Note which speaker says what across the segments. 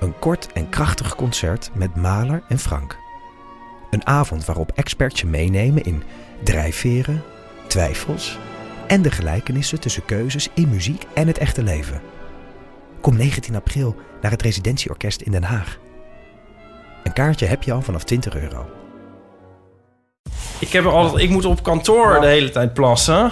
Speaker 1: Een kort en krachtig concert met Maler en Frank. Een avond waarop experts je meenemen in drijfveren, twijfels en de gelijkenissen tussen keuzes in muziek en het echte leven. Kom 19 april naar het Residentieorkest in Den Haag. Een kaartje heb je al vanaf 20 euro.
Speaker 2: Ik, heb er altijd, ik moet op kantoor de hele tijd plassen.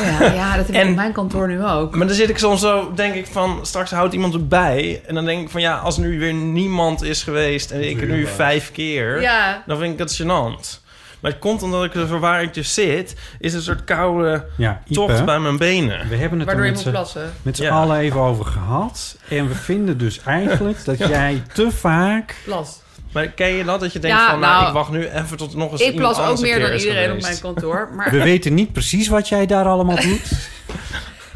Speaker 3: Ja, ja dat heb ik
Speaker 2: En-
Speaker 3: op mijn kantoor nu ook.
Speaker 2: Maar dan zit ik soms zo, denk ik van, straks houdt iemand het bij. En dan denk ik van, ja, als nu weer niemand is geweest en ik er nu vijf keer,
Speaker 3: Ja.
Speaker 2: dan vind ik dat gênant. Maar het komt omdat ik er waar ik dus zit, is een soort koude
Speaker 4: Ja, Ipe,
Speaker 2: tocht bij mijn benen.
Speaker 4: we hebben het er
Speaker 3: Waardoor je
Speaker 4: met
Speaker 3: moet
Speaker 4: z'n-
Speaker 3: plassen.
Speaker 4: met z'n
Speaker 2: Ja.
Speaker 4: allen even over gehad. En we vinden dus eigenlijk dat jij te vaak...
Speaker 3: Plast.
Speaker 2: Maar ken je dat, dat je denkt
Speaker 3: Ja,
Speaker 2: van, nou,
Speaker 3: nou,
Speaker 2: ik wacht nu even tot nog eens
Speaker 3: Ik
Speaker 2: iemand
Speaker 3: plas ook
Speaker 2: anders een
Speaker 3: meer
Speaker 2: keer
Speaker 3: dan
Speaker 2: is
Speaker 3: iedereen op
Speaker 2: geweest.
Speaker 3: mijn kantoor.
Speaker 4: We
Speaker 3: Maar
Speaker 4: weten niet precies wat jij daar allemaal doet.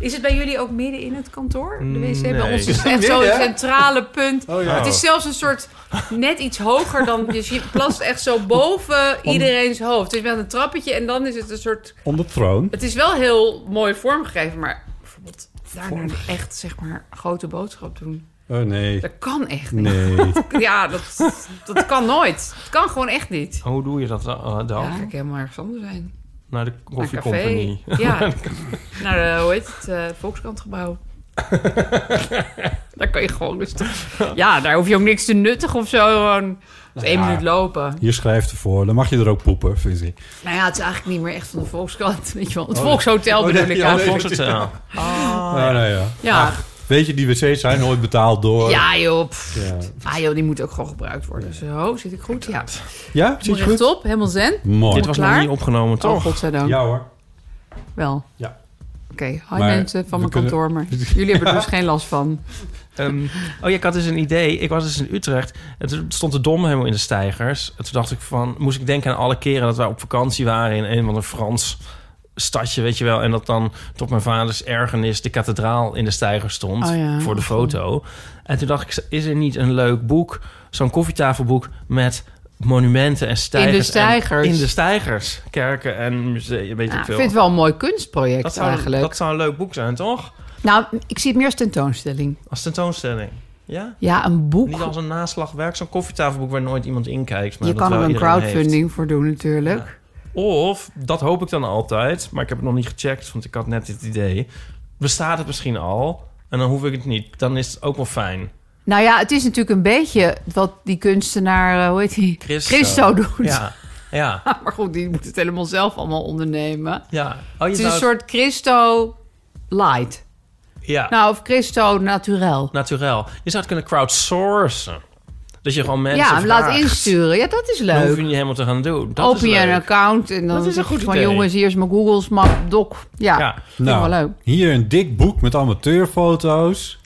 Speaker 3: is het bij jullie ook midden in het kantoor? De wc bij
Speaker 2: Nee.
Speaker 3: ons is echt zo'n centrale punt.
Speaker 2: Oh,
Speaker 3: Het is zelfs een soort net iets hoger dan... Dus je plast echt zo boven iedereen's hoofd. Dus je bent een trappetje en dan is het een soort...
Speaker 4: Om de troon.
Speaker 3: Het is wel heel mooi vormgegeven, maar bijvoorbeeld daarna echt zeg maar grote boodschap doen.
Speaker 4: Oh nee.
Speaker 3: Dat kan echt niet.
Speaker 4: Nee.
Speaker 3: Ja, dat, dat kan nooit. Het kan gewoon echt niet.
Speaker 2: Hoe doe je dat dan? dan?
Speaker 3: Ja, dan ga ik helemaal ergens anders zijn.
Speaker 2: Naar de
Speaker 3: Naar een
Speaker 2: Coffee
Speaker 3: café.
Speaker 2: Company.
Speaker 3: Ja. Naar de, hoe heet het, eh, Volkskrantgebouw. daar kan je gewoon rustig... Ja, daar hoef je ook niks te nuttig of zo. Gewoon dus één
Speaker 4: ja.
Speaker 3: minuut lopen.
Speaker 4: Je schrijft ervoor. Dan mag je er ook poepen, vind ik.
Speaker 3: Nou ja, het is eigenlijk niet meer echt van de Volkskrant. Weet je wel. Het
Speaker 4: Oh,
Speaker 3: Volkshotel bedoel ik
Speaker 2: Ja,
Speaker 3: eigenlijk.
Speaker 2: Volkshotel.
Speaker 4: Ah, nou ja.
Speaker 3: Ja.
Speaker 4: Weet je, die wc's zijn nooit betaald door...
Speaker 3: ja, joh. pff.
Speaker 4: Ja?
Speaker 3: Ah joh, die moet ook gewoon gebruikt worden. Zo, zit ik goed? Ja.
Speaker 4: Ja? Zit je goed?
Speaker 3: Rechtop, helemaal zen.
Speaker 4: Mooi.
Speaker 2: Dit was
Speaker 3: Klaar?
Speaker 2: nog niet opgenomen,
Speaker 3: Oh,
Speaker 2: toch?
Speaker 3: godzijdank.
Speaker 4: Ja hoor.
Speaker 3: Wel.
Speaker 4: Ja.
Speaker 3: Oké, hi
Speaker 4: Maar
Speaker 3: mensen van
Speaker 4: we
Speaker 3: mijn
Speaker 4: kunnen-
Speaker 3: kantoor. Maar jullie hebben er dus geen last van.
Speaker 2: Ehm, oh ja, ik had dus een idee. Ik was dus in Utrecht. En toen stond de dom helemaal in de stijgers. En toen dacht ik van... Moest ik denken aan alle keren dat wij op vakantie waren... in een van een Frans stadje, weet je wel. En dat dan tot mijn vaders ergernis... de kathedraal in de stijger stond
Speaker 3: Oh ja.
Speaker 2: voor de foto. En toen dacht ik, is er niet een leuk boek? Zo'n koffietafelboek met monumenten en stijgers. en-
Speaker 3: stijgers.
Speaker 2: in de stijgers. Kerken en musea, weet
Speaker 3: Ja,
Speaker 2: ik
Speaker 3: ik
Speaker 2: veel.
Speaker 3: Ah, vind het wel een mooi kunstproject
Speaker 2: dat, zou,
Speaker 3: eigenlijk.
Speaker 2: dat zou een leuk boek zijn, toch?
Speaker 3: Nou, ik zie het meer als tentoonstelling.
Speaker 2: Als tentoonstelling. Ja?
Speaker 3: Ja, een boek.
Speaker 2: Niet als een naslagwerk, zo'n koffietafelboek waar nooit iemand in kijkt. Maar
Speaker 3: Je
Speaker 2: dat
Speaker 3: kan er
Speaker 2: wel
Speaker 3: een
Speaker 2: iedereen
Speaker 3: crowdfunding voor doen natuurlijk.
Speaker 2: heeft. Of, dat hoop ik dan altijd, maar ik heb het nog niet gecheckt, want ik had net dit idee. Bestaat het misschien al en dan hoef ik het niet. Dan is het ook wel fijn.
Speaker 3: Nou ja, het is natuurlijk een beetje wat die kunstenaar, eh, hoe heet die?
Speaker 2: Christo.
Speaker 3: doet.
Speaker 2: Ja, ja,
Speaker 3: Maar goed, die moet het helemaal zelf allemaal ondernemen.
Speaker 2: ja. Oh, je
Speaker 3: Het is
Speaker 2: zou-
Speaker 3: een soort Christo light.
Speaker 2: Ja,
Speaker 3: Nou, of Christo naturel.
Speaker 2: naturel. Je zou het kunnen crowdsourcen. Dat je gewoon mensen
Speaker 3: Ja, laat
Speaker 2: vraagt.
Speaker 3: insturen. Ja, dat is
Speaker 2: Dan hoef
Speaker 3: leuk.
Speaker 2: je niet helemaal te gaan doen. Dat
Speaker 3: Open
Speaker 2: is
Speaker 3: je een
Speaker 2: leuk.
Speaker 3: account en dan
Speaker 2: Dat is een
Speaker 3: zeg je
Speaker 2: goed
Speaker 3: van
Speaker 2: idee.
Speaker 3: jongens, hier is mijn Google's map doc. Ja,
Speaker 2: Ja.
Speaker 3: vind ik wel leuk.
Speaker 4: Nou, hier een dik boek met amateurfoto's.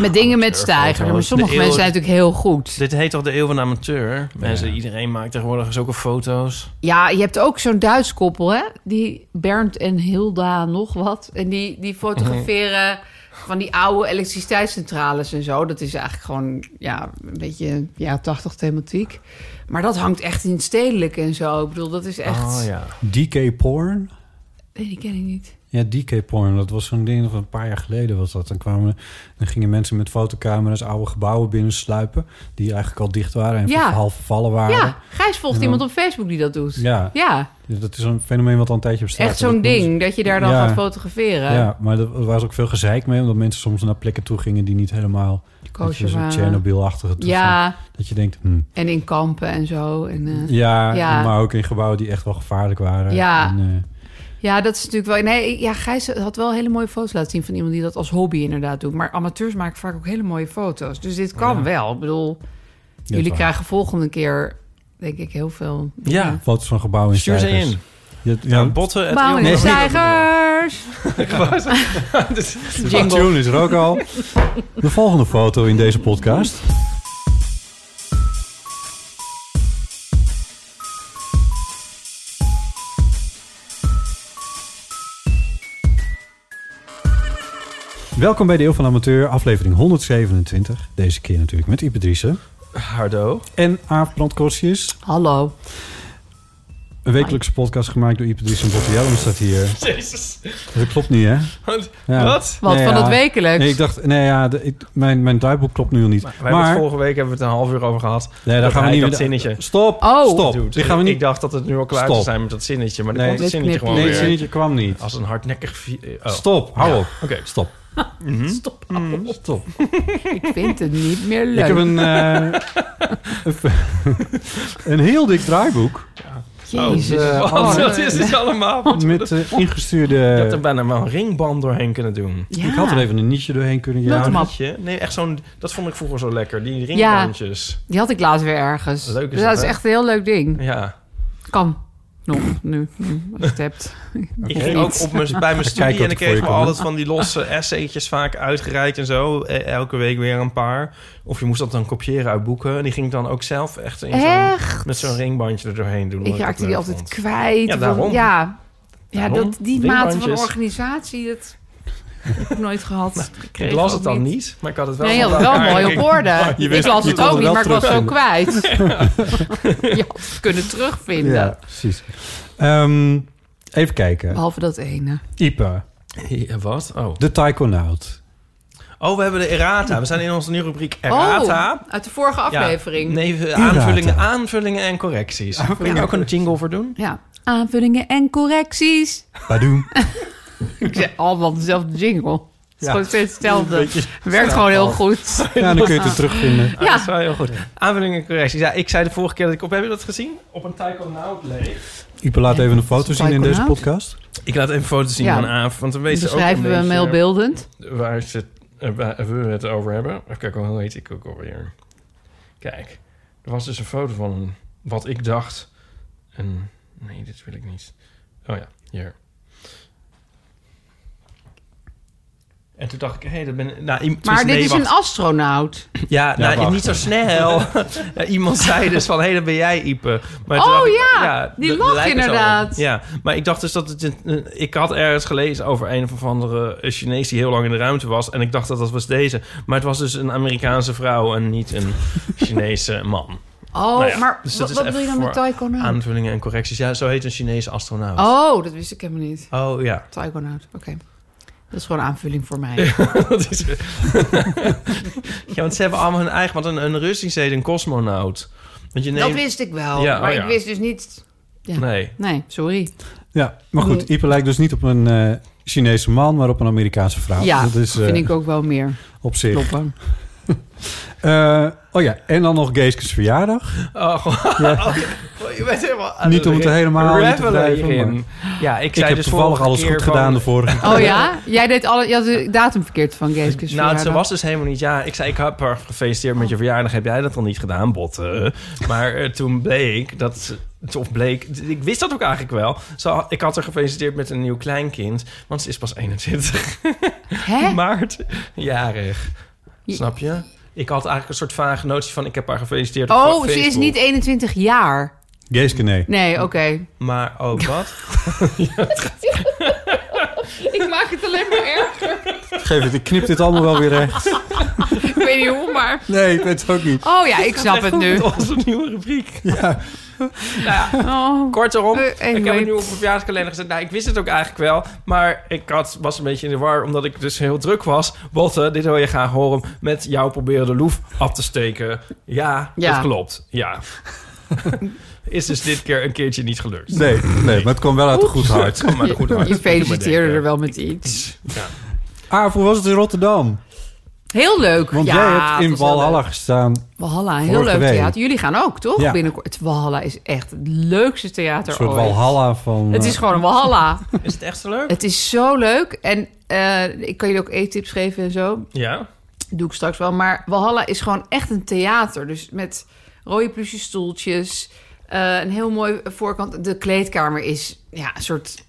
Speaker 3: Met dingen met
Speaker 2: amateurfoto's.
Speaker 3: stijgers. Maar sommige
Speaker 2: De
Speaker 3: mensen
Speaker 2: eeuw-
Speaker 3: zijn natuurlijk heel goed.
Speaker 2: Dit heet toch de eeuw van de amateur? Mensen, iedereen maakt tegenwoordig zulke foto's.
Speaker 3: Ja, je hebt ook zo'n Duits koppel, hè? Die Bernd en Hilda nog wat. En die, die fotograferen van die oude elektriciteitscentrales en zo. Dat is eigenlijk gewoon ja, een beetje ja, 80 thematiek. Maar dat hangt echt in het stedelijk en zo. Ik bedoel, dat is echt...
Speaker 2: Oh ja.
Speaker 4: DK Porn.
Speaker 3: Nee, die ken ik niet.
Speaker 4: Ja, DK Porn. Dat was zo'n ding van een paar jaar geleden was dat. Dan, kwamen, dan gingen mensen met fotocamera's oude gebouwen binnensluipen. Die eigenlijk al dicht waren en
Speaker 3: Ja.
Speaker 4: half vervallen waren.
Speaker 3: Ja, Gijs volgt
Speaker 4: En dan-
Speaker 3: iemand op Facebook die dat doet.
Speaker 4: Ja.
Speaker 3: Ja,
Speaker 4: Dus Dat is een fenomeen wat al een tijdje bestaat.
Speaker 3: echt zo'n
Speaker 4: Dat mensen-
Speaker 3: ding dat je daar dan
Speaker 4: Ja.
Speaker 3: gaat fotograferen.
Speaker 4: Ja, maar er was ook veel gezeik mee. Omdat mensen soms naar plekken toe gingen die niet helemaal...
Speaker 3: Koosje
Speaker 4: weet je, zo'n
Speaker 3: waren.
Speaker 4: Chernobyl-achtige toestand.
Speaker 3: eh, Ja,
Speaker 4: Dat je denkt, hm,
Speaker 3: en in kampen en zo. En, eh,
Speaker 4: Ja,
Speaker 3: Ja.
Speaker 4: maar ook in gebouwen die echt wel gevaarlijk waren.
Speaker 3: Ja.
Speaker 4: En, eh,
Speaker 3: Ja, dat is natuurlijk wel. Nee, ja, Gijs had wel hele mooie foto's laten zien van iemand die dat als hobby inderdaad doet. Maar amateurs maken vaak ook hele mooie foto's. Dus dit kan wel. Ik bedoel, jullie
Speaker 4: waar.
Speaker 3: krijgen volgende keer, denk ik, heel veel.
Speaker 2: Ja,
Speaker 4: eh, foto's van gebouwen in
Speaker 2: stuur ze
Speaker 4: stijgers.
Speaker 2: in.
Speaker 4: Je- ja,
Speaker 2: Ja, botten. het
Speaker 3: Bouwen
Speaker 2: eeuw-
Speaker 3: de
Speaker 4: nee.
Speaker 3: stijgers!
Speaker 4: de tune is er ook al. De volgende foto in deze podcast. Welkom bij Deel van Amateur, aflevering 127. Deze keer natuurlijk met Ipe Driessen
Speaker 2: Hardo.
Speaker 4: en Aaf Brandkorsius.
Speaker 3: Hallo.
Speaker 4: Een wekelijkse podcast gemaakt door Ipe Driessen en Botte Jellem staat hier.
Speaker 2: Jezus.
Speaker 4: Dat klopt niet, hè? Ja.
Speaker 2: Wat?
Speaker 3: Wat
Speaker 4: Nee,
Speaker 3: van
Speaker 4: ja.
Speaker 3: het wekelijks?
Speaker 4: Nee, ik dacht, nee, ja, de- ik- mijn, mijn duiboek klopt nu al niet.
Speaker 2: Maar, wij
Speaker 4: Maar,
Speaker 2: hebben het vorige week hebben we het een half uur over gehad.
Speaker 4: nee, daar
Speaker 2: Dat
Speaker 4: gaan we
Speaker 2: hij
Speaker 4: niet
Speaker 2: dat zinnetje.
Speaker 4: Stop,
Speaker 3: Oh.
Speaker 4: stop.
Speaker 2: Dude,
Speaker 4: Dit gaan we
Speaker 2: Ik
Speaker 4: niet.
Speaker 2: dacht dat het nu al klaar
Speaker 4: Stop.
Speaker 2: zou zijn met dat zinnetje, maar dan
Speaker 4: Nee.
Speaker 2: komt het
Speaker 3: Dit
Speaker 2: zinnetje
Speaker 3: knip
Speaker 2: gewoon
Speaker 3: je.
Speaker 4: Nee,
Speaker 2: weer.
Speaker 4: het zinnetje kwam niet.
Speaker 2: Als een hardnekkig... vi- eh, Oh.
Speaker 4: Stop, hou op.
Speaker 2: Oké. Mhm.
Speaker 4: Stop.
Speaker 3: Stop.
Speaker 4: Mm, Stop.
Speaker 3: Ik vind het niet meer leuk.
Speaker 4: Ik heb een, eh, een heel dik draaiboek
Speaker 3: Jezus.
Speaker 4: eh,
Speaker 2: Wat,
Speaker 3: Oh,
Speaker 2: wat
Speaker 3: nee.
Speaker 2: is dit allemaal?
Speaker 4: met eh,
Speaker 2: Je had er
Speaker 4: ingestuurde...
Speaker 2: bijna wel een ringband doorheen kunnen doen. Nou,
Speaker 3: Ja.
Speaker 4: Ik had er even een nietje doorheen kunnen
Speaker 3: Met
Speaker 4: jagen.
Speaker 3: hem op.
Speaker 2: Weet je? Nee, echt zo'n... Dat vond ik vroeger zo lekker. Die ringbandjes.
Speaker 3: Die had ik laatst weer ergens.
Speaker 2: Leuk is
Speaker 3: Dus
Speaker 2: dat,
Speaker 3: dat is
Speaker 2: hè?
Speaker 3: echt een heel leuk ding.
Speaker 2: Ja.
Speaker 3: Kan. Nog, nu. nu, Als je het hebt.
Speaker 2: Ik
Speaker 3: Of
Speaker 2: ging ook
Speaker 3: niet.
Speaker 2: op mijn, bij mijn
Speaker 4: Kijk
Speaker 2: studie
Speaker 4: wat
Speaker 2: en ik
Speaker 4: ik voor je
Speaker 2: kreeg me
Speaker 4: kon, hè?
Speaker 2: altijd van die losse essaytjes vaak uitgereikt en zo. E- Elke week weer een paar. Of je moest dat dan kopiëren uit boeken. En die ging ik dan ook zelf echt in zo'n,
Speaker 3: Echt?
Speaker 2: met zo'n ringbandje er doorheen doen.
Speaker 3: Ik
Speaker 2: omdat
Speaker 3: raakte
Speaker 2: het
Speaker 3: die
Speaker 2: leuk
Speaker 3: altijd
Speaker 2: vond.
Speaker 3: kwijt.
Speaker 2: Ja,
Speaker 3: Of-
Speaker 2: daarom.
Speaker 3: Ja, ja
Speaker 2: Daarom.
Speaker 3: dat, die mate van
Speaker 2: Ringbandjes.
Speaker 3: organisatie, dat heb ik nooit gehad. kreeg
Speaker 2: Nou, Ik las
Speaker 3: ook
Speaker 2: het dan niet, maar ik had het wel
Speaker 3: Nee, je had
Speaker 2: van
Speaker 3: het wel
Speaker 2: elkaar.
Speaker 3: mooi op orde.
Speaker 4: Je
Speaker 3: ik
Speaker 4: wist-
Speaker 3: las
Speaker 4: je
Speaker 3: het
Speaker 4: kon
Speaker 3: ook
Speaker 4: het
Speaker 3: niet,
Speaker 4: wel
Speaker 3: maar ik was het ook kwijt. Je had het kunnen terugvinden.
Speaker 4: Ja, precies. Ehm, even kijken.
Speaker 3: Behalve dat ene.
Speaker 4: Ipe,
Speaker 2: Ja, wat? Oh.
Speaker 4: de taikonaut.
Speaker 2: oh, we hebben de errata. We zijn in onze nieuwe rubriek errata.
Speaker 3: Oh, uit de vorige aflevering.
Speaker 2: Ja, nee,
Speaker 4: Errata.
Speaker 2: aanvullingen, aanvullingen en correcties. Kun je daar ook een jingle voor doen?
Speaker 3: Ja. Aanvullingen en correcties.
Speaker 4: Badoem.
Speaker 3: Ik zei allemaal dezelfde jingle. Het is
Speaker 4: Ja.
Speaker 3: gewoon steeds hetzelfde. Werkt gewoon heel goed.
Speaker 4: Ja, dan kun je het er terugvinden.
Speaker 2: Ah,
Speaker 3: Ja.
Speaker 2: Dat is wel heel goed. Aanvullingen en correcties. Ja, ik zei de vorige keer dat ik op... Heb je dat gezien? Op een Taiko Now
Speaker 4: Ipe laat even een foto zien in deze
Speaker 3: Taikonaut?
Speaker 4: podcast.
Speaker 2: Ik laat even foto's zien
Speaker 3: Ja.
Speaker 2: van Aaf, want dan weet ze ook een
Speaker 3: Beschrijven we hem
Speaker 2: beetje eh,
Speaker 3: heel beeldend.
Speaker 2: waar, ze, eh, waar we het over hebben. Even kijken, hoe heet ik ook alweer? Kijk, er was dus een foto van een- wat ik dacht. Een, nee, dit wil ik niet. Oh ja, hier. En toen dacht ik, hé, hey, dat ben nou, iem-
Speaker 3: Maar
Speaker 2: tenminste,
Speaker 3: dit
Speaker 2: nee,
Speaker 3: is
Speaker 2: wacht.
Speaker 3: een astronaut.
Speaker 2: Ja, nou,
Speaker 4: wacht.
Speaker 2: niet zo snel. Ja, iemand zei dus van, hé, dat ben jij, Ipe. Maar toen
Speaker 3: Oh,
Speaker 2: dacht ik,
Speaker 3: ja, die
Speaker 2: dat
Speaker 3: lag
Speaker 2: lijkt het zo
Speaker 3: inderdaad.
Speaker 2: op. Ja, maar ik dacht dus dat het... een- een- Ik had ergens gelezen over een of andere Chinees die heel lang in de ruimte was. En ik dacht dat dat was deze. Maar het was dus een Amerikaanse vrouw en niet een Chinese man.
Speaker 3: Oh,
Speaker 2: Nou ja,
Speaker 3: maar
Speaker 2: dus
Speaker 3: wat,
Speaker 2: dat is
Speaker 3: wat bedoel je
Speaker 2: even
Speaker 3: dan met
Speaker 2: voor
Speaker 3: taikonaut?
Speaker 2: Aanvullingen en correcties. Ja, zo heet een Chinese astronaut.
Speaker 3: Oh, dat wist ik helemaal niet.
Speaker 2: Oh, ja.
Speaker 3: Taikonaut, oké. Dat is gewoon een aanvulling voor mij.
Speaker 2: Dat is- ja, want ze hebben allemaal hun eigen... Want een, een Russisch heet een cosmonaut. Want je
Speaker 3: Dat
Speaker 2: neemt...
Speaker 3: wist ik wel,
Speaker 2: Ja,
Speaker 3: maar
Speaker 2: oh ja.
Speaker 3: ik wist dus niet... Ja. Nee.
Speaker 2: Nee.
Speaker 3: sorry.
Speaker 4: Ja, maar goed. Ipe lijkt dus niet op een eh, Chinese man, maar op een Amerikaanse vrouw.
Speaker 3: ja,
Speaker 4: dat
Speaker 3: dat
Speaker 4: is eh,
Speaker 3: vind ik ook wel meer
Speaker 4: op zich.
Speaker 3: kloppen.
Speaker 4: Eh, oh ja, en dan nog Geeske's verjaardag.
Speaker 2: Oh, goh. je bent helemaal aan
Speaker 4: Niet om het
Speaker 2: re-
Speaker 4: helemaal aan te
Speaker 2: revelen
Speaker 4: blijven,
Speaker 2: hierin.
Speaker 4: maar-
Speaker 2: Ja, ik,
Speaker 4: Ik,
Speaker 2: zei
Speaker 4: heb
Speaker 2: dus
Speaker 4: toevallig
Speaker 2: vorige
Speaker 4: alles
Speaker 2: keer
Speaker 4: goed
Speaker 2: van-
Speaker 4: gedaan de vorige
Speaker 3: Oh ja? Jij deed alle, je had de datum verkeerd van
Speaker 2: Nou,
Speaker 3: Geeske's
Speaker 2: ze
Speaker 3: verjaardag.
Speaker 2: was dus helemaal niet. Ja, ik zei, ik heb haar gefeliciteerd met je verjaardag. Heb jij dat dan niet gedaan, botten? Maar eh, toen bleek dat... ze- Of bleek... Ik wist dat ook eigenlijk wel. Ze had- ik had haar gefeliciteerd met een nieuw kleinkind. Want ze is pas 21
Speaker 3: Hè?
Speaker 2: maart jarig.
Speaker 3: Je-
Speaker 2: Snap je? Ik had eigenlijk een soort vage notie van... Ik heb haar gefeliciteerd op
Speaker 3: Oh, ze
Speaker 2: Facebook.
Speaker 3: is niet 21 jaar.
Speaker 4: Geeske, nee.
Speaker 3: Nee, oké.
Speaker 2: Maar, oh, wat?
Speaker 3: Ik maak het alleen maar erg.
Speaker 4: Geef het, ik knip dit allemaal wel weer recht.
Speaker 3: Ik weet niet hoe, maar...
Speaker 4: Nee, ik weet het ook niet.
Speaker 3: Oh ja, ik snap het nu.
Speaker 2: Onze nieuwe rubriek. Nou
Speaker 3: Oh.
Speaker 2: Kortom,
Speaker 3: Eh,
Speaker 2: ik heb
Speaker 3: anyway.
Speaker 2: het nu op mijn verjaardagskalender gezet. Nou, ik wist het ook eigenlijk wel. Maar ik had, was een beetje in de war, omdat ik dus heel druk was. Botte, dit wil je graag horen. Met jou proberen de loef af te steken. Ja,
Speaker 3: Ja.
Speaker 2: dat klopt. Ja. Is dus dit keer een keertje niet gelukt.
Speaker 4: Nee, nee, maar het kwam wel uit een goed hart.
Speaker 2: Het kwam maar goed uit.
Speaker 3: Je feliciteerde
Speaker 2: Moet je
Speaker 3: er
Speaker 2: maar
Speaker 3: wel met iets.
Speaker 4: Aaf, hoe Ah, was het in Rotterdam?
Speaker 3: Heel leuk.
Speaker 4: Want
Speaker 3: ja,
Speaker 4: jij hebt in
Speaker 3: het was wel
Speaker 4: Walhalla
Speaker 3: leuk.
Speaker 4: gestaan.
Speaker 3: Walhalla, heel
Speaker 4: Vorige
Speaker 3: leuk
Speaker 4: week.
Speaker 3: theater. Jullie gaan ook, toch?
Speaker 4: Ja.
Speaker 3: Binnenkort. Het Walhalla is echt het leukste theater
Speaker 4: Een soort
Speaker 3: ooit.
Speaker 4: Walhalla van...
Speaker 3: Het is
Speaker 4: eh,
Speaker 3: gewoon een Walhalla.
Speaker 2: denken. Is het echt zo leuk?
Speaker 3: het is zo leuk. En eh, ik kan jullie ook eettips geven en zo.
Speaker 2: Ja.
Speaker 3: doe ik straks wel. Maar Walhalla is gewoon echt een theater. Dus met rode plusje stoeltjes. eh, een heel mooi voorkant. De kleedkamer is ja, een soort...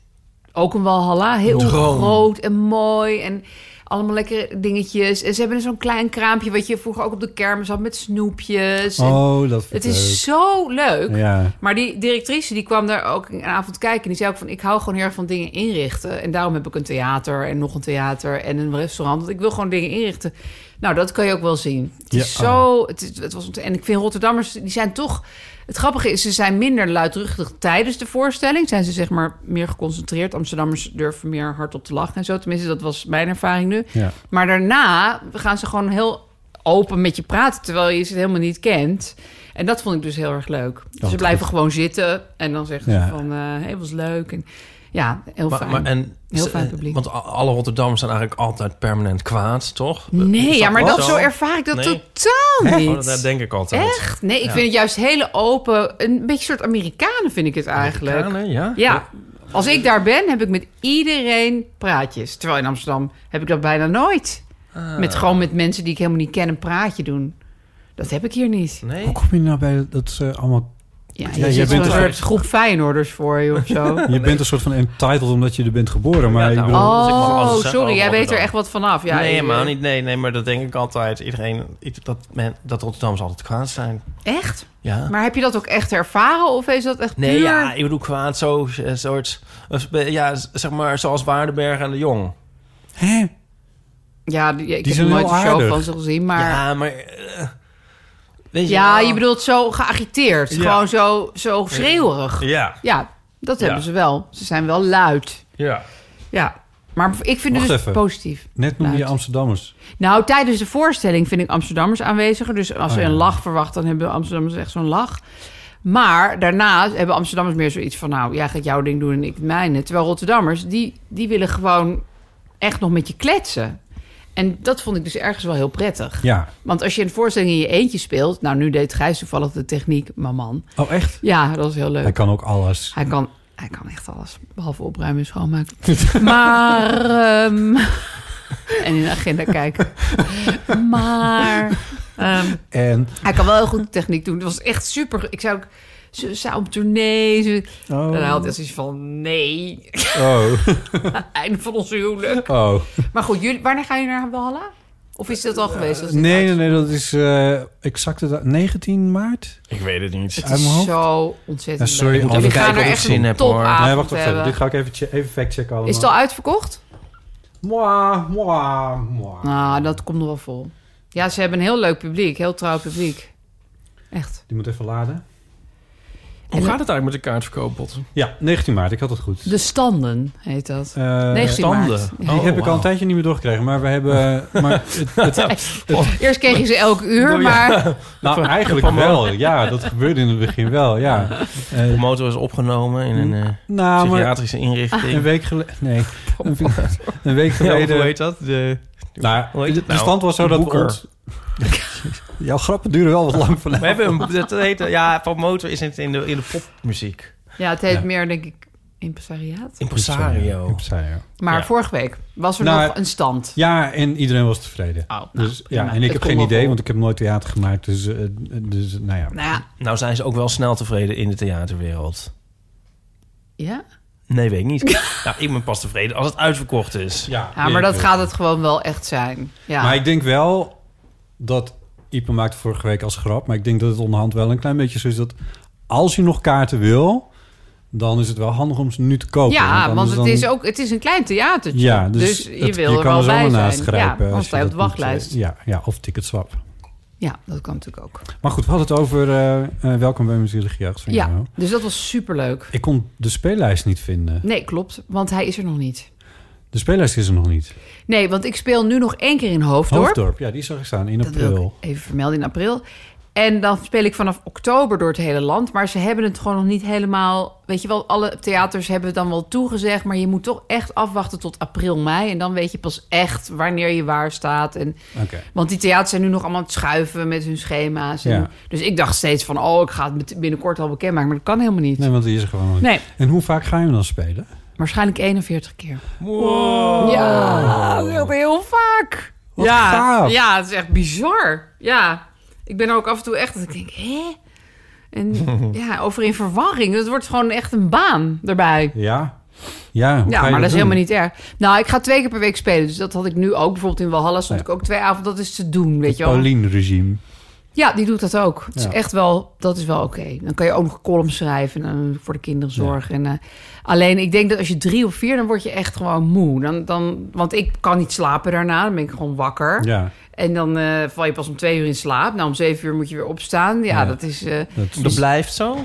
Speaker 3: Ook een Walhalla. Heel
Speaker 2: Droom.
Speaker 3: groot en mooi. En allemaal lekkere dingetjes. En ze hebben zo'n klein kraampje wat je vroeger ook op de kermis had met snoepjes. En
Speaker 4: Oh, dat vind
Speaker 3: het
Speaker 4: ik
Speaker 3: is zo leuk.
Speaker 4: leuk. Ja.
Speaker 3: Maar die directrice die kwam daar ook een avond kijken. En die zei ook van, ik hou gewoon heel erg van dingen inrichten. En daarom heb ik een theater en nog een theater en een restaurant. Want ik wil gewoon dingen inrichten. Nou, dat kan je ook wel zien. Het is
Speaker 4: Ja.
Speaker 3: zo... Het, is- het was, ont- en ik vind Rotterdammers, die zijn toch... Het grappige is, ze zijn minder luidruchtig tijdens de voorstelling. Zijn ze zeg maar meer geconcentreerd. Amsterdammers durven meer hardop te lachen en zo. Tenminste, dat was mijn ervaring nu.
Speaker 4: Ja.
Speaker 3: Maar daarna gaan ze gewoon heel open met je praten, terwijl je ze helemaal niet kent. En dat vond ik dus heel erg leuk. Dus
Speaker 4: wat
Speaker 3: ze blijven gewoon zitten en dan zeggen
Speaker 4: Ja.
Speaker 3: ze van, eh hey, was leuk. En, ja, heel
Speaker 2: Maar-
Speaker 3: fijn.
Speaker 2: maar- en,
Speaker 3: Heel
Speaker 2: ze-
Speaker 3: fijn publiek.
Speaker 2: Want a- alle Rotterdammers zijn eigenlijk altijd permanent kwaad, toch?
Speaker 3: nee,
Speaker 2: Is
Speaker 3: ja, maar
Speaker 2: ook
Speaker 3: dat, zo ervaar ik dat
Speaker 2: Nee.
Speaker 3: totaal
Speaker 2: Oh,
Speaker 3: niet.
Speaker 2: dat- dat denk ik altijd.
Speaker 3: Echt? Nee, ik
Speaker 2: Ja.
Speaker 3: vind het juist hele open, een beetje soort Amerikanen vind ik het eigenlijk.
Speaker 2: Amerikanen, ja?
Speaker 3: Ja, als ik daar ben, heb ik met iedereen praatjes. Terwijl in Amsterdam heb ik dat bijna nooit.
Speaker 2: Ah,
Speaker 3: Met gewoon met mensen die ik helemaal niet ken een praatje doen. Dat heb ik hier niet.
Speaker 2: Nee?
Speaker 4: Hoe kom je nou bij dat- dat ze allemaal...
Speaker 3: Ja,
Speaker 4: Ja,
Speaker 3: je
Speaker 4: jij
Speaker 3: zit
Speaker 4: bent
Speaker 3: zo'n
Speaker 4: een-
Speaker 3: soort groep Feyenoorders voor je of zo. Oh,
Speaker 4: Je bent een soort van entitled omdat je er bent geboren. Maar
Speaker 2: Ja,
Speaker 4: ik
Speaker 2: nou,
Speaker 4: bedoel,
Speaker 2: Dus ik mag alles
Speaker 3: Oh,
Speaker 2: zeggen
Speaker 3: sorry, jij
Speaker 2: over
Speaker 3: weet er
Speaker 2: Rotterdam.
Speaker 3: echt wat vanaf. Ja, eh,
Speaker 2: nee,
Speaker 3: ik-
Speaker 2: maar niet. Nee, nee, maar dat denk ik altijd. Iedereen, i- dat, men, dat Rotterdammers altijd kwaad zijn.
Speaker 3: Echt?
Speaker 2: Ja.
Speaker 3: Maar heb je dat ook echt ervaren of is dat echt
Speaker 2: Nee,
Speaker 3: puur?
Speaker 2: ja, ik bedoel kwaad zo, eh, soort... eh, Ja, z- zeg maar zoals Waardenberg en de Jong.
Speaker 4: hè?
Speaker 3: Ja, die- ik
Speaker 4: Die
Speaker 3: heb
Speaker 4: zijn
Speaker 3: nooit
Speaker 4: heel
Speaker 3: een show
Speaker 4: aardig.
Speaker 3: van ze gezien, maar... Ja,
Speaker 2: Ja, maar... eh, weet je wel?
Speaker 3: je bedoelt zo geagiteerd.
Speaker 2: Ja.
Speaker 3: Gewoon zo, zo schreeuwerig.
Speaker 2: Ja,
Speaker 3: Ja, dat
Speaker 2: Ja.
Speaker 3: hebben ze wel. Ze zijn wel luid.
Speaker 2: ja.
Speaker 3: Ja, maar ik vind het
Speaker 4: Wacht
Speaker 3: dus
Speaker 4: even.
Speaker 3: positief.
Speaker 4: Net noemde je
Speaker 3: Luid.
Speaker 4: Amsterdammers.
Speaker 3: Nou, tijdens de voorstelling vind ik Amsterdammers aanweziger. Dus als
Speaker 4: Oh,
Speaker 3: ze
Speaker 4: ja.
Speaker 3: een lach verwacht, dan hebben Amsterdammers echt zo'n lach. Maar daarna hebben Amsterdammers meer zoiets van... nou, jij gaat jouw ding doen en ik het mijne. Terwijl Rotterdammers, die, die willen gewoon echt nog met je kletsen. En dat vond ik dus ergens wel heel prettig.
Speaker 4: Ja.
Speaker 3: Want als je een voorstelling in je eentje speelt... nou, nu deed Gijs toevallig de techniek, maar man.
Speaker 4: Oh, echt?
Speaker 3: Ja, dat is heel leuk.
Speaker 4: Hij kan ook alles.
Speaker 3: Hij kan, hij kan echt alles, behalve opruimen en schoonmaken. maar, ehm, en in de agenda kijken. Maar, ehm,
Speaker 4: En...
Speaker 3: hij kan wel heel goed de techniek doen. Het was echt super. Ik zou ook, ze zou op tournee. Ze,
Speaker 4: Oh.
Speaker 3: En hij had echt iets van, nee,
Speaker 4: Oh.
Speaker 3: einde van ons huwelijk.
Speaker 4: oh.
Speaker 3: Maar goed, jullie, wanneer ga je naar Walhalla? Of is dat al geweest? Dat is
Speaker 4: Eh, Nee, nee,
Speaker 3: uit.
Speaker 4: nee. Dat is eh exact het 19 maart.
Speaker 2: Ik weet het niet.
Speaker 4: uit
Speaker 3: Het
Speaker 4: mijn
Speaker 3: is
Speaker 4: hoofd.
Speaker 3: zo ontzettend
Speaker 4: Ja, sorry,
Speaker 3: leuk.
Speaker 4: als
Speaker 3: we
Speaker 4: ik
Speaker 3: gaan
Speaker 2: kijk
Speaker 3: er
Speaker 2: of ik
Speaker 3: echt
Speaker 2: zin
Speaker 3: een
Speaker 2: heb, hoor.
Speaker 3: topavond
Speaker 4: nee, wacht even.
Speaker 3: Ah, hebben.
Speaker 4: Dit ga ik even, che- even factchecken allemaal.
Speaker 3: Is het al uitverkocht?
Speaker 4: Mwah, mwah, mwah.
Speaker 3: Nou, dat komt nog wel vol. Ja, ze hebben een heel leuk publiek, heel trouw publiek. Echt.
Speaker 4: Die moet even laden.
Speaker 2: Hoe gaat het eigenlijk met de kaartverkoop, Botten?
Speaker 4: Ja, 19 maart. Ik had het goed.
Speaker 3: De standen heet dat.
Speaker 4: Eh,
Speaker 3: 19
Speaker 2: Standen.
Speaker 3: maart.
Speaker 4: Die heb ik al een tijdje niet meer doorgekregen. Maar we hebben... maar het, het-
Speaker 3: Eerst kreeg je ze elk uur, maar
Speaker 4: nou, eigenlijk wel. Ja, dat gebeurde in het begin wel. Ja. Eh,
Speaker 2: De motor is opgenomen in een eh,
Speaker 4: nou, maar
Speaker 2: psychiatrische
Speaker 3: Ah.
Speaker 2: inrichting.
Speaker 4: een week geleden... Nee. Een, een
Speaker 2: Ja,
Speaker 4: week
Speaker 2: of hoe
Speaker 4: geleden...
Speaker 2: heet dat? De...
Speaker 4: nou,
Speaker 2: hoe heet
Speaker 4: de,
Speaker 2: het nou?
Speaker 4: stand was zo dat we
Speaker 2: Boeker.
Speaker 4: ons... Jouw grappen duren wel wat lang vandaag.
Speaker 2: We hebben een, dat heet, ja, van motor is het in de, in de popmuziek.
Speaker 3: ja, het heet
Speaker 4: Ja.
Speaker 3: meer, denk ik, impresariaat.
Speaker 2: Impresario.
Speaker 4: Impresario.
Speaker 3: Maar
Speaker 2: Ja.
Speaker 3: vorige week was er
Speaker 4: Nou,
Speaker 3: nog een stand.
Speaker 4: Ja, en iedereen was tevreden.
Speaker 3: Oh, nou,
Speaker 4: dus, ja,
Speaker 3: prima.
Speaker 4: en ik
Speaker 3: Het
Speaker 4: heb
Speaker 3: kon
Speaker 4: geen
Speaker 3: wel
Speaker 4: idee,
Speaker 3: vol.
Speaker 4: want ik heb nooit theater gemaakt. Dus, eh, dus nou ja.
Speaker 3: Nou ja,
Speaker 2: Nou zijn ze ook wel snel tevreden in de theaterwereld.
Speaker 3: ja.
Speaker 2: Nee, weet ik niet. nou, ik ben pas tevreden als het uitverkocht is.
Speaker 4: Ja,
Speaker 3: ja maar dat gaat het gewoon wel echt zijn. Ja.
Speaker 4: Maar ik denk wel dat... Ipe maakte vorige week als grap, maar ik denk dat het onderhand wel een klein beetje zo is dat... als je nog kaarten wil, dan is het wel handig om ze nu te kopen.
Speaker 3: ja, want
Speaker 4: anders
Speaker 3: het
Speaker 4: dan-
Speaker 3: is ook het is een klein theatertje.
Speaker 4: Ja, dus,
Speaker 3: je
Speaker 4: het-
Speaker 3: wil
Speaker 4: je
Speaker 3: er
Speaker 4: kan
Speaker 3: wel
Speaker 4: er zomaar
Speaker 3: bij
Speaker 4: naast
Speaker 3: zijn.
Speaker 4: grijpen.
Speaker 3: Ja,
Speaker 4: als
Speaker 3: anders
Speaker 4: je
Speaker 3: sta je op
Speaker 4: dat
Speaker 3: de
Speaker 4: niet, eh,
Speaker 3: wachtlijst.
Speaker 4: Ja, ja, of ticketswap.
Speaker 3: Ja, dat kan natuurlijk ook.
Speaker 4: Maar goed, we hadden het over eh, eh, Welkom bij mijn zielige jeugd van
Speaker 3: Ja,
Speaker 4: jou.
Speaker 3: dus dat was superleuk.
Speaker 4: Ik kon de speellijst niet vinden.
Speaker 3: Nee, klopt, want hij is er nog niet.
Speaker 4: De speellijst is er nog niet.
Speaker 3: Nee, want ik speel nu nog één keer in Hoofddorp.
Speaker 4: Hoofddorp, ja, die zag ik staan in
Speaker 3: Dat wil
Speaker 4: april.
Speaker 3: ik even vermelden in april. En dan speel ik vanaf oktober door het hele land. Maar ze hebben het gewoon nog niet helemaal... Weet je wel, alle theaters hebben het dan wel toegezegd... maar je moet toch echt afwachten tot april, mei. En dan weet je pas echt wanneer je waar staat. En,
Speaker 4: Oké.
Speaker 3: want die theaters zijn nu nog allemaal aan het schuiven met hun schema's. En,
Speaker 4: Ja.
Speaker 3: Dus ik dacht steeds van... oh, ik ga het met- binnenkort al bekendmaken. Maar dat kan helemaal niet.
Speaker 4: Nee, want die is er gewoon nog niet.
Speaker 3: nee
Speaker 4: En hoe vaak ga je hem dan spelen?
Speaker 3: waarschijnlijk 41 keer.
Speaker 2: Wow.
Speaker 3: Ja, heel, heel vaak.
Speaker 4: Wat
Speaker 3: ja,
Speaker 4: gaaf.
Speaker 3: ja, het is echt bizar. Ja, ik ben er ook af en toe echt dat ik denk, hè? En ja, over in verwarring. Het wordt gewoon echt een baan erbij.
Speaker 4: Ja. Ja, hoe ga
Speaker 3: Ja, maar
Speaker 4: je
Speaker 3: dat is
Speaker 4: doen?
Speaker 3: helemaal niet erg. Nou, ik ga twee keer per week spelen. Dus dat had ik nu ook. Bijvoorbeeld in Walhalla stond
Speaker 4: Ja.
Speaker 3: ik ook twee avonden. Dat is te doen, weet
Speaker 4: Het
Speaker 3: je wel.
Speaker 4: Paulien-regime.
Speaker 3: Ja, die doet dat ook. Het
Speaker 4: Ja.
Speaker 3: is echt wel, dat is wel oké. Dan kan je ook nog columns schrijven en eh, voor de kinderen zorgen. En, eh, alleen, ik denk dat als je drie of vier, dan word je echt gewoon moe. Dan, dan, want ik kan niet slapen daarna, dan ben ik gewoon wakker.
Speaker 4: Ja,
Speaker 3: En dan eh, val je pas om twee uur in slaap. Nou, om zeven uur moet je weer opstaan. Ja,
Speaker 4: Ja.
Speaker 3: dat is... eh,
Speaker 4: dat,
Speaker 2: Dat blijft zo.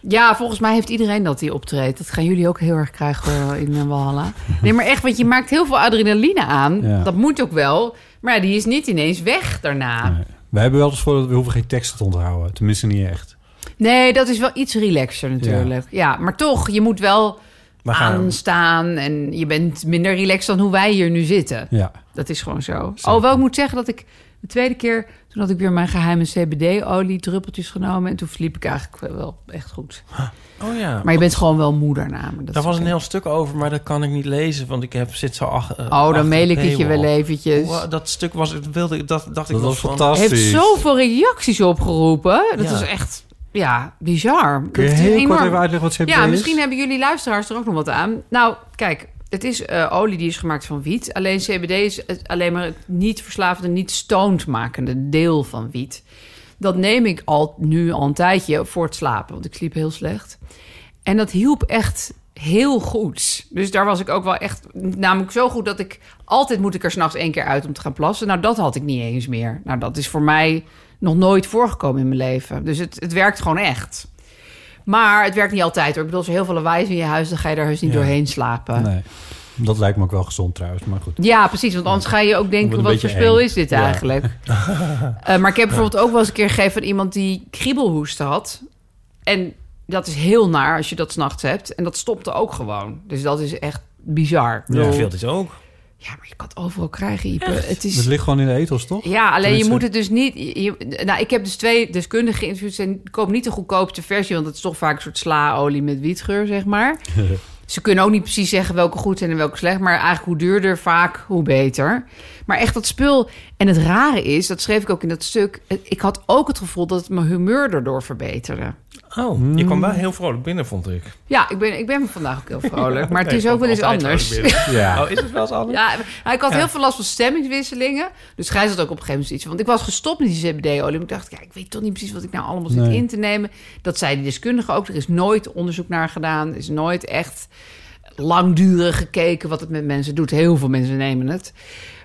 Speaker 3: ja, volgens mij heeft iedereen dat die optreedt. Dat gaan jullie ook heel erg krijgen eh, in eh, Walhalla. Nee, maar echt, want je maakt heel veel adrenaline aan.
Speaker 4: Ja.
Speaker 3: Dat moet ook wel. Maar ja, die is niet ineens weg daarna.
Speaker 4: nee. Wij hebben wel eens voor dat we hoeven geen teksten te onthouden. Tenminste, niet echt.
Speaker 3: Nee, dat is wel iets relaxer natuurlijk. Ja, maar toch, je moet wel
Speaker 2: We gaan.
Speaker 3: aanstaan en je bent minder relaxed dan hoe wij hier nu zitten.
Speaker 4: Ja.
Speaker 3: Dat is gewoon zo. Alhoewel ik moet zeggen dat ik de tweede keer, toen had ik weer mijn geheime CBD-olie druppeltjes genomen en toen sliep ik eigenlijk wel echt goed.
Speaker 2: Oh ja.
Speaker 3: Maar je bent gewoon wel moeder namen.
Speaker 2: Daar was een heel stuk over, maar dat kan ik niet lezen, want ik heb, zit zo ach- eh, achter.
Speaker 3: Oh, dan mail ik
Speaker 2: de
Speaker 3: het je wel
Speaker 2: paywall.
Speaker 3: eventjes.
Speaker 2: Wa- Dat stuk was, dat wilde ik, dat dacht ik
Speaker 4: Dat
Speaker 2: nog
Speaker 4: was
Speaker 2: van-
Speaker 4: fantastisch.
Speaker 3: Heeft zoveel reacties opgeroepen. Dat
Speaker 2: Ja.
Speaker 3: is echt, ja, bizar.
Speaker 4: Kun je
Speaker 3: dat is
Speaker 4: heel
Speaker 3: enorm.
Speaker 4: kort even uitleggen wat CBD
Speaker 3: Ja,
Speaker 4: is?
Speaker 3: misschien hebben jullie luisteraars er ook nog wat aan. Nou, kijk, het is eh, olie die is gemaakt van wiet. Alleen CBD is het- alleen maar het niet verslavende, niet stoned makende deel van wiet. Dat neem ik al nu al een tijdje voor het slapen, want ik sliep heel slecht. En dat hielp echt heel goed. Dus daar was ik ook wel echt... Namelijk zo goed dat ik... Altijd moet ik er s'nachts één keer uit om te gaan plassen. Nou, dat had ik niet eens meer. Nou, dat is voor mij nog nooit voorgekomen in mijn leven. Dus het, het werkt gewoon echt. Maar het werkt niet altijd hoor. Ik bedoel, als er heel veel lawaai is in je huis... dan ga je daar heus niet
Speaker 4: Ja.
Speaker 3: doorheen slapen.
Speaker 4: Nee. Dat lijkt me ook wel gezond trouwens, maar goed.
Speaker 3: Ja, precies. Want anders ga je ook
Speaker 4: Wordt
Speaker 3: denken,
Speaker 4: een
Speaker 3: wat
Speaker 4: beetje
Speaker 3: voor spul
Speaker 4: eng.
Speaker 3: is dit
Speaker 4: Ja.
Speaker 3: eigenlijk? Eh, maar ik heb bijvoorbeeld ook wel eens een keer gegeven aan iemand die kriebelhoest had. En dat is heel naar als je dat s'nachts hebt. En dat stopte ook gewoon. Dus dat is echt bizar. Ik
Speaker 2: Ja,
Speaker 3: bedoel,
Speaker 2: veel is ook.
Speaker 3: ja, maar je kan het overal krijgen, Ipe. Het
Speaker 4: Het
Speaker 3: is...
Speaker 4: ligt gewoon in de ethos, toch?
Speaker 3: Ja, alleen je
Speaker 4: Tenminste-
Speaker 3: moet het dus niet... je- je- nou, ik heb dus twee deskundigen geïnterviewd. Ze kopen niet de goedkoopste versie... want het is toch vaak een soort slaolie met wietgeur, zeg maar. Ze kunnen ook niet precies zeggen welke goed zijn en welke slecht. Maar eigenlijk hoe duurder vaak, hoe beter. Maar echt dat spul. En het rare is, dat schreef ik ook in dat stuk. eh, Ik had ook het gevoel dat het mijn humeur daardoor verbeterde.
Speaker 2: Oh, je kwam wel heel vrolijk binnen, vond ik.
Speaker 3: Ja, ik ben, ik ben vandaag ook heel vrolijk. Maar het
Speaker 2: Nee,
Speaker 3: is ook wel
Speaker 2: ik
Speaker 3: eens
Speaker 2: kwam altijd
Speaker 3: anders.
Speaker 2: vrolijk binnen.
Speaker 4: Ja.
Speaker 2: Oh, is het wel eens anders?
Speaker 3: Ja, nou, ik had heel veel last van stemmingswisselingen. Dus Gijs had ook op een gegeven moment iets. Want ik was gestopt met die CBD-olie. Maar ik dacht, ja, ik weet toch niet precies wat ik nou allemaal zit
Speaker 4: Nee.
Speaker 3: in te nemen. Dat zei die deskundige ook. Er is nooit onderzoek naar gedaan. Er is nooit echt langdurig gekeken wat het met mensen doet. Heel veel mensen nemen het.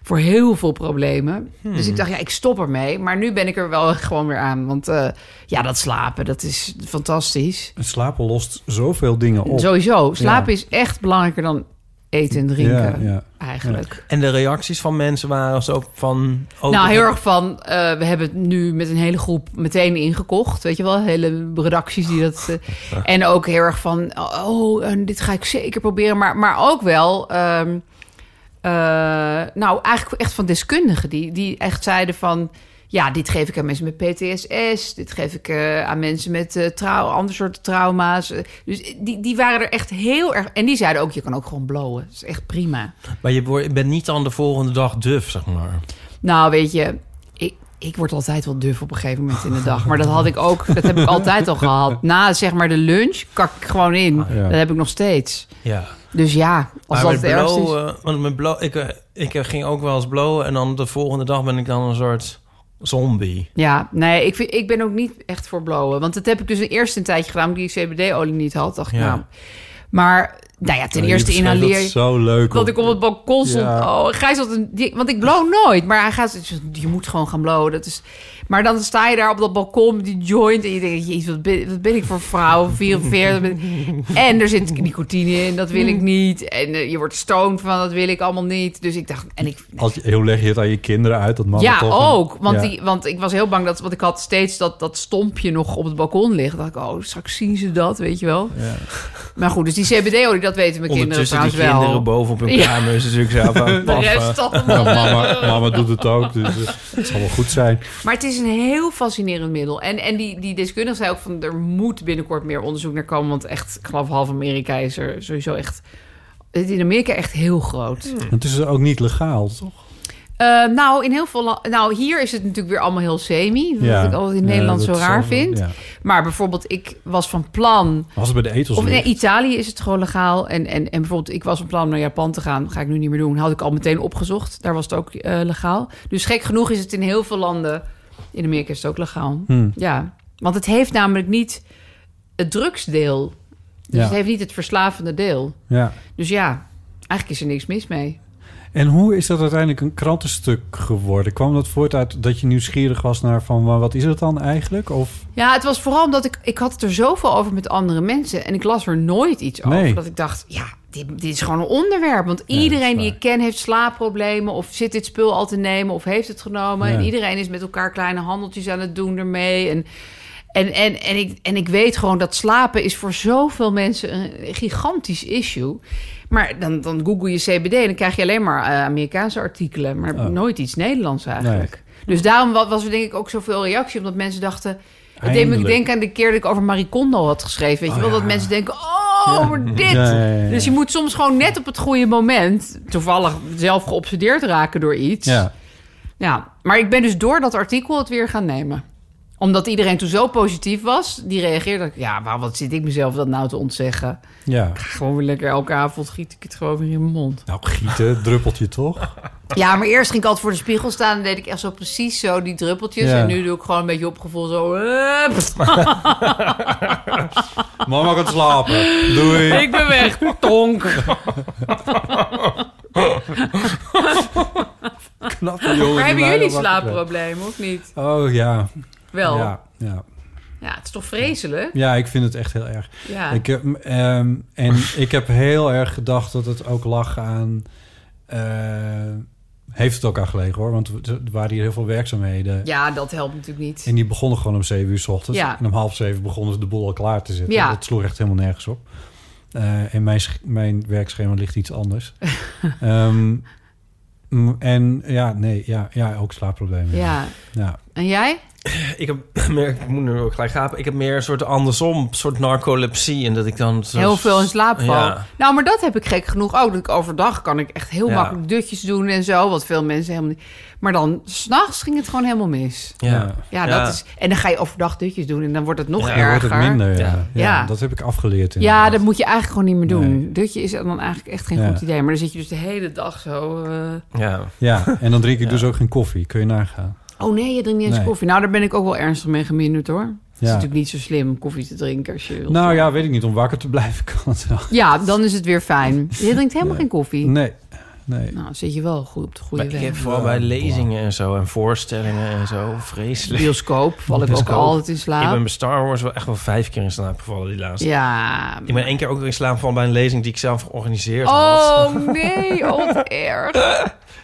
Speaker 3: Voor heel veel problemen.
Speaker 4: Hmm.
Speaker 3: Dus ik dacht, ja, ik stop ermee. Maar nu ben ik er wel gewoon weer aan. Want eh, ja, dat slapen, dat is fantastisch.
Speaker 4: Het slapen lost zoveel dingen op.
Speaker 3: Sowieso, slapen is echt belangrijker dan eten en drinken.
Speaker 4: Ja, ja.
Speaker 3: Eigenlijk.
Speaker 2: En de reacties van mensen waren zo van... oh,
Speaker 3: nou,
Speaker 2: dat
Speaker 3: heel
Speaker 2: heb-
Speaker 3: erg van, eh, we hebben het nu met een hele groep meteen ingekocht. Weet je wel, hele redacties die dat... eh, en ook heel erg van, oh, en dit ga ik zeker proberen. Maar, maar ook wel, ehm, eh, nou, eigenlijk echt van deskundigen die, die echt zeiden van... Ja, dit geef ik aan mensen met PTSS. Dit geef ik eh, aan mensen met eh trau andere soorten trauma's. Eh, Dus die, die waren er echt heel erg... En die zeiden ook, je kan ook gewoon blowen. Dat is echt prima.
Speaker 2: Maar je wordt- je bent niet dan de volgende dag duf, zeg maar.
Speaker 3: Nou, weet je, ik, ik word altijd wel duf op een gegeven moment in de dag. Maar dat had ik ook, dat heb ik altijd al gehad. Na zeg maar de lunch kak ik gewoon in.
Speaker 4: ja.
Speaker 3: Dat heb ik nog steeds.
Speaker 2: Ja.
Speaker 3: Dus ja, als
Speaker 2: maar
Speaker 3: dat het
Speaker 2: Ah, met
Speaker 3: ergste is.
Speaker 2: blowen, want met blow, ik, eh, ik eh, ging ook wel eens blowen en dan de volgende dag ben ik dan een soort zombie.
Speaker 3: Ja, nee, ik, vind, ik ben ook niet echt voor blowen. Want dat heb ik dus eerst een tijdje gedaan, omdat ik die CBD-olie niet had. Dacht ik,
Speaker 2: Ja.
Speaker 3: nou. Maar, nou ja, ten
Speaker 4: Ja, je
Speaker 3: eerste
Speaker 4: beschrijft
Speaker 3: inhaleer
Speaker 4: dat
Speaker 3: je.
Speaker 4: zo leuk.
Speaker 3: Dat ik op het balkon stond.
Speaker 4: Ja.
Speaker 3: Oh, Gijs had een... die- want ik blow nooit. Maar hij gaat... Je moet gewoon gaan blowen. Dat is, maar dan sta je daar op dat balkon met die joint. En je denkt, jezus, wat ben, wat ben ik voor vrouw? 44. ben- en er zit nicotine in. Dat wil ik niet. En eh, je wordt stoned van. Dat wil ik allemaal niet. Dus ik dacht... En ik,
Speaker 4: Als je, hoe leg je het aan je kinderen uit? Dat mannen
Speaker 3: ja,
Speaker 4: toch een-
Speaker 3: ook. Want,
Speaker 4: Ja.
Speaker 3: Die, want ik was heel bang dat... Want ik had steeds dat, dat stompje nog op het balkon liggen. dacht ik, oh, straks zien ze dat, weet je wel.
Speaker 4: Ja.
Speaker 3: Maar goed, dus die CBD-olie, dat weten mijn kinderen
Speaker 2: Ondertussen die
Speaker 3: trouwens wel.
Speaker 2: kinderen boven op hun
Speaker 3: Ja.
Speaker 2: kamer is natuurlijk zo van...
Speaker 3: De
Speaker 2: papa.
Speaker 3: rest zat hem
Speaker 4: eh, Ja,
Speaker 3: al.
Speaker 4: mama, mama doet het ook, dus eh, het zal wel goed zijn.
Speaker 3: Maar het is een heel fascinerend middel. En, en die, die deskundige zei ook van... er moet binnenkort meer onderzoek naar komen. Want echt, ik geloof half Amerika is er sowieso echt... het is In Amerika echt heel groot.
Speaker 4: Het is dus ook niet legaal, toch?
Speaker 3: Eh, nou, in heel veel la- Nou, hier is het natuurlijk weer allemaal heel semi. Wat ik altijd in Nederland
Speaker 4: dat
Speaker 3: zo
Speaker 4: is
Speaker 3: raar
Speaker 4: wel-
Speaker 3: vind.
Speaker 4: ja.
Speaker 3: Maar bijvoorbeeld, ik was van plan.
Speaker 4: Was het bij de etels?
Speaker 3: Of nee,
Speaker 4: niet?
Speaker 3: Italië is het gewoon legaal. En, en, en bijvoorbeeld, ik was van plan om naar Japan te gaan. Ga ik nu niet meer doen. Had ik al meteen opgezocht. Daar was het ook eh, legaal. Dus gek genoeg is het in heel veel landen. In Amerika is het ook legaal.
Speaker 4: Hmm.
Speaker 3: Ja, want het heeft namelijk niet het drugsdeel. Dus
Speaker 4: Ja.
Speaker 3: het heeft niet het verslavende deel.
Speaker 4: Ja.
Speaker 3: Dus ja, eigenlijk is er niks mis mee.
Speaker 4: En hoe is dat uiteindelijk een krantenstuk geworden? Kwam dat voort uit dat je nieuwsgierig was naar van maar wat is het dan eigenlijk? Of
Speaker 3: Ja, het was vooral omdat ik... Ik had het er zoveel over met andere mensen. En ik las er nooit iets
Speaker 4: Nee.
Speaker 3: over. Dat ik dacht, ja, dit, dit is gewoon een onderwerp. Want
Speaker 4: dat is
Speaker 3: iedereen die
Speaker 4: waar.
Speaker 3: ik ken heeft slaapproblemen... of zit dit spul al te nemen of heeft het genomen.
Speaker 4: Ja.
Speaker 3: En iedereen is met elkaar kleine handeltjes aan het doen ermee. En, en, en, en, ik, en ik weet gewoon dat slapen is voor zoveel mensen een gigantisch issue. Maar dan, dan google je CBD en dan krijg je alleen maar eh, Amerikaanse artikelen. Maar
Speaker 4: Oh.
Speaker 3: nooit iets Nederlands eigenlijk. Dus daarom wa- was er denk ik ook zoveel reactie. Omdat mensen dachten... Het deed me
Speaker 4: Eindelijk.
Speaker 3: denken aan de keer dat ik over Marie Kondo had geschreven. Weet je wel, dat mensen denken, oh, maar dit.
Speaker 4: Ja, ja, ja, ja.
Speaker 3: Dus je moet soms gewoon net op het goede moment... toevallig zelf geobsedeerd raken door iets.
Speaker 4: ja,
Speaker 3: Ja, maar ik ben dus door dat artikel het weer gaan nemen. Omdat iedereen toen zo positief was, die reageerde... ja, maar wat zit ik mezelf dat nou te ontzeggen?
Speaker 4: ja.
Speaker 3: Gewoon weer lekker elke avond giet ik het gewoon weer in mijn mond.
Speaker 4: Nou, gieten, druppeltje toch?
Speaker 3: Ja, maar eerst ging ik altijd voor de spiegel staan... en deed ik echt zo precies zo die druppeltjes.
Speaker 4: Ja.
Speaker 3: En nu doe ik gewoon een beetje opgevoel zo... eh, pff,
Speaker 4: Mama gaat slapen. Doei.
Speaker 3: ik ben weg, tonk.
Speaker 4: Knappe jongen. die
Speaker 3: Maar hebben
Speaker 4: mij
Speaker 3: jullie
Speaker 4: wakker
Speaker 3: slaapproblemen of niet?
Speaker 4: kreeg. Oh ja.
Speaker 3: Wel. Ja.
Speaker 4: ja, ja.
Speaker 3: het is toch vreselijk?
Speaker 4: Ja, ik vind het echt heel erg.
Speaker 3: Ja.
Speaker 4: Ik, heb, ehm, en ik heb heel erg gedacht dat het ook lag aan... eh, heeft het ook aan gelegen hoor, want er waren hier heel veel werkzaamheden.
Speaker 3: ja, dat helpt natuurlijk niet.
Speaker 4: En die begonnen gewoon om 7 uur s ochtends.
Speaker 3: Ja.
Speaker 4: En om half zeven begonnen ze de boel al klaar te zetten.
Speaker 3: Ja.
Speaker 4: Dat sloeg echt helemaal nergens op. Eh, en mijn, sch- mijn werkschema ligt iets anders. Ehm, mm, en ja, nee, ja, ja ook slaapproblemen.
Speaker 3: Ja.
Speaker 4: Ja.
Speaker 3: En jij?
Speaker 2: Ik heb meer, ik moet nu ook gelijk gapen. Ik heb meer een soort andersom, soort narcolepsie. En dat ik dan... zo-
Speaker 3: Heel veel in slaap vallen.
Speaker 2: Ja.
Speaker 3: Nou, maar dat heb ik gek genoeg ook. Dat ik overdag kan ik echt heel
Speaker 2: Ja.
Speaker 3: makkelijk dutjes doen en zo. Wat veel mensen helemaal niet. Maar dan, s'nachts ging het gewoon helemaal mis.
Speaker 2: Ja.
Speaker 4: Ja.
Speaker 3: Ja,
Speaker 2: Ja.
Speaker 3: dat is... En dan ga je overdag dutjes doen en dan wordt het nog
Speaker 2: Ja, dan
Speaker 4: Dan
Speaker 3: erger.
Speaker 4: wordt het minder. Ja.
Speaker 2: Ja.
Speaker 4: Ja,
Speaker 3: Ja.
Speaker 4: Dat heb ik afgeleerd.
Speaker 3: Ja,
Speaker 4: inderdaad.
Speaker 3: dat moet je eigenlijk gewoon niet meer doen.
Speaker 4: Nee.
Speaker 3: Dutje is dan eigenlijk echt geen
Speaker 4: Ja.
Speaker 3: goed idee. Maar dan zit je dus de hele dag zo... eh,
Speaker 2: ja.
Speaker 4: ja, en dan drink ik
Speaker 2: Ja.
Speaker 4: dus ook geen koffie. Kun je nagaan.
Speaker 3: Oh nee, je drinkt niet eens
Speaker 4: Nee.
Speaker 3: koffie. Nou, daar ben ik ook wel ernstig mee geminderd hoor. Het is
Speaker 4: Ja.
Speaker 3: natuurlijk niet zo slim om koffie te drinken als je wilt.
Speaker 4: Nou ja, weet ik niet. Om wakker te blijven kan het wel.
Speaker 3: Ja, dan is het weer fijn. Je drinkt helemaal geen koffie.
Speaker 4: Nee, nee.
Speaker 3: Nou, dan zit je wel goed op de goede
Speaker 2: Maar ik heb
Speaker 3: weg.
Speaker 2: vooral bij lezingen en zo en voorstellingen en zo vreselijk.
Speaker 3: Bioscoop val ik ook
Speaker 2: Bioscoop.
Speaker 3: altijd in
Speaker 2: Ik ben
Speaker 3: slaap.
Speaker 2: bij Star Wars wel echt wel vijf keer in slaap gevallen die laatste.
Speaker 3: Ja.
Speaker 2: Ik ben één keer ook in slaap gevallen bij een lezing die ik zelf georganiseerd had.
Speaker 3: Oh nee, oh wat erg.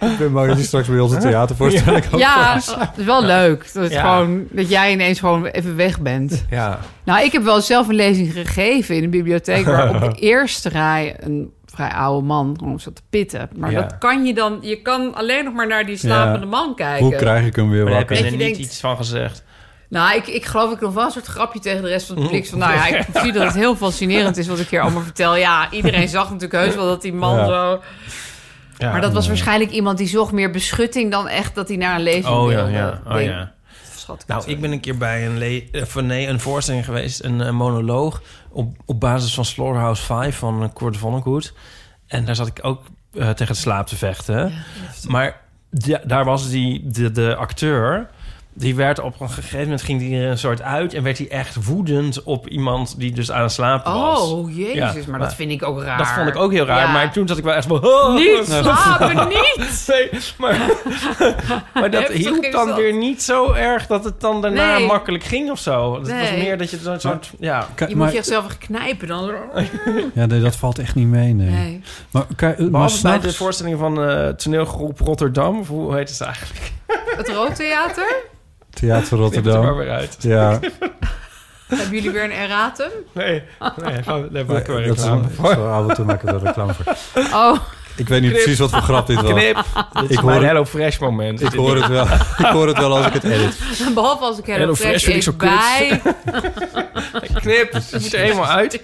Speaker 4: Ik ben bang dat je straks bij ons een theatervoorstelling komt.
Speaker 3: Ja, het is wel leuk. Dat, het
Speaker 2: Ja.
Speaker 3: gewoon, dat jij ineens gewoon even weg bent.
Speaker 2: Ja,
Speaker 3: Nou, ik heb wel zelf een lezing gegeven in de bibliotheek... waar op de eerste rij een vrij oude man gewoon zat te pitten. Maar
Speaker 2: Ja.
Speaker 3: dat kan je dan... Je kan alleen nog maar naar die slapende
Speaker 4: Ja.
Speaker 3: man kijken.
Speaker 4: Hoe krijg ik hem weer
Speaker 2: maar daar heb je
Speaker 4: wakker?
Speaker 2: er
Speaker 3: Dat
Speaker 2: niet
Speaker 3: je denkt-
Speaker 2: iets van gezegd.
Speaker 3: Nou, ik, ik geloof ik nog wel een soort grapje tegen de rest van het publiek. Van, nou ja, ik zie dat het heel fascinerend is wat ik hier allemaal vertel. Ja, iedereen zag natuurlijk heus wel dat die man
Speaker 4: Ja.
Speaker 3: zo...
Speaker 2: Ja.
Speaker 3: Maar dat was waarschijnlijk iemand die zocht meer beschutting... dan echt dat hij naar een eh, lezing
Speaker 2: Oh ja,
Speaker 3: wilde.
Speaker 2: ja. Oh,
Speaker 3: Denk-
Speaker 2: ja.
Speaker 3: Schat,
Speaker 2: Nou, ik ben een keer bij een, le- of nee, een voorstelling geweest, een, eh, monoloog... Op, op basis van Slaughterhouse 5 van eh, Kurt Vonnegut. En daar zat ik ook eh, tegen het slaap te vechten. Maar ja, daar was die, de, de acteur... Die werd op een gegeven moment ging die er een soort uit en werd hij echt woedend op iemand die dus aan het slapen was.
Speaker 3: Oh, jezus,
Speaker 2: Ja,
Speaker 3: maar,
Speaker 2: maar
Speaker 3: dat vind ik ook raar.
Speaker 2: Dat vond ik ook heel raar.
Speaker 3: Ja.
Speaker 2: Maar toen zat ik wel echt van. Oh,
Speaker 3: Niet slapen, niet!
Speaker 2: Nee, maar, maar dat
Speaker 3: Heftig
Speaker 2: hielp
Speaker 3: is
Speaker 2: dan
Speaker 3: dat.
Speaker 2: weer niet zo erg dat het dan daarna
Speaker 3: Nee.
Speaker 2: makkelijk ging of zo. Het was
Speaker 3: Nee.
Speaker 2: meer dat je zo'n soort. Ja.
Speaker 4: Kan-
Speaker 3: Je
Speaker 4: maar-
Speaker 3: moet je echt zelf even knijpen dan.
Speaker 4: Ja, nee, dat valt echt niet mee, nee.
Speaker 3: Nee.
Speaker 4: Maar, kan, maar
Speaker 2: Behalve bij de
Speaker 4: s'nachts-
Speaker 2: voorstelling van eh, toneelgroep Rotterdam. Of hoe heet het eigenlijk?
Speaker 3: Het Roodtheater?
Speaker 4: Theater
Speaker 2: Knip het er maar
Speaker 4: Rotterdam.
Speaker 2: weer uit.
Speaker 4: Ja,
Speaker 3: Hebben jullie weer een erratum?
Speaker 2: Nee, nee, gaan, nee maken we
Speaker 4: dat is
Speaker 2: reclame
Speaker 4: een
Speaker 2: voor.
Speaker 4: zo avond toen maken we er reclame voor.
Speaker 3: Oh,
Speaker 4: Ik weet niet
Speaker 2: Knip.
Speaker 4: precies wat voor grap dit was.
Speaker 2: Knip. Dit is
Speaker 4: Ik
Speaker 2: mijn
Speaker 4: hoor-
Speaker 2: Hello Fresh moment.
Speaker 4: Ik
Speaker 2: Dit-
Speaker 4: hoor het wel. Ik hoor het wel als ik het edit.
Speaker 3: behalve als ik
Speaker 2: Hello
Speaker 3: Hello
Speaker 2: Fresh
Speaker 3: Fresh
Speaker 2: vind ik zo
Speaker 3: eet bij.
Speaker 2: Knip. Het moet er eenmaal uit.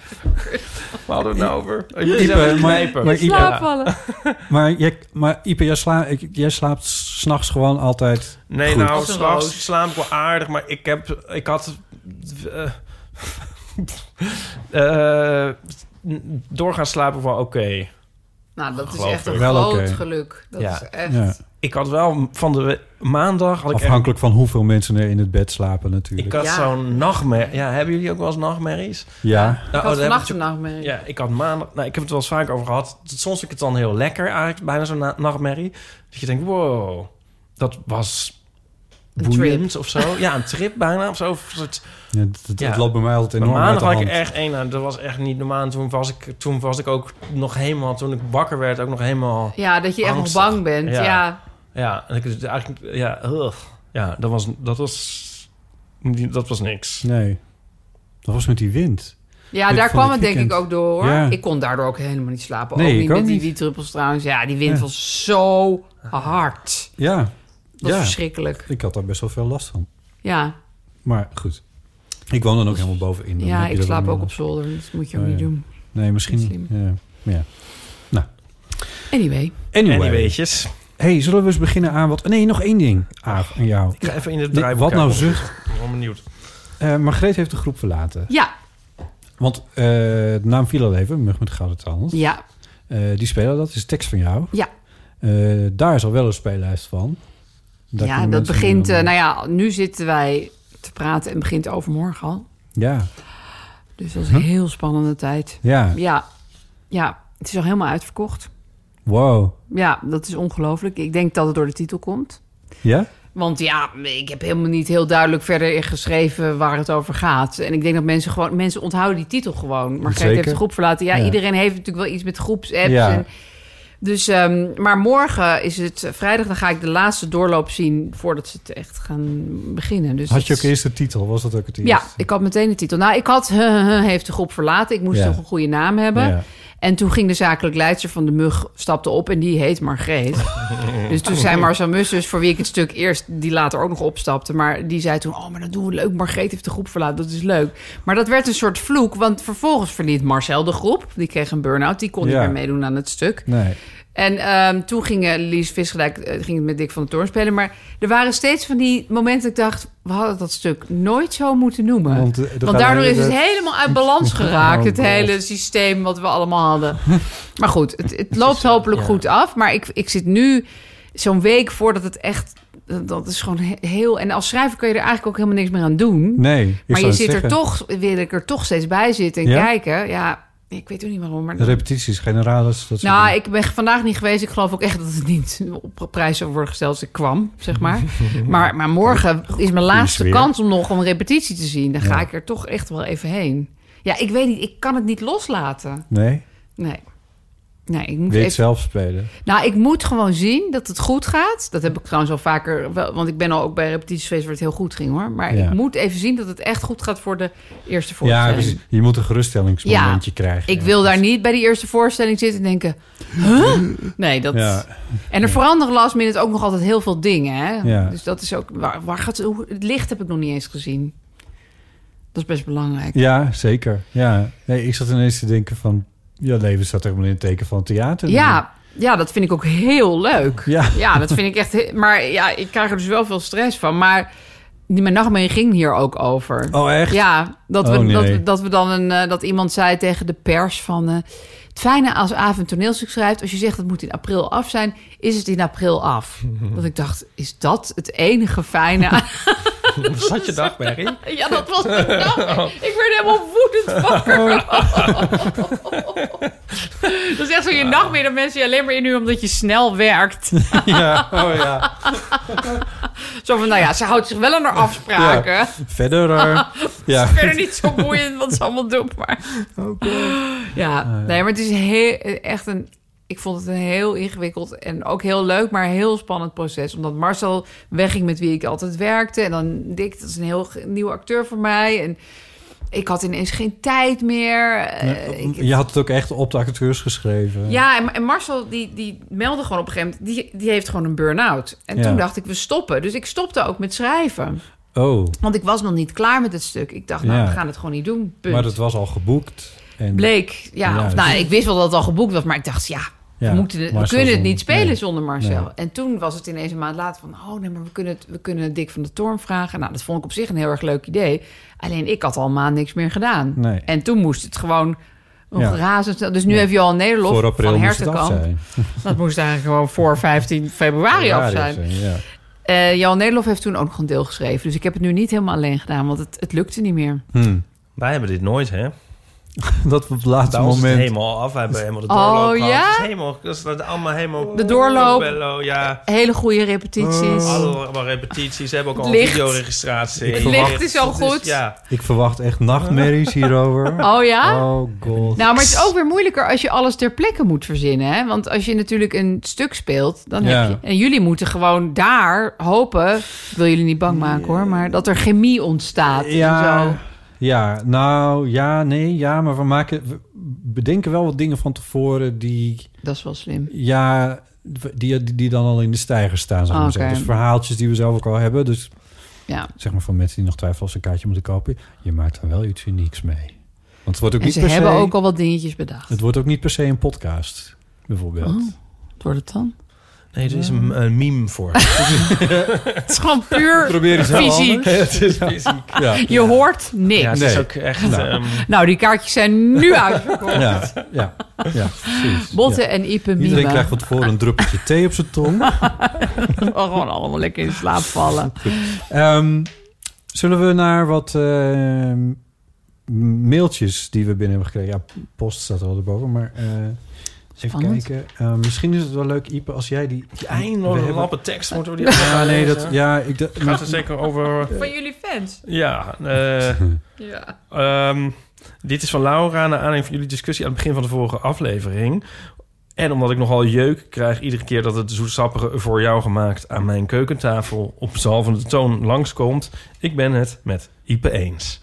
Speaker 2: Waar hadden we het nou over? Oh, jullie
Speaker 4: Ipe,
Speaker 2: zijn aan het
Speaker 4: maar-
Speaker 2: knijpen.
Speaker 4: maar Ipe-
Speaker 2: Ja.
Speaker 3: Slaapvallen.
Speaker 4: Maar, jij, maar Ipe, jij, sla, ik- jij slaapt s'nachts gewoon altijd...
Speaker 2: Nee,
Speaker 4: Goed.
Speaker 2: nou,
Speaker 3: Als een roos.
Speaker 2: s'nachts slaap ik wel aardig, maar ik heb, ik had, eh, Eh, n- doorgaan slapen wel oké.
Speaker 3: Nou, dat is
Speaker 2: Geloof
Speaker 3: echt een
Speaker 4: ik. Wel
Speaker 3: groot
Speaker 4: oké.
Speaker 3: geluk. Dat
Speaker 2: Ja. Oh,
Speaker 3: is echt...
Speaker 4: Ja.
Speaker 2: Ik had wel van de we- maandag... Had ik, echt-
Speaker 4: Afhankelijk van hoeveel mensen er in het bed slapen natuurlijk.
Speaker 2: ik had
Speaker 3: Ja.
Speaker 2: zo'n nachtmerrie. Ja, hebben jullie ook wel eens nachtmerries?
Speaker 4: ja.
Speaker 2: Nou,
Speaker 3: Ik had
Speaker 2: oh, daar heb ik
Speaker 3: vannacht een nachtmerrie.
Speaker 2: Ja, ik had maandag... Nou, ik heb het wel eens vaak over gehad. Soms vind ik het dan heel lekker eigenlijk, bijna zo'n na- nachtmerrie. Dat je denkt, wow, dat was
Speaker 3: Een
Speaker 2: boeiend of zo. Ja, een trip bijna of zo. Of een soort-
Speaker 4: Ja, dat, dat
Speaker 2: Ja.
Speaker 4: loopt bij mij altijd
Speaker 2: Maar
Speaker 4: enorm uit
Speaker 2: maandag had
Speaker 4: de hand.
Speaker 2: ik echt één. nou, Dat was echt niet normaal. En Toen was, ik, toen was ik ook nog helemaal... Toen ik wakker werd, ook nog helemaal...
Speaker 3: Ja, dat je echt nog
Speaker 2: Angstig.
Speaker 3: bang bent.
Speaker 2: Ja.
Speaker 3: Ja.
Speaker 2: Ja, en ik, dus eigenlijk... Ja, ugh. ja dat, was, dat was... Dat was niks.
Speaker 4: Nee. Dat was met die wind.
Speaker 3: Ja,
Speaker 4: Ik
Speaker 3: daar
Speaker 4: vond
Speaker 3: kwam
Speaker 4: het
Speaker 3: het denk ik
Speaker 4: weekend-
Speaker 3: ook door. hoor.
Speaker 4: Ja.
Speaker 3: Ik kon daardoor ook helemaal niet slapen.
Speaker 4: Nee,
Speaker 3: ook
Speaker 4: ik
Speaker 3: niet
Speaker 4: ook
Speaker 3: met die
Speaker 4: niet.
Speaker 3: wietdruppels trouwens. Ja, die wind
Speaker 4: Ja.
Speaker 3: was zo hard.
Speaker 4: Ja.
Speaker 3: Dat was
Speaker 4: ja.
Speaker 3: verschrikkelijk.
Speaker 4: Ik had daar best wel veel last van.
Speaker 3: Ja,
Speaker 4: Maar goed. Ik woon dan ook helemaal bovenin. Dan
Speaker 3: ja
Speaker 4: heb je
Speaker 3: ik
Speaker 4: dat
Speaker 3: slaap
Speaker 4: allemaal
Speaker 3: ook op
Speaker 4: last.
Speaker 3: zolder. dus Dat moet je ook
Speaker 4: Oh,
Speaker 3: niet
Speaker 4: ja.
Speaker 3: doen.
Speaker 4: Nee, misschien.
Speaker 3: Slim.
Speaker 4: Ja. Maar ja.
Speaker 3: Anyway.
Speaker 4: Anyway.
Speaker 2: Anyweetjes.
Speaker 4: Hey, zullen we eens beginnen aan wat... Nee, nog één ding, Aaf, aan jou.
Speaker 2: Ik ga even in het
Speaker 4: Nee,
Speaker 2: draaiboek
Speaker 4: wat nou
Speaker 2: kijken.
Speaker 4: zucht?
Speaker 2: Ik ben wel benieuwd.
Speaker 4: Eh Margreet heeft de groep verlaten.
Speaker 3: Ja,
Speaker 4: Want eh, de naam viel al even, Mug met Gouden Tand.
Speaker 3: ja.
Speaker 4: Eh, die spelen dat, is tekst van jou.
Speaker 3: Ja.
Speaker 4: Eh, daar is al wel een speellijst van. Daar
Speaker 3: ja,
Speaker 4: kunnen
Speaker 3: dat
Speaker 4: mensen
Speaker 3: begint...
Speaker 4: dan-
Speaker 3: eh, nou ja, nu zitten wij te praten en begint overmorgen al.
Speaker 4: Ja,
Speaker 3: Dus dat is een heel spannende tijd.
Speaker 4: ja.
Speaker 3: Ja, ja. Het is al helemaal uitverkocht.
Speaker 4: Wow.
Speaker 3: Ja, dat is ongelooflijk. Ik denk dat het door de titel komt.
Speaker 4: Ja?
Speaker 3: Want ja, ik heb helemaal niet heel duidelijk verder geschreven waar het over gaat. En ik denk dat mensen gewoon... Mensen onthouden die titel gewoon. Maar
Speaker 4: Zeker.
Speaker 3: heeft de groep verlaten. Ja,
Speaker 4: Ja.
Speaker 3: iedereen heeft natuurlijk wel iets met groepsapps.
Speaker 4: Ja.
Speaker 3: En, dus, ehm, maar morgen is het eh, vrijdag. Dan ga ik de laatste doorloop zien voordat ze het echt gaan beginnen. Dus
Speaker 4: Had je
Speaker 3: dat-
Speaker 4: ook eerst de titel? Was dat ook het eerste?
Speaker 3: Ja, ik had meteen de titel. Nou, ik had heeft de groep verlaten. Ik moest
Speaker 4: Ja.
Speaker 3: toch een goede naam hebben.
Speaker 4: Ja.
Speaker 3: En toen ging de zakelijk leidster van de mug stapte op en die heet Margreet. dus toen zei Marcel Mussers, voor wie ik het stuk eerst, die later ook nog opstapte, maar die zei toen: Oh, maar dat doen we leuk. Margreet heeft de groep verlaten, dat is leuk. Maar dat werd een soort vloek, want vervolgens verliet Marcel de groep. Die kreeg een burn-out, die kon
Speaker 4: Ja.
Speaker 3: niet meer meedoen aan het stuk.
Speaker 4: Nee.
Speaker 3: En ehm, toen ging eh, Lies Visgedijk eh, ging het met Dick van de Toorn spelen. Maar er waren steeds van die momenten dat ik dacht... we hadden dat stuk nooit zo moeten noemen.
Speaker 4: Want,
Speaker 3: Want,
Speaker 4: eh, er gaat
Speaker 3: daardoor
Speaker 4: een
Speaker 3: is het
Speaker 4: hele-
Speaker 3: helemaal uit balans geraakt.
Speaker 4: Oh,
Speaker 3: het
Speaker 4: God.
Speaker 3: hele systeem wat we allemaal hadden. maar goed, het, het loopt
Speaker 4: eh,
Speaker 3: hopelijk
Speaker 2: ja.
Speaker 3: goed af. Maar ik, ik zit nu zo'n week voordat het echt... Dat is gewoon he- heel... En als schrijver kun je er eigenlijk ook helemaal niks meer aan doen.
Speaker 4: Nee. ik
Speaker 3: maar
Speaker 4: zou
Speaker 3: je
Speaker 4: het
Speaker 3: zit
Speaker 4: zeggen.
Speaker 3: er toch... Wil ik er toch steeds bij zitten en
Speaker 4: Ja?
Speaker 3: kijken. Ja, ik weet ook niet waarom. Maar
Speaker 4: De repetities, generales. Dat soort
Speaker 3: nou,
Speaker 4: dingen.
Speaker 3: ik ben vandaag niet geweest. Ik geloof ook echt dat het niet op prijs zou worden gesteld als ik kwam, zeg maar. Maar, maar morgen is mijn laatste
Speaker 4: sfeer.
Speaker 3: kans om nog een repetitie te zien. Dan ga
Speaker 4: Ja.
Speaker 3: ik er toch echt wel even heen. Ja, ik weet niet. Ik kan het niet loslaten.
Speaker 4: Nee,
Speaker 3: Nee. Nee, ik moet
Speaker 4: weet
Speaker 3: even...
Speaker 4: zelf spelen.
Speaker 3: Nou, ik moet gewoon zien dat het goed gaat. Dat heb ik trouwens al vaker... Wel, want ik ben al ook bij repetities geweest waar het heel goed ging, hoor. Maar
Speaker 4: Ja.
Speaker 3: ik moet even zien dat het echt goed gaat voor de eerste
Speaker 4: Ja,
Speaker 3: voorstelling.
Speaker 4: precies. je moet een geruststellingsmomentje krijgen.
Speaker 3: Ik wil daar niet bij die eerste voorstelling zitten en denken... Huh? Nee, dat...
Speaker 4: Ja.
Speaker 3: En er veranderen last minute ook nog altijd heel veel dingen. Hè?
Speaker 4: Ja.
Speaker 3: Dus dat is ook... Waar, waar gaat, hoe, het licht heb ik nog niet eens gezien. Dat is best belangrijk.
Speaker 4: Ja, zeker. Ja. Nee, ik zat ineens te denken van... Ja, leven staat helemaal in het teken van het theater.
Speaker 3: Ja, ja, dat vind ik ook heel leuk.
Speaker 4: Ja.
Speaker 3: dat vind ik echt... he- Maar ja, ik krijg er dus wel veel stress van. Maar die- mijn nachtmerrie ging hier ook over.
Speaker 4: Oh, echt?
Speaker 3: Ja, dat, we,
Speaker 4: Oh, nee.
Speaker 3: dat, we- dat we dan een, eh, dat iemand zei tegen de pers van... eh, het fijne als Aaf een toneelstuk schrijft... als je zegt dat moet in april af zijn, is het in april af. Dat ik dacht, is dat het enige fijne aan-
Speaker 2: Zat je dagmerrie?
Speaker 3: Ja, dat was mijn nachtmerrie. Ik werd helemaal woedend wakker. dat is echt zo je nachtmerrie dat mensen je alleen maar in nu omdat je snel werkt.
Speaker 4: ja. Oh ja.
Speaker 3: Zo van, nou ja, ze houdt zich wel aan haar afspraken.
Speaker 4: Verder. eh, ja. Oh,
Speaker 3: verder niet zo boeiend wat ze allemaal doen, maar...
Speaker 4: Ah,
Speaker 3: Ja, nee, maar het is heel, echt een... Ik vond het een heel ingewikkeld en ook heel leuk, maar heel spannend proces. Omdat Marcel wegging met wie ik altijd werkte. En dan Dick, dat is een heel ge- nieuwe acteur voor mij. En ik had ineens geen tijd meer. Eh, ik-
Speaker 4: Je had het ook echt op de acteurs geschreven.
Speaker 3: ja, en, en Marcel die, die meldde gewoon op een gegeven moment... Die, die heeft gewoon een burn-out. En
Speaker 4: Ja.
Speaker 3: toen dacht ik, we stoppen. Dus ik stopte ook met schrijven.
Speaker 4: Oh,
Speaker 3: Want ik was nog niet klaar met het stuk. Ik dacht, nou,
Speaker 4: Ja.
Speaker 3: we gaan het gewoon niet doen. Punt.
Speaker 4: maar dat was al geboekt. En
Speaker 3: Bleek, ja.
Speaker 4: Ja,
Speaker 3: of,
Speaker 4: dus-
Speaker 3: nou, ik wist wel dat het al geboekt was, maar ik dacht, ja,
Speaker 4: Ja,
Speaker 3: we, moeten, het- we
Speaker 4: Marcel
Speaker 3: kunnen het
Speaker 4: zonder-
Speaker 3: niet spelen
Speaker 4: nee.
Speaker 3: zonder Marcel.
Speaker 4: Nee.
Speaker 3: En toen was het ineens een maand later van... oh nee, maar we kunnen, het, we kunnen Dick van de Toorn vragen. Nou, dat vond ik op zich een heel erg leuk idee. Alleen ik had al een maand niks meer gedaan.
Speaker 4: Nee.
Speaker 3: En toen moest het gewoon nog
Speaker 4: Ja.
Speaker 3: razendsnel. Dus nu heb je al een
Speaker 4: Voor
Speaker 3: nederlof
Speaker 4: april
Speaker 3: van
Speaker 4: moest het af
Speaker 3: Hertenkamp.
Speaker 4: zijn.
Speaker 3: Dat moest eigenlijk gewoon voor 15 februari af zijn.
Speaker 4: Ja.
Speaker 3: Eh Jan Nederlof heeft toen ook nog een deel geschreven. Dus ik heb het nu niet helemaal alleen gedaan, want het, het lukte niet meer.
Speaker 4: Hm.
Speaker 2: Wij hebben dit nooit, hè?
Speaker 4: Dat op het laatste
Speaker 2: Bij ons is het
Speaker 4: moment.
Speaker 2: helemaal af. Wij hebben helemaal de
Speaker 3: Oh,
Speaker 2: doorloop gehad.
Speaker 3: ja?
Speaker 2: Het is helemaal, dat is allemaal helemaal...
Speaker 3: De doorloop.
Speaker 2: Bello, ja.
Speaker 3: Hele goede repetities.
Speaker 2: Oh. Allemaal repetities. Ze hebben ook al
Speaker 3: Het licht.
Speaker 2: videoregistratie.
Speaker 4: Het
Speaker 3: licht is al
Speaker 2: Dat
Speaker 3: goed.
Speaker 2: ja.
Speaker 4: Ik verwacht echt nachtmerries hierover.
Speaker 3: Oh ja?
Speaker 4: Oh god.
Speaker 3: Nou, maar het is ook weer moeilijker als je alles ter plekke moet verzinnen. Hè? Want als je natuurlijk een stuk speelt, dan
Speaker 4: Ja.
Speaker 3: heb je... En jullie moeten gewoon daar hopen... Ik wil jullie niet bang maken hoor, maar dat er chemie ontstaat.
Speaker 4: Ja.
Speaker 3: En zo.
Speaker 4: Ja, nou ja, nee, ja, maar we maken, we bedenken wel wat dingen van tevoren die,
Speaker 3: Dat is wel slim.
Speaker 4: ja, die, die, die dan al in de stijger staan, zou ik maar
Speaker 3: Oké.
Speaker 4: zeggen. Dus verhaaltjes die we zelf ook al hebben, dus
Speaker 3: Ja.
Speaker 4: zeg maar van mensen die nog twijfelen of ze een kaartje moeten kopen, je maakt er wel iets unieks mee. Want het wordt ook
Speaker 3: En
Speaker 4: niet
Speaker 3: ze
Speaker 4: per se,
Speaker 3: hebben ook al wat dingetjes bedacht.
Speaker 4: het wordt ook niet per se een podcast, bijvoorbeeld.
Speaker 3: Oh. Wat wordt het dan?
Speaker 2: Nee, er is een, een meme voor. Het
Speaker 3: Het is gewoon puur...
Speaker 4: Probeer eens heel
Speaker 3: Fysiek.
Speaker 4: anders. Het is
Speaker 2: fysiek.
Speaker 4: ja.
Speaker 3: Je hoort niks.
Speaker 2: Ja, het is
Speaker 4: Nee.
Speaker 2: ook echt...
Speaker 4: Nou.
Speaker 2: ehm,
Speaker 3: Nou, die kaartjes zijn nu uitverkocht.
Speaker 4: Ja, ja, ja, precies.
Speaker 3: Botten
Speaker 4: Ja.
Speaker 3: en Ipe
Speaker 4: Iedereen
Speaker 3: Mima.
Speaker 4: krijgt van tevoren een druppeltje thee op zijn tong.
Speaker 3: Gewoon allemaal lekker in slaap vallen.
Speaker 4: Ehm, zullen we naar wat ehm, mailtjes die we binnen hebben gekregen? Ja, post staat er wel erboven, maar eh, even
Speaker 3: Spannend.
Speaker 4: kijken. Ehm, misschien is het wel leuk, Ipe, als jij die...
Speaker 2: die
Speaker 4: we
Speaker 2: eindelijke
Speaker 4: hebben-
Speaker 2: lappe tekst moeten we die ook
Speaker 4: Ja,
Speaker 2: gaan
Speaker 4: nee, dat...
Speaker 2: lezen.
Speaker 4: Ja, ik... dacht-
Speaker 2: Gaat er zeker over...
Speaker 3: Van jullie fans?
Speaker 2: Ja, eh...
Speaker 3: Ja.
Speaker 2: Ehm, dit is van Laura, naar aanleiding van jullie discussie aan het begin van de vorige aflevering. En omdat ik nogal jeuk krijg iedere keer dat het zoetsappige voor jou gemaakt aan mijn keukentafel op zalvende toon langskomt. Ik ben het met Ipe eens.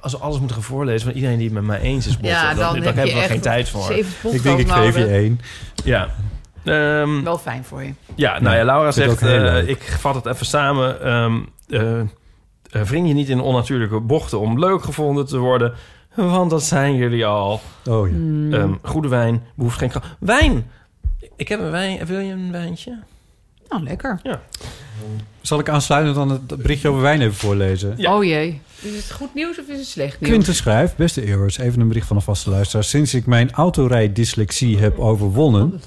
Speaker 2: Als we alles moeten gaan voorlezen van iedereen die het met mij eens is, botten,
Speaker 3: Ja,
Speaker 2: dan,
Speaker 3: dan,
Speaker 2: dan,
Speaker 3: heb
Speaker 2: hebben
Speaker 3: je
Speaker 2: we
Speaker 3: echt
Speaker 2: geen tijd voor.
Speaker 3: Zeven
Speaker 4: Ik denk, ik
Speaker 3: nodig.
Speaker 4: geef je één.
Speaker 2: Ja. Ehm,
Speaker 4: Hm.
Speaker 3: Wel fijn voor je.
Speaker 2: ja, nou ja, Laura
Speaker 4: Vind ik
Speaker 2: zegt,
Speaker 4: ook heel
Speaker 2: eh,
Speaker 4: leuk.
Speaker 2: ik vat het even samen. ehm eh, eh, wring je niet in onnatuurlijke bochten om leuk gevonden te worden, want dat zijn jullie al.
Speaker 4: Oh
Speaker 3: Mm.
Speaker 4: ja.
Speaker 3: Nou,
Speaker 2: Ehm, goede wijn behoeft geen kracht. Wijn! Ik heb een wijn. Wil je een wijntje?
Speaker 4: Eh.
Speaker 3: Nou, lekker.
Speaker 4: Zal ik aansluitend dan het berichtje over wijn even voorlezen?
Speaker 2: Ja.
Speaker 3: Oh jee. Is het goed nieuws of is het slecht nieuws?
Speaker 4: Quinten schrijft, beste Eeuwers, even een bericht van een vaste luisteraar. Sinds ik mijn autorijddyslexie heb overwonnen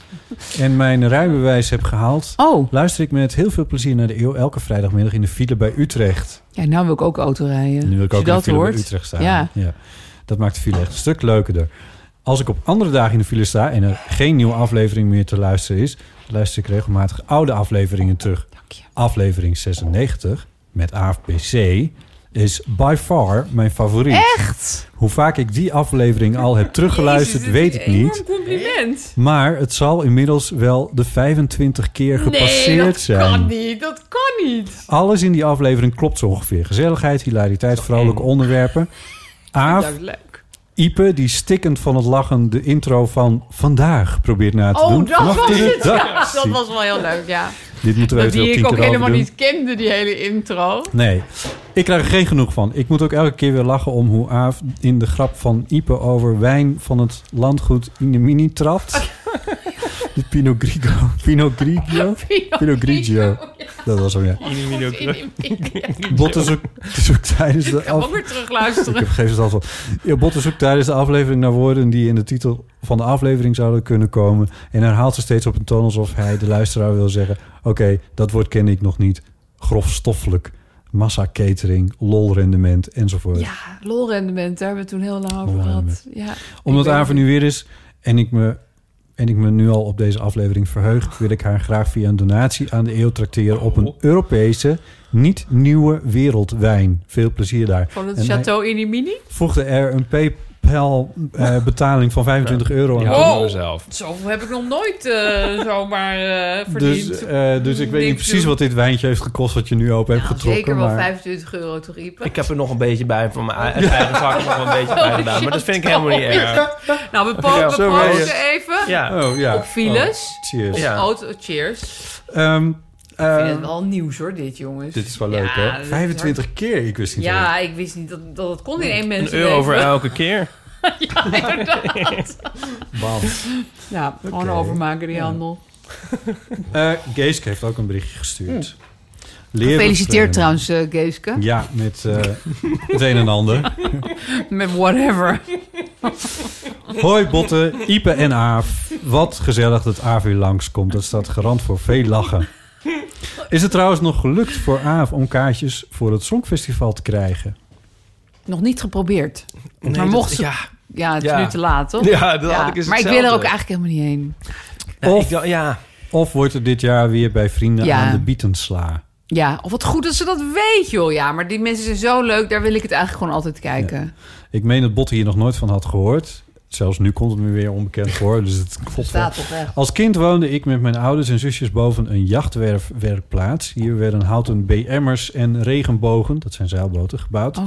Speaker 4: en mijn rijbewijs heb gehaald...
Speaker 3: Oh,
Speaker 4: luister ik met heel veel plezier naar de eeuw elke vrijdagmiddag in de file bij Utrecht.
Speaker 3: ja, nou wil ik ook autorijden.
Speaker 4: Nu wil ik
Speaker 3: Als je
Speaker 4: ook in de
Speaker 3: dat
Speaker 4: file
Speaker 3: hoort.
Speaker 4: bij Utrecht staan.
Speaker 3: Ja.
Speaker 4: Dat maakt de file echt een stuk leukerder. Als ik op andere dagen in de file sta en er geen nieuwe aflevering meer te luisteren is, luister ik regelmatig oude afleveringen terug.
Speaker 3: Dank je.
Speaker 4: Aflevering 96 met AFPC is by far mijn favoriet.
Speaker 3: Echt?
Speaker 4: Hoe vaak ik die aflevering al heb teruggeluisterd,
Speaker 3: Jezus, dit
Speaker 4: weet
Speaker 3: is
Speaker 4: ik
Speaker 3: een
Speaker 4: niet.
Speaker 3: enorm compliment.
Speaker 4: Maar het zal inmiddels wel de 25 keer gepasseerd
Speaker 3: nee, dat
Speaker 4: zijn.
Speaker 3: kan niet. Dat kan niet.
Speaker 4: Alles in die aflevering klopt zo ongeveer. Gezelligheid, hilariteit, vrolijke onderwerpen. Aaf,
Speaker 3: Dat is leuk.
Speaker 4: Ipe, die stikkend van het lachen de intro van vandaag probeert na te doen.
Speaker 3: Oh, dat
Speaker 4: Vanaf
Speaker 3: was
Speaker 4: de
Speaker 3: het. Ja,
Speaker 4: redactie.
Speaker 3: dat was wel heel leuk, ja.
Speaker 4: Dit moeten we
Speaker 3: Dat
Speaker 4: eventueel
Speaker 3: die
Speaker 4: tien
Speaker 3: ik ook
Speaker 4: keer
Speaker 3: helemaal
Speaker 4: overdoen.
Speaker 3: niet kende, die hele intro.
Speaker 4: Nee, ik krijg er geen genoeg van. Ik moet ook elke keer weer lachen om hoe Aaf in de grap van Ipe over wijn van het landgoed Inemini trapt. De Pinot Grigio. Pinot Grigio? Pinot Grigio. Dat was hem, ja. Botten zoekt, zoekt tijdens de
Speaker 3: Kan
Speaker 4: af...
Speaker 3: ook weer
Speaker 4: Ik
Speaker 3: terugluisteren.
Speaker 4: heb geef het al. Ja, Botte zoekt tijdens de aflevering naar woorden die in de titel van de aflevering zouden kunnen komen. En herhaalt ze steeds op een toon alsof hij de luisteraar wil zeggen: Oké, dat woord ken ik nog niet. Grofstoffelijk, massa-catering, lolrendement enzovoort.
Speaker 3: Ja, lolrendement, daar hebben we het toen heel lang over
Speaker 4: Lolrendement.
Speaker 3: gehad. Ja,
Speaker 4: Omdat
Speaker 3: ik ben-
Speaker 4: Aver nu weer is en ik me. En ik me nu al op deze aflevering verheug, wil ik haar graag via een donatie aan de eeuw tracteren op
Speaker 3: Oh.
Speaker 4: een Europese, niet nieuwe wereldwijn. Veel plezier daar.
Speaker 3: Van het
Speaker 4: En hij-
Speaker 3: Chateau Inimini?
Speaker 4: voegde er een PayPal eh, betaling van 25 euro aan.
Speaker 2: Ja,
Speaker 4: toe.
Speaker 3: Oh.
Speaker 2: doen we zelf.
Speaker 3: Zoveel heb ik nog nooit eh, zomaar eh, verdiend.
Speaker 4: Dus, eh, dus ik weet niet
Speaker 3: Niks
Speaker 4: precies
Speaker 3: doen.
Speaker 4: wat dit wijntje heeft gekost wat je nu open hebt
Speaker 3: Nou,
Speaker 4: getrokken.
Speaker 3: zeker wel
Speaker 4: maar
Speaker 3: 25 euro toch, Ipe?
Speaker 2: Ik heb er nog een beetje bij van mijn uit mijn eigen zak nog een beetje
Speaker 3: Oh,
Speaker 2: bij gedaan. Maar dat vind ik helemaal niet erg.
Speaker 3: Nou, we, po we
Speaker 2: Ja,
Speaker 4: zo ben je.
Speaker 3: posten even
Speaker 2: Ja.
Speaker 4: Oh ja.
Speaker 3: op files.
Speaker 4: Oh, cheers.
Speaker 2: Ja.
Speaker 3: Auto, cheers.
Speaker 4: Ehm,
Speaker 3: Ik
Speaker 4: ehm,
Speaker 3: vind het wel nieuws hoor, dit jongens.
Speaker 4: dit is wel leuk
Speaker 3: Ja,
Speaker 4: hè?
Speaker 3: dit is
Speaker 4: 25 keer, ik wist
Speaker 3: hard.
Speaker 4: niet.
Speaker 3: Ja, ik wist niet dat dat, dat kon in één
Speaker 2: Een
Speaker 3: mensen.
Speaker 2: euro voor elke keer.
Speaker 3: ja, inderdaad.
Speaker 4: Bam.
Speaker 3: Ja, gewoon
Speaker 4: Oké.
Speaker 3: overmaken die
Speaker 4: Ja.
Speaker 3: handel.
Speaker 4: Eh, Geeske heeft ook een berichtje gestuurd. Leren
Speaker 3: Hm. Gefeliciteerd
Speaker 4: framen.
Speaker 3: trouwens, eh, Geeske.
Speaker 4: Ja, met eh, het een en ander.
Speaker 3: Met whatever.
Speaker 4: Hoi Botte, Ipe en Aaf. Wat gezellig dat Aaf weer langskomt. Dat staat garant voor veel lachen. Is het trouwens nog gelukt voor Aaf om kaartjes voor het Songfestival te krijgen?
Speaker 3: Nog niet geprobeerd.
Speaker 2: Nee,
Speaker 3: maar
Speaker 2: dat-
Speaker 3: mocht ze...
Speaker 2: ja.
Speaker 3: Ja, het is
Speaker 2: Ja.
Speaker 3: nu te laat, toch?
Speaker 2: Ja, dat had ik eens
Speaker 3: maar ik wil er ook
Speaker 2: hetzelfde.
Speaker 3: eigenlijk helemaal niet heen.
Speaker 2: Nee,
Speaker 4: Of-
Speaker 2: ik dacht- ja.
Speaker 4: Of wordt er dit jaar weer bij vrienden
Speaker 3: Ja.
Speaker 4: aan de bietensla?
Speaker 3: Ja, of wat goed dat ze dat weet, joh. Ja, maar die mensen zijn zo leuk. Daar wil ik het eigenlijk gewoon altijd kijken.
Speaker 4: Ik meen dat Botte hier nog nooit van had gehoord. Zelfs nu komt het me weer onbekend voor, dus het klopt wel.
Speaker 3: Staat toch echt.
Speaker 4: Als kind woonde ik met mijn ouders en zusjes boven een jachtwerfwerkplaats. Hier werden houten BM'ers en regenbogen, dat zijn zeilboten, gebouwd.
Speaker 3: Oh.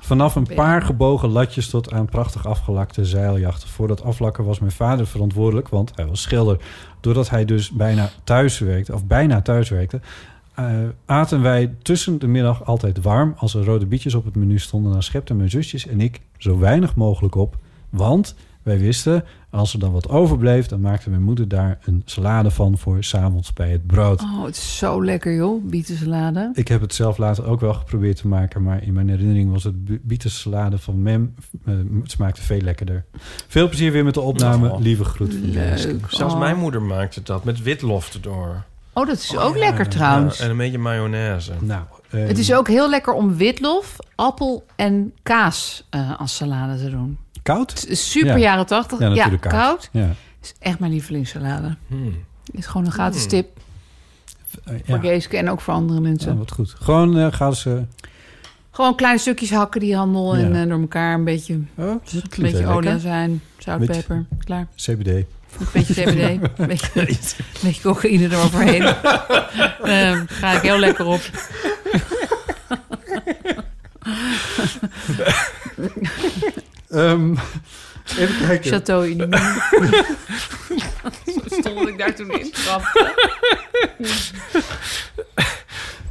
Speaker 4: Vanaf een
Speaker 3: BM.
Speaker 4: paar gebogen latjes tot aan prachtig afgelakte zeiljachten. Voor dat aflakken was mijn vader verantwoordelijk, want hij was schilder. Doordat hij dus bijna thuis werkte, of bijna thuis werkte... eh, aten wij tussen de middag altijd warm. Als er rode bietjes op het menu stonden... dan schepten mijn zusjes en ik zo weinig mogelijk op. Want wij wisten, als er dan wat overbleef... dan maakte mijn moeder daar een salade van voor s'avonds bij het brood.
Speaker 3: Oh, het is zo lekker, joh. Bietensalade.
Speaker 4: Ik heb het zelf later ook wel geprobeerd te maken, maar in mijn herinnering was het bu- bietensalade van Mem. eh, het smaakte veel lekkerder. Veel plezier weer met de opname.
Speaker 2: Oh.
Speaker 4: Lieve groet van Jeske.
Speaker 3: Leuk.
Speaker 2: Zelfs
Speaker 3: Oh.
Speaker 2: mijn moeder maakte dat met witlof erdoor.
Speaker 3: Oh, dat is
Speaker 4: Oh,
Speaker 3: ook
Speaker 4: ja.
Speaker 3: lekker trouwens.
Speaker 2: Ja, Eh, en een beetje mayonaise.
Speaker 4: Nou, eh,
Speaker 3: Het is ook heel lekker om witlof, appel en kaas eh, als salade te doen.
Speaker 4: koud.
Speaker 3: Het is super
Speaker 4: Ja.
Speaker 3: jaren tachtig.
Speaker 4: Ja,
Speaker 3: Ja,
Speaker 4: natuurlijk
Speaker 3: koud.
Speaker 4: koud. Ja.
Speaker 3: Het is echt mijn lievelingssalade.
Speaker 2: Hmm.
Speaker 3: Het is gewoon een gratis tip
Speaker 4: Eh, Hmm. ja.
Speaker 3: voor Geeske en ook voor andere mensen.
Speaker 4: Ja, wat goed. Gewoon eh, gaan ze.
Speaker 3: Gewoon kleine stukjes hakken die handel en
Speaker 4: Ja.
Speaker 3: eh, door elkaar een beetje, een
Speaker 4: Oh, dat klinkt
Speaker 3: beetje
Speaker 4: wel lekker.
Speaker 3: olijazijn, zout,
Speaker 4: Beetje-
Speaker 3: peper. Klaar.
Speaker 4: CBD.
Speaker 3: Een beetje CBD, een beetje, een beetje cocaïne eroverheen. Ehm ga ik heel lekker op.
Speaker 4: Ehm, even kijken.
Speaker 3: Chateau Unie. Zo stond ik daar toen in. trapte.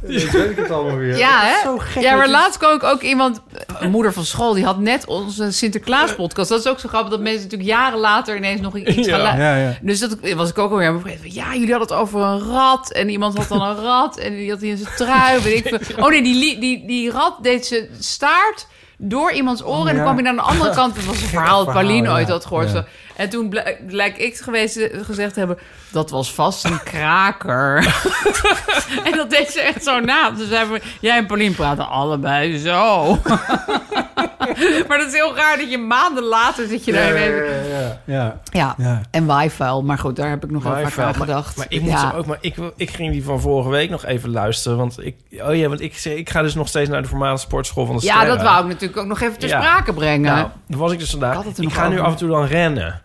Speaker 4: Ik weet ik het allemaal weer.
Speaker 3: Ja, hè?
Speaker 4: Zo gek.
Speaker 3: Ja,
Speaker 4: dat
Speaker 3: maar
Speaker 4: je-
Speaker 3: laatst kwam ik ook iemand, een moeder van school, die had net onze Sinterklaas-podcast. Dat is ook zo grappig dat mensen natuurlijk jaren later ineens nog iets gaan
Speaker 2: Ja.
Speaker 3: luisteren.
Speaker 4: Ja, ja.
Speaker 3: Dus dat was ik ook alweer aan het begrepen van, Ja, jullie hadden het over een rat. En iemand had dan een rat. En die had die in zijn trui. Weet ik veel. Oh nee, die, li- die, die rat deed zijn staart door iemands oren. En
Speaker 4: ja.
Speaker 3: dan kwam hij aan de andere kant. Dat was een verhaal dat
Speaker 4: verhaal,
Speaker 3: Pauline
Speaker 4: ja.
Speaker 3: ooit had gehoord.
Speaker 4: Ja.
Speaker 3: En toen bl- blijk ik geweest, eh, gezegd te hebben... Dat was vast een kraker. en dat deed ze echt zo na. Dus zei van, jij en Pauline praten allebei zo. maar dat is heel raar dat je maanden later zit je daar
Speaker 4: Ja,
Speaker 3: ineens-
Speaker 4: ja, ja, ja.
Speaker 3: Ja.
Speaker 4: ja.
Speaker 3: En wifi, maar goed, daar heb ik nog wel vaak
Speaker 2: Wifi,
Speaker 3: aan
Speaker 2: maar-
Speaker 3: gedacht.
Speaker 2: Maar ik, moet
Speaker 3: ja.
Speaker 2: ze ook, maar ik, wil- ik ging die van vorige week nog even luisteren. Want ik, oh ja, want ik, zeg- ik ga dus nog steeds naar de voormalige sportschool van de
Speaker 3: ja,
Speaker 2: Sterren.
Speaker 3: dat wou ik natuurlijk ook nog even ter
Speaker 2: Ja.
Speaker 3: sprake brengen.
Speaker 2: Nou, dat was ik dus
Speaker 3: Ik
Speaker 2: vandaag.
Speaker 3: had het
Speaker 2: Ik,
Speaker 3: er nog
Speaker 2: ga nu
Speaker 3: over.
Speaker 2: af en toe dan rennen.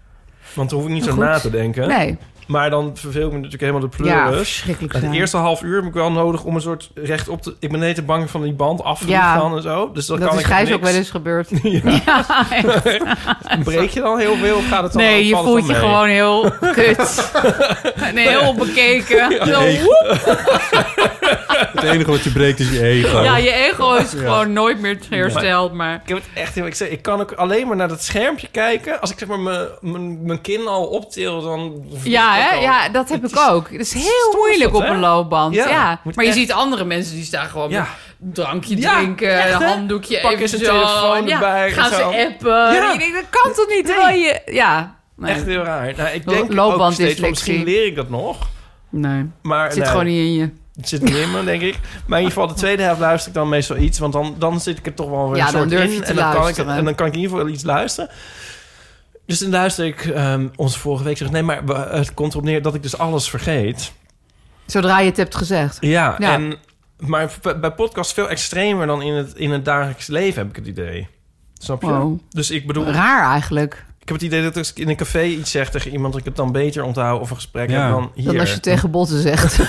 Speaker 2: Want dan hoef ik niet
Speaker 3: Maar
Speaker 2: zo
Speaker 3: goed.
Speaker 2: na te denken.
Speaker 3: nee,
Speaker 2: Maar dan verveel ik me natuurlijk helemaal de
Speaker 3: ja,
Speaker 2: pleuris.
Speaker 3: verschrikkelijk
Speaker 2: het
Speaker 3: zijn.
Speaker 2: eerste half uur heb ik wel nodig om een soort recht op te... Ik ben net te bang van die band af te
Speaker 3: Ja.
Speaker 2: gaan en zo. Dus dan
Speaker 3: dat
Speaker 2: kan
Speaker 3: is
Speaker 2: ik
Speaker 3: Gijs
Speaker 2: niks.
Speaker 3: ook wel eens gebeurd.
Speaker 2: Ja.
Speaker 3: Ja, echt.
Speaker 2: Breek je dan heel veel of gaat het dan
Speaker 3: nee, je
Speaker 2: valt het
Speaker 3: voelt je
Speaker 2: dan mee?
Speaker 3: gewoon heel kut. nee, heel bekeken. Zo, Oh,
Speaker 4: ego.
Speaker 3: woep.
Speaker 4: Het enige wat je breekt is je
Speaker 3: Ja,
Speaker 4: ego.
Speaker 3: je ego is gewoon nooit meer hersteld. Maar
Speaker 2: Ik heb het echt heel... Ik, zeg, ik kan ook alleen maar naar dat schermpje kijken. Als ik zeg maar mijn- mijn mijn kin al optil, dan...
Speaker 3: ja, hè?
Speaker 2: dan-
Speaker 3: ja, dat heb
Speaker 2: Het
Speaker 3: ik
Speaker 2: is-
Speaker 3: ook. Het is heel
Speaker 2: stom,
Speaker 3: moeilijk
Speaker 2: dat,
Speaker 3: op
Speaker 2: hè?
Speaker 3: een loopband.
Speaker 2: Ja,
Speaker 3: Ja,
Speaker 2: moet
Speaker 3: maar je
Speaker 2: echt-
Speaker 3: ziet andere mensen die staan gewoon
Speaker 2: Ja.
Speaker 3: met drankje
Speaker 2: Ja,
Speaker 3: drinken,
Speaker 2: echt, hè?
Speaker 3: handdoekje
Speaker 2: Pakken
Speaker 3: even
Speaker 2: ze
Speaker 3: zo.
Speaker 2: telefoon
Speaker 3: Ja,
Speaker 2: erbij en
Speaker 3: gaan
Speaker 2: zo.
Speaker 3: ze appen.
Speaker 2: Ja.
Speaker 3: En je denkt, dat kan toch niet? Terwijl je... Ja, nee.
Speaker 2: Echt heel raar. Nou, ik denk ook
Speaker 3: Loopbanddyslectie.
Speaker 2: steeds, van, misschien leer ik dat nog.
Speaker 3: nee.
Speaker 2: Maar
Speaker 3: Het zit
Speaker 2: nee,
Speaker 3: gewoon niet in je.
Speaker 2: Het zit niet in me, denk ik. Maar in ieder geval, de tweede helft luister ik dan meestal iets. Want dan, dan zit ik er toch wel weer
Speaker 3: Ja,
Speaker 2: een
Speaker 3: dan
Speaker 2: soort
Speaker 3: durf
Speaker 2: in.
Speaker 3: je te
Speaker 2: en, dan kan ik,
Speaker 3: luisteren.
Speaker 2: en dan kan ik in ieder geval iets luisteren. Dus dan luister ik ehm ons vorige week. Zeg, nee, maar we- het komt erop neer dat ik dus alles vergeet.
Speaker 3: Zodra je het hebt gezegd.
Speaker 2: Ja,
Speaker 3: Ja.
Speaker 2: En, maar bij- bij podcast veel extremer dan in het, in het dagelijks leven, heb ik het idee. Snap je?
Speaker 3: Wow.
Speaker 2: Dus ik bedoel,
Speaker 3: Raar eigenlijk.
Speaker 2: ik heb het idee dat als ik in een café iets zeg tegen iemand... dat ik het dan beter onthoud of een gesprek
Speaker 4: Ja.
Speaker 2: heb dan hier.
Speaker 3: Dat als je tegen botten zegt.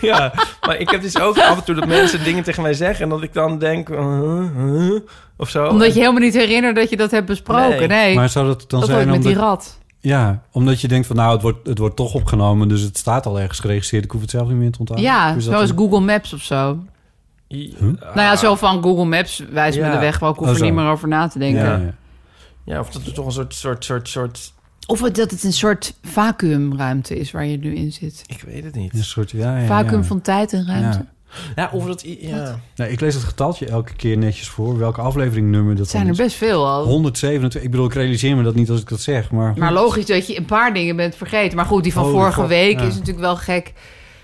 Speaker 2: Ja, maar ik heb dus ook af en toe dat mensen dingen tegen mij zeggen... en dat ik dan denk, eh, eh, of zo.
Speaker 3: Omdat je helemaal niet herinnert dat je dat hebt
Speaker 2: Nee.
Speaker 3: besproken. Nee.
Speaker 4: Maar zou dat dan
Speaker 3: dat
Speaker 4: zijn
Speaker 3: wordt met
Speaker 4: omdat...
Speaker 3: die rat.
Speaker 4: Ja, omdat je denkt van nou, het wordt, het wordt toch opgenomen, dus het staat al ergens geregistreerd. Ik hoef het zelf niet meer te onthouden.
Speaker 3: Ja,
Speaker 4: Hoe is dat
Speaker 3: zoals
Speaker 4: dan?
Speaker 3: Google Maps of zo.
Speaker 2: Je-
Speaker 4: Huh?
Speaker 2: Ah.
Speaker 3: nou ja, zo van Google Maps wijst
Speaker 2: Ja.
Speaker 3: me de weg. Maar ik hoef
Speaker 4: Oh,
Speaker 3: er
Speaker 4: zo.
Speaker 3: niet meer over na te denken.
Speaker 4: Ja, ja.
Speaker 2: Ja, of dat er toch een soort, soort, soort, soort...
Speaker 3: Of het- dat het een soort vacuümruimte is waar je nu in zit.
Speaker 2: Ik weet het niet.
Speaker 4: Een soort, ja, ja,
Speaker 3: Vacuüm
Speaker 4: ja.
Speaker 3: van tijd en ruimte.
Speaker 4: Ja.
Speaker 2: Ja, of dat... i- Ja.
Speaker 4: Nou, ik lees het getaltje elke keer netjes voor. Welke afleveringnummer dat
Speaker 3: Het zijn er
Speaker 4: dan is.
Speaker 3: best veel al.
Speaker 4: 127. Ik bedoel, ik realiseer me dat niet als ik dat zeg. Maar,
Speaker 3: Maar logisch dat je een paar dingen bent vergeten. Maar goed, die van
Speaker 4: Oh, die
Speaker 3: vorige
Speaker 4: van-
Speaker 3: week
Speaker 4: ja.
Speaker 3: is natuurlijk wel gek.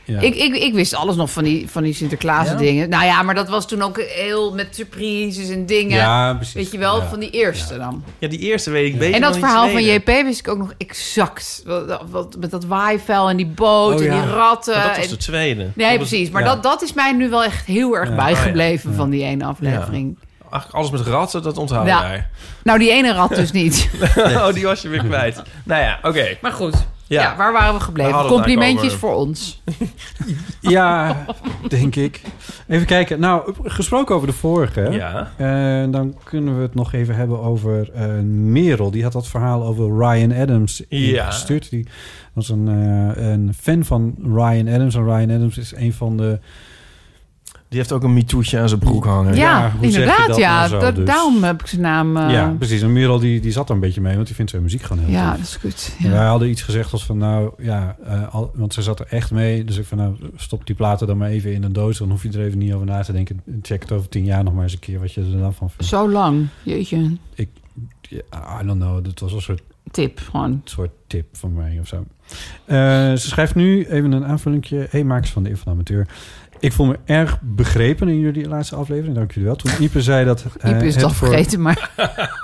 Speaker 4: ja.
Speaker 3: Ik, ik, ik wist alles nog van die, van die Sinterklaas
Speaker 2: Ja?
Speaker 3: dingen. Nou ja, maar dat was toen ook heel met surprises en dingen.
Speaker 4: ja, precies.
Speaker 3: Weet je wel,
Speaker 4: Ja.
Speaker 3: van die eerste dan.
Speaker 2: ja, die eerste weet ik beter
Speaker 3: En
Speaker 2: dan
Speaker 3: dat
Speaker 2: die
Speaker 3: verhaal van
Speaker 2: tweede.
Speaker 3: JP wist ik ook nog exact. Wat, wat- wat, met dat waaivel en die boot
Speaker 4: Oh,
Speaker 3: en
Speaker 4: ja.
Speaker 3: die ratten.
Speaker 2: Maar dat was
Speaker 3: en-
Speaker 2: de tweede.
Speaker 3: Nee,
Speaker 2: Dat was-
Speaker 3: eh, precies. Maar
Speaker 4: ja.
Speaker 3: dat, dat is mij nu wel echt heel erg
Speaker 4: Ja. Oh,
Speaker 3: bijgebleven
Speaker 4: Ja.
Speaker 3: van die ene aflevering.
Speaker 2: Eigenlijk alles met ratten, dat onthoud
Speaker 3: Ja.
Speaker 2: jij.
Speaker 3: Nou, die ene rat dus niet.
Speaker 2: oh, die was je weer kwijt. Nou ja, oké.
Speaker 3: Maar goed, ja.
Speaker 2: Ja.
Speaker 3: waar waren we gebleven?
Speaker 2: Daar hadden we het
Speaker 3: Complimentjes
Speaker 2: eigenlijk
Speaker 3: voor ons.
Speaker 4: Ja, denk ik. Even kijken. Nou, gesproken over de vorige. hè?
Speaker 2: Ja.
Speaker 4: Eh, dan kunnen we het nog even hebben over eh, Merel. Die had dat verhaal over Ryan Adams
Speaker 2: Ja.
Speaker 4: gestuurd. Die was een, eh, een fan van Ryan Adams. En Ryan Adams is een van de...
Speaker 2: Die heeft ook een mitoetje aan zijn broek hangen.
Speaker 3: Ja,
Speaker 4: ja, hoe zeg je
Speaker 3: inderdaad.
Speaker 4: dat
Speaker 3: ja,
Speaker 4: nou zo,
Speaker 3: Dat-
Speaker 4: dus?
Speaker 3: daarom heb ik zijn naam. eh,
Speaker 4: ja, precies. En Merel die, die zat daar een beetje mee, want die vindt zijn muziek gewoon heel
Speaker 3: ja,
Speaker 4: tof.
Speaker 3: dat is goed.
Speaker 4: En
Speaker 3: Ja.
Speaker 4: Wij hadden iets gezegd als van, nou ja, eh, al- want ze zat er echt mee. Dus ik van, nou, stop die platen dan maar even in een doos. Dan hoef je er even niet over na te denken. Check het over tien jaar nog maar eens een keer wat je er dan van vindt.
Speaker 3: Zo lang. Jeetje.
Speaker 4: Ja, I don't know, dat was een soort,
Speaker 3: Tip gewoon.
Speaker 4: soort tip van mij of zo. Eh, ze schrijft nu even een aanvullingje. Hey, makers van de Eeuw van de Amateur. Ik voel me erg begrepen in jullie laatste aflevering. Dank jullie wel. Toen Ipe zei dat... eh,
Speaker 3: Iep is
Speaker 4: het
Speaker 3: het al
Speaker 4: voor-
Speaker 3: vergeten, maar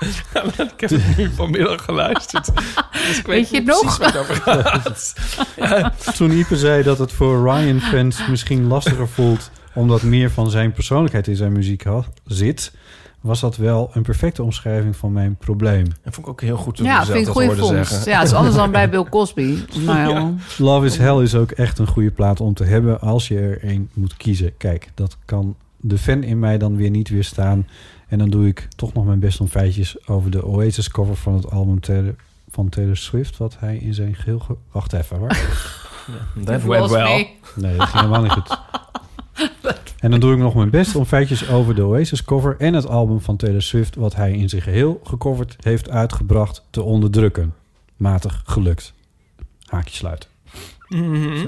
Speaker 2: Ik heb het nu vanmiddag geluisterd. Dus ik
Speaker 3: Weet je het
Speaker 2: niet
Speaker 3: nog?
Speaker 2: precies waar het over gaat.
Speaker 4: Toen Ipe zei dat het voor Ryan-fans misschien lastiger voelt... omdat meer van zijn persoonlijkheid in zijn muziek had, zit... was dat wel een perfecte omschrijving van mijn probleem.
Speaker 2: Dat vond ik ook heel goed toen
Speaker 3: ja,
Speaker 2: ik
Speaker 3: vind ik
Speaker 2: zelf
Speaker 3: een
Speaker 2: dat
Speaker 3: goede
Speaker 2: hoorde
Speaker 3: vondst.
Speaker 2: zeggen.
Speaker 3: Ja, het is anders dan bij Bill Cosby. Maar ja.
Speaker 4: Love is Hell is ook echt een goede plaat om te hebben... als je er één moet kiezen. Kijk, dat kan de fan in mij dan weer niet weerstaan. En dan doe ik toch nog mijn best om feitjes... over de Oasis-cover van het album Taylor, van Taylor Swift... wat hij in zijn geheel... ge- Wacht even, hoor.
Speaker 2: That went well.
Speaker 4: Nee, dat ging helemaal niet goed. En dan doe ik nog mijn best om feitjes over de Oasis-cover en het album van Taylor Swift, wat hij in zijn geheel gecoverd heeft uitgebracht, te onderdrukken. Matig gelukt. Haakje sluiten.
Speaker 2: Mhm, mhm.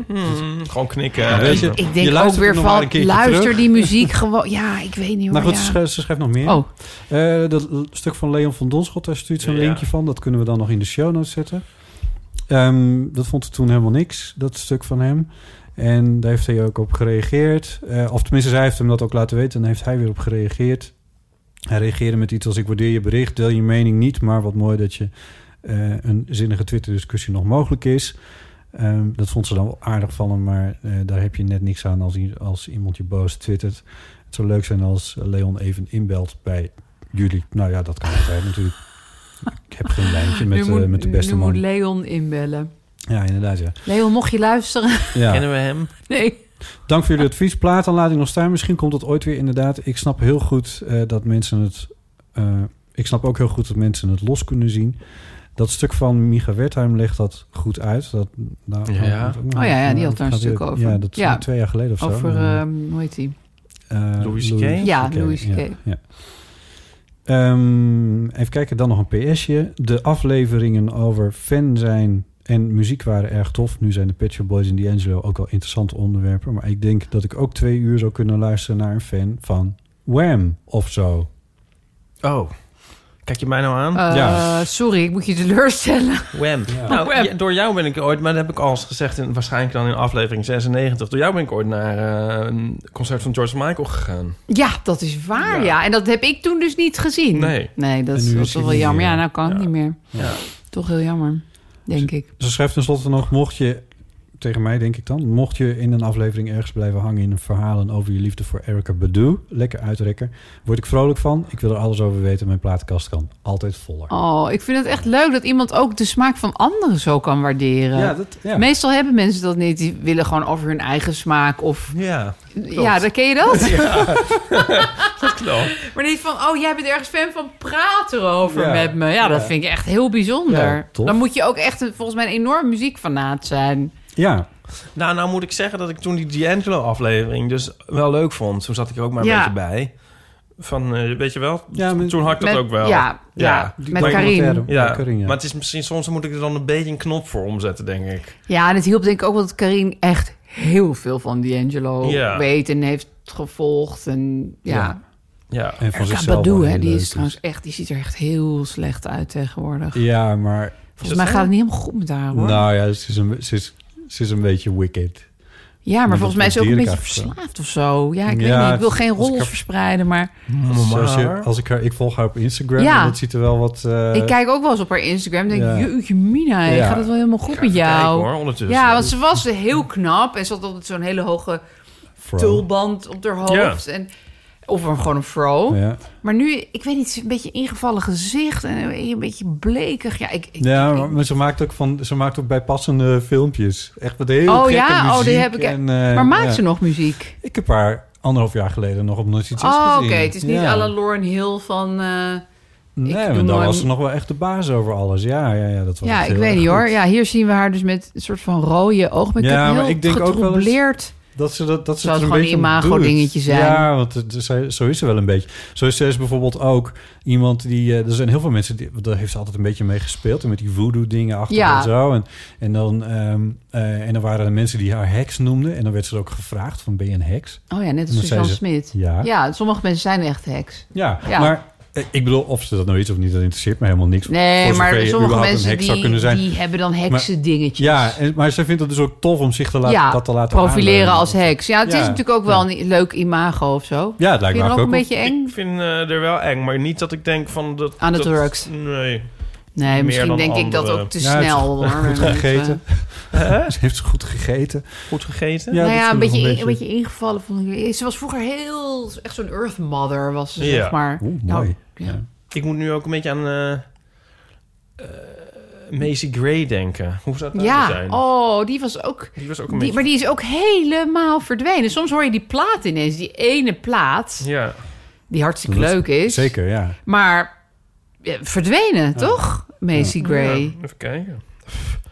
Speaker 2: Gewoon knikken.
Speaker 4: Ja, weet je-
Speaker 3: Ik denk ook
Speaker 4: luistert
Speaker 3: weer
Speaker 4: nog maar
Speaker 3: van,
Speaker 4: een keertje
Speaker 3: luister
Speaker 4: terug.
Speaker 3: die muziek gewoon. Ja, ik weet niet hoor.
Speaker 4: Nou goed,
Speaker 3: ja.
Speaker 4: ze schrijft- ze schrijft nog meer.
Speaker 3: Oh,
Speaker 4: Eh, dat l- stuk van Leon van Donschot, daar stuurt ze een
Speaker 2: Ja.
Speaker 4: linkje van. Dat kunnen we dan nog in de show notes zetten. Ehm, dat vond ze toen helemaal niks, dat stuk van hem. En daar heeft hij ook op gereageerd. Eh, of tenminste, zij heeft hem dat ook laten weten. En heeft hij weer op gereageerd. Hij reageerde met iets als... Ik waardeer je bericht, deel je mening niet. Maar wat mooi dat je eh, een zinnige Twitter-discussie nog mogelijk is. Ehm, dat vond ze dan wel aardig van hem. Maar eh, daar heb je net niks aan als, i- als iemand je boos twittert. Het zou leuk zijn als Leon even inbelt bij jullie. Nou ja, dat kan altijd natuurlijk. Ik heb geen lijntje met,
Speaker 3: nu moet,
Speaker 4: eh, met de beste
Speaker 3: nu
Speaker 4: man.
Speaker 3: moet Leon inbellen.
Speaker 4: Ja, inderdaad, ja.
Speaker 3: Leon, mocht je luisteren?
Speaker 4: ja.
Speaker 2: Kennen we hem?
Speaker 3: Nee.
Speaker 4: Dank voor jullie advies. Plaataanlading nog staan. Misschien komt dat ooit weer inderdaad. Ik snap heel goed eh, dat mensen het... eh, ik snap ook heel goed dat mensen het los kunnen zien. Dat stuk van Micha Wertheim legt dat goed uit. Dat, nou,
Speaker 2: Ja.
Speaker 4: nou, dat-
Speaker 3: Oh ja, ja, die had daar een
Speaker 4: gaat
Speaker 3: stuk
Speaker 4: weer-
Speaker 3: over.
Speaker 4: Ja, dat is
Speaker 3: Ja.
Speaker 4: twee jaar geleden of zo.
Speaker 3: Over, ehm hoe heet die?
Speaker 4: Eh,
Speaker 2: Louis C.K.?
Speaker 3: Ja, Louis C.K.
Speaker 4: Ja, ja. Ehm, even kijken, dan nog een PSje. De afleveringen over fan zijn en muziek waren erg tof. Nu zijn de Pet Shop Boys en D'Angelo ook wel interessante onderwerpen. Maar ik denk dat ik ook twee uur zou kunnen luisteren naar een fan van Wham of zo.
Speaker 2: Oh. Kijk je mij nou aan?
Speaker 3: Eh,
Speaker 4: Ja.
Speaker 3: Sorry, ik moet je teleurstellen.
Speaker 2: Wham. Nou,
Speaker 3: Wham.
Speaker 2: ja, door jou ben ik ooit, maar dat heb ik al eens gezegd, in, waarschijnlijk dan in aflevering 96. Door jou ben ik ooit naar eh, een concert van George Michael gegaan.
Speaker 3: Ja, dat is waar,
Speaker 2: Ja.
Speaker 3: ja. En dat heb ik toen dus niet gezien.
Speaker 2: Nee.
Speaker 3: Nee, dat
Speaker 4: En
Speaker 3: is,
Speaker 4: nu
Speaker 3: dat
Speaker 4: is
Speaker 3: is toch
Speaker 4: hij
Speaker 3: wel
Speaker 4: niet
Speaker 3: jammer.
Speaker 4: meer.
Speaker 3: Ja, nou kan het
Speaker 2: Ja.
Speaker 3: niet meer.
Speaker 2: Ja.
Speaker 3: Toch heel jammer, denk ik.
Speaker 4: Ze schrijft tenslotte nog, mocht je, tegen mij denk ik dan, mocht je in een aflevering ergens blijven hangen in verhalen over je liefde voor Erica Badu, lekker uitrekken, word ik vrolijk van. Ik wil er alles over weten. Mijn platenkast kan altijd voller.
Speaker 3: Oh, ik vind het echt leuk dat iemand ook de smaak van anderen zo kan waarderen.
Speaker 4: dat, ja.
Speaker 3: Meestal hebben mensen dat niet. Die willen gewoon over hun eigen smaak. Of
Speaker 2: Ja,
Speaker 3: ja, dan ken je dat.
Speaker 2: dat klopt.
Speaker 3: Maar niet van, oh, jij bent ergens fan van praat erover
Speaker 4: Ja.
Speaker 3: met me. Ja, dat vind ik echt heel bijzonder.
Speaker 4: Ja, tof.
Speaker 3: dan moet je ook echt een- volgens mij een enorm muziekfanaat zijn.
Speaker 4: Ja,
Speaker 2: Nou, nou moet ik zeggen dat ik toen die D'Angelo aflevering dus wel leuk vond. Toen zat ik er ook maar een
Speaker 3: Ja.
Speaker 2: beetje bij. Van, eh, weet je wel?
Speaker 4: Ja, maar-
Speaker 2: Toen had ik dat
Speaker 3: Met-
Speaker 2: ook wel.
Speaker 3: Ja,
Speaker 2: Ja.
Speaker 3: ja, met
Speaker 2: Maar-
Speaker 3: Karin.
Speaker 4: Ja,
Speaker 2: Ja,
Speaker 4: Karin, ja.
Speaker 2: maar het is misschien soms moet ik er dan een beetje een knop voor omzetten, denk ik.
Speaker 3: Ja, en het hielp denk ik ook wel dat Karin echt heel veel van D'Angelo
Speaker 2: Ja.
Speaker 3: weet en heeft gevolgd. En ja,
Speaker 4: Ja.
Speaker 2: Ja,
Speaker 4: En van
Speaker 3: ja.
Speaker 4: zichzelf wel
Speaker 3: hè,
Speaker 4: heel
Speaker 3: die
Speaker 4: leuk dus.
Speaker 3: is trouwens echt, die ziet er echt heel slecht uit tegenwoordig.
Speaker 4: Ja, maar...
Speaker 3: Volgens mij
Speaker 2: zo?
Speaker 3: gaat het niet helemaal goed met haar Ah, hoor.
Speaker 4: Nou ja, ze is een, ze is, ze is een beetje wicked.
Speaker 3: ja, maar
Speaker 4: dat
Speaker 3: volgens mij is ze ook een
Speaker 4: probeer ik
Speaker 3: beetje
Speaker 4: eigenlijk
Speaker 3: verslaafd of zo. Ja, ik weet
Speaker 4: Ja,
Speaker 3: niet, ik wil geen
Speaker 4: als ik
Speaker 3: rols
Speaker 4: er-
Speaker 3: verspreiden, maar
Speaker 4: Zoals je-
Speaker 2: maar-
Speaker 4: Dus als ik, haar, ik volg haar op Instagram
Speaker 3: Ja.
Speaker 4: en dat ziet er wel wat... eh,
Speaker 3: ik kijk ook wel eens op haar Instagram en denk,
Speaker 4: ja.
Speaker 3: jeetje mina,
Speaker 4: Ja.
Speaker 3: gaat het wel helemaal goed met jou?
Speaker 2: Kijk hoor, Dus, eh, ondertussen.
Speaker 3: ja, want ze was heel knap en ze had altijd zo'n hele hoge
Speaker 4: fro.
Speaker 3: tulband op haar hoofd. En, of een, gewoon een fro.
Speaker 4: Ja.
Speaker 3: Maar nu, ik weet niet, een beetje ingevallen gezicht en een beetje blekig. Ja, ik, ik-
Speaker 4: Ja,
Speaker 3: ik-
Speaker 4: maar, maar ze maakt ook, van, ze maakt ook bijpassende filmpjes. Echt wat heel
Speaker 3: Oh
Speaker 4: gekke
Speaker 3: ja? Oh,
Speaker 4: muziek.
Speaker 3: die heb ik-
Speaker 4: en,
Speaker 3: maar maakt ze nog
Speaker 4: nog?
Speaker 3: muziek?
Speaker 4: Ik heb haar anderhalf jaar geleden nog op Nooit Iets Is
Speaker 3: Oh,
Speaker 4: gezien.
Speaker 3: oké. Het is niet
Speaker 4: Ja.
Speaker 3: à la Lauren Hill van... eh,
Speaker 4: Nee,
Speaker 3: Ik
Speaker 4: maar
Speaker 3: doe
Speaker 4: dan
Speaker 3: nooit-
Speaker 4: was ze nog wel echt de baas over alles. Ja, ja, ja dat was
Speaker 3: ja,
Speaker 4: echt
Speaker 3: ik
Speaker 4: heel
Speaker 3: weet
Speaker 4: erg
Speaker 3: niet hoor.
Speaker 4: goed.
Speaker 3: Ja, hier zien we haar dus met een soort van rode oogmakeup.
Speaker 4: Ja,
Speaker 3: heel
Speaker 4: maar ik denk ook wel eens-
Speaker 3: getroubleerd.
Speaker 4: Dat ze dat, dat ze
Speaker 3: Zou
Speaker 4: het
Speaker 3: het
Speaker 4: een
Speaker 3: gewoon een
Speaker 4: beetje om
Speaker 3: imago-dingetje
Speaker 4: doet.
Speaker 3: zijn?
Speaker 4: Ja, want het, ze- zo is ze wel een beetje. Zo is ze is bijvoorbeeld ook iemand die... eh, er zijn heel veel mensen, die, want daar heeft ze altijd een beetje mee gespeeld. En met die voodoo-dingen achter
Speaker 3: Ja.
Speaker 4: en zo. En, en, dan, ehm, eh, en dan waren er mensen die haar heks noemden. En dan werd ze ook gevraagd van, ben je een heks?
Speaker 3: Oh ja, net als
Speaker 4: Dan zei
Speaker 3: Suzanne
Speaker 4: ze-
Speaker 3: Smit.
Speaker 4: Ja.
Speaker 3: Ja, sommige mensen zijn echt heks.
Speaker 4: Ja,
Speaker 3: Ja.
Speaker 4: maar eh, ik bedoel, of ze dat nou is of niet, dat interesseert me helemaal niks.
Speaker 3: Nee,
Speaker 4: Voor zover
Speaker 3: maar
Speaker 4: je
Speaker 3: sommige
Speaker 4: überhaupt een
Speaker 3: mensen
Speaker 4: heks zou
Speaker 3: die,
Speaker 4: kunnen zijn.
Speaker 3: die hebben dan heksendingetjes.
Speaker 4: Ja, en, maar zij vindt het dus ook tof om zich te laten,
Speaker 3: Ja,
Speaker 4: dat te laten
Speaker 3: profileren
Speaker 4: aanleunen.
Speaker 3: als heks. Ja, het is
Speaker 4: Ja.
Speaker 3: natuurlijk ook wel een leuk imago of zo.
Speaker 4: Ja, het
Speaker 3: Vind
Speaker 4: lijkt
Speaker 3: je
Speaker 4: me
Speaker 3: dat ook
Speaker 4: ook
Speaker 3: een
Speaker 4: wel.
Speaker 3: beetje eng?
Speaker 2: Ik vind eh, er wel eng, maar niet dat ik denk van... Dat,
Speaker 3: Aan de
Speaker 2: dat,
Speaker 3: drugs.
Speaker 2: Nee.
Speaker 3: Nee,
Speaker 2: Meer
Speaker 3: misschien
Speaker 2: dan
Speaker 3: denk ik dat
Speaker 2: andere.
Speaker 3: ook te
Speaker 4: Ja, het is
Speaker 3: snel. hoor.
Speaker 4: Goed
Speaker 3: Dat, eh,
Speaker 4: gegeten.
Speaker 2: Hè?
Speaker 4: Ze heeft goed gegeten.
Speaker 2: Goed gegeten?
Speaker 4: Ja,
Speaker 3: nou
Speaker 4: dat
Speaker 3: ja,
Speaker 4: is
Speaker 3: een
Speaker 4: nog
Speaker 3: beetje,
Speaker 4: een
Speaker 3: in-
Speaker 4: beetje-
Speaker 3: een beetje ingevallen vond ik. Ze was vroeger heel... Echt zo'n earth mother was ze,
Speaker 2: Ja.
Speaker 3: zeg maar.
Speaker 4: Oeh,
Speaker 3: Nou,
Speaker 4: mooi.
Speaker 3: ja.
Speaker 2: Ik moet nu ook een beetje aan... eh eh, Macy Gray denken. Hoe zou dat nou
Speaker 3: Ja,
Speaker 2: zijn?
Speaker 3: oh, die was ook...
Speaker 2: Die was ook een
Speaker 3: Die, maar
Speaker 2: beetje...
Speaker 3: die is ook helemaal verdwenen. Soms hoor je die plaat ineens. Die ene plaat,
Speaker 2: Ja.
Speaker 3: die hartstikke
Speaker 4: Dat is-
Speaker 3: leuk is.
Speaker 4: Zeker, ja.
Speaker 3: Maar ja, verdwenen, toch? Macy Gray.
Speaker 2: Ja, even kijken.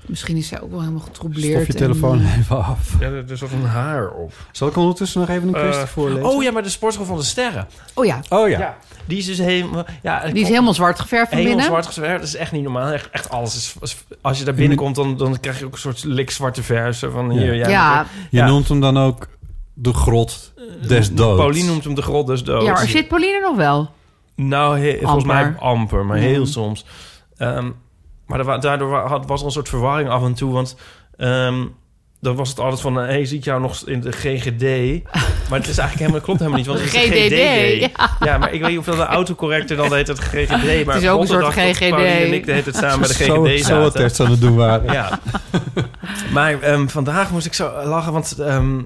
Speaker 3: Misschien is zij ook wel helemaal getroubleerd.
Speaker 4: Stof je
Speaker 3: en-
Speaker 4: telefoon even af.
Speaker 2: Ja, er, er zat een haar op.
Speaker 4: Zal ik ondertussen nog even een kwestie
Speaker 2: Eh,
Speaker 4: voorlezen?
Speaker 2: Oh ja, maar de sportschool van de sterren.
Speaker 3: Oh ja,
Speaker 4: Oh ja.
Speaker 2: Ja. Die is dus helemaal... Ja,
Speaker 3: die is helemaal zwart geverfd van
Speaker 2: Helemaal
Speaker 3: binnen.
Speaker 2: zwart geverfd. Dat is echt niet normaal. Echt, echt alles is... is- Als je daar binnenkomt, dan, dan krijg je ook een soort likzwarte verse van... Hier,
Speaker 3: Ja,
Speaker 2: jij
Speaker 3: ja,
Speaker 2: bent
Speaker 4: Je
Speaker 2: Ja.
Speaker 4: noemt hem dan ook de grot des
Speaker 2: ook-
Speaker 4: doods.
Speaker 2: Eh, Pauline noemt hem de grot des doods.
Speaker 3: maar zit Pauline nog wel?
Speaker 2: Nou, he- volgens mij
Speaker 3: Amper.
Speaker 2: amper, maar heel
Speaker 3: Ja.
Speaker 2: soms. Ehm, maar er wa- daardoor wa- had, was er een soort verwarring af en toe, want... ehm, dan was het altijd van, hé, hey, zie ik jou nog in de GGD? Maar het is eigenlijk helemaal, klopt helemaal niet, want het is de
Speaker 3: GDD,
Speaker 2: GDD. Ja. maar ik weet niet of dat de autocorrector dan heet het GGD. Maar
Speaker 3: Het is ook een soort
Speaker 2: donderdag dat
Speaker 3: GGD.
Speaker 2: Pauline en ik deed het samen bij de
Speaker 4: Zo,
Speaker 2: GGD
Speaker 4: zo wat
Speaker 2: zaten.
Speaker 4: test aan het doen waren.
Speaker 2: Ja. maar ehm, vandaag moest ik zo lachen, want ehm,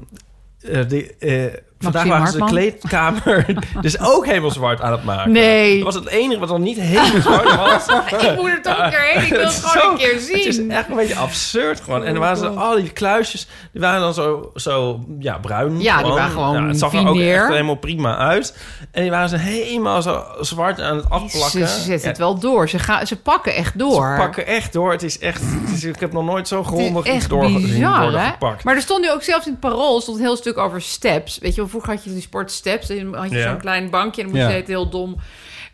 Speaker 2: eh, de, eh, vandaag waren ze de
Speaker 3: Hartman?
Speaker 2: kleedkamer dus ook helemaal zwart aan het maken.
Speaker 3: Nee.
Speaker 2: Dat was het enige wat dan niet helemaal zwart was.
Speaker 3: Ik moet er toch een keer heen. Ik wil het
Speaker 2: is
Speaker 3: gewoon
Speaker 2: zo-
Speaker 3: een keer
Speaker 2: Het is
Speaker 3: zien.
Speaker 2: echt een beetje absurd gewoon.
Speaker 3: Oh
Speaker 2: En er waren ze, al die kluisjes, die waren dan zo, zo ja, bruin.
Speaker 3: Ja, die waren gewoon
Speaker 2: het zag er ook
Speaker 3: fineer.
Speaker 2: echt helemaal prima uit. En die waren ze helemaal zo zwart aan het afplakken.
Speaker 3: Ze, ze zetten
Speaker 2: Ja,
Speaker 3: het wel door. Ze, gaan, ze pakken echt door.
Speaker 2: Ze pakken echt door. Het is echt, het is- ik heb nog nooit zo
Speaker 3: Het is
Speaker 2: grondig iets
Speaker 3: echt
Speaker 2: door,
Speaker 3: bizar,
Speaker 2: worden
Speaker 3: hè?
Speaker 2: gepakt.
Speaker 3: Maar er stond nu ook zelfs in het parool stond een heel stuk over steps. Weet je, wel, vroeger had je die sport steps. Dan had je
Speaker 2: Ja.
Speaker 3: zo'n klein bankje en dan moest
Speaker 4: Ja.
Speaker 3: je het heel dom.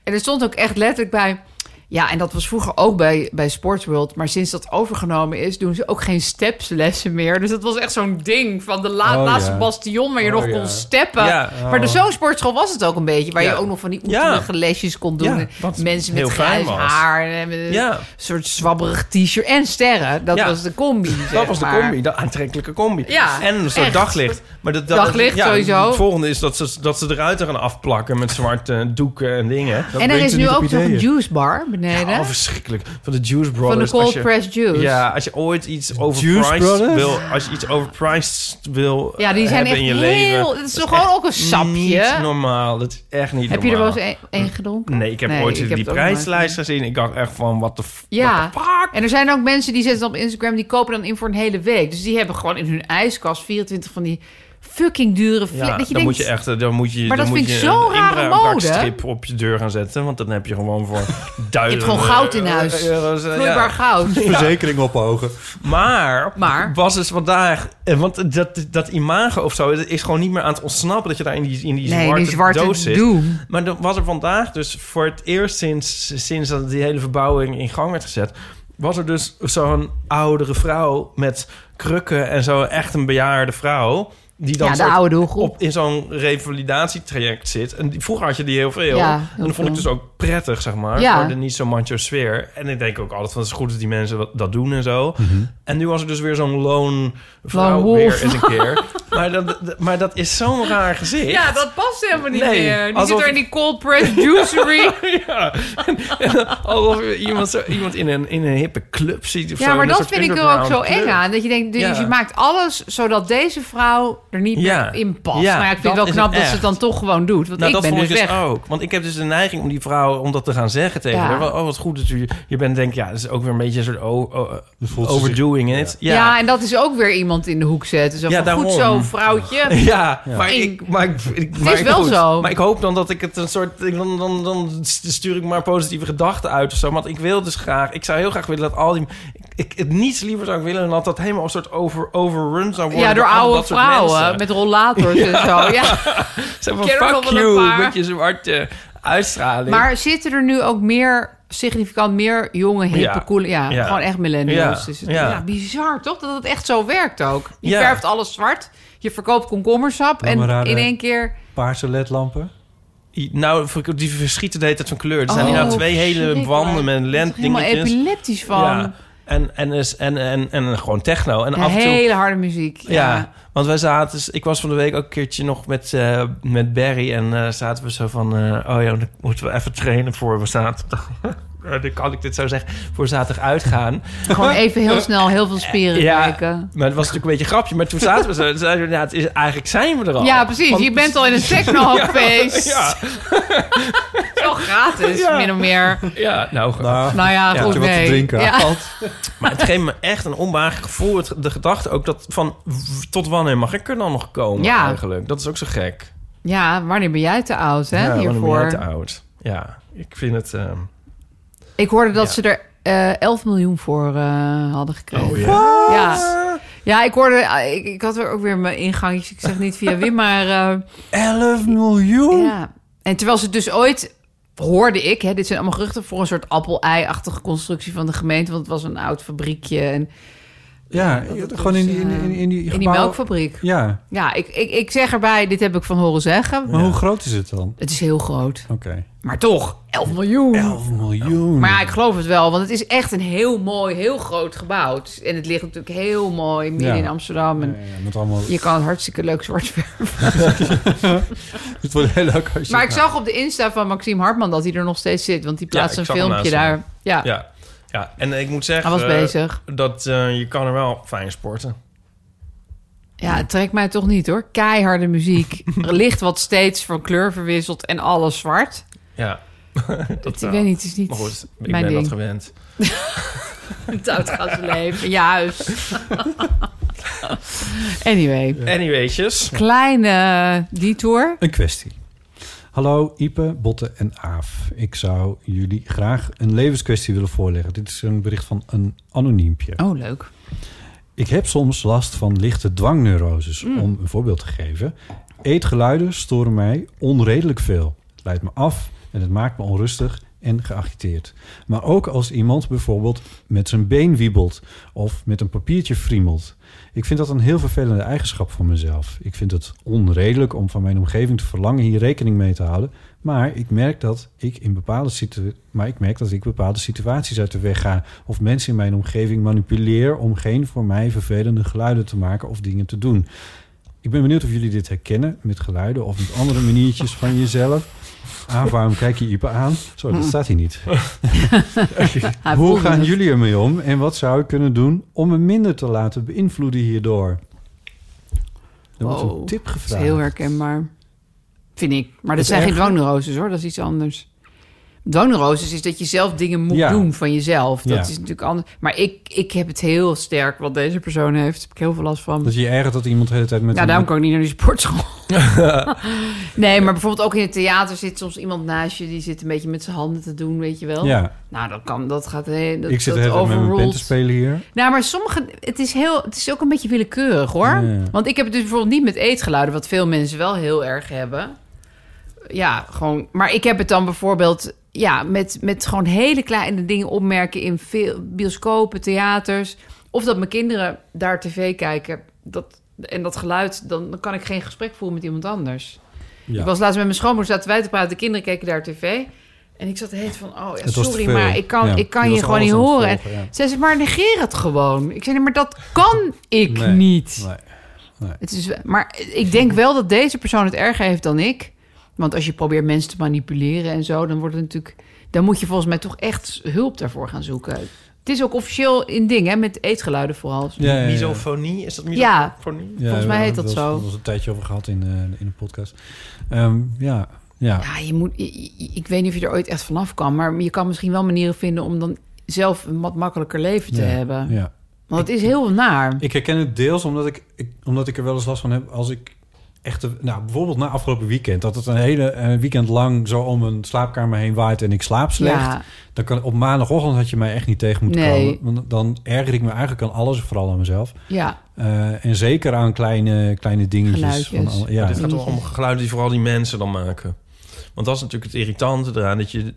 Speaker 3: En er stond ook echt letterlijk bij... Ja, en dat was vroeger ook bij, bij Sports World. Maar sinds dat overgenomen is, doen ze ook geen stepslessen meer. Dus dat was echt zo'n ding van de la-
Speaker 4: Oh,
Speaker 3: laatste
Speaker 4: ja.
Speaker 3: bastion waar je
Speaker 4: Oh,
Speaker 3: nog
Speaker 4: ja.
Speaker 3: kon steppen.
Speaker 2: Ja. Oh.
Speaker 3: Maar de zo'n sportschool was het ook een beetje. Waar
Speaker 2: Ja.
Speaker 3: je ook nog van die
Speaker 2: Ja.
Speaker 3: oefenige lesjes kon doen.
Speaker 2: Ja,
Speaker 3: En
Speaker 2: wat
Speaker 3: Mensen
Speaker 2: heel
Speaker 3: met
Speaker 2: fijn
Speaker 3: grijs
Speaker 2: was.
Speaker 3: haar. En, eh,
Speaker 2: Ja.
Speaker 3: een soort zwabberig t-shirt en sterren. Dat
Speaker 2: Ja.
Speaker 3: was de combi.
Speaker 2: Dat
Speaker 3: zeg
Speaker 2: was de
Speaker 3: maar.
Speaker 2: combi, de aantrekkelijke combi.
Speaker 3: Ja,
Speaker 2: en een soort
Speaker 3: echt.
Speaker 2: daglicht. Maar dat,
Speaker 3: Daglicht sowieso.
Speaker 2: Het volgende is dat ze, dat ze de ruiten gaan afplakken met zwarte doeken en dingen.
Speaker 3: En er
Speaker 4: brengt
Speaker 3: is
Speaker 4: ze
Speaker 3: nu
Speaker 4: niet op
Speaker 3: ook nog een
Speaker 4: ideeën.
Speaker 3: juice bar beneden.
Speaker 2: Oh, verschrikkelijk. Van de Juice
Speaker 3: van de
Speaker 2: Brothers.
Speaker 3: cold
Speaker 2: als je-
Speaker 3: press juice.
Speaker 2: Ja, als je ooit iets
Speaker 4: Brothers?
Speaker 2: overpriced wil... Als je iets overpriced wil
Speaker 3: Ja, die zijn
Speaker 2: hebben
Speaker 3: echt
Speaker 2: in je
Speaker 3: heel...
Speaker 2: leven...
Speaker 3: Het is toch gewoon ook een sapje?
Speaker 2: Niet normaal. Dat is echt niet
Speaker 3: Heb je er
Speaker 2: normaal.
Speaker 3: wel eens een, een gedronken?
Speaker 2: Nee, ik heb
Speaker 3: Nee,
Speaker 2: ooit
Speaker 3: ik heb
Speaker 2: die
Speaker 3: het ook nog nooit
Speaker 2: prijslijst gezien. Ik dacht echt van, wat de
Speaker 3: Ja. En er zijn ook mensen die zetten dan op Instagram... die kopen dan in voor een hele week. Dus die hebben gewoon in hun ijskast 24 van die fucking dure fle-
Speaker 2: Ja,
Speaker 3: dat je
Speaker 2: dan
Speaker 3: denkt,
Speaker 2: moet je echt, eh, dan moet je,
Speaker 3: Maar
Speaker 2: dan
Speaker 3: dat
Speaker 2: moet
Speaker 3: vind
Speaker 2: je
Speaker 3: ik zo'n
Speaker 2: een
Speaker 3: rare
Speaker 2: inbraakstrip
Speaker 3: mode.
Speaker 2: op je deur gaan zetten, want dan heb je gewoon voor duizenden...
Speaker 3: gewoon goud in huis.
Speaker 2: euro's, eh, ja.
Speaker 3: vloeibaar goud.
Speaker 4: Verzekering ophogen.
Speaker 2: Maar,
Speaker 3: Maar?
Speaker 2: was dus vandaag, eh, want dat, dat imago of zo dat is gewoon niet meer aan het ontsnappen dat je daar in die, in die,
Speaker 3: Nee,
Speaker 2: zwarte,
Speaker 3: die zwarte
Speaker 2: doos zit.
Speaker 3: doem.
Speaker 2: Maar dan was er vandaag dus voor het eerst sinds, sinds dat die hele verbouwing in gang werd gezet... was er dus zo'n oudere vrouw met krukken en zo echt een bejaarde vrouw... die dan
Speaker 3: Ja, de
Speaker 2: soort
Speaker 3: oude doelgroep.
Speaker 2: op, in zo'n revalidatietraject zit. En die, vroeger had je die heel veel.
Speaker 3: Ja, heel
Speaker 2: en dat vond ik
Speaker 3: veel.
Speaker 2: dus ook prettig, zeg maar.
Speaker 3: Ja.
Speaker 2: Voor de niet zo macho sfeer. En ik denk ook altijd van het is goed dat die mensen wat- dat doen en zo. En nu was er dus weer zo'n loon vrouw
Speaker 3: Lone wolf.
Speaker 2: weer eens een keer. maar, dat, dat- maar dat is zo'n raar gezicht.
Speaker 3: Ja, dat past helemaal niet
Speaker 2: Nee,
Speaker 3: meer. Die
Speaker 2: alsof-
Speaker 3: zit er in die cold press juicery.
Speaker 2: Ja, alsof je iemand, zo, iemand in, een, in een hippe club ziet. Of
Speaker 3: ja,
Speaker 2: zo,
Speaker 3: maar
Speaker 2: in een
Speaker 3: dat
Speaker 2: soort
Speaker 3: vind ik er ook
Speaker 2: underground
Speaker 3: zo
Speaker 2: club.
Speaker 3: eng aan. Dat je denkt, dus
Speaker 2: Ja.
Speaker 3: je maakt alles zodat deze vrouw er niet
Speaker 2: Ja.
Speaker 3: meer in past.
Speaker 2: Ja,
Speaker 3: maar ja, ik vind
Speaker 2: dat
Speaker 3: het wel
Speaker 2: is
Speaker 3: knap
Speaker 2: het
Speaker 3: dat ze het
Speaker 2: echt.
Speaker 3: dan toch gewoon doet. Want
Speaker 2: Nou,
Speaker 3: ik
Speaker 2: dat
Speaker 3: ben
Speaker 2: vond
Speaker 3: dus
Speaker 2: ik dus
Speaker 3: weg.
Speaker 2: ook. Want ik heb dus de neiging om die vrouw om dat te gaan zeggen tegen
Speaker 3: Ja.
Speaker 2: haar. Wel, Oh, wat goed dat u... Je bent denk ik, ja, dat is ook weer een beetje een soort o- o-
Speaker 4: Dan voelt ze zich-
Speaker 2: overdoing it.
Speaker 3: Ja. en dat is ook weer iemand in de hoek zetten. Zo
Speaker 2: Ja,
Speaker 3: van, goed
Speaker 2: daarom.
Speaker 3: zo, vrouwtje.
Speaker 2: Ja, maar
Speaker 3: Eng.
Speaker 2: ik, maar ik, ik- maar
Speaker 3: is
Speaker 2: ik-
Speaker 3: wel
Speaker 2: goed.
Speaker 3: zo.
Speaker 2: Maar ik hoop dan dat ik het een soort. ik- Dan, dan, dan stuur ik maar positieve gedachten uit of zo. Want ik wil dus graag. Ik zou heel graag willen dat al die. Ik, ik, het niets liever zou ik willen dan dat dat helemaal een soort over, overrun zou worden.
Speaker 3: Ja, door
Speaker 2: allemaal
Speaker 3: oude
Speaker 2: dat soort mensen.
Speaker 3: vrouwen met rollators en zo. Ja.
Speaker 2: Zeg maar,
Speaker 3: Ik ken er
Speaker 2: fuck
Speaker 3: nog wel een
Speaker 2: you
Speaker 3: paar.
Speaker 2: met je zwarte uitstraling.
Speaker 3: Maar zitten er nu ook meer, significant meer jonge, hippe,
Speaker 2: Ja.
Speaker 3: coole... Ja,
Speaker 2: Ja.
Speaker 3: gewoon echt millennials.
Speaker 2: Ja.
Speaker 3: Dus het-
Speaker 2: Ja.
Speaker 3: ja. bizar toch? Dat het echt zo werkt ook. Je
Speaker 2: Ja.
Speaker 3: verft alles zwart, je verkoopt komkommersap...
Speaker 4: Laat me
Speaker 3: en
Speaker 4: raden.
Speaker 3: in één keer...
Speaker 4: Paarse ledlampen.
Speaker 2: nou, die verschieten de hele tijd van kleur. Er zijn
Speaker 3: Oh,
Speaker 2: hier nou twee hele
Speaker 3: verschrikkelijk.
Speaker 2: wanden met
Speaker 3: Ik word er
Speaker 2: lent
Speaker 3: helemaal
Speaker 2: dingetjes.
Speaker 3: epileptisch van.
Speaker 2: Ja. En, en, is- en, en, en gewoon techno. En
Speaker 3: Ja,
Speaker 2: af en toe
Speaker 3: hele harde muziek. Ja.
Speaker 2: Ja, want wij zaten... dus- Ik was van de week ook een keertje nog met, eh, met Barry... en eh, zaten we zo van... eh, oh ja, dan moeten we even trainen voor we zaterdag... Eh, dan kan ik dit zo zeggen, voor zaterdag uitgaan.
Speaker 3: Gewoon even heel snel heel veel spieren
Speaker 2: Ja.
Speaker 3: kijken.
Speaker 2: Maar het was natuurlijk een beetje een grapje. Maar toen zaten we zo, toen zeiden we, nou, het is, eigenlijk zijn we er al.
Speaker 3: Ja, precies.
Speaker 2: Want-
Speaker 3: Je bent al in een technofeest.
Speaker 2: Oh. Ja,
Speaker 3: Wel gratis,
Speaker 2: Ja.
Speaker 3: min of meer.
Speaker 2: ja, nou,
Speaker 4: Nou,
Speaker 3: Nou ja,
Speaker 2: Ja.
Speaker 3: goed,
Speaker 4: Heb je wat te
Speaker 3: nee.
Speaker 4: drinken?
Speaker 3: Ja.
Speaker 2: Maar het geeft me echt een onbehaaglijk gevoel. Het, de gedachte ook dat van... w- tot wanneer mag ik er dan nog komen
Speaker 3: Ja.
Speaker 2: eigenlijk? Dat is ook zo gek.
Speaker 3: Ja, wanneer ben jij te oud, hè,
Speaker 2: ja, wanneer ben
Speaker 3: hiervoor?
Speaker 2: jij te oud? Ja, ik vind het... ehm,
Speaker 3: Ik hoorde dat
Speaker 2: Ja.
Speaker 3: ze er eh 11 miljoen voor eh, hadden gekregen.
Speaker 2: oh ja.
Speaker 4: Nou.
Speaker 3: ja. ja, ik hoorde... ah, ik, ik had er ook weer mijn ingangjes. Ik zeg niet via Wim, maar... eh,
Speaker 4: 11 miljoen?
Speaker 3: Ja. En terwijl ze dus ooit hoorde ik, hè, dit zijn allemaal geruchten voor een soort appel-ei-achtige constructie van de gemeente, want het was een oud fabriekje en
Speaker 4: Ja,
Speaker 3: dat
Speaker 4: gewoon in,
Speaker 3: is, eh,
Speaker 4: die- in, in, in die
Speaker 3: in die
Speaker 4: gebouwen-
Speaker 3: melkfabriek.
Speaker 4: Ja,
Speaker 3: Ja, ik, ik, ik zeg erbij, dit heb ik van horen zeggen.
Speaker 4: maar hoe groot is het dan?
Speaker 3: Het is heel groot,
Speaker 4: Oké.
Speaker 3: maar toch 11 miljoen.
Speaker 4: 11 miljoen.
Speaker 3: Maar ja, ik geloof het wel, want het is echt een heel mooi, heel groot gebouw. Het is- En het ligt natuurlijk heel mooi midden
Speaker 4: Ja.
Speaker 3: in Amsterdam. En
Speaker 4: Ja, ja, met allemaal...
Speaker 3: je kan hartstikke leuk zwart verven.
Speaker 4: Het wordt heel leuk als je...
Speaker 3: Maar ik zag op de Insta van Maxime Hartman dat hij er nog steeds zit, want die
Speaker 2: Ja,
Speaker 3: plaatst
Speaker 2: ik
Speaker 3: een
Speaker 2: zag hem
Speaker 3: filmpje
Speaker 2: laatst
Speaker 3: daar. Ja,
Speaker 2: Ja. ja, en ik moet zeggen...
Speaker 3: hij was
Speaker 2: eh,
Speaker 3: bezig.
Speaker 2: Dat eh, je kan er wel fijn sporten.
Speaker 3: Ja, het trekt mij toch niet hoor. Keiharde muziek. Licht wat steeds van kleur verwisselt en alles zwart.
Speaker 2: Ja. dat eh,
Speaker 3: ik
Speaker 2: wel.
Speaker 3: weet niet, het is niet
Speaker 2: Maar goed, ik
Speaker 3: mijn
Speaker 2: ben
Speaker 3: ding.
Speaker 2: dat gewend.
Speaker 3: het oudgaanse leven. Juist. anyway,
Speaker 2: Anywaytjes.
Speaker 3: kleine detour.
Speaker 4: Een kwestie. Hallo Ipe, Botte en Aaf. Ik zou jullie graag een levenskwestie willen voorleggen. Dit is een bericht van een anoniempje.
Speaker 3: Oh, leuk.
Speaker 4: Ik heb soms last van lichte dwangneuroses. Om een voorbeeld te geven. Eetgeluiden storen mij onredelijk veel. Het leidt me af en het maakt me onrustig en geagiteerd. Maar ook als iemand bijvoorbeeld met zijn been wiebelt of met een papiertje friemelt. Ik vind dat een heel vervelende eigenschap van mezelf. Ik vind het onredelijk om van mijn omgeving te verlangen hier rekening mee te houden. Maar ik merk dat ik in bepaalde, situ maar ik merk dat ik bepaalde situaties uit de weg ga. Of mensen in mijn omgeving manipuleer om geen voor mij vervelende geluiden te maken of dingen te doen. Ik ben benieuwd of jullie dit herkennen met geluiden of met andere maniertjes van jezelf. Ah, waarom kijk je Ipe aan? Zo, dat staat hier niet.
Speaker 3: Hij
Speaker 4: Hoe
Speaker 3: voelde
Speaker 4: gaan
Speaker 3: Hm. het.
Speaker 4: jullie ermee om en wat zou ik kunnen doen om me minder te laten beïnvloeden hierdoor? Er wordt
Speaker 3: Wow,
Speaker 4: een tip
Speaker 3: Dat is
Speaker 4: gevraagd.
Speaker 3: heel herkenbaar. Vind ik. Maar dat
Speaker 4: Is
Speaker 3: zijn geen
Speaker 4: erger?
Speaker 3: dwangneuroses hoor, dat is iets anders. dwangneuroses is dat je zelf dingen moet
Speaker 4: Ja.
Speaker 3: doen van jezelf. Dat
Speaker 4: Ja.
Speaker 3: is natuurlijk anders. Maar ik, ik heb het heel sterk, wat deze persoon heeft. Daar heb ik heel veel last van.
Speaker 4: Dat je je ergert dat iemand de hele tijd met...
Speaker 3: Nou,
Speaker 4: een-
Speaker 3: daarom kan ik niet naar die sportschool. nee, maar bijvoorbeeld ook in het theater zit soms iemand naast je... die zit een beetje met zijn handen te doen, weet je wel.
Speaker 4: Ja,
Speaker 3: Nou, dat kan, dat gaat... Heen, dat,
Speaker 4: ik zit de
Speaker 3: dat
Speaker 4: hele tijd met mijn band
Speaker 3: overruled.
Speaker 4: te spelen hier.
Speaker 3: Nou, maar sommige... Het is, heel, het is ook een beetje willekeurig, hoor.
Speaker 4: Ja.
Speaker 3: Want ik heb het dus bijvoorbeeld niet met eetgeluiden... wat veel mensen wel heel erg hebben. Ja, gewoon... Maar ik heb het dan bijvoorbeeld... Ja, met, met gewoon hele kleine dingen opmerken... in veel, bioscopen, theaters. Of dat mijn kinderen daar tv kijken... Dat, en dat geluid... Dan, dan kan ik geen gesprek voeren met iemand anders.
Speaker 4: Ja.
Speaker 3: Ik was laatst met mijn schoonmoeder... zaten wij te praten, de kinderen keken daar tv... En ik zat de hele tijd van, oh ja,
Speaker 4: Het was te
Speaker 3: sorry,
Speaker 4: veel.
Speaker 3: maar ik kan,
Speaker 4: Ja,
Speaker 3: ik kan
Speaker 4: die
Speaker 3: je
Speaker 4: was
Speaker 3: gewoon
Speaker 4: alles
Speaker 3: niet
Speaker 4: aan het
Speaker 3: horen. En-
Speaker 4: volgen, ja.
Speaker 3: zij zegt, maar negeer het gewoon. Ik zei, nee, maar dat kan ik
Speaker 4: Nee,
Speaker 3: niet.
Speaker 4: Nee.
Speaker 3: Het is, maar ik denk wel dat deze persoon het erger heeft dan ik. Want als je probeert mensen te manipuleren en zo, dan wordt het natuurlijk... Dan moet je volgens mij toch echt hulp daarvoor gaan zoeken. Het is ook officieel in ding, hè, met eetgeluiden vooral.
Speaker 4: Ja,
Speaker 2: Eh,
Speaker 4: ja, ja.
Speaker 2: Misofonie, is dat
Speaker 3: Ja.
Speaker 2: misofonie?
Speaker 4: Ja,
Speaker 3: Volgens mij
Speaker 4: we
Speaker 3: heet
Speaker 4: hebben
Speaker 3: dat
Speaker 4: er wel eens-
Speaker 3: zo.
Speaker 4: Er was een tijdje over gehad in, eh, in de podcast. Ehm, ja, ja.
Speaker 3: Ja, je moet, je- je- ik weet niet of je er ooit echt vanaf kan... maar je kan misschien wel manieren vinden om dan zelf een wat makkelijker leven te
Speaker 4: Ja,
Speaker 3: hebben.
Speaker 4: ja.
Speaker 3: Want het is heel naar.
Speaker 4: Ik herken het deels omdat ik, ik, omdat ik er wel eens last van heb als ik echt... te- Nou, bijvoorbeeld na afgelopen weekend. Dat het een hele eh, weekend lang zo om een slaapkamer heen waait en ik slaap slecht.
Speaker 3: Ja,
Speaker 4: Dan kan, op maandagochtend had je mij echt niet tegen moeten
Speaker 3: Nee.
Speaker 4: komen. Want dan erger ik me eigenlijk aan alles, vooral aan mezelf.
Speaker 3: ja,
Speaker 4: Eh, en zeker aan kleine, kleine dingetjes.
Speaker 3: Geluidjes.
Speaker 4: al- ja.
Speaker 2: Maar dit gaat toch om geluiden die vooral die mensen dan maken. Want dat is natuurlijk het irritante eraan. Dat je,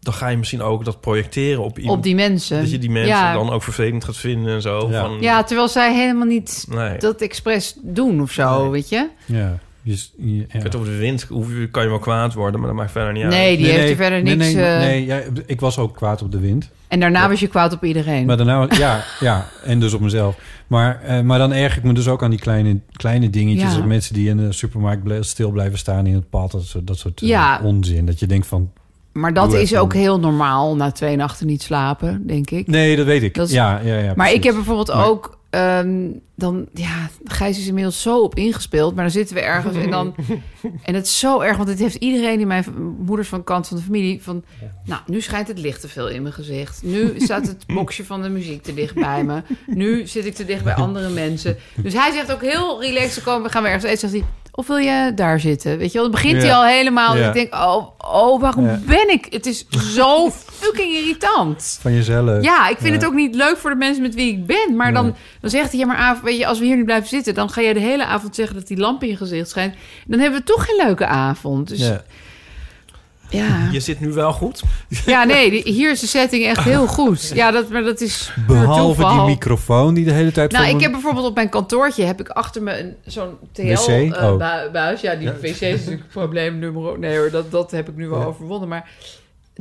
Speaker 2: dan ga je misschien ook dat projecteren op iemand.
Speaker 3: op die mensen.
Speaker 2: dat je die mensen
Speaker 3: Ja.
Speaker 2: dan ook vervelend gaat vinden en zo.
Speaker 4: Ja.
Speaker 2: Van,
Speaker 3: Ja, terwijl zij helemaal niet
Speaker 2: nee.
Speaker 3: dat expres doen of zo,
Speaker 2: Nee.
Speaker 3: weet je?
Speaker 4: ja. Je- je- ja.
Speaker 2: Ik weet over de wind hoe, kan je wel kwaad worden, maar dat maakt verder niet uit.
Speaker 3: nee, die
Speaker 4: Nee,
Speaker 3: heeft
Speaker 4: nee,
Speaker 3: er verder
Speaker 4: nee,
Speaker 3: niks.
Speaker 4: Nee,
Speaker 3: eh,
Speaker 4: nee ja, ik was ook kwaad op de wind.
Speaker 3: En daarna was je kwaad op iedereen.
Speaker 4: Maar daarna, ja, ja, en dus op mezelf. Maar, eh, maar dan erg ik me dus ook aan die kleine, kleine dingetjes.
Speaker 3: Ja.
Speaker 4: Dat Mensen die in de supermarkt ble- stil blijven staan in het pad. Dat soort, dat soort eh,
Speaker 3: Ja.
Speaker 4: onzin. Dat je denkt van,
Speaker 3: maar dat
Speaker 4: doe
Speaker 3: is
Speaker 4: even-
Speaker 3: ook heel normaal na twee nachten niet slapen, denk ik.
Speaker 4: nee, dat weet ik.
Speaker 3: Dat is-
Speaker 4: ja, ja, ja,
Speaker 3: maar ik
Speaker 4: precies.
Speaker 3: heb bijvoorbeeld
Speaker 4: Maar-
Speaker 3: ook. ehm, dan, ja, Gijs is inmiddels zo op ingespeeld, maar dan zitten we ergens en dan. En het is zo erg, want het heeft iedereen in mijn v- moeders van kant van de familie. Van, nou, nu schijnt het licht te veel in mijn gezicht. Nu staat het boxje van de muziek te dicht bij me. Nu zit ik te dicht bij andere mensen. Dus hij zegt ook heel relaxed, dan komen we gaan we ergens eten. Zegt hij, of wil je daar zitten? Weet je wel, dan begint hij
Speaker 4: Ja.
Speaker 3: al helemaal.
Speaker 4: Ja.
Speaker 3: Ik denk, oh, oh waarom
Speaker 4: Ja.
Speaker 3: ben ik? Het is zo fucking irritant.
Speaker 4: Van jezelf.
Speaker 3: Ja, ik vind
Speaker 4: Eh, Ja.
Speaker 3: het ook niet leuk voor de mensen met wie ik ben. Maar dan, dan zegt hij, ja maar Aaf, weet je, als we hier nu blijven zitten... dan ga jij de hele avond zeggen dat die lamp in je gezicht schijnt. Dan hebben we toch geen leuke avond. Dus ja,
Speaker 4: Ja.
Speaker 3: ja.
Speaker 2: Je zit nu wel goed.
Speaker 3: nee, die- hier is de setting echt heel goed. Ja, dat, maar dat is puur
Speaker 4: Behalve die
Speaker 3: toeval.
Speaker 4: microfoon die de hele tijd...
Speaker 3: Nou,
Speaker 4: voor
Speaker 3: ik
Speaker 4: me-
Speaker 3: heb bijvoorbeeld op mijn kantoortje heb ik achter me een- zo'n
Speaker 4: Wc? Oh.
Speaker 3: TL-buis. Ja, die wc is natuurlijk probleem nummer... Nee hoor, dat, dat heb ik nu wel overwonnen. Maar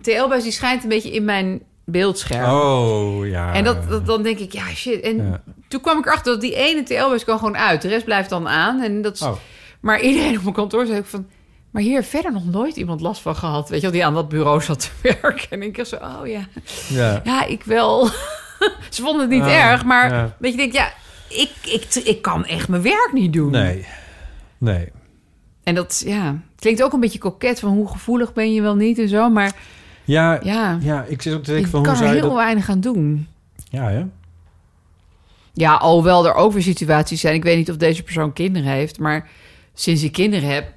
Speaker 3: TL-buis die schijnt een beetje in mijn beeldscherm.
Speaker 4: Oh, ja.
Speaker 3: En dat, dat, dan denk ik, ja shit. En
Speaker 4: Ja.
Speaker 3: toen kwam ik erachter dat die ene TL-bus kan gewoon uit. De rest blijft dan aan. En dat is,
Speaker 4: Oh.
Speaker 3: Maar iedereen op mijn kantoor zei ook van... Maar hier heeft verder nog nooit iemand last van gehad. Weet je wel, die aan dat bureau zat te werken. En ik dacht zo, oh ja.
Speaker 4: Ja.
Speaker 3: Ja, ik wel. Ze vonden het niet
Speaker 4: Ah,
Speaker 3: erg, maar
Speaker 4: ja.
Speaker 3: weet je, ik denk ja... Ik, ik, ik kan echt mijn werk niet doen.
Speaker 4: Nee. Nee.
Speaker 3: En dat, ja... Het klinkt ook een beetje koket van hoe gevoelig ben je wel niet en zo. Maar
Speaker 4: Ja, ja.
Speaker 3: ja,
Speaker 4: ik zit ook te
Speaker 3: ik
Speaker 4: denken van, hoe
Speaker 3: kan er
Speaker 4: zou je
Speaker 3: heel
Speaker 4: dat...
Speaker 3: weinig aan doen.
Speaker 4: Ja, hè?
Speaker 3: Ja, alhoewel er ook weer situaties zijn. Ik weet niet of deze persoon kinderen heeft, maar sinds ik kinderen heb,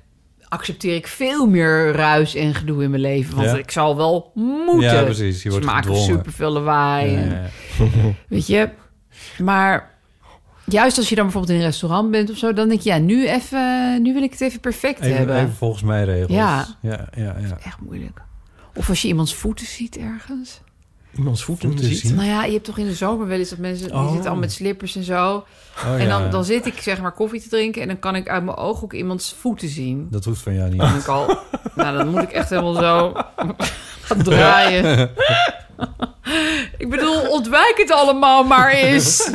Speaker 3: accepteer ik veel meer ruis en gedoe in mijn leven. Want
Speaker 4: Ja.
Speaker 3: ik zal wel moeten.
Speaker 4: Ja, precies. Je wordt
Speaker 3: Ze maken
Speaker 4: gedwongen.
Speaker 3: super veel lawaai. en-
Speaker 4: Ja.
Speaker 3: Weet je, maar juist als je dan bijvoorbeeld in een restaurant bent of zo, dan denk je, ja, nu even, nu wil ik het even perfect
Speaker 4: Even,
Speaker 3: hebben.
Speaker 4: even volgens mij regels.
Speaker 3: Ja.
Speaker 4: Ja, ja, ja.
Speaker 3: Echt moeilijk. Of als je iemands voeten ziet ergens.
Speaker 2: Iemands voeten
Speaker 4: Voeten
Speaker 2: ziet.
Speaker 4: zien.
Speaker 3: Nou ja, je hebt toch in de zomer wel eens dat mensen die
Speaker 4: Oh.
Speaker 3: zitten al met slippers en zo.
Speaker 4: Oh,
Speaker 3: En
Speaker 4: ja.
Speaker 3: dan, dan zit ik zeg maar koffie te drinken en dan kan ik uit mijn oog ook iemands voeten zien.
Speaker 4: Dat hoeft van jou niet.
Speaker 3: Dan denk ik al, nou dan moet ik echt helemaal zo gaan draaien. ik bedoel, ontwijk het allemaal maar eens.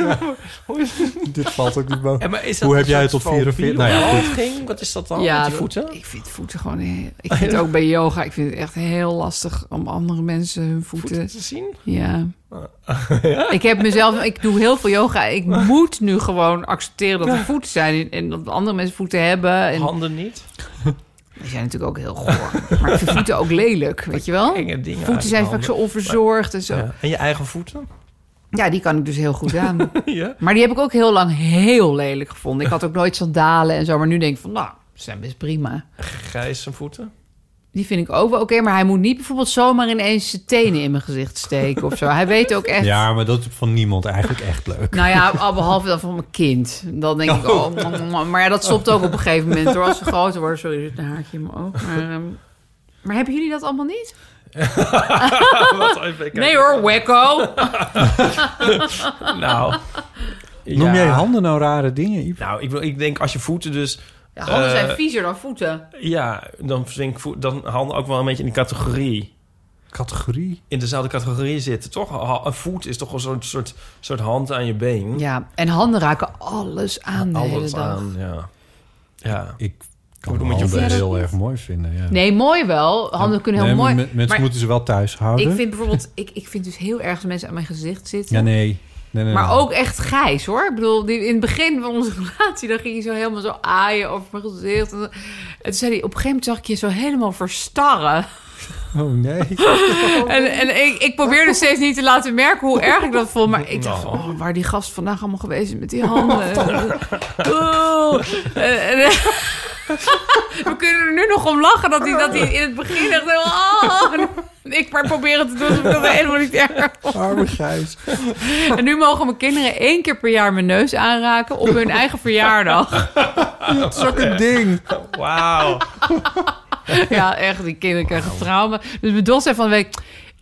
Speaker 4: Dit valt ook niet boven.
Speaker 2: En maar is dat
Speaker 4: Hoe
Speaker 2: een
Speaker 4: heb jij
Speaker 2: soort
Speaker 4: het tot 44?
Speaker 2: fobie
Speaker 4: Nou ja,
Speaker 2: of ging? Wat is dat dan? met die
Speaker 3: dat-
Speaker 2: voeten? Oh,
Speaker 3: ik vind voeten gewoon... heel- Ik vind het ook bij yoga, ik vind het echt heel lastig om andere mensen hun voeten...
Speaker 2: Voeten te zien? Oh,
Speaker 3: Ja. Ik heb mezelf, ik doe heel veel yoga. Ik
Speaker 2: Oh.
Speaker 3: moet nu
Speaker 4: Nou
Speaker 3: gewoon accepteren dat er voeten zijn en- en dat andere mensen voeten hebben. En
Speaker 2: Handen niet?
Speaker 3: Die zijn natuurlijk ook heel goor. maar ik vind voeten ook lelijk, weet je wel?
Speaker 2: Enge dingen uit
Speaker 3: Voeten
Speaker 2: de
Speaker 3: zijn vaak
Speaker 2: handen.
Speaker 3: zo onverzorgd en zo.
Speaker 2: Ja. En je eigen voeten?
Speaker 3: Ja, die kan ik dus heel goed aan.
Speaker 2: ja.
Speaker 3: Maar die heb ik ook heel lang heel lelijk gevonden. Ik had ook nooit sandalen en zo. Maar nu denk ik van, nou, ze zijn best prima.
Speaker 2: Grijze voeten?
Speaker 3: Die vind ik ook wel oké. maar hij moet niet bijvoorbeeld zomaar ineens zijn tenen in mijn gezicht steken of zo. Hij weet ook echt...
Speaker 4: Ja, maar dat is van niemand eigenlijk echt leuk.
Speaker 3: Nou ja, al behalve dan van mijn kind. Dan denk ik, oh, mm, mm, maar ja, dat stopt ook op een gegeven moment. Hoor. Als ze groter worden, sorry, er zit een haartje in mijn oog. Maar, ehm, maar hebben jullie dat allemaal niet?
Speaker 2: Wat even kijken.
Speaker 3: Nee hoor, wekko.
Speaker 2: Nou.
Speaker 4: Noem
Speaker 2: ja.
Speaker 4: jij handen nou rare dingen, Iep?
Speaker 2: Nou, ik, wil- ik denk als je voeten dus...
Speaker 3: Ja, handen zijn
Speaker 2: Eh,
Speaker 3: viezer dan voeten.
Speaker 2: Ja, dan vind ik voet- dan handen ook wel een beetje in die categorie.
Speaker 4: Categorie?
Speaker 2: In dezelfde categorie zitten, toch? Ha- Een voet is toch wel zo'n soort, soort hand aan je been.
Speaker 3: Ja, en handen raken alles aan de hele
Speaker 2: Alles
Speaker 3: dag.
Speaker 2: aan, ja. Ja.
Speaker 4: Ik
Speaker 2: Ik
Speaker 4: kan
Speaker 2: bedoel, met je
Speaker 4: handen
Speaker 2: voeten.
Speaker 4: heel erg mooi vinden, ja.
Speaker 3: Nee, mooi wel. Handen kunnen heel
Speaker 4: Nee, maar
Speaker 3: mooi.
Speaker 4: men- Mensen
Speaker 3: maar
Speaker 4: moeten ze wel thuis houden.
Speaker 3: ik vind bijvoorbeeld, ik, ik vind dus heel erg dat mensen aan mijn gezicht zitten.
Speaker 4: Ja, nee. nee, nee, nee.
Speaker 3: Maar ook echt grijs hoor. Ik bedoel, die, in het begin van onze relatie, dan ging je zo helemaal zo aaien over mijn gezicht. En, toen zei hij, op een gegeven moment zag ik je zo helemaal verstarren.
Speaker 4: Oh, nee.
Speaker 3: En, en ik, ik probeerde steeds niet te laten merken hoe erg ik dat vond. Maar ik dacht,
Speaker 2: Nou.
Speaker 3: oh, waar die gast vandaag allemaal geweest is met die handen. Oeh. En- en- We kunnen er nu nog om lachen dat hij, dat hij in het begin echt... Oh, en ik maar proberen te doen alsof ik dat helemaal niet erg vond.
Speaker 4: Arme Gijs.
Speaker 3: En nu mogen mijn kinderen één keer per jaar mijn neus aanraken op hun eigen verjaardag.
Speaker 4: Dat is ook een ding.
Speaker 2: Wauw.
Speaker 3: Ja, echt, die kinderen krijgen trauma. Dus mijn dochter zei van de week...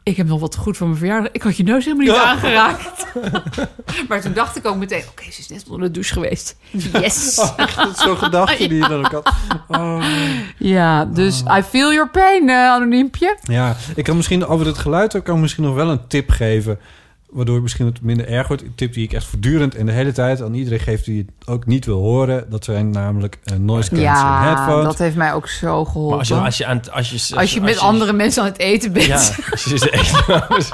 Speaker 3: Ik heb nog wat goed voor mijn verjaardag. Ik had je neus helemaal niet aangeraakt. maar toen dacht ik ook meteen... Oké, ze is net onder de douche geweest. Yes.
Speaker 4: Dat is zo'n gedachte die je dan ook had. Oh.
Speaker 3: Ja, dus
Speaker 2: Ah.
Speaker 3: I feel your pain, eh, anoniempje.
Speaker 4: Ja, ik kan misschien over het geluid ook kan ik misschien nog wel een tip geven. Waardoor het misschien het minder erg wordt. Een tip die ik echt voortdurend en de hele tijd aan iedereen geef die het ook niet wil horen. Dat zijn namelijk eh, noise cancelling headphones.
Speaker 3: heeft mij ook zo geholpen.
Speaker 2: Maar als je, als je, aan, het- als je,
Speaker 3: Als je met andere mensen aan het eten bent.
Speaker 2: Ja, als je ze echt... als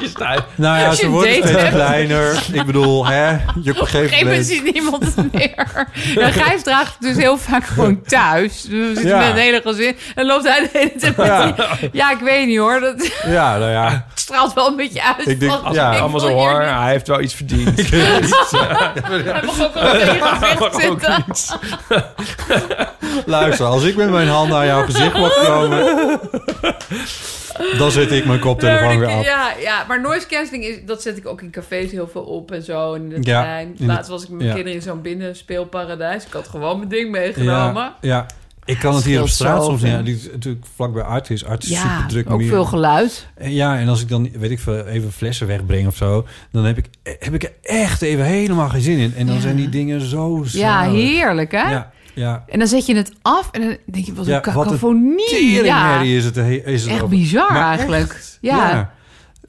Speaker 2: je staat-
Speaker 4: Nou ja,
Speaker 3: als je
Speaker 4: ze
Speaker 3: een
Speaker 4: worden
Speaker 3: date
Speaker 4: steeds
Speaker 3: hebt.
Speaker 4: kleiner. Ik bedoel, hè, je op een
Speaker 3: Op een
Speaker 4: gegeven
Speaker 3: gegeven moment
Speaker 4: moment...
Speaker 3: ziet niemand het meer. Ja, Gijs draagt het dus heel vaak gewoon thuis. Dus We zitten
Speaker 4: Ja.
Speaker 3: met een hele gezin. En loopt hij de hele tijd met
Speaker 4: Ja.
Speaker 3: die- Ja, ik weet niet hoor. Dat
Speaker 4: Ja, nou ja.
Speaker 3: straalt wel een beetje uit.
Speaker 4: Ik denk,
Speaker 3: van,
Speaker 4: ja,
Speaker 3: ik
Speaker 2: allemaal
Speaker 3: wil
Speaker 2: zo
Speaker 3: hier
Speaker 2: hoor,
Speaker 3: niet-
Speaker 2: hij heeft wel iets verdiend.
Speaker 3: Hij mag ook wel tegen je gezicht zitten.
Speaker 4: Luister, als ik met mijn hand aan jouw gezicht mag komen... dan zet ik mijn koptelefoon weer af.
Speaker 3: Ja, ja, maar noise cancelling, is, dat zet ik ook in cafés heel veel op en zo. En in de
Speaker 4: Ja,
Speaker 3: trein.
Speaker 4: in de-
Speaker 3: Laatst was ik met mijn
Speaker 4: ja.
Speaker 3: kinderen in zo'n binnenspeelparadijs. Ik had gewoon mijn ding meegenomen.
Speaker 4: Ja, ja. Ik kan het hier op
Speaker 3: Scheelt
Speaker 4: straat
Speaker 3: zo
Speaker 4: soms
Speaker 3: veel.
Speaker 4: niet. Ja, die is natuurlijk vlakbij Art is. Art is super druk.
Speaker 3: geluid.
Speaker 4: Ja, en als ik dan, weet ik veel, even flessen wegbreng of zo... dan heb ik, heb ik er echt even helemaal geen zin in. En dan
Speaker 3: Ja.
Speaker 4: zijn die dingen zo
Speaker 3: Ja,
Speaker 4: saai.
Speaker 3: heerlijk hè?
Speaker 4: Ja, ja.
Speaker 3: En dan zet je het af en dan denk je, wat een
Speaker 4: Ja, wat een
Speaker 3: cacophonie. Ja,
Speaker 4: Teringherrie is het, is het
Speaker 3: echt
Speaker 4: ook.
Speaker 3: bizar
Speaker 4: Maar
Speaker 3: eigenlijk.
Speaker 4: echt,
Speaker 3: ja.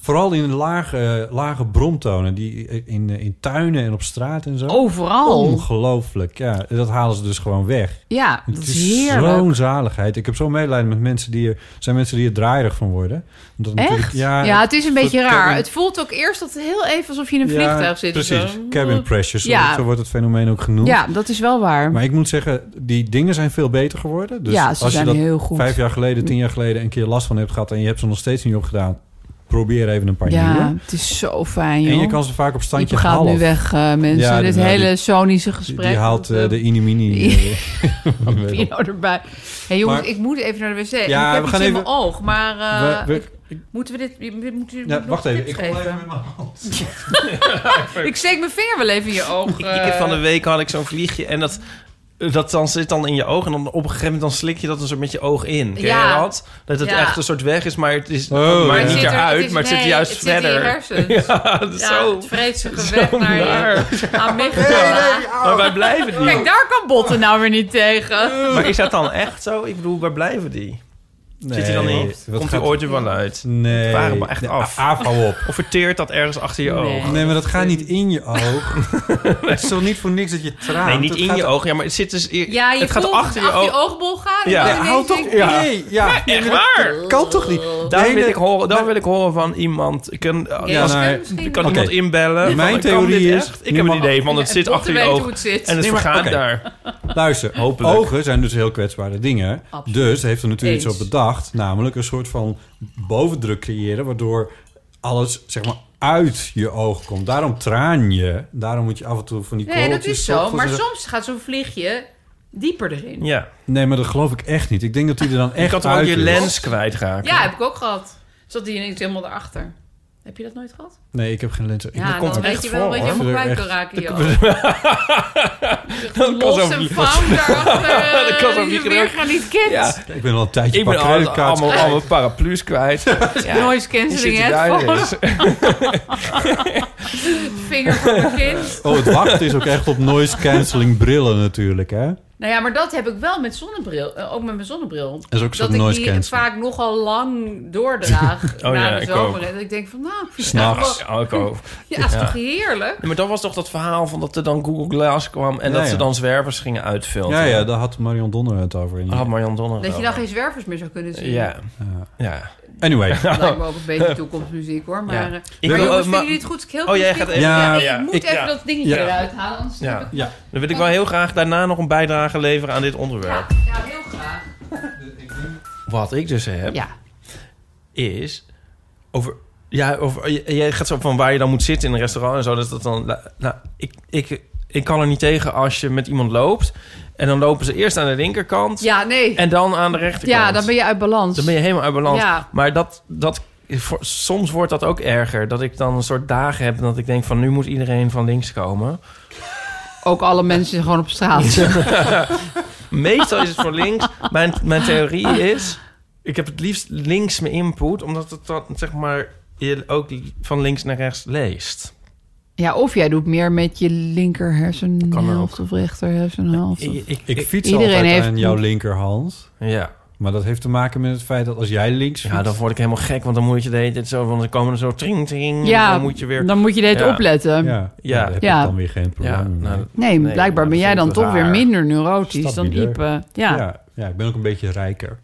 Speaker 4: Vooral in lage, lage bromtonen. Die in, in tuinen en op straat en zo.
Speaker 3: Oh, overal.
Speaker 4: Ongelooflijk, ja. Dat halen ze dus gewoon weg.
Speaker 3: Ja,
Speaker 4: Het
Speaker 3: dat is
Speaker 4: is
Speaker 3: heerlijk.
Speaker 4: zo'n zaligheid. Ik heb zo'n medelijden met mensen die er... zijn mensen die er draaierig van worden. Omdat het
Speaker 3: Echt?
Speaker 4: natuurlijk-
Speaker 3: Ja, het is een beetje
Speaker 4: soort
Speaker 3: raar.
Speaker 4: cabin-
Speaker 3: Het voelt ook eerst dat heel even alsof je in een
Speaker 4: Ja,
Speaker 3: vliegtuig zit. of
Speaker 4: Precies,
Speaker 3: zo.
Speaker 4: cabin pressure. Zo,
Speaker 3: Ja.
Speaker 4: zo wordt het fenomeen ook genoemd.
Speaker 3: Ja, dat is wel waar.
Speaker 4: Maar ik moet zeggen, die dingen zijn veel beter geworden. Dus
Speaker 3: ja, ze
Speaker 4: als
Speaker 3: zijn
Speaker 4: je dat
Speaker 3: heel goed.
Speaker 4: vijf jaar geleden, tien jaar geleden een keer last van hebt gehad... en je hebt ze nog steeds niet opgedaan, probeer even een paar nieuwe.
Speaker 3: ja, het is zo fijn, joh.
Speaker 4: En je kan ze vaak op
Speaker 3: Die
Speaker 4: standje
Speaker 3: gaat
Speaker 4: halen.
Speaker 3: nu weg, eh, mensen.
Speaker 4: Ja,
Speaker 3: Dit
Speaker 4: die-
Speaker 3: hele
Speaker 4: die-
Speaker 3: sonische
Speaker 4: Die,
Speaker 3: gesprek.
Speaker 4: die haalt eh,
Speaker 3: met,
Speaker 4: de
Speaker 3: Ja.
Speaker 4: inimini.
Speaker 3: eh,
Speaker 4: mini.
Speaker 3: Pino erbij. hey, jongens,
Speaker 4: Maar-
Speaker 3: ik moet even naar de wc. ik
Speaker 4: Ja,
Speaker 3: heb
Speaker 4: we
Speaker 3: iets
Speaker 4: gaan
Speaker 3: in
Speaker 4: even-
Speaker 3: mijn oog, maar eh,
Speaker 4: We- we-
Speaker 3: moeten we dit... Moeten,
Speaker 4: ja, wacht even, ik
Speaker 3: Ik,
Speaker 4: gooi even met mijn hand.
Speaker 3: ik steek mijn vinger wel even in je oog. eh,
Speaker 2: Ik, ik heb van de week had ik zo'n vliegje en dat, dat dan zit dan in je oog. En dan op een gegeven moment dan slik je dat een soort met je oog in. Ken
Speaker 3: Ja.
Speaker 2: je dat? Dat het
Speaker 3: Ja.
Speaker 2: echt een soort weg is, maar het is
Speaker 4: Oh,
Speaker 2: maar het
Speaker 4: ja. Het
Speaker 2: niet
Speaker 4: zit
Speaker 3: er-
Speaker 2: eruit,
Speaker 3: is-
Speaker 2: maar het zit
Speaker 3: nee,
Speaker 2: juist
Speaker 3: het zit in je
Speaker 2: verder.
Speaker 3: hersens.
Speaker 2: ja, dat is
Speaker 3: Ja,
Speaker 2: zo.
Speaker 3: het vreet zich
Speaker 2: zo
Speaker 3: weg naar je
Speaker 2: naar.
Speaker 3: amygdala.
Speaker 2: Maar wij blijven die.
Speaker 3: Kijk, daar kan Botten nou weer niet tegen.
Speaker 2: Maar is dat dan echt zo? Ik bedoel, waar blijven die? Zit die dan
Speaker 4: Nee,
Speaker 2: in?
Speaker 4: wat
Speaker 2: Komt die
Speaker 4: gaat-
Speaker 2: ooit er wel uit?
Speaker 4: Nee.
Speaker 2: Waren we echt
Speaker 4: Nee,
Speaker 2: af.
Speaker 4: a- af, hou op.
Speaker 2: Of verteert dat ergens achter je
Speaker 3: Nee.
Speaker 2: oog?
Speaker 4: Nee, maar dat gaat niet in je oog. Het is toch niet voor niks dat je traant?
Speaker 2: Nee, niet
Speaker 4: Het
Speaker 2: in
Speaker 4: gaat-
Speaker 2: je oog. Ja, maar het zit dus...
Speaker 3: Ja, je
Speaker 2: het gaat
Speaker 3: voelt
Speaker 2: achter je oog.
Speaker 3: oogbol gaan. en
Speaker 2: Ja.
Speaker 3: dan "Oh,
Speaker 4: Ja,
Speaker 3: ineens
Speaker 4: hou toch...
Speaker 3: denk-
Speaker 4: Nee, ja.
Speaker 2: Echt waar?
Speaker 4: Kan toch niet?
Speaker 3: wil.
Speaker 2: Daar
Speaker 4: Nee,
Speaker 2: wil
Speaker 4: nee.
Speaker 2: ik horen, daar wil ik horen van iemand. Ik kan,
Speaker 4: ja,
Speaker 3: Jezus,
Speaker 4: nou,
Speaker 3: misschien.
Speaker 2: kan
Speaker 4: Oké.
Speaker 2: iemand inbellen? Van,
Speaker 4: Mijn
Speaker 2: kan
Speaker 4: theorie
Speaker 2: dit
Speaker 4: is-
Speaker 2: echt? Ik heb een
Speaker 4: niemand-
Speaker 2: idee, want het
Speaker 3: Ja,
Speaker 2: zit
Speaker 3: botten
Speaker 2: achter je
Speaker 3: weten
Speaker 2: oog.
Speaker 3: hoe het zit.
Speaker 2: En het
Speaker 4: Nee, maar-
Speaker 2: vergaat
Speaker 4: oké.
Speaker 2: daar.
Speaker 4: Luister,
Speaker 2: Hopelijk.
Speaker 4: ogen zijn dus heel kwetsbare dingen.
Speaker 3: Absoluut.
Speaker 4: Dus heeft er natuurlijk
Speaker 3: Eens.
Speaker 4: iets op bedacht. Namelijk een soort van bovendruk creëren... waardoor alles zeg maar uit je oog komt. Daarom traan je. Daarom moet je af en toe van die
Speaker 3: Nee, dat
Speaker 4: korreltjes
Speaker 3: is zo.
Speaker 4: stoppen.
Speaker 3: Maar soms gaat zo'n vliegje dieper erin.
Speaker 2: Ja.
Speaker 4: Nee, maar dat geloof ik echt niet. Ik denk dat hij er dan
Speaker 2: Je
Speaker 4: echt
Speaker 2: kan toch ook
Speaker 4: uit
Speaker 2: je
Speaker 4: is.
Speaker 2: lens kwijtraken?
Speaker 3: Ja, heb ik ook gehad. Zat die ineens helemaal erachter. Heb je dat nooit gehad?
Speaker 4: Nee, ik heb geen lens. Ik-
Speaker 3: Ja,
Speaker 2: komt
Speaker 3: dan
Speaker 2: er
Speaker 3: weet
Speaker 2: echt
Speaker 3: je wel
Speaker 2: voor,
Speaker 3: dat je
Speaker 4: hoor.
Speaker 3: helemaal kwijt kan
Speaker 4: Echt.
Speaker 3: raken. joh.
Speaker 2: kan
Speaker 3: Los
Speaker 2: zo'n
Speaker 3: en
Speaker 2: vlieg-
Speaker 3: found daarachter.
Speaker 2: Dat kan zo'n
Speaker 3: die je
Speaker 2: vlieg
Speaker 3: weer
Speaker 2: ook.
Speaker 3: gaan niet kent.
Speaker 2: Ja,
Speaker 4: Ik ben al een tijdje
Speaker 2: ik ben
Speaker 4: pak
Speaker 2: al-
Speaker 4: creditcards
Speaker 2: allemaal, allemaal paraplu's kwijt. Ja,
Speaker 3: Noise
Speaker 2: die
Speaker 3: cancelling
Speaker 2: zitten daar
Speaker 3: headphones.
Speaker 2: ineens.
Speaker 3: Vinger voor mijn kind.
Speaker 4: Oh, het wachten is ook echt op noise cancelling brillen natuurlijk, hè?
Speaker 3: Nou ja, maar dat heb ik wel met zonnebril. eh, ook met mijn zonnebril.
Speaker 4: Dat is ook
Speaker 3: dat
Speaker 4: zo'n
Speaker 3: ik
Speaker 4: noise
Speaker 3: die
Speaker 4: cancelling.
Speaker 3: vaak nogal lang doordraag
Speaker 2: Oh
Speaker 3: na
Speaker 2: ja,
Speaker 3: de
Speaker 2: ik
Speaker 3: zomer.
Speaker 2: ook.
Speaker 3: En dat ik denk van, nou,
Speaker 4: S'nachts.
Speaker 2: Ja, ook al.
Speaker 3: ja, is
Speaker 2: Ja.
Speaker 3: toch heerlijk?
Speaker 2: Nee, maar dat was toch dat verhaal van dat er dan Google Glass kwam... en
Speaker 4: Ja,
Speaker 2: dat
Speaker 4: ja.
Speaker 2: ze dan zwervers gingen uitfilteren.
Speaker 4: Ja, ja, daar had Marion Donner het over. In.
Speaker 2: Daar had Marjan Donner het
Speaker 3: Dat je dan
Speaker 2: over.
Speaker 3: geen zwervers meer zou kunnen zien.
Speaker 2: Ja,
Speaker 4: Ja.
Speaker 2: ja.
Speaker 4: Anyway,
Speaker 3: Dat lijkt me ook een beetje toekomstmuziek hoor. Maar, eh,
Speaker 2: Ik
Speaker 3: maar
Speaker 2: wil-
Speaker 3: jongens,
Speaker 2: eh, maar-
Speaker 3: vinden jullie het goed? Ik heel
Speaker 2: Oh, jij
Speaker 3: veel
Speaker 2: gaat
Speaker 3: muziek-
Speaker 2: even-
Speaker 4: Ja,
Speaker 3: ik moet
Speaker 2: ik-
Speaker 3: even
Speaker 2: ja.
Speaker 3: dat dingetje
Speaker 4: Ja.
Speaker 3: eruit halen. Anders snap
Speaker 2: Ja.
Speaker 3: ik-
Speaker 4: ja.
Speaker 2: Dan wil ik wel heel graag daarna nog een bijdrage leveren aan dit onderwerp.
Speaker 3: ja, ja, heel graag.
Speaker 2: Wat ik dus heb,
Speaker 3: Ja.
Speaker 2: is over... Ja, over, j- jij gaat zo van waar je dan moet zitten in een restaurant en zo. Dat dat dan, nou, ik, ik, ik kan er niet tegen als je met iemand loopt... en dan lopen ze eerst aan de linkerkant...
Speaker 3: ja, nee.
Speaker 2: en dan aan de rechterkant.
Speaker 3: Ja, dan ben je uit balans.
Speaker 2: Dan ben je helemaal uit balans.
Speaker 3: Ja.
Speaker 2: Maar dat, dat, voor- soms wordt dat ook erger. Dat ik dan een soort dagen heb dat ik denk van... nu moet iedereen van links komen.
Speaker 3: Ook alle mensen gewoon op straat.
Speaker 2: Meestal is het voor links. Mijn, mijn theorie is... ik heb het liefst links mijn input... omdat het dan, zeg maar, je ook van links naar rechts leest.
Speaker 3: Ja, of jij doet meer met je linker hersenhelft of rechter hersenhelft.
Speaker 2: Ik, ik,
Speaker 4: Ik
Speaker 2: ik-
Speaker 4: fiets
Speaker 3: Iedereen
Speaker 4: altijd
Speaker 3: heeft-
Speaker 4: aan jouw linkerhand.
Speaker 2: ja.
Speaker 4: Maar dat heeft te maken met het feit dat als jij links
Speaker 2: ja, dan
Speaker 4: fietst-
Speaker 2: word ik helemaal gek... want dan moet je de hele tijd zo... want dan komen er zo tring, tring...
Speaker 3: Ja,
Speaker 2: en dan moet je weer...
Speaker 3: Dan moet je dit
Speaker 2: Ja.
Speaker 3: opletten.
Speaker 4: ja,
Speaker 2: Ja.
Speaker 4: dan heb
Speaker 3: Ja.
Speaker 4: ik dan weer geen probleem.
Speaker 2: ja,
Speaker 4: meer.
Speaker 2: nou, Nee,
Speaker 3: Nee, blijkbaar
Speaker 2: ja, dat
Speaker 3: ben jij
Speaker 2: vind
Speaker 3: dan
Speaker 2: ik wel
Speaker 3: toch weer
Speaker 2: raar.
Speaker 3: minder neurotisch dan
Speaker 4: Stabieler.
Speaker 3: Ipe. Ja.
Speaker 4: ja. ja, ik ben ook een beetje rijker.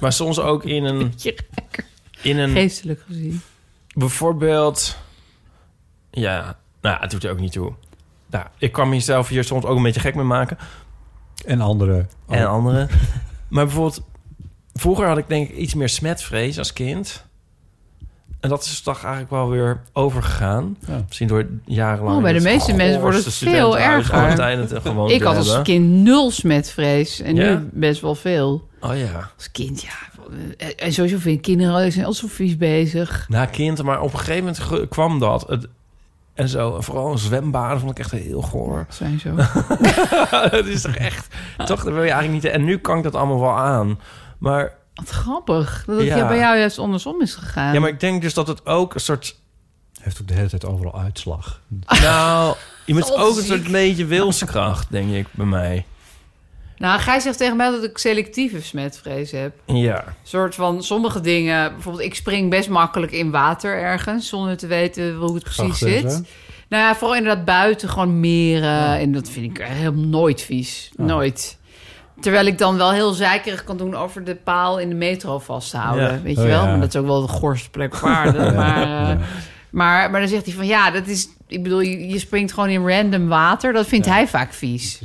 Speaker 2: maar soms ook in een...
Speaker 3: Beetje
Speaker 2: In een
Speaker 3: geestelijk gezien.
Speaker 2: Bijvoorbeeld, ja, nou, ja, het doet er ook niet toe. Nou, ik kan mezelf hier soms ook een beetje gek mee maken
Speaker 4: En andere. oh,
Speaker 2: en anderen. Oh. maar bijvoorbeeld, vroeger had ik denk ik iets meer smetvrees als kind. En dat is dus toch eigenlijk wel weer overgegaan.
Speaker 4: Ja.
Speaker 2: Misschien door jarenlang.
Speaker 3: Oh, bij de
Speaker 2: het
Speaker 3: meeste mensen wordt het
Speaker 2: goorste
Speaker 3: veel
Speaker 2: studentenhuis
Speaker 3: erger.
Speaker 2: altijd het gewoon
Speaker 3: Ik
Speaker 2: te
Speaker 3: had als
Speaker 2: hebben.
Speaker 3: kind nul smetvrees en
Speaker 2: Oh, Ja?
Speaker 3: nu best wel veel.
Speaker 2: Oh ja,
Speaker 3: Als kind, ja. En sowieso vind ik kinderen die zijn al zo vies bezig.
Speaker 2: na kind, maar op een gegeven moment ge- kwam dat. Het, en zo, en vooral een zwembaden vond ik echt heel goor.
Speaker 3: Zijn zo.
Speaker 2: dat is toch echt... Toch, dat wil je eigenlijk niet... En nu kan ik dat allemaal wel aan. Maar
Speaker 3: Wat grappig. Dat het
Speaker 2: Ja.
Speaker 3: ja. bij jou juist andersom is gegaan.
Speaker 2: Ja, maar ik denk dus dat het ook een soort...
Speaker 4: Heeft ook de hele tijd overal uitslag.
Speaker 2: Nou, je moet
Speaker 3: Zo
Speaker 2: ook een
Speaker 3: ziek.
Speaker 2: soort beetje wilskracht, denk ik, bij mij.
Speaker 3: Nou, Gij zegt tegen mij dat ik selectieve smetvrees heb.
Speaker 2: Ja.
Speaker 3: Een soort van sommige dingen. Bijvoorbeeld, ik spring best makkelijk in water ergens zonder te weten hoe het precies
Speaker 4: Grachtens,
Speaker 3: zit.
Speaker 4: hè?
Speaker 3: Nou ja, vooral inderdaad buiten, gewoon meren. En dat vind ik helemaal nooit vies. Nooit. Terwijl ik dan wel heel zeikerig kan doen over de paal in de metro vast te houden.
Speaker 2: Ja.
Speaker 3: Weet je
Speaker 4: Oh,
Speaker 3: wel?
Speaker 4: ja.
Speaker 3: Maar dat is ook wel de gorste plek op aarde. Maar, eh, maar, maar dan zegt hij van ja, dat is. Ik bedoel, je, je springt gewoon in random water. Dat vindt hij vaak vies.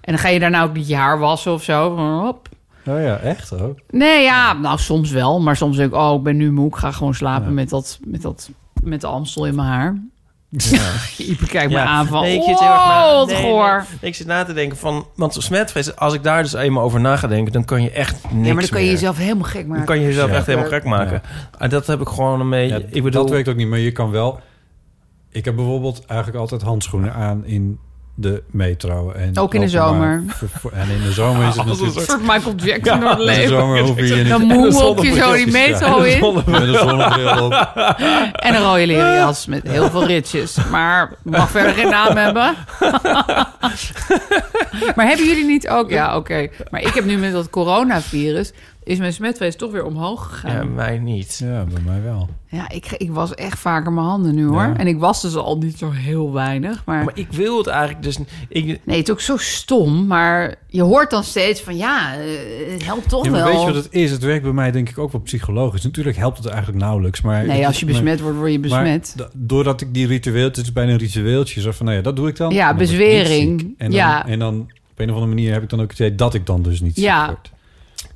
Speaker 3: En dan ga je daarna ook niet je haar wassen of zo. Van, Hop.
Speaker 4: Oh ja, echt ook.
Speaker 3: Nee, ja, nou soms wel. Maar soms denk ik, oh, ik ben nu moe. Ik ga gewoon slapen met, dat, met, dat, met de Amstel in mijn haar. Ipe kijkt me
Speaker 2: ja.
Speaker 3: aan van,
Speaker 2: Nee,
Speaker 3: ik
Speaker 2: ik zit heel erg na-
Speaker 3: oh, wat
Speaker 2: nee, nee.
Speaker 3: goor.
Speaker 2: Ik zit na te denken van... Want smetvrees, als ik daar dus eenmaal over na ga denken... dan kan je echt niks
Speaker 3: Ja, maar dan kan je
Speaker 2: meer.
Speaker 3: jezelf helemaal gek
Speaker 2: Dan
Speaker 3: maken.
Speaker 2: kan je jezelf
Speaker 4: Ja.
Speaker 2: echt helemaal gek maken. En dat heb ik gewoon een beetje...
Speaker 4: Ja,
Speaker 2: ik bedoel...
Speaker 4: Dat werkt ook niet, maar je kan wel... Ik heb bijvoorbeeld eigenlijk altijd handschoenen aan in de metro. En
Speaker 3: Ook in de
Speaker 4: openbaar
Speaker 3: zomer.
Speaker 4: vervoer- En in de zomer is het natuurlijk...
Speaker 3: Een soort Michael Jackson door het
Speaker 4: In de
Speaker 3: leven.
Speaker 4: zomer hoef je je
Speaker 3: Dan
Speaker 4: niet...
Speaker 3: moe je zo die metro in.
Speaker 4: Met een zonnebril op.
Speaker 3: En een rode leren jas met heel veel ritjes. Maar mag verder geen naam hebben. maar hebben jullie niet ook... Ja, oké. Maar ik heb nu met dat coronavirus... is mijn smetrace toch weer omhoog gegaan.
Speaker 2: Ja,
Speaker 3: Ja,
Speaker 2: mij niet.
Speaker 4: Ja, bij mij wel.
Speaker 3: ik, ik was echt vaker mijn handen nu hoor.
Speaker 4: Ja.
Speaker 3: En ik was dus al niet zo heel weinig. Maar...
Speaker 2: Maar ik wil het eigenlijk dus... niet. Ik,
Speaker 3: Nee, het is ook zo stom. Maar je hoort dan steeds van ja, eh, het helpt toch
Speaker 4: Ja, maar
Speaker 3: wel.
Speaker 4: weet je wat het is? Het werkt bij mij denk ik ook wel psychologisch. Natuurlijk helpt het eigenlijk nauwelijks. Maar
Speaker 3: Nee, als je
Speaker 4: maar-
Speaker 3: besmet wordt, word je
Speaker 4: maar
Speaker 3: besmet.
Speaker 4: da- doordat ik die ritueel, het is bijna een ritueeltje. Zo van, nou ja, dat doe ik dan.
Speaker 3: Ja,
Speaker 4: En dan word ik niet
Speaker 3: bezwering.
Speaker 4: ziek. En dan,
Speaker 3: Ja.
Speaker 4: en dan op een of andere manier heb ik dan ook het idee dat ik dan dus niet
Speaker 3: Ja.
Speaker 4: ziek word.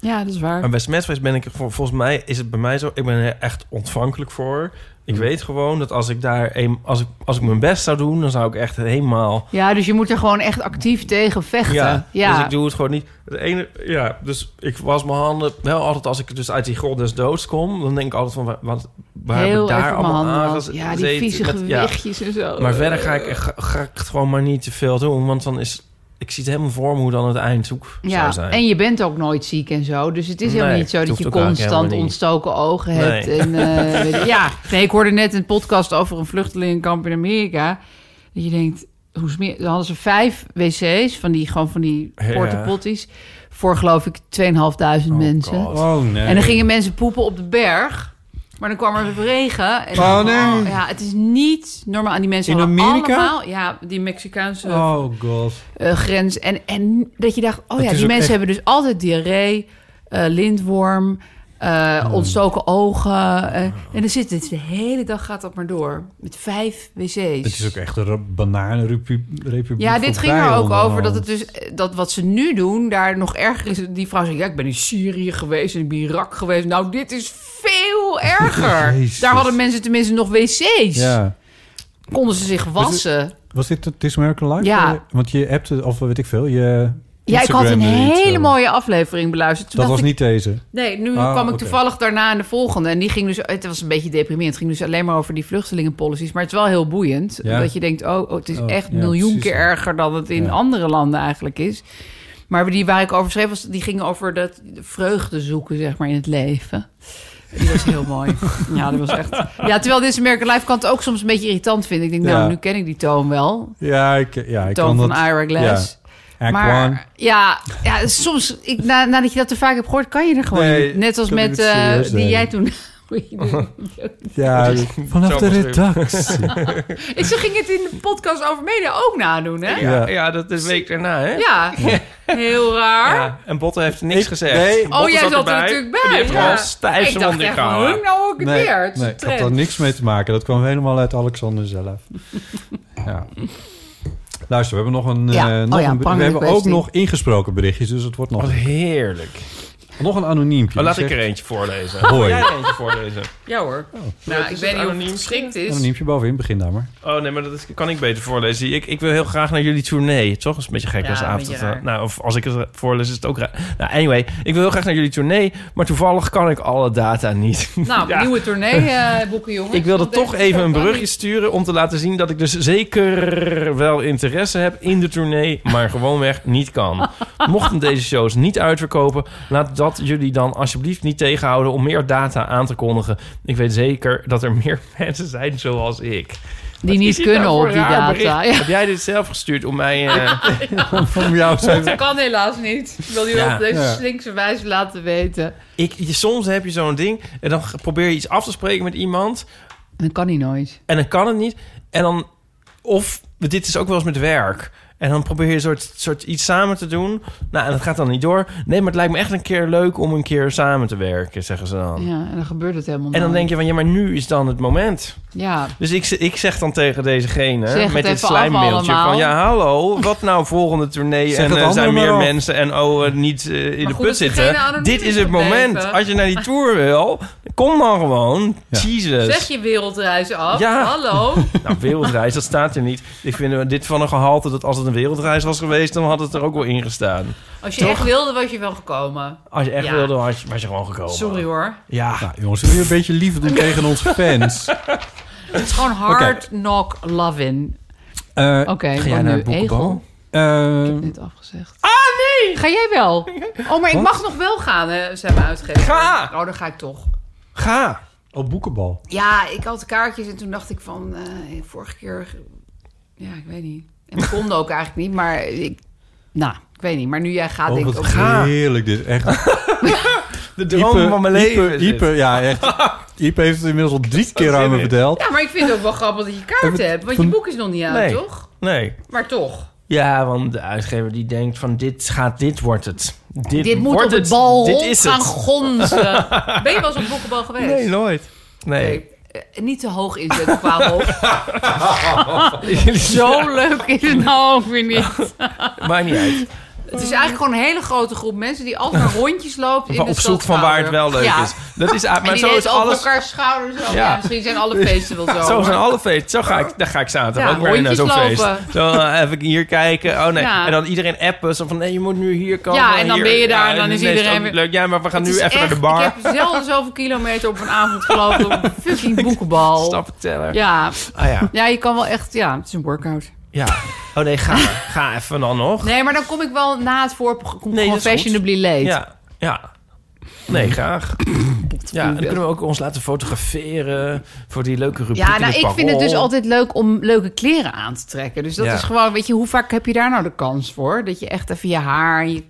Speaker 3: Ja, dat is waar.
Speaker 2: maar bij smetfeest ben ik... er vol- Volgens mij is het bij mij zo... Ik ben er echt ontvankelijk voor. Ik weet gewoon dat als ik daar... een- als, ik, als ik mijn best zou doen, dan zou ik echt helemaal...
Speaker 3: Ja, dus je moet er gewoon echt actief tegen vechten. Ja,
Speaker 2: Dus ik doe het gewoon niet. Het ene, ja, dus ik was mijn handen wel altijd als ik dus uit die grot des doods kom, dan denk ik altijd van wa- wat waar heb
Speaker 3: heel
Speaker 2: ik daar
Speaker 3: even mijn
Speaker 2: allemaal
Speaker 3: handen.
Speaker 2: aan
Speaker 3: was-
Speaker 2: gez-
Speaker 3: Ja, die
Speaker 2: gezeten
Speaker 3: vieze
Speaker 2: met- ja.
Speaker 3: gewichtjes en zo.
Speaker 2: Maar verder ga ik, ga, ga ik het gewoon maar niet te veel doen, want dan is ik zie het helemaal voor me hoe dan het eindzoek zou
Speaker 3: Ja,
Speaker 2: zijn.
Speaker 3: en je bent ook nooit ziek en zo. Dus het is helemaal
Speaker 2: Nee,
Speaker 3: niet zo
Speaker 2: het
Speaker 3: dat
Speaker 2: hoeft
Speaker 3: je
Speaker 2: ook eigenlijk
Speaker 3: constant
Speaker 2: helemaal niet.
Speaker 3: ontstoken ogen hebt.
Speaker 2: Nee.
Speaker 3: En, eh, weet je- ja, nee, ik hoorde net een podcast over een vluchtelingenkamp in Amerika. Dat je denkt, hoe smeer... Dan hadden ze vijf wc's van die, gewoon van die
Speaker 2: Ja.
Speaker 3: portapotties... voor geloof ik 2.500 mensen.
Speaker 2: God.
Speaker 4: Oh nee.
Speaker 3: En dan gingen mensen poepen op de berg. Maar dan kwam er regen. En
Speaker 4: Oh,
Speaker 3: dan-
Speaker 4: nee.
Speaker 3: ja, het is niet normaal. En die mensen
Speaker 4: In
Speaker 3: hadden
Speaker 4: Amerika?
Speaker 3: allemaal... Ja, die Mexicaanse
Speaker 4: Oh god.
Speaker 3: eh, grens. En, en dat je dacht, oh
Speaker 4: Het
Speaker 3: ja,
Speaker 4: is
Speaker 3: die
Speaker 4: ook
Speaker 3: mensen
Speaker 4: echt-
Speaker 3: hebben dus altijd diarree, eh, lintworm, eh, ontstoken ogen. eh, En dan zit het de hele dag gaat dat maar door. Met vijf wc's.
Speaker 4: Het is ook echt een re- bananenrepubliek.
Speaker 3: ja, dit
Speaker 4: voor
Speaker 3: ging er ook
Speaker 4: bijenhondenhand.
Speaker 3: over dat het dus eh, dat wat ze nu doen daar nog erger is. Die vrouw zegt: Ja, ik ben in Syrië geweest en in Irak geweest. Nou, dit is veel erger.
Speaker 4: Jezus.
Speaker 3: daar hadden mensen tenminste nog wc's.
Speaker 4: Ja.
Speaker 3: Konden ze zich wassen.
Speaker 4: Was dit het This American Life?
Speaker 3: Ja.
Speaker 4: Eh, Want je hebt het, of weet ik veel, je
Speaker 3: Ja, ik had
Speaker 4: Instagram
Speaker 3: een
Speaker 4: er iets
Speaker 3: hele
Speaker 4: over.
Speaker 3: mooie aflevering beluisterd. Toen
Speaker 4: eh. Dat
Speaker 3: dacht
Speaker 4: was
Speaker 3: ik,
Speaker 4: niet deze.
Speaker 3: Nee, nu
Speaker 4: Ah,
Speaker 3: kwam ik
Speaker 4: oké.
Speaker 3: toevallig daarna in de volgende. En die ging dus, het was een beetje deprimerend. Het ging dus alleen maar over die vluchtelingenpolicies. Maar het is wel heel boeiend.
Speaker 4: Ja.
Speaker 3: Dat je denkt, oh, oh, het is
Speaker 4: Oh,
Speaker 3: echt
Speaker 4: ja,
Speaker 3: miljoen
Speaker 4: precies.
Speaker 3: keer erger dan het in
Speaker 4: Ja.
Speaker 3: andere landen eigenlijk is. Maar die waar ik over schreef, was, die ging over dat vreugde zoeken, zeg maar, in het leven. Die was heel mooi. Ja, dat was echt... Ja, terwijl deze American Life kan het ook soms een beetje irritant vinden. Ik denk, nou,
Speaker 4: Ja.
Speaker 3: nu ken ik die toon wel.
Speaker 4: Ja, ik, ja, ik
Speaker 3: Toon
Speaker 4: kan
Speaker 3: van
Speaker 4: dat.
Speaker 3: Ira Glass.
Speaker 4: Act one.
Speaker 3: Maar ja, ja, soms, ik, na, nadat je dat te vaak hebt gehoord, kan je er gewoon
Speaker 4: Nee,
Speaker 3: niet. Net als
Speaker 4: kan ik
Speaker 3: met
Speaker 4: het
Speaker 3: eh,
Speaker 4: serieus
Speaker 3: die
Speaker 4: nemen.
Speaker 3: jij toen...
Speaker 4: Ja, vanaf de
Speaker 2: Zo beschreven.
Speaker 4: redactie.
Speaker 3: En Ze ging het in de podcast over media ook nadoen, hè? Ja,
Speaker 2: ja, ja, dat is een week daarna, hè?
Speaker 3: heel raar.
Speaker 2: Ja, en Botte heeft niks
Speaker 4: Ik-
Speaker 2: gezegd.
Speaker 4: nee.
Speaker 2: Botte
Speaker 3: Oh, jij zat er
Speaker 2: erbij.
Speaker 3: natuurlijk bij,
Speaker 2: En Die heeft
Speaker 3: ja.
Speaker 2: gewoon stijf
Speaker 3: Ik
Speaker 2: zijn
Speaker 3: dacht
Speaker 2: mond in
Speaker 3: echt, van, hoe
Speaker 2: gehouden.
Speaker 3: nou ook
Speaker 4: nee,
Speaker 3: weer? Het is
Speaker 4: nee,
Speaker 3: een
Speaker 4: ik had
Speaker 3: trend.
Speaker 4: daar niks mee te maken. Dat kwam helemaal uit Alexander zelf. ja. Luister, we hebben nog een,
Speaker 3: Ja.
Speaker 4: eh,
Speaker 3: Oh
Speaker 4: nog
Speaker 3: ja,
Speaker 4: een we
Speaker 3: prangende
Speaker 4: hebben ook
Speaker 3: kwestie. Oh,
Speaker 4: nog ingesproken berichtjes, dus het wordt nog,
Speaker 2: Wat heerlijk.
Speaker 4: nog een anoniempje.
Speaker 2: Maar Oh, laat
Speaker 4: Die
Speaker 2: ik er
Speaker 4: zegt-
Speaker 2: eentje voorlezen.
Speaker 4: Hoi.
Speaker 2: Jij er eentje voorlezen.
Speaker 3: Ja hoor.
Speaker 2: Oh. Is
Speaker 3: nou, ik
Speaker 2: het
Speaker 3: weet niet of
Speaker 2: anoniem?
Speaker 3: het geschikt is.
Speaker 4: Anoniempje bovenin, begin daar maar.
Speaker 2: Oh nee, maar dat is- kan ik beter voorlezen. Ik, ik wil heel graag naar jullie tournee, toch? Dat is een beetje gek
Speaker 3: Ja,
Speaker 2: als
Speaker 3: een
Speaker 2: avond.
Speaker 3: beetje
Speaker 2: dat,
Speaker 3: raar.
Speaker 2: nou, of als ik het voorlees, is het ook raar. Nou, anyway, ik wil heel graag naar jullie tournee, maar toevallig kan ik alle data niet.
Speaker 3: Nou,
Speaker 2: Ja.
Speaker 3: nieuwe tournee eh boeken, jongens.
Speaker 2: Ik wilde
Speaker 3: Want
Speaker 2: toch
Speaker 3: deze
Speaker 2: even een
Speaker 3: kan
Speaker 2: brugje
Speaker 3: niet.
Speaker 2: sturen om te laten zien dat ik dus zeker wel interesse heb in de tournee, maar gewoonweg niet kan. Mochten deze shows niet uitverkopen, laat dat jullie dan alsjeblieft niet tegenhouden om meer data aan te kondigen. Ik weet zeker dat er meer mensen zijn zoals ik.
Speaker 3: Die
Speaker 2: Wat
Speaker 3: niet
Speaker 2: is dit
Speaker 3: kunnen
Speaker 2: nou
Speaker 3: op
Speaker 2: voor
Speaker 3: die
Speaker 2: raar
Speaker 3: data.
Speaker 2: bericht?
Speaker 3: Ja.
Speaker 2: Heb jij dit zelf gestuurd om mij... eh,
Speaker 4: Om jou zijn
Speaker 3: Dat kan helaas niet. Ik wil je
Speaker 2: Ja.
Speaker 3: wel op deze
Speaker 4: Ja.
Speaker 3: slinkse wijze laten weten.
Speaker 2: ik, je- soms heb je zo'n ding en dan probeer je iets af te spreken met iemand
Speaker 3: Dat kan hij nooit.
Speaker 2: en dan kan het niet. En dan, of dit is ook wel eens met werk. En dan probeer je een soort, soort iets samen te doen. Nou, en dat gaat dan niet door. Nee, maar het lijkt me echt een keer leuk om een keer samen te werken, zeggen ze dan.
Speaker 3: Ja, en dan gebeurt het helemaal
Speaker 2: Oh. En dan
Speaker 3: nooit.
Speaker 2: denk je van, ja, maar nu is dan het moment.
Speaker 3: Ja,
Speaker 2: Dus ik, ze- ik zeg dan tegen degene
Speaker 3: Zeg het
Speaker 2: met dit
Speaker 3: even af
Speaker 2: slijmmailtje
Speaker 3: allemaal.
Speaker 2: van... Ja, hallo, wat nou volgende tournee?
Speaker 4: Zeg
Speaker 2: en
Speaker 4: het
Speaker 2: er
Speaker 4: allemaal
Speaker 2: zijn meer
Speaker 4: maar af.
Speaker 2: mensen en oh, eh, niet eh, in
Speaker 3: Maar
Speaker 2: de
Speaker 3: goed
Speaker 2: put
Speaker 3: dat degene
Speaker 2: zitten.
Speaker 3: anoniem
Speaker 2: Dit is
Speaker 3: is
Speaker 2: het
Speaker 3: gebleven.
Speaker 2: moment. Als je naar die tour wil, kom dan gewoon.
Speaker 4: Ja.
Speaker 2: Jesus.
Speaker 3: Zeg je wereldreis af?
Speaker 2: Dus- Ja.
Speaker 3: Hallo?
Speaker 2: Nou, wereldreis, dat staat er niet. Ik vind dit van een gehalte dat als het een wereldreis was geweest... dan had het er ook wel in gestaan.
Speaker 3: Als je
Speaker 2: Toch? Oh,
Speaker 3: echt wilde, was je wel gekomen.
Speaker 2: Als je echt
Speaker 3: Ja.
Speaker 2: wilde, was je, was je gewoon gekomen.
Speaker 3: Sorry hoor.
Speaker 2: Ja.
Speaker 4: Nou, jongens, wil je een beetje lief doen tegen onze fans?
Speaker 3: Het is gewoon hard knock loving.
Speaker 4: Eh,
Speaker 3: Oké,
Speaker 2: Ga jij naar
Speaker 3: want nu
Speaker 2: het boekenbal?
Speaker 3: Egel.
Speaker 4: eh,
Speaker 3: Net afgezegd. Ah nee! Ga jij wel? Oh, maar ik mag nog wel gaan, hè? Ze hebben uitgegeven.
Speaker 2: Ga!
Speaker 3: Oh, dan ga ik toch.
Speaker 2: Ga!
Speaker 4: op oh, boekenbal.
Speaker 3: Ja, ik had de kaartjes en toen dacht ik van... eh, vorige keer... Ja, ik weet niet. En dat kon ook eigenlijk niet, maar ik... Nou, ik weet niet. Maar nu jij gaat,
Speaker 4: Oh,
Speaker 3: denk ik...
Speaker 4: wat
Speaker 3: ook-
Speaker 4: heerlijk dit. Echt
Speaker 2: De droom van mijn leven.
Speaker 4: Ipe,
Speaker 2: is dit.
Speaker 4: Ipe, ja, echt. Ipe heeft het inmiddels al drie keer aan
Speaker 2: zin
Speaker 4: me
Speaker 2: in.
Speaker 4: verteld.
Speaker 3: Ja, maar ik vind het ook wel grappig dat je kaart
Speaker 4: Even-
Speaker 3: hebt. Want
Speaker 4: van-
Speaker 3: je boek is nog niet uit,
Speaker 2: Nee.
Speaker 3: toch?
Speaker 2: Nee.
Speaker 3: Maar toch.
Speaker 2: Ja, want de uitgever die denkt van dit gaat, dit wordt het. Dit,
Speaker 3: Dit moet
Speaker 2: wordt
Speaker 3: op het bal
Speaker 2: Dit
Speaker 3: rond
Speaker 2: is
Speaker 3: gaan
Speaker 2: het.
Speaker 3: gonzen. ben je wel eens op boekenbal geweest?
Speaker 2: Nee, nooit. Nee.
Speaker 3: Oké, eh, niet te hoog inzetten qua hoofd. Zo leuk is het nou ook weer niet.
Speaker 2: Maakt niet uit.
Speaker 3: Het is eigenlijk gewoon een hele grote groep mensen die altijd maar rondjes loopt in de
Speaker 2: op zoek van waar het wel leuk
Speaker 3: Ja.
Speaker 2: is. Dat is uit-
Speaker 3: Maar
Speaker 2: maar
Speaker 3: en die
Speaker 2: zo
Speaker 3: zo
Speaker 2: is alles.
Speaker 3: elkaar schouders. over.
Speaker 2: Ja.
Speaker 3: Ja. misschien zijn alle feesten wel zo.
Speaker 2: Zo zijn
Speaker 3: maar-
Speaker 2: alle feesten. Zo ga ik, daar ga ik zaterdag
Speaker 3: Ja,
Speaker 2: ook weer naar zo'n
Speaker 3: rondjes
Speaker 2: feest.
Speaker 3: lopen.
Speaker 2: Zo eh, even hier kijken. Oh nee.
Speaker 3: Ja.
Speaker 2: En dan iedereen appen. Zo van nee, je moet nu hier komen.
Speaker 3: Ja, en dan
Speaker 2: hier.
Speaker 3: ben je daar en dan
Speaker 2: nee,
Speaker 3: is
Speaker 2: het
Speaker 3: iedereen
Speaker 2: ook niet
Speaker 3: weer-
Speaker 2: leuk. Ja, maar we gaan
Speaker 3: Het
Speaker 2: nu
Speaker 3: is
Speaker 2: even naar de
Speaker 3: echt-
Speaker 2: bar.
Speaker 3: Ik heb zelden zoveel kilometer op een avond gelopen op een fucking boekenbal.
Speaker 2: Stap teller. Ja.
Speaker 3: Ja.
Speaker 2: Ah ja.
Speaker 3: ja, je kan wel echt... Ja, het is een workout.
Speaker 2: ja. Oh nee, ga, ga even dan nog.
Speaker 3: Nee, maar dan kom ik wel na het voorprogramma kom ik
Speaker 2: Nee,
Speaker 3: gewoon
Speaker 2: dat is goed.
Speaker 3: fashionably late.
Speaker 2: Ja, ja. Nee,
Speaker 3: Hmm.
Speaker 2: graag. Ja, en dan kunnen we ook ons laten fotograferen voor die leuke rubriek
Speaker 3: Ja,
Speaker 2: in
Speaker 3: nou, ik vind het
Speaker 2: Parool.
Speaker 3: dus altijd leuk om leuke kleren aan te trekken. Dus dat
Speaker 2: Ja.
Speaker 3: is gewoon, weet je, hoe vaak heb je daar nou de kans voor? Dat je echt even je haar, en je,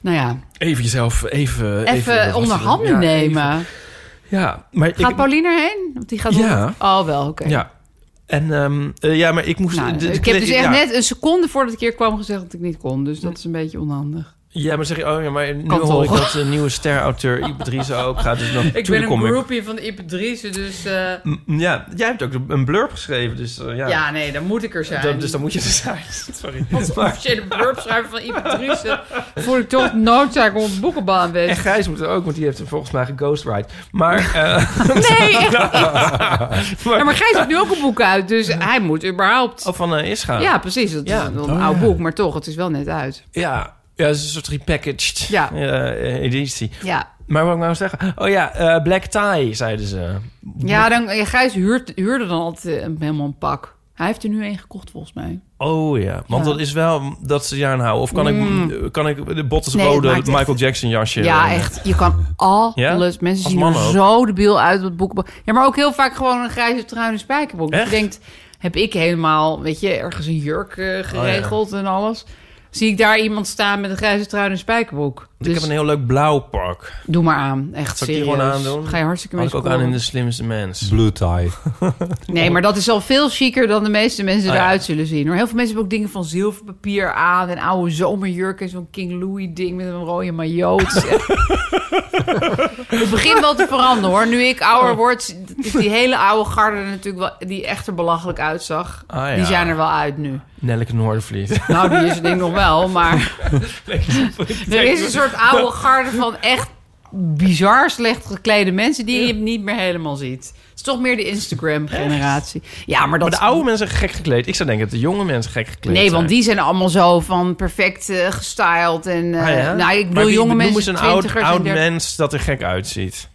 Speaker 3: nou ja,
Speaker 2: Even jezelf, even...
Speaker 3: even,
Speaker 2: dat was
Speaker 3: onder
Speaker 2: het.
Speaker 3: handen
Speaker 2: Ja,
Speaker 3: nemen.
Speaker 2: even. Ja, maar
Speaker 3: Gaat
Speaker 2: ik...
Speaker 3: Pauline erheen? Want die gaat
Speaker 2: Ja.
Speaker 3: onder- Oh, wel, oké.
Speaker 2: Ja. En, ehm, eh, ja, maar ik moest...
Speaker 3: Nou,
Speaker 2: de- de-
Speaker 3: ik heb dus
Speaker 2: ja.
Speaker 3: echt net een seconde voordat ik hier kwam gezegd dat ik niet kon. Dus dat is een beetje onhandig.
Speaker 2: Ja, maar zeg je, oh ja, maar nu
Speaker 3: Kan
Speaker 2: hoor ik
Speaker 3: toch?
Speaker 2: dat de nieuwe ster-auteur Iep Driessen ook gaat. Dus dan,
Speaker 3: Ik ben
Speaker 2: tuurlijk
Speaker 3: een
Speaker 2: kom
Speaker 3: groepie van de Ipedrice, dus
Speaker 2: M, Ja, jij hebt ook een blurb geschreven, dus eh, ja.
Speaker 3: ja. nee, dan moet ik er zijn.
Speaker 2: Dat- dus dan moet je er zijn. Sorry. Maar,
Speaker 3: Officiële burpschrijver van Ipedrice voel ik toch noodzaak om op boekenbal
Speaker 2: en
Speaker 3: aanwezig
Speaker 2: Gijs moet er ook, want die heeft er volgens mij geghostwrite. Maar... eh,
Speaker 3: Nee, echt niet. Ja, maar Gijs heeft nu ook een boek uit, dus hij moet überhaupt...
Speaker 2: Oh, van eh Ischa.
Speaker 3: Ja, precies. Het
Speaker 2: Ja.
Speaker 3: is een,
Speaker 4: Oh,
Speaker 3: oud
Speaker 4: ja.
Speaker 3: boek, maar toch, het is wel net uit.
Speaker 2: ja. Ja, het is een soort repackaged
Speaker 3: Ja.
Speaker 2: eh, editie.
Speaker 3: Ja,
Speaker 2: Maar wat ik nou zeggen? Oh ja, eh, black tie, zeiden ze.
Speaker 3: ja dan, ja, Gijs huurt, huurde dan altijd eh, helemaal een pak. Hij heeft er nu één gekocht, volgens mij.
Speaker 2: Oh ja, want
Speaker 3: Ja. Mm.
Speaker 2: dat is wel dat ze je aanhouden. Of kan, ik, kan ik de bottes
Speaker 3: Nee, dat
Speaker 2: rode
Speaker 3: maakt echt-
Speaker 2: Michael Jackson jasje?
Speaker 3: ja,
Speaker 2: aan?
Speaker 3: echt. Je kan alles...
Speaker 2: Ja?
Speaker 3: Mensen
Speaker 2: Als
Speaker 3: zien
Speaker 2: man
Speaker 3: er
Speaker 2: ook.
Speaker 3: zo debiel uit op het boekenbal. Ja, maar ook heel vaak gewoon een grijze trui en een spijkerbroek. Dus
Speaker 2: Echt? Oh,
Speaker 3: je denkt, heb ik helemaal, weet je, ergens een jurk eh, geregeld en alles... Zie ik daar iemand staan met een grijze trui en een spijkerbroek. Dus
Speaker 2: Ik heb een heel leuk blauw pak.
Speaker 3: Doe maar aan. Echt
Speaker 2: Zal ik die
Speaker 3: serieus.
Speaker 2: gewoon aandoen?
Speaker 3: Ga je hartstikke
Speaker 2: Had
Speaker 3: mee
Speaker 2: ik ook aan in de slimste mens.
Speaker 4: Blue tie.
Speaker 3: Nee, maar dat is al veel chiquer dan de meeste mensen
Speaker 2: Ah, ja.
Speaker 3: eruit zullen zien. Hoor. Heel veel mensen hebben ook dingen van zilverpapier aan... en oude zomerjurken, zo'n King Louis ding met een rode maillot. Het is echt- Het begint wel te veranderen, hoor. Nu ik
Speaker 2: Oh.
Speaker 3: ouder word, is die hele oude garde natuurlijk wel... die echt er belachelijk uitzag.
Speaker 2: Ah, ja.
Speaker 3: Die zijn er wel uit nu.
Speaker 2: Nelleke Noordervliet.
Speaker 3: Nou, die is het ding nog wel, maar... er is een soort oude garde van echt bizar slecht geklede mensen... die je niet meer helemaal ziet. Het is toch meer de Instagram-generatie. Ja, maar dat...
Speaker 2: Maar de oude mensen gek gekleed. Ik zou denken dat de jonge mensen gek gekleed
Speaker 3: Nee,
Speaker 2: zijn.
Speaker 3: want die zijn allemaal zo van perfect eh, gestyled. En, eh,
Speaker 2: Ah, ja?
Speaker 3: Nou, ik
Speaker 2: Maar
Speaker 3: bedoel
Speaker 2: wie
Speaker 3: jonge
Speaker 2: benoemen
Speaker 3: mensen,
Speaker 2: ze een oud,
Speaker 3: twintigers
Speaker 2: oud
Speaker 3: en dertigers.
Speaker 2: mens dat er gek uitziet.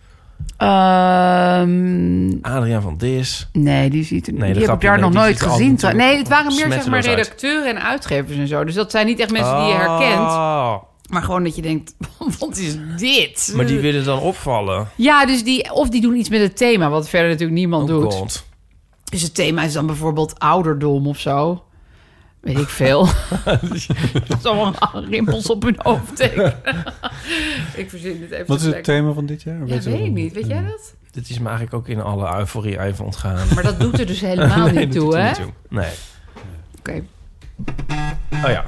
Speaker 3: Ehm,
Speaker 2: Adriaan van Dis.
Speaker 3: nee, die ziet er
Speaker 2: Nee, dat
Speaker 3: die heb ik
Speaker 2: grapje,
Speaker 3: daar
Speaker 2: nee,
Speaker 3: nog
Speaker 2: die
Speaker 3: nooit
Speaker 2: ziet er
Speaker 3: gezien.
Speaker 2: altijd
Speaker 3: Nee, het waren meer zeg maar
Speaker 2: smetteloos uit.
Speaker 3: redacteuren en uitgevers en zo. Dus dat zijn niet echt mensen die je
Speaker 2: Ah.
Speaker 3: herkent.
Speaker 2: Oh.
Speaker 3: Maar gewoon dat je denkt, wat is dit?
Speaker 2: Maar die willen dan opvallen.
Speaker 3: Ja, dus die, of die doen iets met het thema, wat verder natuurlijk niemand
Speaker 2: Oh
Speaker 3: doet.
Speaker 2: god.
Speaker 3: Dus het thema is dan bijvoorbeeld ouderdom of zo. Weet ik veel. Dat is allemaal rimpels op hun hoofd tekenen. ik verzin dit even.
Speaker 4: Wat is het
Speaker 3: lekker.
Speaker 4: thema van dit jaar?
Speaker 3: Ja,
Speaker 4: Weet je
Speaker 3: weet
Speaker 4: dat
Speaker 3: ik
Speaker 4: nog?
Speaker 3: niet. Weet jij dat?
Speaker 2: Dit is me eigenlijk ook in alle euforie even ontgaan.
Speaker 3: Maar dat doet er dus helemaal
Speaker 2: Nee,
Speaker 3: niet
Speaker 2: dat doet
Speaker 3: toe,
Speaker 2: er
Speaker 3: hè?
Speaker 2: niet toe. Nee.
Speaker 3: Oké.
Speaker 2: Oh ja.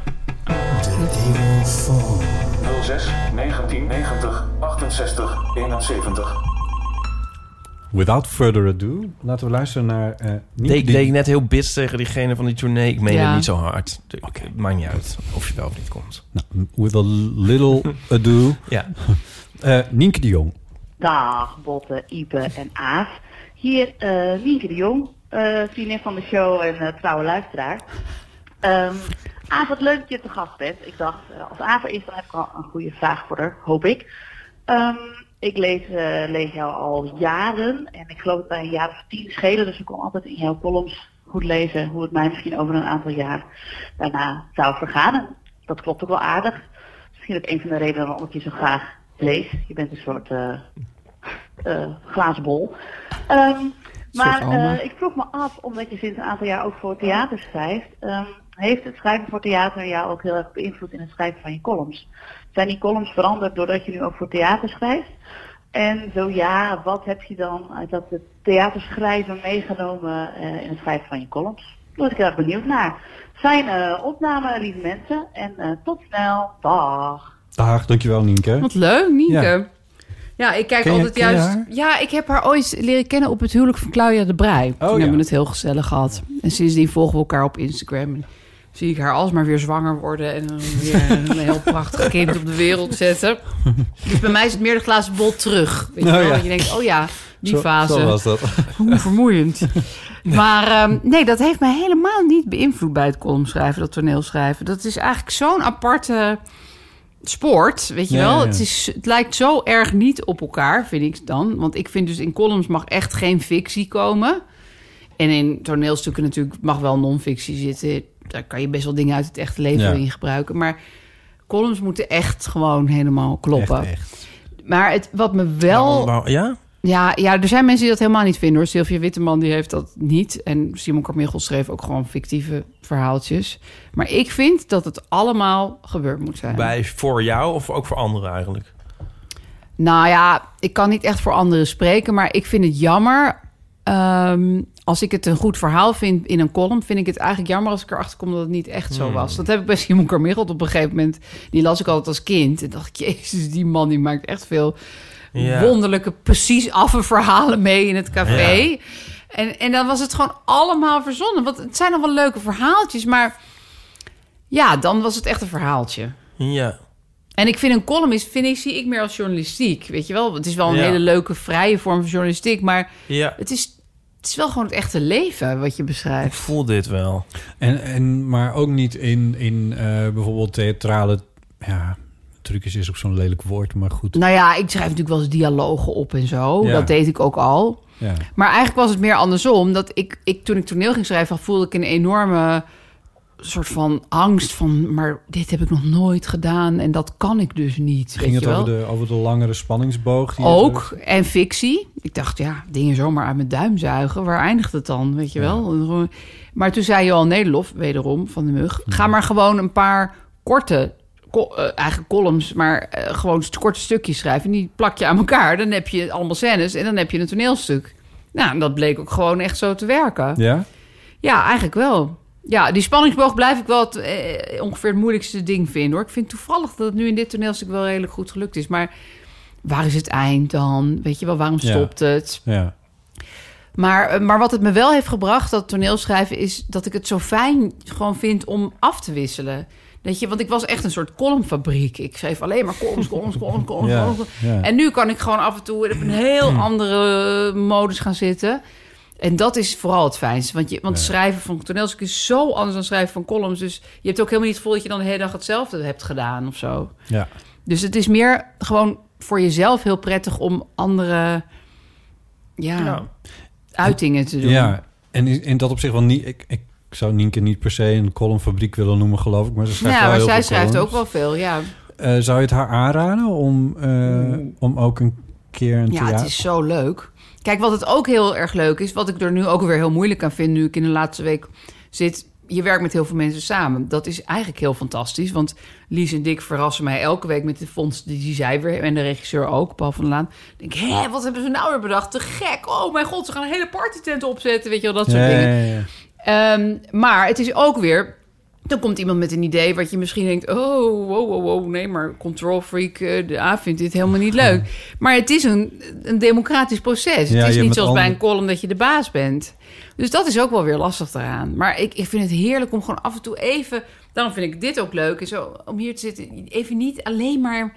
Speaker 5: 06 1990 68 71.
Speaker 4: Without further ado, laten we luisteren naar... eh niet
Speaker 2: Deed,
Speaker 4: die-
Speaker 2: deed ik net heel bits tegen diegene van die tournee. Ik meen
Speaker 3: Ja.
Speaker 2: het niet zo hard. Oké, maakt niet uit of je wel of niet komt.
Speaker 4: Nou, with a little ado.
Speaker 2: Ja.
Speaker 4: Eh Nienke de Jong.
Speaker 6: Dag Botte, Ipe en Aaf. Hier eh Nienke de Jong, eh, vriendin van de show en eh, trouwe luisteraar. Ehm Aaf, wat leuk dat je te gast bent. Ik dacht, eh, als Aaf er is, dan heb ik al een goede vraag voor haar, hoop ik. Ehm, ik lees, eh, lees jou al jaren en ik geloof dat wij een jaar of tien schelen, dus ik kon altijd in jouw columns goed lezen hoe het mij misschien over een aantal jaar daarna zou vergaan. En Dat klopt ook wel aardig. Misschien ook een van de redenen waarom ik je zo graag lees. Je bent een soort eh, eh glazen bol. Ehm, Maar
Speaker 7: Soort Alma.
Speaker 6: eh, ik vroeg me af, omdat je sinds een aantal jaar ook voor theater schrijft, ehm, heeft het schrijven voor theater jou ook heel erg beïnvloed in het schrijven van je columns? Zijn die columns veranderd doordat je nu ook voor theater schrijft? En zo ja, wat heb je dan uit dat het theaterschrijven meegenomen eh, in het schrijven van je columns? Daar was ik heel erg benieuwd naar. Zijn eh opname, lieve mensen. En eh, tot snel. Dag.
Speaker 4: Dag, dankjewel Nienke.
Speaker 3: Wat leuk, Nienke.
Speaker 4: Ja.
Speaker 3: Ja, ik kijk
Speaker 4: Ken je-
Speaker 3: altijd
Speaker 4: ken je
Speaker 3: juist...
Speaker 4: haar?
Speaker 3: Ja, ik heb haar ooit leren kennen op het huwelijk van Claudia de Brij. Toen
Speaker 4: Oh, ja.
Speaker 3: hebben we het heel gezellig gehad. En sindsdien volgen we elkaar op Instagram. En zie ik haar alsmaar weer zwanger worden... en dan weer een heel prachtig kind op de wereld zetten. Dus bij mij is het meer de glazen bol terug. Weet je
Speaker 4: Oh
Speaker 3: wel?
Speaker 4: ja.
Speaker 3: Dat je denkt, oh ja, die
Speaker 4: Zo-
Speaker 3: fase.
Speaker 4: Zo was dat.
Speaker 3: Hoe vermoeiend. Maar ehm, nee, dat heeft mij helemaal niet beïnvloed bij het columnschrijven, dat toneelschrijven. Dat is eigenlijk zo'n aparte sport, weet je
Speaker 4: Ja,
Speaker 3: wel.
Speaker 4: ja, ja.
Speaker 3: Het, is, het lijkt zo erg niet op elkaar, vind ik dan. Want ik vind dus in columns mag echt geen fictie komen. En in toneelstukken natuurlijk mag wel non-fictie zitten. Daar kan je best wel dingen uit het echte leven
Speaker 4: Ja.
Speaker 3: in gebruiken. Maar columns moeten echt gewoon helemaal kloppen.
Speaker 4: Echt, echt.
Speaker 3: Maar het, wat me wel...
Speaker 2: Wauw, Ja?
Speaker 3: Ja, ja, er zijn mensen die dat helemaal niet vinden hoor. Sylvia Witteman die heeft dat niet. En Simon Carmichael schreef ook gewoon fictieve verhaaltjes. Maar ik vind dat het allemaal gebeurd moet zijn.
Speaker 2: Bij voor jou of ook voor anderen eigenlijk?
Speaker 3: Nou ja, ik kan niet echt voor anderen spreken, maar ik vind het jammer. ehm, als ik het een goed verhaal vind in een column, vind ik het eigenlijk jammer als ik erachter kom dat het niet echt zo was. Dat heb ik bij Simon Carmichael op een gegeven moment. Die las ik altijd als kind. En dacht ik, jezus, die man die maakt echt veel
Speaker 2: Ja.
Speaker 3: wonderlijke, precies affe verhalen mee in het café. En, en dan was het gewoon allemaal verzonnen. Want het zijn dan wel leuke verhaaltjes, maar ja, dan was het echt een verhaaltje.
Speaker 2: Ja.
Speaker 3: En ik vind een column is, vind ik, zie ik meer als journalistiek. Weet je wel, het is wel een
Speaker 2: Ja.
Speaker 3: hele leuke, vrije vorm van journalistiek. Maar
Speaker 2: Ja.
Speaker 3: het is, het is wel gewoon het echte leven wat je
Speaker 2: Ik
Speaker 3: beschrijft.
Speaker 2: voel dit wel.
Speaker 4: En, en, maar ook niet in, in eh, bijvoorbeeld theatrale... Ja, trucjes is ook zo'n lelijk woord, maar goed.
Speaker 3: Nou ja, ik schrijf natuurlijk wel eens dialogen op en zo.
Speaker 4: Ja.
Speaker 3: Dat deed ik ook al.
Speaker 4: Ja.
Speaker 3: Maar eigenlijk was het meer andersom. Dat ik, ik toen ik toneel ging schrijven, voelde ik een enorme soort van angst van... maar dit heb ik nog nooit gedaan en dat kan ik dus niet. weet
Speaker 4: Ging het
Speaker 3: je wel?
Speaker 4: over de, over de langere spanningsboog? die je
Speaker 3: Ook, en fictie. Ik dacht, ja, dingen zomaar uit mijn duim zuigen. Waar eindigt het dan, weet je wel? Maar toen zei Johan Nederlof, wederom, van de mug... ga maar gewoon een paar korte, ko- eh, eigen columns... maar eh, gewoon st- korte stukjes schrijven. En die plak je aan elkaar. Dan heb je allemaal scènes en dan heb je een toneelstuk. Nou, en dat bleek ook gewoon echt zo te werken.
Speaker 4: zo- Ja?
Speaker 3: Ja, eigenlijk wel. Ja, die spanningsboog blijf ik wel het, eh, ongeveer het moeilijkste ding vinden hoor. Ik vind toevallig dat het nu in dit toneelstuk wel redelijk goed gelukt is. Maar waar is het eind dan? Weet je wel, waarom
Speaker 4: Ja.
Speaker 3: stopt het?
Speaker 4: Ja.
Speaker 3: Maar, eh, maar wat het me wel heeft gebracht, dat toneelschrijven, is dat ik het zo fijn gewoon vind om af te wisselen. Dat je, want ik was echt een soort columnfabriek. Ik schreef alleen maar columns, columns, columns, columns.
Speaker 4: Ja,
Speaker 3: columns.
Speaker 4: ja. Hmm.
Speaker 3: En nu kan ik gewoon af en toe op een heel andere modus gaan zitten. En dat is vooral het fijnste. Want, je, want schrijven van toneelstukken is zo anders dan schrijven van columns. Dus je hebt ook helemaal niet het gevoel dat je dan de hele dag hetzelfde hebt gedaan of zo.
Speaker 4: ja.
Speaker 3: Dus het is meer gewoon voor jezelf heel prettig om andere ja,
Speaker 2: Ja.
Speaker 3: uitingen te doen.
Speaker 4: Ja, en is- in dat opzicht wel niet... Ik, ik zou Nienke niet per se een columnfabriek willen noemen, geloof ik. Maar ze schrijft
Speaker 3: Ja,
Speaker 4: wel
Speaker 3: maar
Speaker 4: heel
Speaker 3: Nou, zij
Speaker 4: veel
Speaker 3: schrijft
Speaker 4: columns.
Speaker 3: ook wel veel, ja.
Speaker 4: Eh, zou je het haar aanraden om, eh, om ook een keer een
Speaker 3: Ja,
Speaker 4: theater...
Speaker 3: het is zo leuk. Kijk, wat het ook heel erg leuk is, wat ik er nu ook weer heel moeilijk aan vind, nu ik in de laatste week zit. Je werkt met heel veel mensen samen. Dat is eigenlijk heel fantastisch. Want Lies en Dick verrassen mij elke week met de fonds die, die zij weer en de regisseur ook, Paul van der Laan. Dan denk ik, hé, wat hebben ze nou weer bedacht? Te gek. Oh mijn god, ze gaan een hele partytent opzetten. Weet je wel, dat soort
Speaker 4: Ja,
Speaker 3: dingen.
Speaker 4: ja, ja, ja.
Speaker 3: Ehm, maar het is ook weer. Dan komt iemand met een idee wat je misschien denkt: oh, wow, wow, wow, nee, maar control freak, eh, de A vindt dit helemaal niet leuk. Maar het is een, een democratisch proces.
Speaker 4: Ja,
Speaker 3: het
Speaker 4: je
Speaker 3: is
Speaker 4: hebt
Speaker 3: niet zoals
Speaker 4: ander-
Speaker 3: bij een column dat je de baas bent. Dus dat is ook wel weer lastig daaraan. Maar ik, ik vind het heerlijk om gewoon af en toe even. Daarom vind ik dit ook leuk. En zo, om hier te zitten, even niet alleen maar.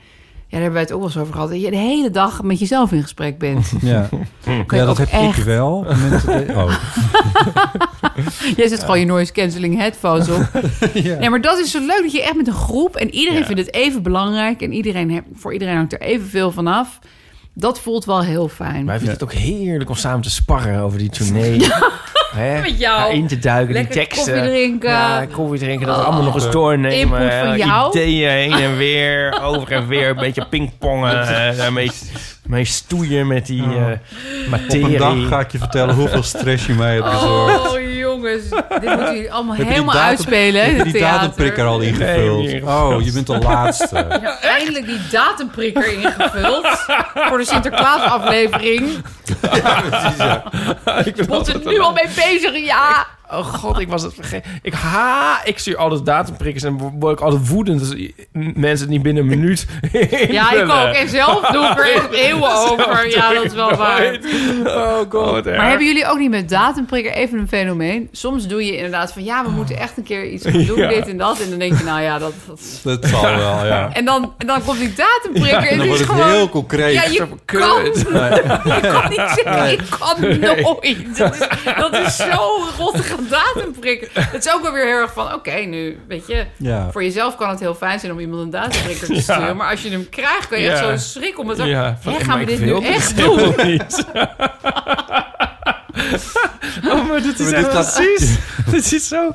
Speaker 3: Ja, daar hebben wij het ook wel eens over gehad. Dat je de hele dag met jezelf in gesprek bent.
Speaker 4: Ja,
Speaker 3: Kun je
Speaker 4: ja dat
Speaker 3: ook
Speaker 4: heb
Speaker 3: echt-
Speaker 4: ik wel. Met de- oh.
Speaker 3: Jij zet gewoon je noise cancelling headphones op. Nee, maar dat is zo leuk dat je echt met een groep en iedereen
Speaker 2: Ja.
Speaker 3: vindt het even belangrijk en iedereen heb- voor iedereen hangt er evenveel van af. Dat voelt wel heel fijn.
Speaker 2: Wij vinden het ook heerlijk om samen te sparren over die tournee. Hè?
Speaker 3: Met jou.
Speaker 2: in te duiken,
Speaker 3: Lekker
Speaker 2: die teksten.
Speaker 3: koffie drinken. Oh.
Speaker 2: Ja, koffie drinken, dat allemaal nog eens doornemen.
Speaker 3: Input van
Speaker 2: eh,
Speaker 3: jou.
Speaker 2: Ideeën heen en weer, over en weer. Een beetje pingpongen. eh, Daarmee Mee stoeien met die
Speaker 4: Oh.
Speaker 2: eh,
Speaker 4: Op
Speaker 2: materie.
Speaker 4: een dag ga ik je vertellen hoeveel stress je mij hebt bezorgd.
Speaker 3: Oh jongens, dit moeten jullie allemaal
Speaker 4: Heb je die
Speaker 3: helemaal
Speaker 4: datum-
Speaker 3: uitspelen. hè,
Speaker 4: heb je
Speaker 3: in
Speaker 4: die
Speaker 3: het theater.
Speaker 4: datumprikker al ingevuld?
Speaker 2: Nee,
Speaker 4: oh, je bent de laatste.
Speaker 3: Ja, eindelijk die datumprikker ingevuld voor de Sinterklaasaflevering.
Speaker 2: ik ben
Speaker 3: Bot
Speaker 2: altijd
Speaker 3: er nu
Speaker 2: aan-
Speaker 3: al mee bezig, ja.
Speaker 2: Oh god, ik was het vergeten. Ik ha, ik stuur altijd datumprikkers en wo- word ik altijd woedend als i- mensen het niet binnen een minuut
Speaker 3: Ja, ik
Speaker 2: invullen.
Speaker 3: ook.
Speaker 4: eh,
Speaker 3: En zelf doe ik er echt eeuwen over. Ja, dat is wel waar.
Speaker 2: Oh god, wat erg.
Speaker 3: Maar hebben jullie ook niet met datumprikker even een fenomeen? Soms doe je inderdaad van ja, we moeten echt een keer iets gaan doen,
Speaker 2: Ja.
Speaker 3: dit en dat. En dan denk je, nou ja, dat. dat-
Speaker 4: Dat zal wel, ja.
Speaker 3: En, dan, en dan komt die datumprikker en
Speaker 4: En
Speaker 3: het
Speaker 4: dan wordt
Speaker 3: is
Speaker 4: het
Speaker 3: gewoon.
Speaker 4: heel concreet.
Speaker 3: ja, je kan, je kan niet zeggen, ik kan nooit. Dat is, dat is zo'n rottige datumprikker. Het is ook wel weer heel erg van, oké, nu, weet je...
Speaker 4: Ja.
Speaker 3: Voor jezelf kan het heel fijn zijn om iemand een datumprikker te sturen. Maar als je hem krijgt, kan je echt
Speaker 2: Ja.
Speaker 3: zo'n schrik om het...
Speaker 2: Ja,
Speaker 3: Hè,
Speaker 2: van,
Speaker 3: gaan
Speaker 2: maar
Speaker 3: we
Speaker 2: ik
Speaker 3: dit
Speaker 2: wil
Speaker 3: nu echt doen?
Speaker 2: helemaal niet. oh, maar dit is
Speaker 4: Maar
Speaker 2: echt
Speaker 4: dit gaat-
Speaker 2: precies. dit is zo.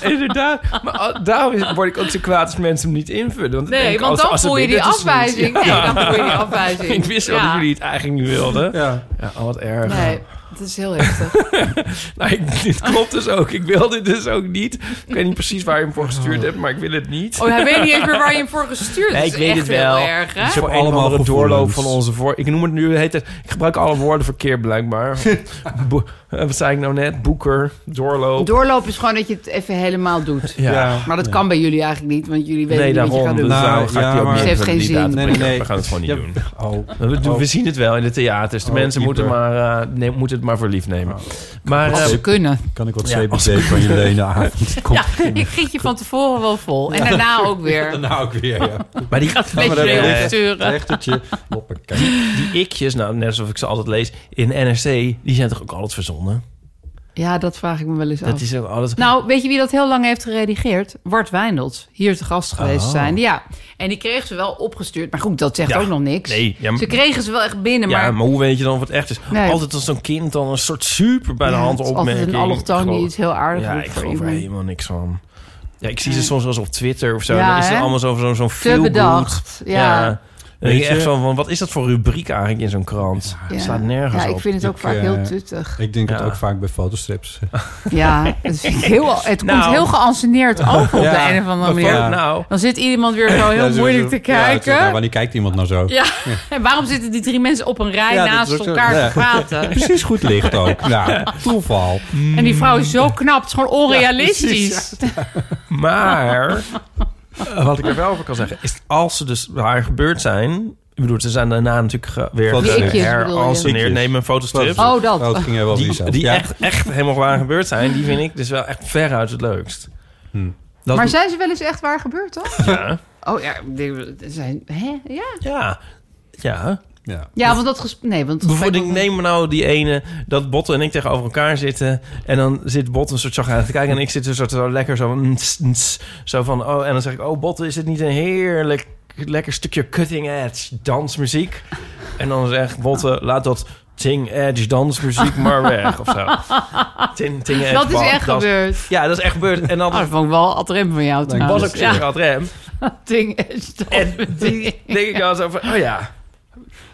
Speaker 2: Inderdaad. Maar al- daarom is- word ik ook zo kwaad als mensen hem niet invullen. Want ik
Speaker 3: Nee,
Speaker 2: denk,
Speaker 3: want
Speaker 2: als-
Speaker 3: dan
Speaker 2: als het
Speaker 3: voel je die
Speaker 2: binnen is, dan is-
Speaker 3: afwijzing.
Speaker 2: Ja.
Speaker 3: Nee, dan voel je die afwijzing.
Speaker 2: Ik wist wel
Speaker 3: Ja.
Speaker 2: dat jullie het eigenlijk niet wilden.
Speaker 4: Ja.
Speaker 2: Ja, oh, wat erg.
Speaker 3: Nee, dat is heel heftig.
Speaker 2: Nou, ik, dit klopt dus ook. Ik wilde het dus ook niet. Ik weet niet precies waar je hem voor gestuurd hebt, maar ik wil het niet.
Speaker 3: Oh, hij weet niet eens meer waar je hem voor gestuurd hebt.
Speaker 2: Nee, ik
Speaker 3: Dat is
Speaker 2: weet
Speaker 3: echt
Speaker 2: het wel.
Speaker 3: heel erg, hè?
Speaker 4: Ik heb
Speaker 2: voor een of
Speaker 4: allemaal
Speaker 2: andere doorloop
Speaker 4: gevoelens.
Speaker 2: van onze voor. Ik noem het nu de hele tijd. Ik gebruik alle woorden verkeerd blijkbaar. Bo- eh, wat zei ik nou net? Boeker, doorloop.
Speaker 3: Doorlopen is gewoon dat je het even helemaal doet.
Speaker 2: ja.
Speaker 3: Maar dat kan bij jullie eigenlijk niet, want jullie weten
Speaker 2: Nee,
Speaker 3: niet wat je
Speaker 2: daarom.
Speaker 3: gaat
Speaker 2: Dus
Speaker 3: doen.
Speaker 4: Nou,
Speaker 2: daarom ga ik
Speaker 4: ja,
Speaker 2: die ook
Speaker 4: maar-
Speaker 2: niet
Speaker 3: Het
Speaker 2: invullen,
Speaker 3: heeft geen
Speaker 2: die
Speaker 3: zin.
Speaker 2: datum.
Speaker 4: Nee, nee, nee.
Speaker 2: We gaan het gewoon niet
Speaker 4: Ja.
Speaker 2: doen.
Speaker 4: Oh.
Speaker 2: We, doen-
Speaker 4: Oh.
Speaker 2: we zien het wel in de theaters. De
Speaker 4: Oh,
Speaker 2: mensen moeten,
Speaker 4: Ieper.
Speaker 2: maar, eh, nee, moeten het maar voor lief nemen. Maar
Speaker 3: Als
Speaker 2: eh,
Speaker 3: ze kunnen.
Speaker 4: Kan ik wat
Speaker 2: Ja,
Speaker 4: CBD van je lenen avond? Kom.
Speaker 3: Ja, ik giet je van tevoren wel vol. En daarna ook weer.
Speaker 4: Nou, ook weer, ja.
Speaker 2: Maar die gaat
Speaker 3: Beetje
Speaker 4: maar dat-
Speaker 3: weer sturen.
Speaker 4: Rechtertje. Hoppakee.
Speaker 2: Die ikjes, nou, net alsof ik ze altijd lees in NRC, die zijn toch ook altijd verzonnen?
Speaker 3: Ja, dat vraag ik me wel eens af.
Speaker 2: Dat is ook altijd.
Speaker 3: Nou, weet je wie dat heel lang heeft geredigeerd? Wart Wijndels. Hier te gast geweest
Speaker 2: Oh.
Speaker 3: zijn. Ja. En die kregen ze wel opgestuurd. Maar goed, dat zegt
Speaker 2: Ja.
Speaker 3: ook nog niks.
Speaker 2: Nee, ja, maar-
Speaker 3: Ze kregen ze wel echt binnen.
Speaker 2: ja,
Speaker 3: maar
Speaker 2: maar hoe weet je dan of het echt is?
Speaker 3: Nee.
Speaker 2: Altijd als zo'n kind dan een soort super bij de
Speaker 3: Ja,
Speaker 2: hand
Speaker 3: het is
Speaker 2: opmerking.
Speaker 3: Altijd een allochtoon die
Speaker 2: Gewoon-
Speaker 3: iets heel aardigs
Speaker 2: Ja,
Speaker 3: doet
Speaker 2: ik
Speaker 3: voor
Speaker 2: geloof er
Speaker 3: iemand.
Speaker 2: helemaal niks van. Ja, ik zie ze soms wel eens op Twitter of zo.
Speaker 3: Ja,
Speaker 2: en dan is het
Speaker 3: hè?
Speaker 2: allemaal zo'n zo, zo'n
Speaker 3: Te
Speaker 2: feel-good.
Speaker 3: bedacht. Ja.
Speaker 2: Ja. Dan denk
Speaker 4: Weet
Speaker 2: je
Speaker 4: je-
Speaker 2: echt van, van, wat is dat voor rubriek eigenlijk in zo'n krant?
Speaker 3: Ja.
Speaker 2: Het staat nergens
Speaker 3: Ja, ik
Speaker 2: op.
Speaker 3: vind het ook
Speaker 4: Ik,
Speaker 3: vaak
Speaker 4: eh,
Speaker 3: heel tuttig.
Speaker 4: Ik denk
Speaker 2: Ja.
Speaker 4: het ook vaak bij fotostrips.
Speaker 3: Ja, het, vind ik heel, het
Speaker 2: Nou.
Speaker 3: komt heel geanceneerd over op
Speaker 4: Ja.
Speaker 3: de een of andere
Speaker 2: Wat
Speaker 3: manier.
Speaker 4: Ja.
Speaker 2: nou?
Speaker 3: Dan zit iemand weer zo
Speaker 4: Ja,
Speaker 3: heel
Speaker 4: zo-
Speaker 3: moeilijk
Speaker 4: zo-
Speaker 3: te
Speaker 4: ja, het is-
Speaker 3: kijken.
Speaker 4: nou, wanneer kijkt iemand nou zo?
Speaker 3: Ja. En waarom zitten die drie mensen op een rij
Speaker 4: Ja, dat
Speaker 3: naast
Speaker 4: is ook zo.
Speaker 3: elkaar
Speaker 4: Ja.
Speaker 3: te praten?
Speaker 4: Precies goed licht ook. Ja, toeval.
Speaker 3: En die vrouw is zo knap. Het is gewoon onrealistisch.
Speaker 2: Maar eh, wat ik er wel over kan zeggen, is als ze dus waar gebeurd zijn. Ik bedoel, ze zijn daarna natuurlijk ge- weer
Speaker 4: Fotostrips. Die ikjes
Speaker 3: bedoel je?
Speaker 2: geranceneerd.
Speaker 4: Ikjes.
Speaker 2: Nee, mijn fotostrips.
Speaker 3: Oh, dat.
Speaker 4: Oh, het ging er wel
Speaker 2: die
Speaker 4: vliezen.
Speaker 2: die
Speaker 4: Ja.
Speaker 2: echt, echt helemaal waar gebeurd zijn, die vind ik dus wel echt veruit het leukst.
Speaker 4: Hmm.
Speaker 2: Dat
Speaker 3: maar zijn ze wel eens echt waar gebeurd, toch?
Speaker 2: ja,
Speaker 3: Oh ja, die- er zijn, hè? Ja.
Speaker 2: ja, ja.
Speaker 4: Ja.
Speaker 3: ja, want dat gesprek... Nee, want het gesprek-
Speaker 2: Bijvoorbeeld, ik neem nou die ene dat Botten en ik tegenover elkaar zitten. En dan zit Botten een soort chagrijnig te kijken. En ik zit een soort zo lekker zo, van, "Ns, ns", zo van. Oh, en dan zeg ik: Oh, Botten, is het niet een heerlijk lekker stukje cutting edge dansmuziek? En dan zegt Botten: Laat dat ting edge dansmuziek maar weg. Of zo. Ting, ting edge
Speaker 3: Dat is
Speaker 2: ba-
Speaker 3: echt
Speaker 2: dans-
Speaker 3: gebeurd.
Speaker 2: Ja, dat is echt gebeurd. En
Speaker 3: Oh, dat
Speaker 2: dan
Speaker 3: vond ik wel ad rem van jou
Speaker 4: ik.
Speaker 2: was
Speaker 3: trouwens.
Speaker 2: ik zeer aan het rem.
Speaker 3: Ja, ding is dat.
Speaker 2: En die denk ik al zo van: Oh ja,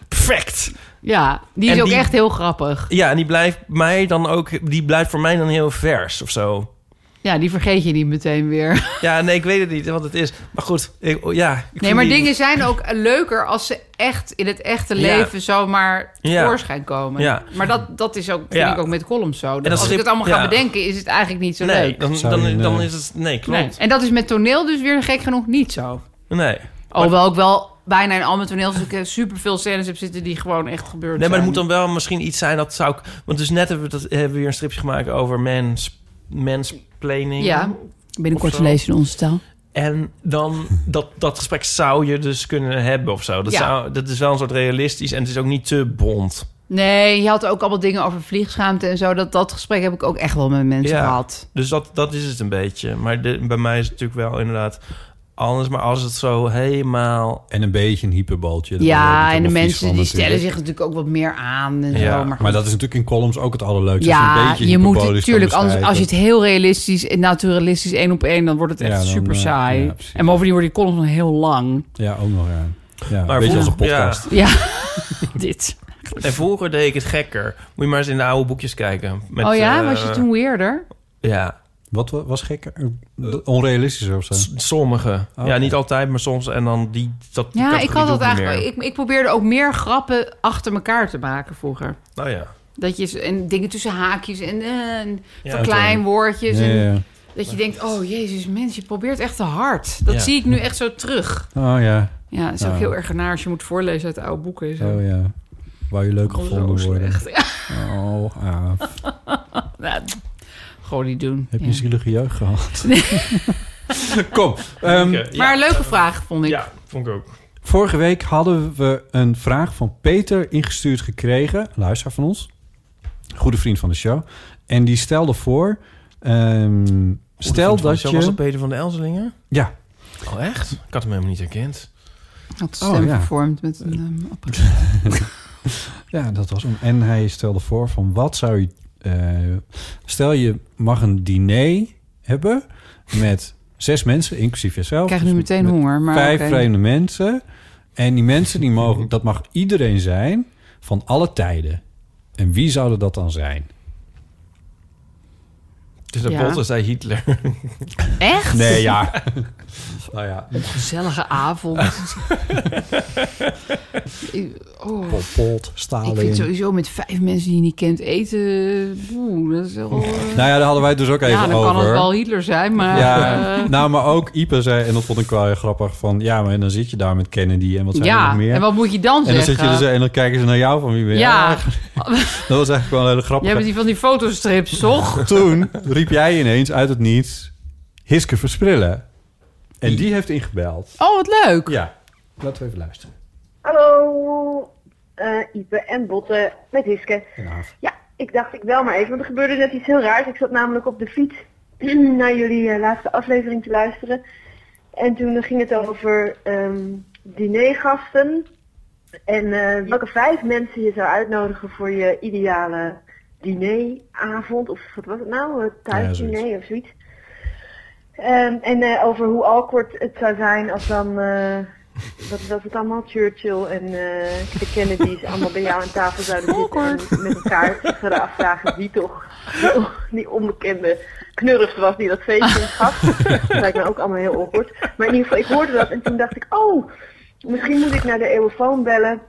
Speaker 2: perfect.
Speaker 3: Ja, die is
Speaker 2: En
Speaker 3: ook
Speaker 2: die-
Speaker 3: echt heel grappig.
Speaker 2: Ja, en die blijft mij dan ook, die blijft voor mij dan heel vers of zo.
Speaker 3: Ja, die vergeet je niet meteen weer.
Speaker 2: Ja, nee, ik weet het niet wat het is. Maar goed, ik, oh, ja. ik
Speaker 3: Nee,
Speaker 2: vind
Speaker 3: maar
Speaker 2: die-
Speaker 3: dingen zijn ook leuker als ze echt in het echte
Speaker 2: Ja.
Speaker 3: leven zomaar
Speaker 2: Ja.
Speaker 3: tevoorschijn komen.
Speaker 2: Ja.
Speaker 3: Maar dat, dat is ook, vind
Speaker 2: Ja.
Speaker 3: ik ook met columns zo. Dat
Speaker 2: dat
Speaker 3: als ik
Speaker 2: schip-
Speaker 3: het allemaal ga
Speaker 2: ja.
Speaker 3: bedenken, is het eigenlijk niet zo
Speaker 2: Nee,
Speaker 3: leuk.
Speaker 2: dan,
Speaker 4: Zou je, eh,
Speaker 2: dan,
Speaker 4: nee.
Speaker 2: dan is het... Nee,
Speaker 3: Nee.
Speaker 2: klopt.
Speaker 3: En dat is met toneel dus weer gek genoeg niet zo.
Speaker 2: Nee. Nee,
Speaker 3: Alhoewel ik wel bijna in al mijn toneelstukken eh, superveel scènes heb zitten die gewoon echt gebeurd
Speaker 2: maar
Speaker 3: zijn.
Speaker 2: het moet dan wel misschien iets zijn dat zou ik... Want dus net hebben we, dat, hebben we weer een stripje gemaakt over mens, mansplaining.
Speaker 3: Ja, binnenkort
Speaker 2: Of zo.
Speaker 3: te lezen in onze taal.
Speaker 2: En dan dat, dat gesprek zou je dus kunnen hebben of zo. Dat,
Speaker 3: Ja.
Speaker 2: zou, dat is wel een soort realistisch en het is ook niet te bond.
Speaker 3: Nee, je had ook allemaal dingen over vliegschaamte en zo. Dat, dat gesprek heb ik ook echt wel met mensen
Speaker 2: Ja.
Speaker 3: gehad.
Speaker 2: Dus dat, dat is het een beetje. Maar de- bij mij is het natuurlijk wel inderdaad anders. Maar als het zo helemaal...
Speaker 4: En een beetje een hyperbooltje. Daar word je
Speaker 3: Ja,
Speaker 4: ook
Speaker 3: en de
Speaker 4: helemaal vies
Speaker 3: mensen
Speaker 4: van
Speaker 3: die stellen
Speaker 4: natuurlijk.
Speaker 3: zich natuurlijk ook wat meer aan en
Speaker 2: Ja,
Speaker 3: zo. Maar,
Speaker 4: Maar dat is natuurlijk in columns ook het allerleukste. als je, een
Speaker 3: ja,
Speaker 4: beetje
Speaker 3: je moet
Speaker 4: hyperbolisch
Speaker 3: het
Speaker 4: kan
Speaker 3: natuurlijk anders. Als je
Speaker 4: beschrijven.
Speaker 3: het heel realistisch en naturalistisch één op één, dan wordt het
Speaker 4: Ja,
Speaker 3: echt
Speaker 4: dan,
Speaker 3: super
Speaker 4: eh,
Speaker 3: saai.
Speaker 4: ja, precies.
Speaker 3: en bovendien wordt die column nog heel lang.
Speaker 4: Ja, ook nog, ja. ja
Speaker 2: Maar
Speaker 4: een beetje als een
Speaker 2: vroeger-
Speaker 4: podcast.
Speaker 3: Ja,
Speaker 7: dit.
Speaker 2: En vroeger deed ik het gekker. Moet je maar eens in de oude boekjes kijken. Met,
Speaker 3: oh ja,
Speaker 2: eh,
Speaker 3: was je toen weerder?
Speaker 2: Ja,
Speaker 4: Wat wa- was gekker? Onrealistischer of zo?
Speaker 2: s- sommige.
Speaker 4: Oh,
Speaker 2: ja,
Speaker 4: oké.
Speaker 2: niet altijd, maar soms. En dan die... Dat, die
Speaker 3: Ja, ik
Speaker 2: categorie
Speaker 3: had
Speaker 2: doe
Speaker 3: dat
Speaker 2: niet meer.
Speaker 3: eigenlijk. Ik, ik probeerde ook meer grappen achter elkaar te maken vroeger.
Speaker 2: Nou ja.
Speaker 3: Dat je z- en dingen tussen haakjes en, eh, en
Speaker 2: Ja,
Speaker 3: verkleinwoordjes.
Speaker 4: Ja,
Speaker 3: en
Speaker 4: ja, ja.
Speaker 3: Dat je denkt, oh jezus, mens, je probeert echt te hard. Dat
Speaker 2: Ja.
Speaker 3: zie ik nu echt zo terug.
Speaker 4: Oh ja,
Speaker 3: Ja, dat is ook
Speaker 4: Ja.
Speaker 3: heel erg naar als je moet voorlezen uit oude boeken. en Zo.
Speaker 4: oh ja. Wou je leuk
Speaker 3: Oh, zo
Speaker 4: gevonden worden.
Speaker 3: slecht. Ja,
Speaker 4: Oh, Aaf.
Speaker 3: nou, gewoon niet doen.
Speaker 4: Heb je
Speaker 3: Ja.
Speaker 4: een zielige jeugd gehad? Kom. ehm,
Speaker 2: Ik, eh, ja.
Speaker 3: Maar een leuke vraag, vond ik.
Speaker 2: Ja, vond ik ook.
Speaker 4: vorige week hadden we een vraag van Peter ingestuurd gekregen. een Luisteraar van ons. Goede vriend van de show. En die stelde voor... ehm, stel
Speaker 2: Goede vriend van de
Speaker 4: dat
Speaker 2: show. Was dat
Speaker 4: je...
Speaker 2: Peter van de Elzelingen?
Speaker 4: Ja,
Speaker 2: Oh, echt? Ik had hem helemaal niet herkend.
Speaker 3: Had de
Speaker 4: Oh,
Speaker 3: stem
Speaker 4: ja.
Speaker 3: vervormd met een ehm, apparaat.
Speaker 4: ja, dat was hem. En hij stelde voor van wat zou je... eh, stel je mag een diner hebben met zes mensen, inclusief jezelf.
Speaker 3: Ik krijg
Speaker 4: Dus
Speaker 3: nu meteen
Speaker 4: met-
Speaker 3: honger, maar
Speaker 4: vijf
Speaker 3: oké.
Speaker 4: vreemde mensen. En die mensen, die mogen, dat mag iedereen zijn van alle tijden. En wie zouden dat dan zijn?
Speaker 2: Dus dat
Speaker 3: Ja.
Speaker 2: Bolter zei Hitler.
Speaker 3: Echt?
Speaker 4: Nee, ja. nou ja,
Speaker 3: Gezellige avond. oh.
Speaker 4: Pol Pot,
Speaker 3: Ik vind
Speaker 4: Stalin.
Speaker 3: sowieso met vijf mensen die je niet kent eten... Oeh, dat is wel... eh,
Speaker 4: Nou ja, daar hadden wij het dus ook even
Speaker 3: ja, dan
Speaker 4: over.
Speaker 3: kan het wel Hitler zijn, maar...
Speaker 4: Ja,
Speaker 3: eh,
Speaker 4: nou, maar ook Ipe zei, en dat vond ik wel heel grappig, van ja, maar dan zit je daar met Kennedy en wat zijn er nog
Speaker 3: ja.
Speaker 4: meer?
Speaker 3: en wat moet je dan
Speaker 4: en dan
Speaker 3: zeggen?
Speaker 4: zit je dus, en dan kijken ze naar jou van wie ben je?
Speaker 3: ja,
Speaker 4: Ah, dat was eigenlijk wel een hele
Speaker 3: jij
Speaker 4: grappige.
Speaker 3: bent die van die fotostrips, toch?
Speaker 4: Toen riep jij ineens uit het niets Hiske Versprillen. En die heeft ingebeld.
Speaker 3: Oh, wat leuk.
Speaker 4: Ja, laten we even luisteren.
Speaker 6: Hallo, eh, Ipe en Botte met Hiske. Ja, ik dacht ik wel maar even, want er gebeurde net iets heel raars. Ik zat namelijk op de fiets naar jullie eh, laatste aflevering te luisteren. En toen eh, ging het over ehm dinergasten. En eh, welke vijf mensen je zou uitnodigen voor je ideale dineravond. Of wat was het nou? Eh, Thuisdiner of zoiets. Ehm, en eh, over hoe awkward het zou zijn als dan... eh, dat, dat het allemaal Churchill en eh, de Kennedy's allemaal bij jou aan tafel zouden zitten en met elkaar zich zouden afvragen wie toch die onbekende knurf was die dat feestje gaf. Dat lijkt mij ook allemaal heel awkward. Maar in ieder geval, ik hoorde dat en toen dacht ik, oh, misschien moet ik naar de eeuwenfoon bellen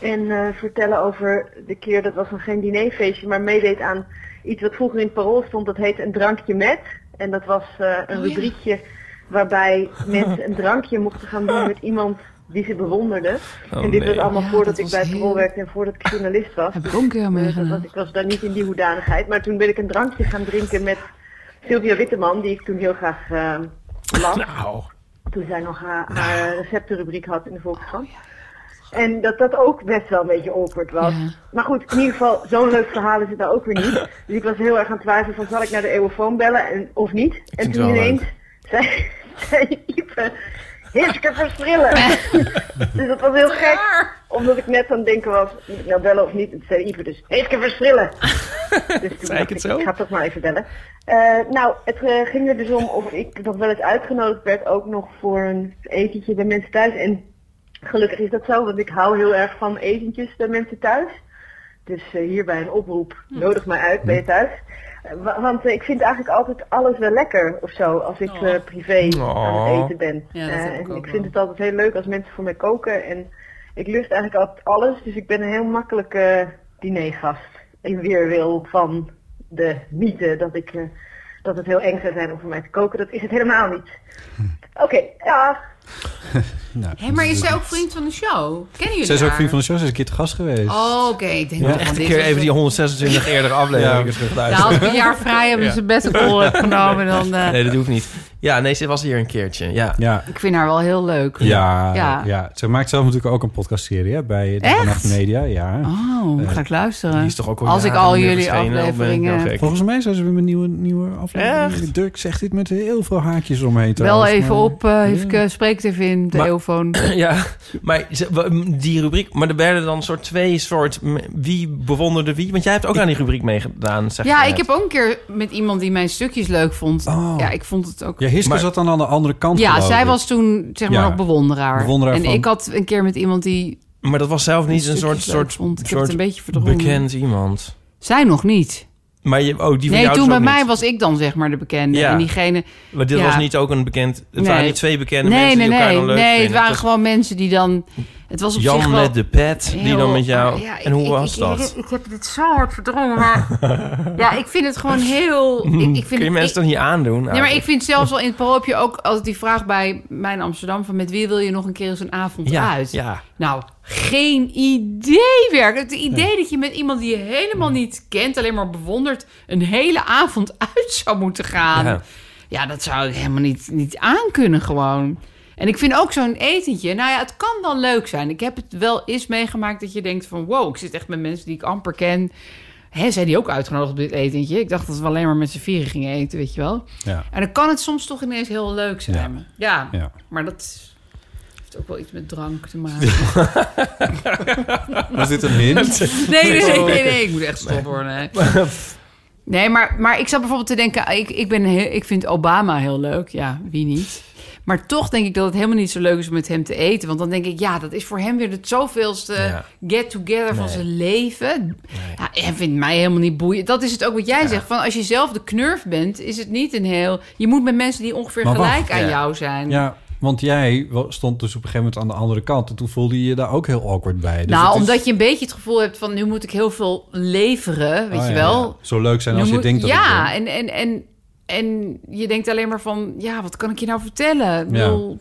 Speaker 6: en eh, vertellen over de keer, dat was nog geen dinerfeestje, maar meedeed aan iets wat vroeger in het parool stond, dat heet een drankje met. En dat was eh, een
Speaker 2: Oh
Speaker 6: rubriekje waarbij mensen een drankje mochten gaan doen met iemand die ze bewonderden.
Speaker 2: Oh,
Speaker 6: en dit was
Speaker 2: nee.
Speaker 6: allemaal
Speaker 3: Ja,
Speaker 6: voordat
Speaker 3: dat was
Speaker 6: ik bij het
Speaker 3: heel-
Speaker 6: parool werkte en voordat ik journalist was.
Speaker 3: Heb ik ook een keer
Speaker 6: Eh, dat was,
Speaker 3: meegedaan.
Speaker 6: ik was daar niet in die hoedanigheid, maar toen ben ik een drankje gaan drinken met Sylvia Witteman, die ik toen heel graag eh, las
Speaker 2: Nou,
Speaker 6: toen zij nog haar, haar receptenrubriek had in de Volkskrant. En dat dat ook best wel een beetje awkward was.
Speaker 3: Ja.
Speaker 6: Maar goed, in ieder geval, zo'n leuk verhaal is het nou ook weer niet. Dus ik was heel erg aan het twijfelen van, zal ik naar de eeuwenfoon bellen en, of niet? en
Speaker 2: het
Speaker 6: toen
Speaker 2: wel
Speaker 6: ineens zei, zei Ipe, Hiske versprillen. dus dat was heel gek, omdat ik net aan het denken was, moet ik nou bellen of niet? En toen zei Ipe dus, Hiske versprillen. Dus toen
Speaker 2: Zei ik
Speaker 6: dacht
Speaker 2: het
Speaker 6: ik,
Speaker 2: zo?
Speaker 6: ik ga toch maar even bellen. Eh, nou, het eh, ging er dus om of ik nog wel eens uitgenodigd werd, ook nog voor een etentje bij mensen thuis. En gelukkig is dat zo, want ik hou heel erg van etentjes bij mensen thuis. Dus eh, hierbij een oproep, nodig mij uit bij je thuis. Eh, wa- want eh, ik vind eigenlijk altijd alles wel lekker of zo, als ik
Speaker 3: Oh.
Speaker 6: eh, privé aan
Speaker 2: Oh.
Speaker 6: het eten ben.
Speaker 3: Ja, dat
Speaker 6: Eh,
Speaker 3: heb ik
Speaker 6: en
Speaker 3: ook
Speaker 6: ik
Speaker 3: wel.
Speaker 6: vind het altijd heel leuk als mensen voor mij koken en ik lust eigenlijk altijd alles, dus ik ben een heel makkelijke dinergast. In weerwil van de mythe dat, ik, eh, dat het heel eng zou zijn om voor mij te koken. Dat is het helemaal niet. Oké, ja.
Speaker 4: Nou,
Speaker 3: Hé, maar is zij ook vriend van de show? Kennen jullie
Speaker 4: Ze is ook
Speaker 3: haar?
Speaker 4: vriend van de show. Ze is een keer te gast geweest.
Speaker 3: Oh, oké. Ik denk dat
Speaker 2: echt
Speaker 3: echt
Speaker 2: een keer even die 126 eerder afleveringen
Speaker 4: Ja.
Speaker 2: terug
Speaker 3: Daar
Speaker 2: luisteren.
Speaker 3: had Nou, ik een jaar vrij hebben
Speaker 2: Ja.
Speaker 3: ze best een call heb genomen. Dan, eh,
Speaker 2: Nee, dat hoeft niet. Ja, nee, ze was hier een keertje. Ja.
Speaker 4: Ja.
Speaker 3: Ik vind haar wel heel leuk.
Speaker 4: Ja, ja.
Speaker 3: Ja.
Speaker 4: ze maakt zelf natuurlijk ook een podcastserie hè, bij de
Speaker 3: Echt?
Speaker 4: Vannacht Media. Ja.
Speaker 3: Oh, ga ik luisteren.
Speaker 2: Eh, Die is toch ook al
Speaker 3: Als ik
Speaker 2: jaren
Speaker 3: al
Speaker 2: niet meer
Speaker 3: jullie
Speaker 2: verschenen, of ben ik
Speaker 3: afleveringen...
Speaker 2: nou gek?
Speaker 4: Volgens mij zijn ze weer een nieuwe, nieuwe aflevering. Dirk zegt dit met heel veel haakjes omheen.
Speaker 3: Wel
Speaker 4: trouwens,
Speaker 3: even
Speaker 4: maar-
Speaker 3: op, eh even, eh, spreek het even in, de
Speaker 2: Maar-
Speaker 3: telefoon.
Speaker 2: Ja, maar ze- w- die rubriek... Maar er werden dan soort twee soort... m- Wie bewonderde wie? Want jij hebt ook aan die rubriek meegedaan, zeg
Speaker 3: Ja,
Speaker 2: je
Speaker 3: ik
Speaker 2: net.
Speaker 3: heb ook een keer met iemand die mijn stukjes leuk vond.
Speaker 4: Oh.
Speaker 3: Ja, ik vond het ook...
Speaker 4: Ja, Hiske
Speaker 2: Maar-
Speaker 4: zat dan aan de andere kant.
Speaker 3: Ja,
Speaker 4: geloof
Speaker 3: zij
Speaker 4: ik.
Speaker 3: was toen zeg maar
Speaker 4: Ja.
Speaker 3: nog bewonderaar.
Speaker 4: Bewonderaar
Speaker 3: en
Speaker 4: van-
Speaker 3: ik had een keer met iemand die
Speaker 2: Maar dat was zelf niet een
Speaker 3: stukjes
Speaker 2: soort,
Speaker 3: leuk
Speaker 2: soort,
Speaker 3: vond. Ik heb
Speaker 2: soort
Speaker 3: het een beetje verdrongen.
Speaker 2: bekend iemand.
Speaker 3: Zij nog niet.
Speaker 2: Maar je, oh, die van
Speaker 3: Nee,
Speaker 2: jou
Speaker 3: toen
Speaker 2: dus
Speaker 3: bij
Speaker 2: ook
Speaker 3: mij
Speaker 2: niet.
Speaker 3: was ik dan zeg maar de bekende.
Speaker 2: Ja.
Speaker 3: En diegene...
Speaker 2: Maar dit
Speaker 3: ja.
Speaker 2: was niet ook een bekend... Het waren
Speaker 3: Nee.
Speaker 2: niet twee bekende
Speaker 3: nee,
Speaker 2: mensen
Speaker 3: nee,
Speaker 2: die elkaar
Speaker 3: nee.
Speaker 2: dan leuk
Speaker 3: nee,
Speaker 2: vinden.
Speaker 3: het waren
Speaker 2: Dat-
Speaker 3: gewoon mensen die dan... Het was op zich
Speaker 2: Jan
Speaker 3: wel... Ah,
Speaker 2: met de pet, die dan met jou...
Speaker 3: Ja, ik-
Speaker 2: en hoe
Speaker 3: ik-
Speaker 2: was
Speaker 3: ik-
Speaker 2: dat?
Speaker 3: Ik, ik heb dit zo hard verdrongen, maar... ja, ik vind het gewoon heel... Ik, ik vind
Speaker 2: Kun je
Speaker 3: het-
Speaker 2: mensen
Speaker 3: ik-
Speaker 2: dan niet aandoen?
Speaker 3: Nee, maar ik
Speaker 2: eigenlijk?
Speaker 3: vind zelfs al in het paroopje ook... Als die vraag bij mijn Amsterdam... van met wie wil je nog een keer eens een avond
Speaker 2: ja,
Speaker 3: uit?
Speaker 2: Ja,
Speaker 3: Nou, geen idee werk. Het idee dat je met iemand die je helemaal niet kent... alleen maar bewondert... een hele avond uit zou moeten gaan.
Speaker 2: Ja.
Speaker 3: Ja, dat zou ik helemaal niet, niet aankunnen gewoon. En ik vind ook zo'n etentje... Nou ja, het kan wel leuk zijn. Ik heb het wel eens meegemaakt dat je denkt van... wow, ik zit echt met mensen die ik amper ken... Hè, zijn die ook uitgenodigd op dit etentje? Ik dacht dat we alleen maar met z'n vieren gingen eten, weet je wel.
Speaker 4: Ja.
Speaker 3: En dan kan het soms toch ineens heel leuk zijn. Ja,
Speaker 4: Ja.
Speaker 3: maar dat heeft ook wel iets met drank te maken.
Speaker 7: Was dit een hint?
Speaker 3: Nee, nee, nee, nee, nee, ik moet echt stoppen hoor. Nee, nee maar, maar ik zat bijvoorbeeld te denken, ik, ik, ben heel, ik vind Obama heel leuk. Ja, wie niet? Maar toch denk ik dat het helemaal niet zo leuk is om met hem te eten. Want dan denk ik, ja, dat is voor hem weer het zoveelste
Speaker 2: Ja.
Speaker 3: get-together van zijn leven. Ja, hij vindt mij helemaal niet boeiend. Dat is het ook wat jij zegt. Van als je zelf de knurf bent, is het niet een heel... Je moet met mensen die ongeveer
Speaker 4: Maar wacht,
Speaker 3: gelijk aan
Speaker 2: ja.
Speaker 3: jou zijn.
Speaker 4: Ja, want jij wa- stond dus op een gegeven moment aan de andere kant. En toen voelde je je daar ook heel awkward bij. Dus
Speaker 3: nou,
Speaker 4: het is-
Speaker 3: omdat je een beetje het gevoel hebt van... nu moet ik heel veel leveren, weet
Speaker 4: Oh,
Speaker 3: je
Speaker 4: ja,
Speaker 3: wel.
Speaker 4: ja. Zo leuk zijn als je,
Speaker 3: moet-
Speaker 4: denkt dat
Speaker 3: ja,
Speaker 4: het
Speaker 3: en, en, en, en je denkt alleen maar van... ja, wat kan ik je nou vertellen? Ik
Speaker 4: Ja.
Speaker 3: bedoel,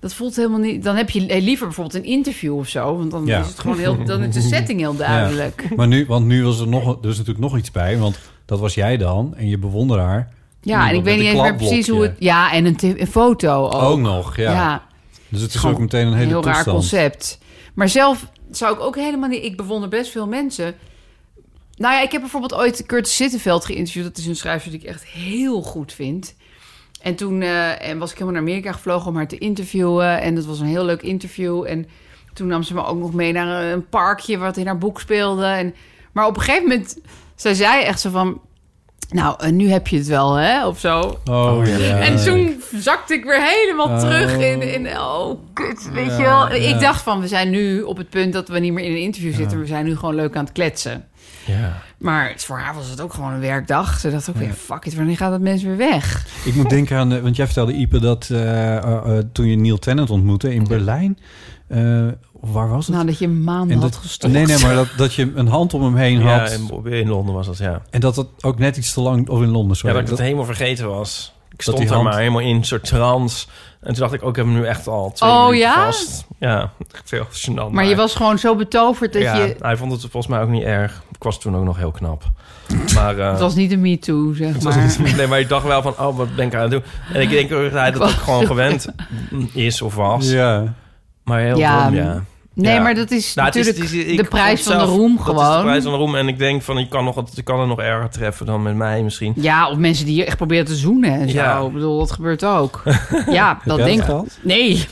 Speaker 3: dat voelt helemaal niet... dan heb je eh, liever bijvoorbeeld een interview of zo... want dan
Speaker 4: Ja.
Speaker 3: is het gewoon heel... dan is de setting heel duidelijk. Ja,
Speaker 4: wil. Maar nu, want nu was er, nog, dus natuurlijk nog iets bij. Want dat was jij dan en je bewonderaar.
Speaker 3: en ik
Speaker 4: Iemand met
Speaker 3: weet niet
Speaker 4: een
Speaker 3: eens meer precies hoe het... Ja, en een, te- een foto ook.
Speaker 4: Ook nog, ja. Dus het is
Speaker 3: gewoon
Speaker 4: ook meteen een
Speaker 3: een
Speaker 4: hele
Speaker 3: heel raar
Speaker 4: toestand.
Speaker 3: concept. Maar zelf zou ik ook helemaal niet... Ik bewonder best veel mensen. Nou ja, ik heb bijvoorbeeld ooit Curtis Sittenveld geïnterviewd. Dat is een schrijver die ik echt heel goed vind. En toen eh, en was ik helemaal naar Amerika gevlogen om haar te interviewen. En dat was een heel leuk interview. En toen nam ze me ook nog mee naar een parkje wat in haar boek speelde. En, maar op een gegeven moment, zij zei echt zo van... Nou, eh, nu heb je het wel, hè? Of zo.
Speaker 4: Oh ja.
Speaker 3: En toen zakte ik weer helemaal
Speaker 2: Oh.
Speaker 3: terug in, in... Oh, kut, weet je wel. Ik
Speaker 4: ja.
Speaker 3: dacht van, we zijn nu op het punt dat we niet meer in een interview zitten. We zijn nu gewoon leuk aan het kletsen.
Speaker 2: ja.
Speaker 3: Maar het- voor haar was het ook gewoon een werkdag. Ze dacht ook weer, fuck it, wanneer gaat dat mensen weer weg?
Speaker 4: Ik moet denken aan, eh, want jij vertelde Ipe dat eh, eh, eh, toen je Neil Tennant ontmoette in Berlijn. eh, waar was het?
Speaker 3: Nou, dat je een maand had gestopt.
Speaker 4: nee, nee, maar dat, dat je een hand om hem heen
Speaker 2: Ja,
Speaker 4: had.
Speaker 2: in, in Londen was dat, ja.
Speaker 4: En dat dat ook net iets te lang... Of in Londen,
Speaker 2: Ja,
Speaker 4: sorry.
Speaker 2: dat ik het helemaal vergeten was. Ik
Speaker 4: die
Speaker 2: stond daar
Speaker 4: hand-
Speaker 2: maar helemaal in, een soort trance. En toen dacht ik, ook ik heb hem nu echt al twee
Speaker 3: Oh,
Speaker 2: minuten
Speaker 3: ja?
Speaker 2: vast. Ja, echt heel gênant.
Speaker 3: Maar je was gewoon zo betoverd dat
Speaker 2: ja,
Speaker 3: je...
Speaker 2: Hij vond het volgens mij ook niet erg. Ik was toen ook nog heel knap. Maar, eh,
Speaker 3: Het was niet een me-too, zeg
Speaker 2: het was
Speaker 3: maar.
Speaker 2: niet- nee, maar ik dacht wel van, oh, wat ben ik aan het doen? En ik denk ook dat hij dat ook gewoon gewend is of was.
Speaker 4: Ja.
Speaker 2: Maar heel
Speaker 3: Ja,
Speaker 2: dom, ja.
Speaker 3: Nee,
Speaker 2: Ja.
Speaker 3: maar dat is
Speaker 2: Nou, het is-
Speaker 3: natuurlijk
Speaker 2: het is- ik
Speaker 3: de
Speaker 2: vond
Speaker 3: prijs van de
Speaker 2: zelf-
Speaker 3: roem
Speaker 2: Dat is de
Speaker 3: gewoon.
Speaker 2: prijs van de roem. En ik denk van, je kan, nog, wat- je kan het nog erger treffen dan met mij misschien.
Speaker 3: Ja, of mensen die je echt proberen te zoenen en zo.
Speaker 2: Ja.
Speaker 3: Ik bedoel, dat gebeurt ook. Ja, dat denk
Speaker 4: jij dat
Speaker 3: ik.
Speaker 4: gehad?
Speaker 3: Nee.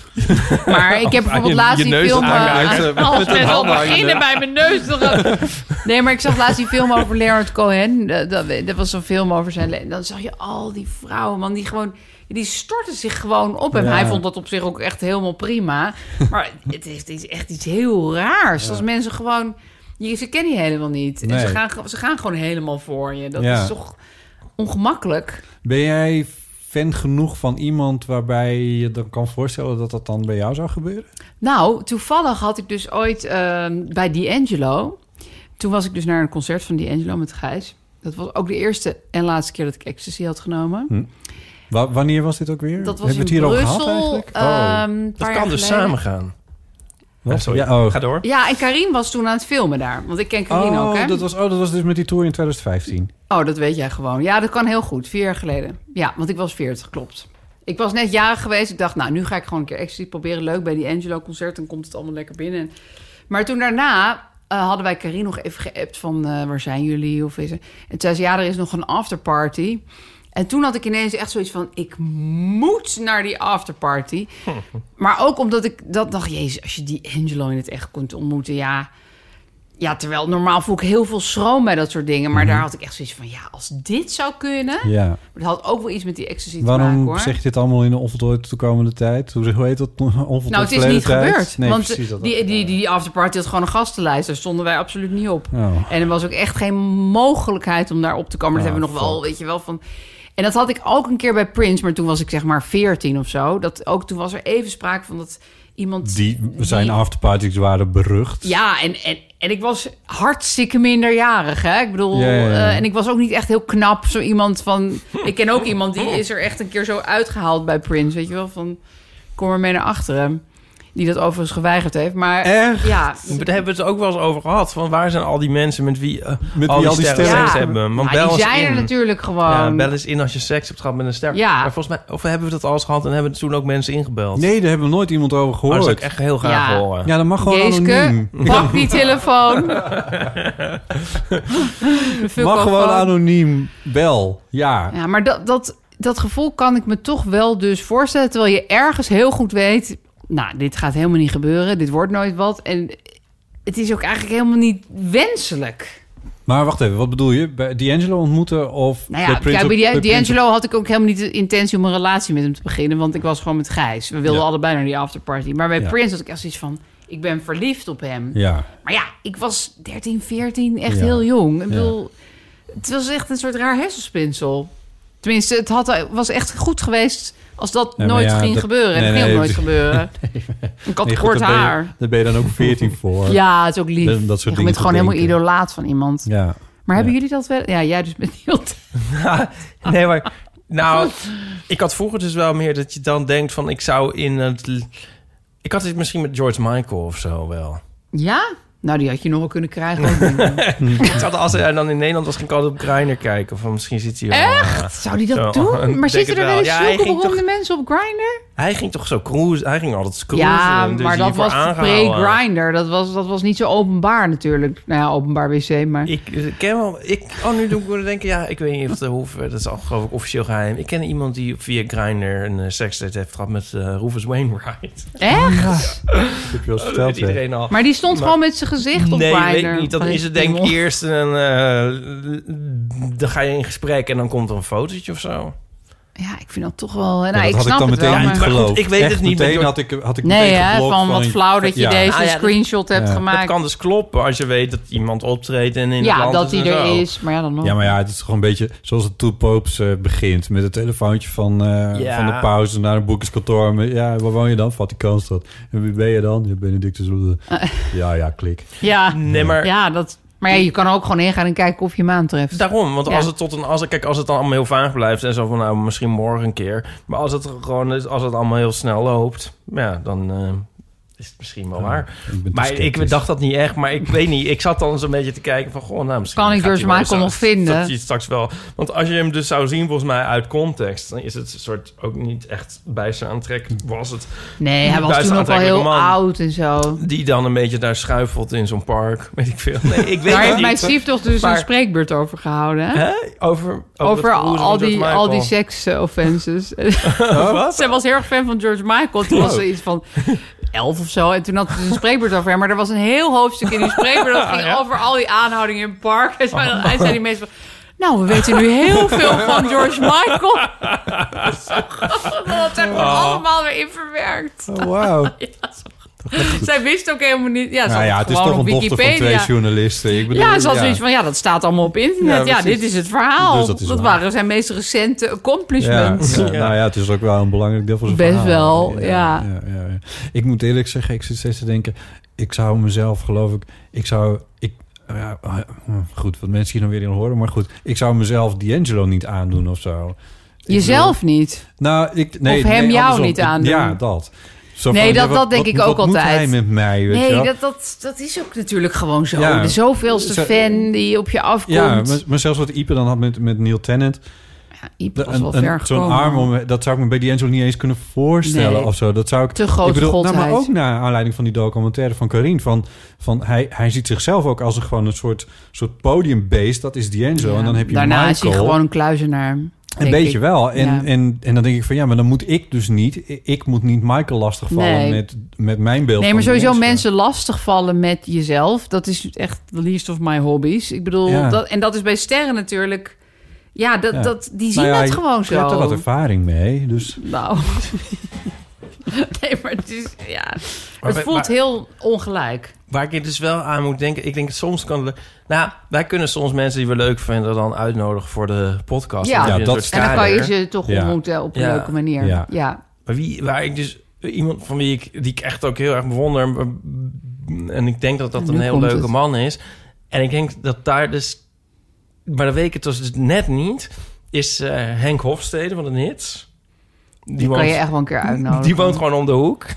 Speaker 3: Maar ik heb bijvoorbeeld
Speaker 2: je-
Speaker 3: laatst
Speaker 2: je
Speaker 3: die
Speaker 2: neus
Speaker 3: film... eh,
Speaker 2: aanraakt, eh, met
Speaker 3: als
Speaker 2: een
Speaker 3: met al
Speaker 2: hand hangende.
Speaker 3: beginnen bij mijn neus. te gaan. Nee, maar ik zag laatst die film over Leonard Cohen. Dat, dat, dat was zo'n film over zijn... le- En dan zag je al die vrouwen, man, die gewoon... Die storten zich gewoon op hem.
Speaker 4: Ja.
Speaker 3: Hij vond dat op zich ook echt helemaal prima. Maar het heeft iets- echt iets heel raars. Als mensen gewoon... je- Ze kennen je helemaal niet. En
Speaker 4: Nee.
Speaker 3: ze, gaan, ge- ze gaan gewoon helemaal voor je. Dat
Speaker 4: Ja.
Speaker 3: is toch ongemakkelijk.
Speaker 4: Ben jij fan genoeg van iemand waarbij je dan kan voorstellen dat dat dan bij jou zou gebeuren?
Speaker 3: Nou, toevallig had ik dus ooit ehm, bij D'Angelo... Toen was ik dus naar een concert van D'Angelo met Gijs. Dat was ook de eerste en laatste keer dat ik ecstasy had genomen.
Speaker 4: Wa- wanneer was dit ook weer?
Speaker 3: Dat was
Speaker 4: Hmm. Hebben we
Speaker 3: in
Speaker 4: het hier
Speaker 3: Brussel.
Speaker 4: over gehad eigenlijk? Oh.
Speaker 3: ehm, een
Speaker 2: Dat
Speaker 3: paar
Speaker 2: kan
Speaker 3: jaar
Speaker 2: dus
Speaker 3: geleden.
Speaker 2: samen gaan.
Speaker 4: Wat?
Speaker 2: Ja, sorry.
Speaker 4: Ja, oh.
Speaker 2: Ga door.
Speaker 3: Ja, en Karin was toen aan het filmen daar. Want ik ken Karin
Speaker 4: oh,
Speaker 3: ook, hè?
Speaker 4: dat was, oh, dat was dus met die tour in 2015.
Speaker 3: Oh, dat weet jij gewoon. Ja, dat kan heel goed. Vier jaar geleden. Ja, want ik was 40, klopt. Ik was net jarig geweest. Ik dacht, nou, nu ga ik gewoon een keer ecstasy proberen. Leuk bij die Angelo-concert. Dan komt het allemaal lekker binnen. Maar toen daarna eh, hadden wij Karin nog even geappt van... eh, waar zijn jullie? Of is er... En toen zei ze, ja, er is nog een afterparty. En toen had ik ineens echt zoiets van... ik moet naar die afterparty. Maar ook omdat ik dat dacht... jezus, als je die Angelo in het echt kunt ontmoeten, ja... Ja, terwijl normaal voel ik heel veel schroom bij dat soort dingen. Maar daar had ik echt zoiets van, ja, als dit zou kunnen...
Speaker 4: Mhm. Ja.
Speaker 3: Maar dat had ook wel iets met die ecstasy te maken,
Speaker 4: Waarom
Speaker 3: hoor.
Speaker 4: zeg je dit allemaal in de onvoltooid toekomende tijd? Hoe hoe heet dat? Onvoltooid
Speaker 3: nou, het is
Speaker 4: verleden
Speaker 3: niet
Speaker 4: tijd?
Speaker 3: gebeurd.
Speaker 4: Nee,
Speaker 3: want eh,
Speaker 4: precies. Dat
Speaker 3: die, die, die afterparty had gewoon een gastenlijst. Daar stonden wij absoluut niet op.
Speaker 4: Oh.
Speaker 3: En er was ook echt geen mogelijkheid om daar op te komen. Dat
Speaker 4: Ah,
Speaker 3: hebben we nog wel,
Speaker 4: fuck.
Speaker 3: weet je wel, van... En dat had ik ook een keer bij Prince, maar toen was ik zeg maar 14 of zo. Dat ook toen was er even sprake van dat iemand.
Speaker 4: Die zijn
Speaker 3: die-
Speaker 4: afterparties waren berucht.
Speaker 3: Ja, en, en, en ik was hartstikke minderjarig. Hè? Ik bedoel,
Speaker 4: Ja, ja, ja.
Speaker 3: eh, en ik was ook niet echt heel knap. Zo iemand van. Ik ken ook iemand die is er echt een keer zo uitgehaald bij Prince. Weet je wel, van. Kom er mee naar achteren. Die dat overigens geweigerd heeft. Maar
Speaker 4: Echt?
Speaker 3: ja.
Speaker 2: Daar hebben we het ook wel eens over gehad. Van waar zijn al die mensen met wie, eh,
Speaker 4: Met
Speaker 2: al,
Speaker 4: wie
Speaker 2: die
Speaker 4: al die
Speaker 2: sterren
Speaker 4: sterren-
Speaker 2: seks hebben? Want
Speaker 3: Maar
Speaker 2: bel
Speaker 3: die
Speaker 2: eens
Speaker 3: zijn er
Speaker 2: in.
Speaker 3: natuurlijk gewoon.
Speaker 2: Ja, bel eens in als je seks hebt gehad met een ster.
Speaker 3: Ja.
Speaker 2: Maar volgens mij, of hebben we dat al eens gehad en hebben toen ook mensen ingebeld?
Speaker 4: Nee, daar hebben we nooit iemand over
Speaker 2: Maar dat
Speaker 4: gehoord.
Speaker 2: zou ik echt heel graag
Speaker 3: Ja.
Speaker 2: horen.
Speaker 4: Ja, dat mag gewoon
Speaker 3: Geeske,
Speaker 4: anoniem.
Speaker 3: pak die telefoon. De
Speaker 4: Mag gewoon
Speaker 3: vulkofoon.
Speaker 4: anoniem. Bel. Ja.
Speaker 3: Ja, maar dat, dat, dat gevoel kan ik me toch wel dus voorstellen. Terwijl je ergens heel goed weet... nou, dit gaat helemaal niet gebeuren. Dit wordt nooit wat. En het is ook eigenlijk helemaal niet wenselijk.
Speaker 4: Maar wacht even, wat bedoel je? Bij D'Angelo ontmoeten of...
Speaker 3: Nou ja,
Speaker 4: bij Prince
Speaker 3: kijk, bij
Speaker 4: of-
Speaker 3: die-
Speaker 4: bij Prince
Speaker 3: D'Angelo had ik ook helemaal niet de intentie om een relatie met hem te beginnen. Want ik was gewoon met Gijs. We wilden
Speaker 4: Ja.
Speaker 3: allebei naar die afterparty. Maar bij
Speaker 4: Ja.
Speaker 3: Prince had ik echt zoiets van... ik ben verliefd op hem.
Speaker 4: of- Ja.
Speaker 3: Maar ja, ik was 13, 14, echt
Speaker 4: Ja.
Speaker 3: heel jong. Ik bedoel, het was echt een soort raar hersenspinsel. Tenminste, het had, was echt goed geweest als dat
Speaker 4: Nee, maar
Speaker 3: nooit
Speaker 4: ja,
Speaker 3: ging
Speaker 4: dat-
Speaker 3: gebeuren. En
Speaker 4: nee,
Speaker 3: het ging
Speaker 4: nee,
Speaker 3: ook nooit
Speaker 4: het-
Speaker 3: gebeuren. ik had
Speaker 4: Nee, goed,
Speaker 3: kort
Speaker 4: daar ben je-
Speaker 3: haar.
Speaker 4: daar ben je dan ook 14 voor.
Speaker 3: Ja, het is ook lief.
Speaker 4: Dat- dat soort
Speaker 3: je
Speaker 4: dingen
Speaker 3: bent
Speaker 4: te
Speaker 3: gewoon helemaal
Speaker 4: denken.
Speaker 3: idolaat van iemand.
Speaker 4: Ja.
Speaker 3: Maar hebben
Speaker 4: Ja.
Speaker 3: jullie dat wel? Ja, jij dus met heel...
Speaker 2: nee, maar... Nou, ik had vroeger dus wel meer dat je dan denkt van... ik zou in het... l- Ik had dit misschien met George Michael of zo wel.
Speaker 3: Ja? Nou, die had je nog wel kunnen krijgen.
Speaker 2: ik zat als en dan in Nederland was ging ik altijd op Grindr kijken. Van misschien zit hij wel... eh,
Speaker 3: Echt? Zou die dat
Speaker 2: Zo,
Speaker 3: doen? Maar
Speaker 2: denk
Speaker 3: zitten
Speaker 2: het
Speaker 3: er wel
Speaker 2: wel.
Speaker 3: eens
Speaker 2: Ja, hij
Speaker 3: zulke
Speaker 2: ging
Speaker 3: beroemde mensen op Grindr?
Speaker 2: Hij ging toch zo cruisen? Hij ging altijd cruisen.
Speaker 3: Ja,
Speaker 2: dus
Speaker 3: maar
Speaker 2: die
Speaker 3: dat
Speaker 2: voor
Speaker 3: was
Speaker 2: aangehouden.
Speaker 3: pre-Grindr. Dat was, dat was niet zo openbaar natuurlijk. Nou ja, openbaar wc, maar...
Speaker 2: Ik, eh, ik ken wel... Ik, oh, nu doe ik me denken... Ja, ik weet niet of de hoef... Dat is al geloof ik officieel geheim. Ik ken iemand die via Grindr een uh, seksstate heeft gehad met eh Rufus Wainwright.
Speaker 3: Echt?
Speaker 4: Dat heb je wel eens
Speaker 2: Dat
Speaker 4: verteld.
Speaker 2: weet
Speaker 4: hè?
Speaker 2: iedereen al.
Speaker 3: Maar die stond gewoon met zijn gezicht op
Speaker 2: nee,
Speaker 3: Grindr.
Speaker 2: weet ik niet. Dan
Speaker 3: Van
Speaker 2: is
Speaker 3: die
Speaker 2: het denk ik
Speaker 3: piemel.
Speaker 2: eerst een... eh, dan ga je in gesprek en dan komt er een fotootje of zo.
Speaker 3: Ja, ik vind dat toch wel... Nou,
Speaker 4: Ja, dat
Speaker 3: ik
Speaker 4: had
Speaker 3: snap
Speaker 4: ik dan
Speaker 3: het
Speaker 4: meteen
Speaker 3: wel,
Speaker 4: niet
Speaker 3: maar...
Speaker 2: goed,
Speaker 4: geloofd.
Speaker 2: ik weet het
Speaker 4: Echt
Speaker 2: niet,
Speaker 4: Meteen
Speaker 2: maar-
Speaker 4: had ik, had ik
Speaker 3: Nee,
Speaker 4: meteen
Speaker 3: hè,
Speaker 4: geblokt
Speaker 3: van wat
Speaker 4: ik-
Speaker 3: flauw dat je
Speaker 4: ja.
Speaker 3: deze
Speaker 2: Ah, ja, dat-
Speaker 3: screenshot hebt
Speaker 4: Ja.
Speaker 3: gemaakt.
Speaker 2: Dat kan dus kloppen als je weet dat iemand optreedt en in het
Speaker 3: ja,
Speaker 2: land
Speaker 3: dat die
Speaker 2: en zo.
Speaker 3: er is. Maar ja, dan nog.
Speaker 4: Ja, maar ja, het is gewoon een beetje zoals het Two Popes eh, begint. Met het telefoontje van, eh,
Speaker 2: Ja.
Speaker 4: van de pauze naar een boekenskantoor. Met, ja, waar woon je dan? Vaticaanstad. En wie ben je dan? Ja, Benedictus Roede. Ja, ja, klik.
Speaker 3: ja.
Speaker 2: Nee, maar
Speaker 3: Ja, dat... Maar ja, je kan ook gewoon ingaan en kijken of je maan treft.
Speaker 2: Daarom, want
Speaker 3: Ja.
Speaker 2: als het tot een als kijk, als het dan allemaal heel vaag blijft en zo van nou misschien morgen een keer, maar als het er gewoon is, als het allemaal heel snel loopt, ja, dan eh, is het misschien wel waar.
Speaker 4: Ik ben te
Speaker 2: Maar
Speaker 4: sceptisch.
Speaker 2: ik dacht dat niet echt, maar ik weet niet. Ik zat dan zo'n beetje te kijken van goh, nou misschien
Speaker 3: Kan ik
Speaker 2: gaat
Speaker 3: George
Speaker 2: hij wel
Speaker 3: Michael
Speaker 2: zo-
Speaker 3: nog vinden?
Speaker 2: Dat hij straks wel, want als je hem dus zou zien volgens mij uit context, dan is het een soort ook niet echt bij zijn aantrek was het
Speaker 3: Nee, hij was
Speaker 2: Buiten
Speaker 3: toen ook al heel
Speaker 2: aantrekkelijke man.
Speaker 3: oud en zo.
Speaker 2: die dan een beetje daar schuifelt in zo'n park, weet ik veel. Nee, ik weet
Speaker 3: Daar
Speaker 2: het
Speaker 3: heeft
Speaker 2: niet.
Speaker 3: mijn stiefdochter dus
Speaker 2: Maar-
Speaker 3: een spreekbeurt over gehouden. Hè?
Speaker 2: Hè? Over, over,
Speaker 3: Over
Speaker 2: het cruisen van
Speaker 3: al
Speaker 2: George
Speaker 3: die, al die
Speaker 2: Michael.
Speaker 3: seks-offenses. Zij was heel erg fan van George Michael. Toen
Speaker 4: Oh.
Speaker 3: was ze iets van elf of zo. En toen had ze een spreekbeurt over hem. Maar er was een heel hoofdstuk in die spreekbeurt. Dat ging over al die aanhoudingen in het park. En zo.
Speaker 4: Oh.
Speaker 3: En hij zei die mensen van... Nou, we weten nu heel veel van George Michael. Dat zijn we allemaal weer in verwerkt.
Speaker 4: Oh, wauw.
Speaker 3: Zij wist ook helemaal niet... Ja, ze
Speaker 4: Nou
Speaker 3: had
Speaker 4: ja, het
Speaker 3: het
Speaker 4: is
Speaker 3: gewoon
Speaker 4: toch
Speaker 3: op
Speaker 4: een dochter van twee
Speaker 3: Wikipedia.
Speaker 4: journalisten. Ik bedoel,
Speaker 3: Ja, ze had zoiets van, ja, dat staat allemaal op
Speaker 4: Ja,
Speaker 3: internet. Ja,
Speaker 4: precies.
Speaker 3: dit is het verhaal.
Speaker 4: Dus
Speaker 3: dat
Speaker 4: dat is waar.
Speaker 3: waren zijn meest recente
Speaker 4: Ja,
Speaker 3: accomplishments.
Speaker 4: ja, nou ja, het is ook wel een belangrijk deel van zijn
Speaker 3: Best
Speaker 4: verhaal.
Speaker 3: wel, ja.
Speaker 4: Ja, ja, ja. Ik moet eerlijk zeggen, ik zit steeds te denken... ik zou mezelf, geloof ik... ik zou... Ik, ja, eh, goed, wat mensen hier dan weer in horen... maar goed, ik zou mezelf D'Angelo niet aandoen of zo. Ik
Speaker 3: Jezelf niet.
Speaker 4: wil- nou, ik, nee,
Speaker 3: Of hem
Speaker 4: nee,
Speaker 3: jou
Speaker 4: andersom.
Speaker 3: niet
Speaker 4: Ik-
Speaker 3: aandoen.
Speaker 4: Ja, dat. Zo
Speaker 3: Nee,
Speaker 4: van,
Speaker 3: dat-
Speaker 4: ja,
Speaker 3: dat denk ik
Speaker 4: wat
Speaker 3: ook
Speaker 4: moet
Speaker 3: altijd.
Speaker 4: hij met mij, weet je
Speaker 3: Nee,
Speaker 4: wel?
Speaker 3: dat, dat, dat is ook natuurlijk gewoon zo.
Speaker 4: Ja.
Speaker 3: De zoveelste
Speaker 4: Zo-
Speaker 3: fan die op je afkomt.
Speaker 4: Ja, maar, maar zelfs wat Ipe dan had met, met Neil Tennant...
Speaker 3: Ja, Iep was wel
Speaker 4: Een-
Speaker 3: ver
Speaker 4: een- Zo'n
Speaker 3: gekomen.
Speaker 4: arm, om, dat zou ik me bij D'Angelo niet eens kunnen voorstellen
Speaker 3: Nee.
Speaker 4: of zo. Dat zou ik,
Speaker 3: Te grote
Speaker 4: ik nou, maar
Speaker 3: godheid.
Speaker 4: ook naar aanleiding van die documentaire van Karin. Van, van hij, hij ziet zichzelf ook als een, gewoon een soort, soort podiumbeest. Dat is D'Angelo.
Speaker 3: Ja.
Speaker 4: En dan heb je
Speaker 3: Daarna
Speaker 4: Michael.
Speaker 3: is hij gewoon een kluizenaar.
Speaker 4: Een
Speaker 3: denk
Speaker 4: beetje
Speaker 3: ik.
Speaker 4: wel. En,
Speaker 3: Ja.
Speaker 4: en, en dan denk ik van ja, maar dan moet ik dus niet. I- Ik moet niet Michael lastigvallen
Speaker 3: Nee.
Speaker 4: met, met mijn beeld.
Speaker 3: Nee,
Speaker 4: van
Speaker 3: maar
Speaker 4: de
Speaker 3: sowieso mensen lastigvallen met jezelf. Dat is echt the least of my hobbies. Ik bedoel,
Speaker 4: Ja.
Speaker 3: dat, en dat is bij sterren natuurlijk... Ja, dat,
Speaker 4: Ja.
Speaker 3: Dat, die zien
Speaker 4: Nou ja,
Speaker 3: dat
Speaker 4: je-
Speaker 3: gewoon
Speaker 4: Je hebt er
Speaker 3: zo.
Speaker 4: wat ervaring mee. Dus
Speaker 3: nou. nee, maar het is... Ja.
Speaker 2: Maar-
Speaker 3: het voelt
Speaker 2: maar-
Speaker 3: heel ongelijk.
Speaker 2: Waar ik dus wel aan moet denken, ik denk soms kan het. Nou, wij kunnen soms mensen die we leuk vinden dan uitnodigen voor de podcast.
Speaker 3: Ja.
Speaker 2: Dan heb je
Speaker 4: Ja,
Speaker 2: een
Speaker 4: dat-
Speaker 2: soort
Speaker 3: En dan kan je dus-
Speaker 2: kader.
Speaker 3: ze toch
Speaker 4: Ja.
Speaker 3: ontmoeten op een
Speaker 2: Ja.
Speaker 3: leuke manier. Ja.
Speaker 4: Ja.
Speaker 2: Maar wie, waar ik dus iemand van wie ik die ik echt ook heel erg bewonder maar- en ik denk dat dat
Speaker 3: En
Speaker 2: een
Speaker 3: nu
Speaker 2: heel
Speaker 3: komt
Speaker 2: leuke
Speaker 3: het.
Speaker 2: man is. En ik denk dat daar dus, maar dat weet ik het dus net niet. Is eh, Henk Hofstede van de Nits. Die,
Speaker 3: Die kan
Speaker 2: woont-
Speaker 3: je echt wel een keer uitnodigen.
Speaker 2: Die woont gewoon om de hoek.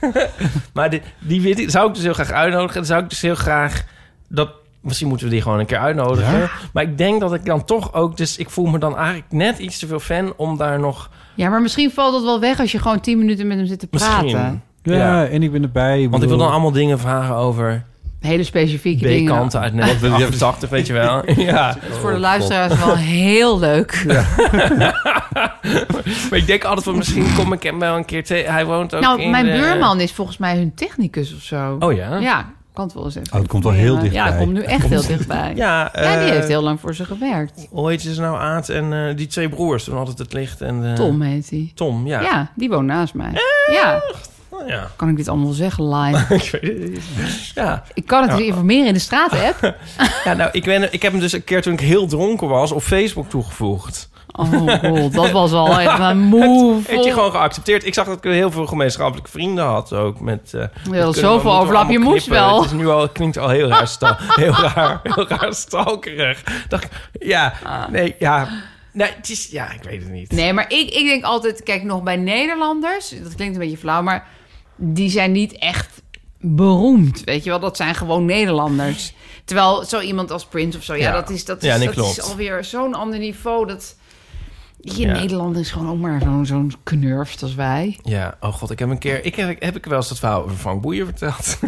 Speaker 2: maar die, die, weet ik- zou ik dus heel graag uitnodigen. Dan zou ik dus heel graag dat. Misschien moeten we die gewoon een keer uitnodigen. Maar ik denk dat ik dan toch ook. Dus ik voel me dan eigenlijk net iets te veel fan om daar nog.
Speaker 3: Ja, maar misschien valt dat wel weg als je gewoon tien minuten met hem zit te praten.
Speaker 2: Misschien.
Speaker 4: ja,
Speaker 2: Ja.
Speaker 4: en ik ben erbij.
Speaker 2: Want ik wil
Speaker 4: bedoel-
Speaker 2: dan allemaal dingen vragen over
Speaker 3: Hele specifieke dingen.
Speaker 2: B-kanten uit 1980, weet je wel. ja.
Speaker 3: Dat is voor de luisteraars wel heel leuk.
Speaker 2: Maar ik denk altijd van misschien kom ik hem wel een keer tegen. Hij woont ook
Speaker 3: nou,
Speaker 2: in
Speaker 3: mijn
Speaker 2: de-
Speaker 3: buurman is volgens mij hun technicus of zo.
Speaker 2: Oh ja?
Speaker 3: Ja, kan het wel eens even.
Speaker 4: Oh, het komt wel heel dichtbij.
Speaker 3: Ja, het komt nu echt heel dichtbij. Ja,
Speaker 2: Ja,
Speaker 3: die
Speaker 2: eh,
Speaker 3: heeft heel lang voor ze gewerkt.
Speaker 2: Hoe heet ze nou, Aad? En eh, die twee broers toen altijd het licht. En, eh,
Speaker 3: Tom heet hij.
Speaker 2: Tom, ja. Oh
Speaker 3: Ja. die woont naast mij. Ja,
Speaker 2: ja.
Speaker 3: kan ik dit allemaal wel zeggen live?
Speaker 2: Ik weet het niet. Ja.
Speaker 3: Ik kan het dus informeren in de straat-app.
Speaker 2: ja, nou, ik, ben, ik heb hem dus een keer toen ik heel dronken was op Facebook toegevoegd.
Speaker 3: Oh god, dat was al echt een move.
Speaker 2: Heeft hij gewoon geaccepteerd. Ik zag dat ik heel veel gemeenschappelijke vrienden had ook. Met, eh, dat kunnen we-
Speaker 3: zoveel
Speaker 2: moeten we
Speaker 3: overlap, je
Speaker 2: allemaal
Speaker 3: moest
Speaker 2: knippen.
Speaker 3: wel.
Speaker 2: Het is nu al, het klinkt al heel raar, stal, heel raar, heel raar stalkerig. Dacht ik, ja, nee, ja. Nee, het is, ja, ik weet het niet.
Speaker 3: Ah. Nee, maar ik, ik denk altijd, kijk nog bij Nederlanders, dat klinkt een beetje flauw, maar die zijn niet echt beroemd. Weet je wel, dat zijn gewoon Nederlanders. Terwijl zo iemand als Prince of zo, ja,
Speaker 2: Ja.
Speaker 3: dat is dat,
Speaker 2: Ja,
Speaker 3: is,
Speaker 2: nee,
Speaker 3: dat
Speaker 2: klopt.
Speaker 3: is alweer zo'n ander niveau. Dat je
Speaker 2: Ja.
Speaker 3: Nederlander is gewoon ook maar zo'n zo'n knurft als wij.
Speaker 2: Ja, oh god, ik heb een keer... Ik heb, heb ik wel eens dat verhaal over Frank Boeien verteld?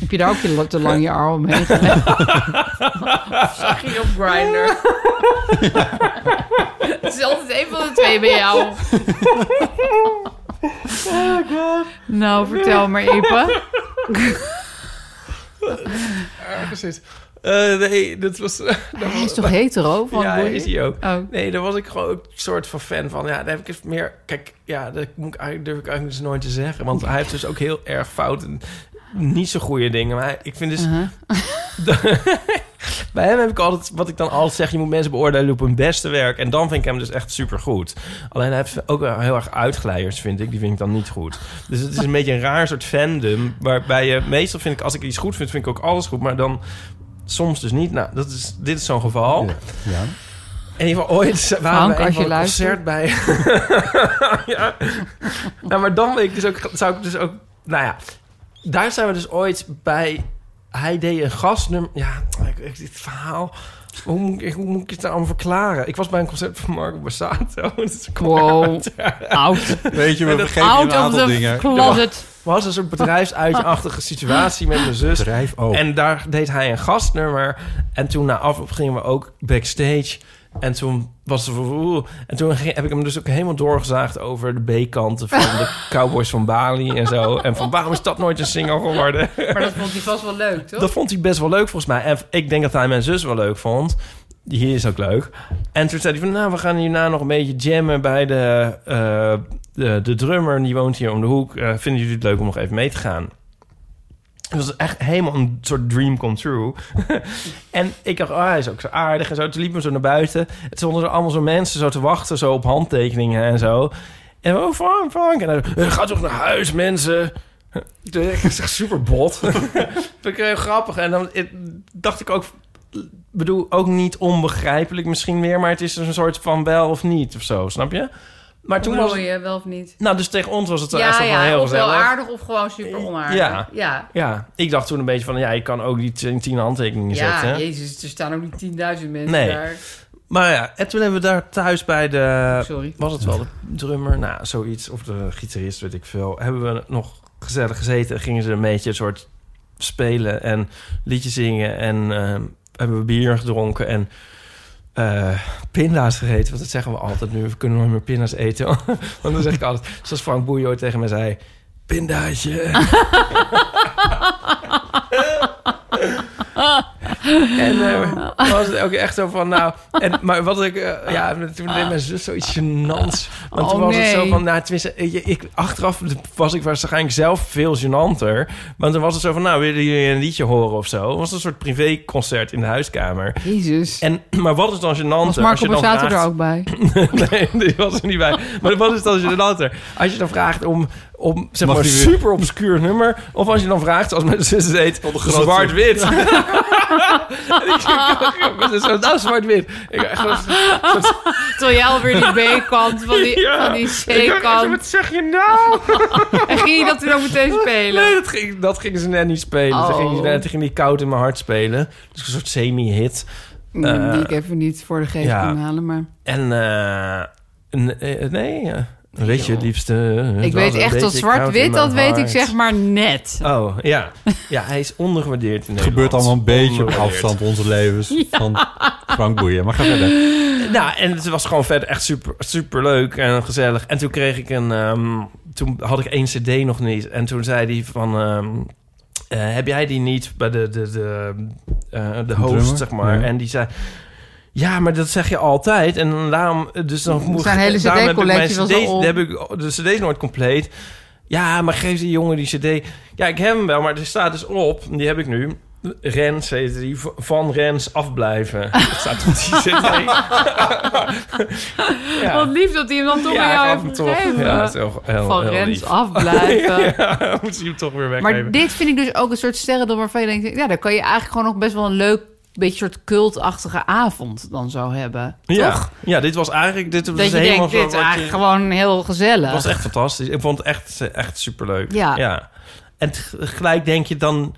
Speaker 3: Heb je daar ook je lo- te lang je arm mee? Zag je op Grindr? Het is altijd een van de twee bij jou. Oh god. Oh Nou, vertel maar, Ipe.
Speaker 2: Precies. Eh, nee, dat was...
Speaker 3: Hij is toch hetero? Van
Speaker 2: ja,
Speaker 3: Boeien?
Speaker 2: is hij ook.
Speaker 3: Oh.
Speaker 2: Nee, daar was ik gewoon ook een soort van fan van. Ja, daar heb ik eens meer... Kijk, ja, dat moet ik, eigenlijk- durf ik eigenlijk dus nooit te zeggen. Want hij heeft dus ook heel erg fout en niet zo goede dingen. Maar hij- ik vind dus...
Speaker 3: Uh-huh.
Speaker 2: Bij hem heb ik altijd... Wat ik dan altijd zeg, je moet mensen beoordelen op hun beste werk. En dan vind ik hem dus echt supergoed. Alleen hij heeft ook wel heel erg uitglijers, vind ik. Die vind ik dan niet goed. Dus het is een beetje een raar soort fandom. Waarbij je... Meestal vind ik, als ik iets goed vind, vind ik ook alles goed. Maar dan... Soms dus niet. Nou, dat is, dit is zo'n geval.
Speaker 4: Ja.
Speaker 2: En ieder geval ooit waren
Speaker 3: Frank,
Speaker 2: we een
Speaker 3: als
Speaker 2: van
Speaker 3: je
Speaker 2: een concert
Speaker 3: luistert.
Speaker 2: bij. ja. Nou, maar dan weet ik dus ook, zou ik dus ook. Nou ja, daar zijn we dus ooit bij. Hij deed een gastnummer. Ja, ik- ik- dit verhaal. Hoe moet, ik, hoe moet ik het nou allemaal verklaren? Ik was bij een concert van Marco Borsato. Dus ik-
Speaker 3: Wow. Oud.
Speaker 4: Weet je, we vergeten
Speaker 3: Out of the closet.
Speaker 2: er was een soort bedrijfsuitje-achtige situatie met mijn zus.
Speaker 4: Drijf ook.
Speaker 3: Oh.
Speaker 2: En daar deed hij een gastnummer. En toen na afloop gingen we ook backstage. En toen was er... oeh. En toen ging- heb ik hem dus ook helemaal doorgezaagd over de B-kanten van de Cowboys van Bali en zo. En van waarom is dat nooit een single geworden?
Speaker 3: Maar dat vond hij vast wel leuk, toch?
Speaker 2: Dat vond hij best wel leuk volgens mij. En ik denk dat hij mijn zus wel leuk vond. Die is ook leuk. En toen zei hij van, nou, we gaan hierna nog een beetje jammen bij de, eh, de, de drummer. Die woont hier om de hoek. Eh, vinden jullie het leuk om nog even mee te gaan? Het was echt helemaal een soort dream come true. en ik dacht, oh, hij is ook zo aardig en zo. Toen liepen we zo naar buiten. Het stonden er allemaal zo mensen zo te wachten, zo op handtekeningen en zo. En oh, Frank, Frank. En hij zo, "Eh, ga toch naar huis, mensen. Dat is echt super bot. Vind ik heel grappig. En dan het- dacht ik ook, bedoel, ook niet onbegrijpelijk misschien meer, maar het is dus een soort van wel of niet of zo, snap je? Maar toen was het,
Speaker 3: je wel of niet?
Speaker 2: nou, dus tegen ons was het echt
Speaker 3: Ja,
Speaker 2: zo van
Speaker 3: ja,
Speaker 2: heel
Speaker 3: of wel
Speaker 2: gezellig.
Speaker 3: aardig of gewoon super onaardig.
Speaker 2: Ja.
Speaker 3: ja.
Speaker 2: Ja, ik dacht toen een beetje van, ja, je kan ook die tien, tien handtekeningen
Speaker 3: Ja,
Speaker 2: zetten.
Speaker 3: jezus, er staan ook niet 10.000 mensen
Speaker 2: Nee.
Speaker 3: daar.
Speaker 2: Maar ja, en toen hebben we daar thuis bij de...
Speaker 3: Sorry.
Speaker 2: Was het wel de drummer? Nou, zoiets. Of de gitarist, weet ik veel. Hebben we nog gezellig gezeten. en Gingen ze een beetje een soort ehm, spelen en liedjes zingen. En eh, hebben we bier gedronken. En eh, pinda's gegeten. Want dat zeggen we altijd nu. We kunnen nooit meer pinda's eten. Want dan zeg ik altijd, zoals Frank Boeijo tegen mij zei... Pindaatje. en eh, dan was het ook echt zo van, nou... En, maar wat ik... eh, ja, toen deed mijn zus zoiets gênants. Want
Speaker 3: Oh,
Speaker 2: toen was het zo
Speaker 3: nee.
Speaker 2: van, nou, tenminste... eh, je- Ik, achteraf was ik waarschijnlijk zelf veel gênanter. Want dan was het zo van, nou, willen jullie een liedje horen of zo? Het was een soort privéconcert in de huiskamer.
Speaker 3: Jezus.
Speaker 2: En, maar wat is dan
Speaker 3: was
Speaker 2: gênanter?
Speaker 3: Marco
Speaker 2: dan
Speaker 3: Borsato er
Speaker 2: vraagt-
Speaker 3: ook bij?
Speaker 2: nee, die was er niet bij. Maar wat is dan gênanter? Als je dan vraagt om, om zeg
Speaker 4: Mag
Speaker 2: maar, een
Speaker 4: die weer?
Speaker 2: super obscuur nummer... of als je dan vraagt, als mijn zus het heet, zwart-wit. En ik zeg, mijn zus zo, nou, zwart-wit. Ik echt was-
Speaker 3: Terwijl jij alweer die B-kant van die,
Speaker 2: Ja.
Speaker 3: van die
Speaker 2: ik dacht,
Speaker 3: C-kant.
Speaker 2: Wat zeg je nou?
Speaker 3: En ging je dat toen ook meteen spelen?
Speaker 2: Nee, dat ging, dat gingen ze net niet spelen. Ze
Speaker 3: Oh.
Speaker 2: gingen, ze net- die gingen die koud in mijn hart spelen. Dus een soort semi-hit.
Speaker 3: Mm, die
Speaker 2: Eh,
Speaker 3: ik even niet voor de geest
Speaker 2: ja.
Speaker 3: kon halen, maar...
Speaker 2: En eh, n- eh, nee, eh, weet je, het liefste. eh, het
Speaker 3: Ik
Speaker 2: was
Speaker 3: weet
Speaker 2: een
Speaker 3: echt dat
Speaker 2: beetje koud in
Speaker 3: zwart-wit,
Speaker 2: mijn
Speaker 3: dat weet ik
Speaker 2: hart.
Speaker 3: zeg maar net.
Speaker 2: Oh, ja. Ja, hij is ondergewaardeerd in
Speaker 4: Het gebeurt allemaal
Speaker 2: Nederland.
Speaker 4: een beetje op
Speaker 2: Ondergewaardeerd.
Speaker 4: afstand, onze levens. Van Frank Boeien. Maar ga verder.
Speaker 2: Nou, en het was gewoon verder echt super, super leuk en gezellig. En toen kreeg ik een... ehm, toen had ik één cd nog niet. En toen zei hij van... ehm, eh, heb jij die niet bij de, de, de, eh, de host,
Speaker 4: drummer?
Speaker 2: zeg maar?
Speaker 4: Ja.
Speaker 2: En die zei... Ja, maar dat zeg je altijd. En daarom... Dus dan moet
Speaker 3: Zijn hele
Speaker 2: daarom heb ik mijn
Speaker 3: CD was al
Speaker 2: cd's,
Speaker 3: om.
Speaker 2: heb ik de cd's nooit compleet. Ja, maar geef die jongen die cd. Ja, ik heb hem wel, maar er staat dus op. Die heb ik nu. Rens heet die. v- Van Rens afblijven. Dat staat op die cd. ja.
Speaker 3: Wat lief dat hij hem dan toch aan
Speaker 2: ja,
Speaker 3: jou
Speaker 2: ik gaf
Speaker 3: heeft
Speaker 2: hem toch.
Speaker 3: gegeven.
Speaker 2: Ja, dat is heel, heel,
Speaker 3: van
Speaker 2: heel
Speaker 3: Rens
Speaker 2: lief.
Speaker 3: afblijven.
Speaker 2: Ja, moet je hem toch weer
Speaker 3: Maar
Speaker 2: weggeven.
Speaker 3: dit vind ik dus ook een soort sterrendom waarvan je denkt... ja, daar kan je eigenlijk gewoon nog best wel een leuk... beetje soort cultachtige avond dan zo hebben.
Speaker 2: ja.
Speaker 3: Toch?
Speaker 2: Ja, dit was eigenlijk... Dit was
Speaker 3: Dat je
Speaker 2: helemaal
Speaker 3: denkt, dit
Speaker 2: zo
Speaker 3: is
Speaker 2: wat
Speaker 3: eigenlijk
Speaker 2: je-
Speaker 3: gewoon heel gezellig.
Speaker 2: Het was echt fantastisch. Ik vond het echt, echt superleuk.
Speaker 3: Ja.
Speaker 2: En tegelijk denk je dan...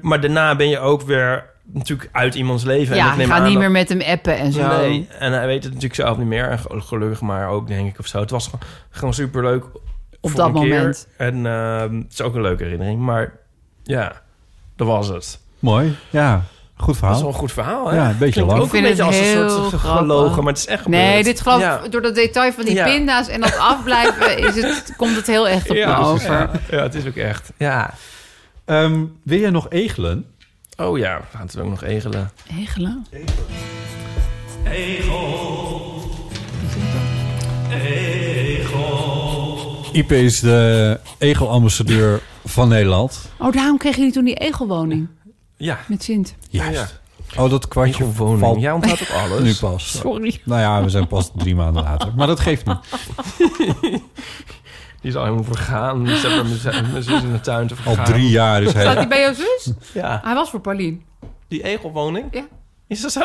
Speaker 2: Maar daarna ben je ook weer natuurlijk uit iemands leven. en
Speaker 3: ja,
Speaker 2: ik neem
Speaker 3: ga
Speaker 2: aan
Speaker 3: niet
Speaker 2: dat-
Speaker 3: meer met hem appen en zo.
Speaker 2: Nee, en hij weet het natuurlijk zelf niet meer. En gel- gelukkig maar ook, denk ik, of zo. Het was gewoon, gewoon superleuk. voor
Speaker 3: dat
Speaker 2: een keer.
Speaker 3: moment.
Speaker 2: En ehm, het is ook een leuke herinnering. Maar ja, dat was het.
Speaker 4: Mooi. Ja, goed
Speaker 2: Dat is wel
Speaker 4: verhaal.
Speaker 2: een goed verhaal, hè?
Speaker 4: Ja, een beetje
Speaker 2: Klinkt
Speaker 4: lang.
Speaker 2: ook een
Speaker 3: Ik vind
Speaker 2: beetje als
Speaker 3: het
Speaker 2: een
Speaker 3: heel
Speaker 2: soort
Speaker 3: grappig.
Speaker 2: gelogen, maar het is echt gebeurd.
Speaker 3: Nee, dit geloof ik-
Speaker 2: Ja.
Speaker 3: door dat detail van die
Speaker 2: Ja.
Speaker 3: pinda's en dat afblijven... Is het, komt het heel echt op
Speaker 2: ja,
Speaker 3: me over.
Speaker 2: Ja, ja, het is ook echt. Ja.
Speaker 4: Ehm, wil jij nog egelen?
Speaker 2: Oh ja, we gaan het ook nog egelen.
Speaker 3: Hegelen?
Speaker 4: Ipe is de egelambassadeur van Nederland.
Speaker 3: Oh, daarom kregen jullie toen die egelwoning
Speaker 2: Ja,
Speaker 3: met Sint.
Speaker 4: Juist. Oh, dat kwartje
Speaker 2: egelwoning.
Speaker 4: valt
Speaker 2: Jij onthoudt ook alles.
Speaker 4: nu pas.
Speaker 3: Sorry.
Speaker 4: Nou ja, we zijn pas drie maanden later. Maar dat geeft niet.
Speaker 2: Die is al helemaal vergaan. Die staat met mijn- mijn zus in de tuin te
Speaker 4: Al
Speaker 2: vergaan.
Speaker 4: drie jaar is
Speaker 3: Staat
Speaker 4: hij...
Speaker 3: die bij jouw zus?
Speaker 2: Ja.
Speaker 3: Hij was voor Paulien.
Speaker 2: Die egelwoning?
Speaker 3: Ja.
Speaker 2: Is dat zo?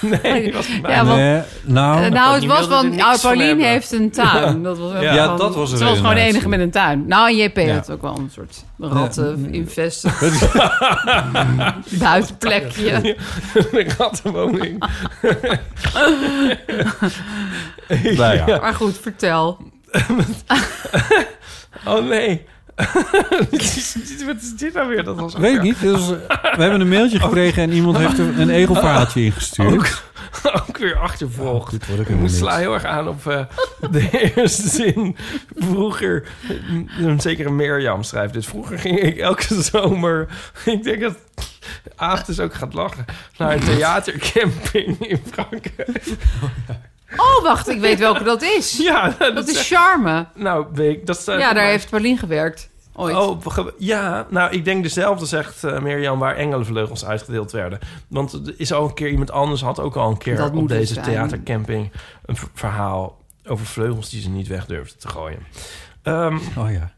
Speaker 2: Nee, die was bij mij.
Speaker 3: Ja, want-
Speaker 4: Nee, nou,
Speaker 3: Eh,
Speaker 2: Oh,
Speaker 3: nou, het
Speaker 2: die
Speaker 3: was
Speaker 2: wilde er
Speaker 3: van...
Speaker 2: niks
Speaker 3: Oh,
Speaker 2: van
Speaker 3: Paulien
Speaker 2: hebben.
Speaker 3: heeft een tuin. Dat was ook
Speaker 2: Ja,
Speaker 3: gewoon-
Speaker 4: dat was een
Speaker 3: Ze was gewoon de
Speaker 4: redenatie.
Speaker 3: enige met een tuin. Nou, en JP
Speaker 4: Ja.
Speaker 3: had ook wel een soort eh, ratten-infest. Buitenplekje.
Speaker 2: een rattenwoning.
Speaker 4: nou ja.
Speaker 3: Maar goed, vertel.
Speaker 2: Oh nee. Dit is- Wat is dit nou weer? Dat was ook
Speaker 4: Weet ik
Speaker 2: weer-
Speaker 4: niet. Dus we hebben een mailtje gekregen en iemand heeft er een egelverhaaltje ingestuurd.
Speaker 2: Ook weer achtervolgd.
Speaker 4: Dit wordt ook
Speaker 2: ik
Speaker 4: helemaal
Speaker 2: moest sla
Speaker 4: niks.
Speaker 2: heel erg aan op eh, de eerste zin. Vroeger, mm, een zekere Mirjam schrijft dit. Vroeger ging ik elke zomer, ik denk dat Aaf dus ook gaat lachen, naar een theatercamping in Frankrijk.
Speaker 3: Oh, wacht, ik weet welke dat is.
Speaker 2: Ja, dat,
Speaker 3: Dat
Speaker 2: is.
Speaker 3: is Charme.
Speaker 2: Nou, weet ik, dat staat.
Speaker 3: Ja,
Speaker 2: voor
Speaker 3: daar
Speaker 2: mij.
Speaker 3: heeft Paulien gewerkt. Ooit.
Speaker 2: Oh, ge- ja. Nou, ik denk dezelfde, zegt eh, Mirjam, waar engelenvleugels uitgedeeld werden. Want er is al een keer iemand anders had ook al een keer
Speaker 3: Dat
Speaker 2: op
Speaker 3: moet het
Speaker 2: deze
Speaker 3: zijn.
Speaker 2: theatercamping een v- verhaal over vleugels die ze niet weg durfden te gooien. Ehm,
Speaker 4: Oh ja.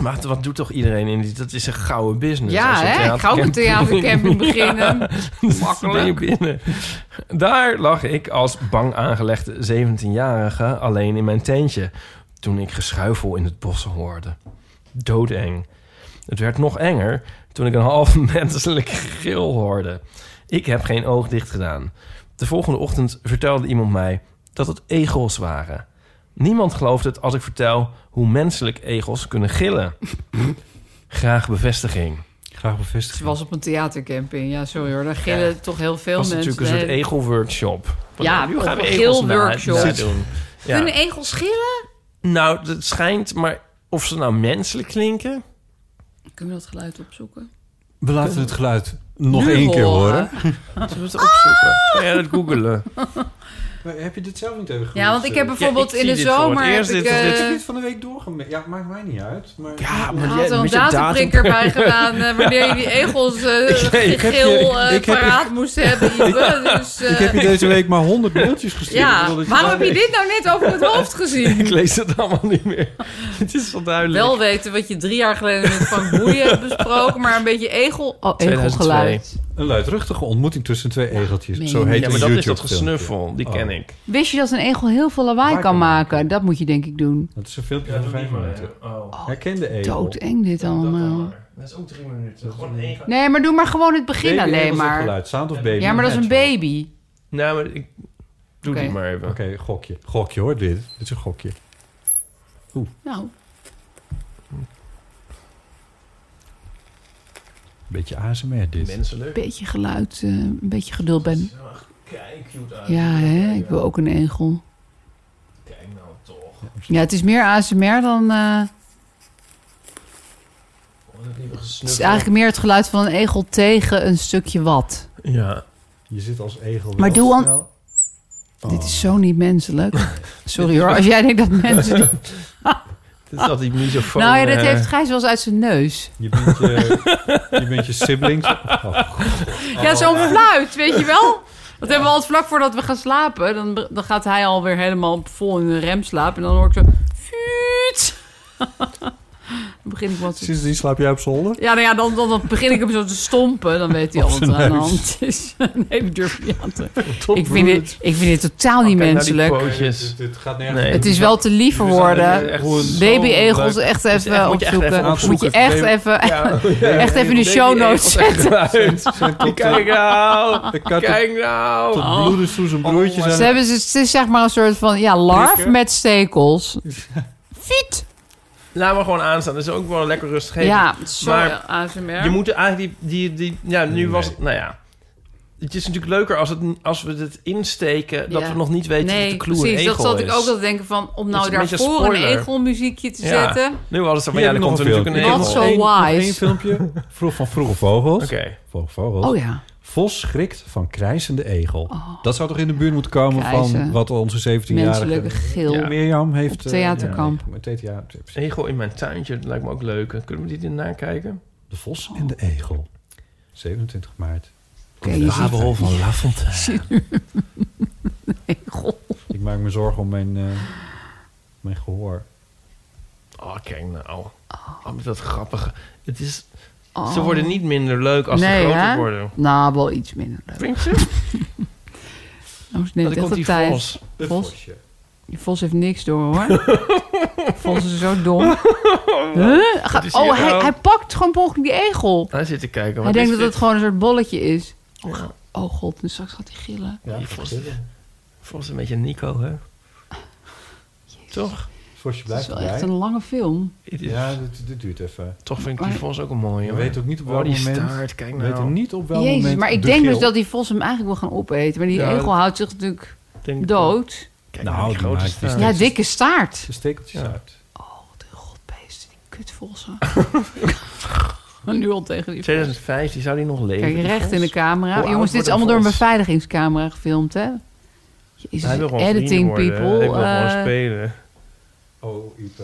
Speaker 2: maar het- wat doet toch iedereen in die? Dat is een gouden business.
Speaker 3: ja,
Speaker 2: dus als je
Speaker 3: hè? Ik ga ook een
Speaker 2: theatercamping-
Speaker 3: theatercamping beginnen.
Speaker 2: ben je
Speaker 3: Makkelijk.
Speaker 2: binnen. Daar lag ik als bang aangelegde 17-jarige alleen in mijn tentje... toen ik geschuifel in het bos hoorde. Doodeng. Het werd nog enger toen ik een half menselijk gil hoorde. Ik heb geen oog dicht gedaan. De volgende ochtend vertelde iemand mij dat het egels waren. Niemand gelooft het als ik vertel hoe menselijk egels kunnen gillen. Graag bevestiging.
Speaker 4: Graag
Speaker 3: Ze
Speaker 4: bevestigen.
Speaker 3: was op een theatercamping. Ja, sorry hoor. Daar gillen
Speaker 2: Ja.
Speaker 3: toch heel veel
Speaker 2: Dat was
Speaker 3: mensen.
Speaker 2: natuurlijk een soort
Speaker 3: Nee.
Speaker 2: egel workshop.
Speaker 3: Ja,
Speaker 2: nu
Speaker 3: of
Speaker 2: gaan we
Speaker 3: een
Speaker 2: egels
Speaker 3: geel
Speaker 2: na-
Speaker 3: workshop.
Speaker 2: na doen. Ja.
Speaker 7: Kunnen egels schillen?
Speaker 2: Nou, dat schijnt, maar of ze nou menselijk klinken...
Speaker 3: Kunnen we dat geluid opzoeken?
Speaker 4: We laten het geluid nog
Speaker 3: Nu
Speaker 4: één keer horen.
Speaker 2: Zullen we het opzoeken? Kan jij dat googelen?
Speaker 4: heb je dit zelf niet eh? even
Speaker 3: Ja, want ik heb bijvoorbeeld
Speaker 2: zie
Speaker 3: in de
Speaker 2: dit voor het
Speaker 3: zomer...
Speaker 2: eerst.
Speaker 3: heb ik,
Speaker 2: Dit is- dit
Speaker 3: eh,
Speaker 4: van de week doorgemaakt? Ja, maakt mij niet uit. Maar...
Speaker 2: Ja,
Speaker 3: Hij
Speaker 2: Ah, maar
Speaker 3: had er
Speaker 2: jij-
Speaker 3: een
Speaker 2: met je datum...
Speaker 3: dataprinker bij gedaan eh, wanneer je die egels eh
Speaker 4: ik heb
Speaker 3: geel
Speaker 4: je-
Speaker 3: eh,
Speaker 4: ik heb je-
Speaker 3: paraat moest hebben. Ipe. Dus, eh,
Speaker 4: Ik heb je deze week maar 100 mailtjes gestuurd. Ik
Speaker 3: ja,
Speaker 4: bedoel dat
Speaker 3: waarom heb
Speaker 4: daar-
Speaker 3: je dit nou net over het hoofd
Speaker 2: Ik
Speaker 3: gezien?
Speaker 2: lees dat allemaal niet meer. Het is wel duidelijk.
Speaker 3: Wel weten wat je drie jaar geleden met Van Boeien hebt besproken, maar een beetje egel... Oh,
Speaker 2: 2002.
Speaker 3: egelgeluid.
Speaker 4: Een luidruchtige ontmoeting tussen twee egeltjes.
Speaker 3: Meen
Speaker 4: Zo
Speaker 3: je
Speaker 4: heet
Speaker 2: ja,
Speaker 4: een
Speaker 2: maar dat is dat
Speaker 4: YouTube-filmpje.
Speaker 2: gesnuffel. Die ken
Speaker 4: Oh.
Speaker 2: ik.
Speaker 3: Wist je dat een egel heel veel lawaai
Speaker 4: Waar
Speaker 3: kan
Speaker 4: kan maken?
Speaker 3: maken? Dat moet je denk ik doen.
Speaker 4: Dat is een filmpje van vijf minuten.
Speaker 2: Oh,
Speaker 4: Herken de egel.
Speaker 3: Doodeng dit allemaal.
Speaker 2: Dat is ook drie minuten. Gewoon één.
Speaker 3: Nee, maar doe maar gewoon het begin
Speaker 4: Baby
Speaker 3: alleen
Speaker 4: egels het
Speaker 3: maar.
Speaker 4: Geluid. Sound of baby.
Speaker 3: Ja, maar dat is een baby.
Speaker 2: Nou, maar ik doe
Speaker 3: Oké.
Speaker 2: die maar even.
Speaker 4: Oké, gokje. Gokje hoor, dit. Dit is een gokje.
Speaker 3: Nou,
Speaker 4: Beetje ASMR dit.
Speaker 3: een
Speaker 2: Menselijk.
Speaker 3: beetje geluid, eh, een beetje geduld ben.
Speaker 2: Kijk, cute uit.
Speaker 3: Ja, hè? ik wil ook een egel.
Speaker 2: Kijk nou toch.
Speaker 3: Ja, het is meer ASMR dan... eh, het is eigenlijk meer het geluid van een egel tegen een stukje wat.
Speaker 2: Ja.
Speaker 4: Je zit als egel. wel
Speaker 3: Maar doe dan-
Speaker 4: snel- Oh.
Speaker 3: Dit is zo niet menselijk. Sorry hoor, als jij denkt dat mensen... die-
Speaker 2: Dit is dat die misofoon.
Speaker 3: nou ja, dat
Speaker 2: eh,
Speaker 3: heeft Gijs wel eens uit zijn neus.
Speaker 4: Je bent je, je, bent je siblings. Oh,
Speaker 3: Ja, zo'n fluit, weet je wel? Dat hebben we altijd vlak voordat we gaan slapen. Dan, dan gaat hij alweer helemaal vol in de rem slapen. En dan hoor ik zo... Fuut! dan begin ik wat... te-
Speaker 4: sindsdien slaap jij op zolder?
Speaker 3: Ja, nou ja, dan, dan, dan begin ik hem zo te stompen. Dan weet hij al
Speaker 4: Op
Speaker 3: wat
Speaker 4: zijn
Speaker 3: er aan de
Speaker 4: neus.
Speaker 3: hand is. nee, dat durf ik niet aan te...
Speaker 2: Tot
Speaker 3: Ik vind,
Speaker 2: bloed.
Speaker 3: dit, ik vind dit totaal
Speaker 2: Oh,
Speaker 3: niet
Speaker 2: kijk nou die
Speaker 3: menselijk.
Speaker 2: pootjes.
Speaker 4: dit, dit gaat nergens.
Speaker 2: Nee.
Speaker 3: Het is wel te lief voor
Speaker 4: Jullie zijn er
Speaker 3: woorden.
Speaker 4: echt hoe een-
Speaker 3: Baby-egels
Speaker 2: eh, zo leuk.
Speaker 3: echt
Speaker 2: Moet je
Speaker 3: even
Speaker 2: echt- moet je echt
Speaker 3: opzoeken.
Speaker 2: even
Speaker 3: Moet je
Speaker 4: opzoeken.
Speaker 3: echt
Speaker 4: Baby-
Speaker 3: even...
Speaker 2: Ja.
Speaker 3: Echt even in de show notes zetten.
Speaker 2: zetten. Kijk nou.
Speaker 4: Ik kan tot,
Speaker 2: Kijk nou.
Speaker 4: tot bloedens toe zijn broertjes
Speaker 2: Oh,
Speaker 4: aan.
Speaker 3: Ze hebben, ze- het is zeg maar een soort van... Ja, larf
Speaker 4: Prikken.
Speaker 3: met stekels. Fiet!
Speaker 2: Laat maar gewoon aanstaan. Dat is ook wel lekker rustig.
Speaker 3: Ja, zo
Speaker 2: Maar
Speaker 3: ASMR.
Speaker 2: Je moet eigenlijk die, die, die ja, nu was het, nou ja. Het is natuurlijk leuker als, het, als we het insteken, dat
Speaker 3: Ja.
Speaker 2: we nog niet weten dat de
Speaker 3: nee,
Speaker 2: kloer
Speaker 3: precies.
Speaker 2: egel
Speaker 3: Dat zat
Speaker 2: is.
Speaker 3: ik ook al te denken van...
Speaker 2: Dat
Speaker 3: om nou
Speaker 2: is een beetje
Speaker 3: daarvoor een
Speaker 2: spoiler.
Speaker 3: egelmuziekje te
Speaker 2: Ja.
Speaker 3: zetten.
Speaker 2: Nu was het zo van,
Speaker 4: Hier
Speaker 2: ja,
Speaker 4: heb
Speaker 2: dan
Speaker 4: ik
Speaker 2: komt er
Speaker 4: nog
Speaker 2: natuurlijk een egel.
Speaker 4: filmpje.
Speaker 3: Not so
Speaker 4: Eén- nog
Speaker 3: wise.
Speaker 4: één filmpje vroeg van Vroege Vogels.
Speaker 2: Oké.
Speaker 4: Vroege Vogels.
Speaker 3: Oh ja.
Speaker 4: Vos schrikt van krijzende egel. Dat zou toch in de buurt moeten komen
Speaker 3: Krijzen.
Speaker 4: van wat onze 17-jarige
Speaker 3: Menselijke gil.
Speaker 2: Ja.
Speaker 4: Mirjam heeft...
Speaker 3: Op theaterkamp.
Speaker 4: eh, ja, met TTA, precies.
Speaker 2: Egel in mijn tuintje, dat lijkt me ook leuk. Kunnen we die erna kijken?
Speaker 4: de Vos
Speaker 3: Oh.
Speaker 4: en de Egel. 27 maart.
Speaker 3: Oké, je ziet-
Speaker 4: van Lafontaine.
Speaker 3: Egel.
Speaker 4: Ik maak me zorgen om mijn, eh, mijn gehoor.
Speaker 2: Oh, kijk nou. Oh, dat grappige. Het is,
Speaker 3: Oh.
Speaker 2: Ze worden niet minder leuk als
Speaker 3: Nee,
Speaker 2: ze groter
Speaker 3: hè?
Speaker 2: worden.
Speaker 3: Nou, wel iets minder leuk.
Speaker 2: Vind je? Dan
Speaker 3: Dat is net echt
Speaker 2: komt
Speaker 3: op
Speaker 2: die
Speaker 3: tijd.
Speaker 2: vos.
Speaker 4: Het
Speaker 3: Vos?
Speaker 4: vosje.
Speaker 3: Die vos heeft niks door, hoor. vos is zo dom. Huh? Gaat-
Speaker 2: is hier
Speaker 3: oh, hij,
Speaker 2: nou?
Speaker 3: hij pakt gewoon per ongeluk die egel.
Speaker 2: Hij zit te kijken.
Speaker 3: Hij
Speaker 2: wat
Speaker 3: denkt
Speaker 2: is
Speaker 3: dat het gewoon een soort bolletje is.
Speaker 2: dit? Ja,
Speaker 3: Oh god, nu straks gaat hij gillen.
Speaker 2: die vos, vos is een beetje Nico, hè? Toch?
Speaker 4: Het vosje
Speaker 3: Het is
Speaker 4: blijft
Speaker 3: wel echt
Speaker 4: erbij.
Speaker 3: een lange film.
Speaker 2: Het is-
Speaker 4: Ja, dit, dit duurt even.
Speaker 2: Toch vind ik die
Speaker 3: Maar-
Speaker 2: vos ook een mooie.
Speaker 4: Je
Speaker 2: hoor.
Speaker 4: weet ook niet op
Speaker 2: Oh,
Speaker 4: welk
Speaker 2: die
Speaker 4: moment...
Speaker 2: staart, kijk
Speaker 4: We weten
Speaker 2: nou.
Speaker 4: niet op welk
Speaker 3: Jezus,
Speaker 4: moment
Speaker 3: maar ik
Speaker 4: de
Speaker 3: denk
Speaker 4: geel-
Speaker 3: dus dat die vos hem eigenlijk wil gaan opeten. Maar die
Speaker 2: Ja,
Speaker 3: egel
Speaker 2: dat-
Speaker 3: houdt zich natuurlijk...
Speaker 2: Denk-
Speaker 3: Dood?
Speaker 2: Kijk
Speaker 4: Nou,
Speaker 2: nou, die
Speaker 4: die
Speaker 2: grote
Speaker 4: maakt die
Speaker 2: staart.
Speaker 3: Ja,
Speaker 4: dat is-
Speaker 3: dikke staart.
Speaker 4: de stekeltjes
Speaker 2: Ja.
Speaker 4: uit.
Speaker 3: Oh, de godbeesten, die kutvossen. nu al tegen die vos.
Speaker 2: 2015 zou die nog leven.
Speaker 3: Kijk,
Speaker 2: die
Speaker 3: recht
Speaker 2: vos?
Speaker 3: in de camera.
Speaker 2: Hoe oud
Speaker 3: Jongens, dit
Speaker 2: wordt
Speaker 3: is allemaal
Speaker 2: een
Speaker 3: door
Speaker 2: vos?
Speaker 3: een beveiligingscamera gefilmd, hè? Jezus,
Speaker 2: Hij wil gewoon vrienden
Speaker 3: editing
Speaker 2: worden.
Speaker 3: people.
Speaker 2: Hij wil
Speaker 3: eh.
Speaker 2: gewoon spelen.
Speaker 4: Oh, Ipe.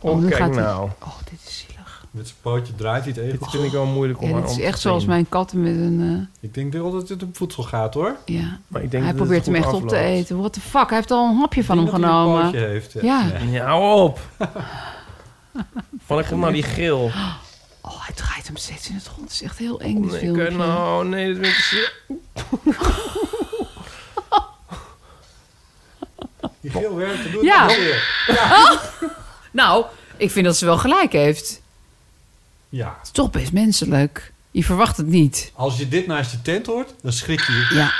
Speaker 3: oh,
Speaker 2: Oh,
Speaker 3: nu
Speaker 2: kijk
Speaker 3: gaat hij-
Speaker 2: nou.
Speaker 3: Oh, dit is zielig.
Speaker 4: Met zijn pootje draait hij het
Speaker 2: Dit
Speaker 3: Oh.
Speaker 4: egel.
Speaker 2: vind ik wel moeilijk om
Speaker 3: Ja,
Speaker 2: aan
Speaker 3: dit is
Speaker 2: om te
Speaker 3: echt zoals
Speaker 2: zien.
Speaker 3: mijn katten met een... eh,
Speaker 4: Ik denk wel dat dit om voedsel gaat, hoor.
Speaker 3: ja.
Speaker 2: Maar ik denk
Speaker 3: Hij
Speaker 2: dat het
Speaker 3: probeert hem
Speaker 2: goed
Speaker 3: echt op te
Speaker 2: afloopt.
Speaker 3: eten. What the fuck? Hij heeft al een hapje van
Speaker 4: Ik
Speaker 3: hem
Speaker 4: denk dat hij een
Speaker 3: genomen.
Speaker 4: pootje heeft.
Speaker 3: Ja.
Speaker 2: Ja, hou op. Van ik kom nou die geel.
Speaker 3: Oh, hij draait hem steeds in het rond. Het is echt heel eng, dit
Speaker 2: Nee, ik,
Speaker 3: filmpje.
Speaker 2: nou, nee, dat vind ik zeer-
Speaker 4: Die geel werkt, doe het
Speaker 3: Ja.
Speaker 4: nog weer.
Speaker 3: Nou, ik vind dat ze wel gelijk heeft. Het
Speaker 4: Ja.
Speaker 3: is toch best menselijk. Je verwacht het niet.
Speaker 4: Als je dit naast je tent hoort, dan schrik je
Speaker 3: Ja,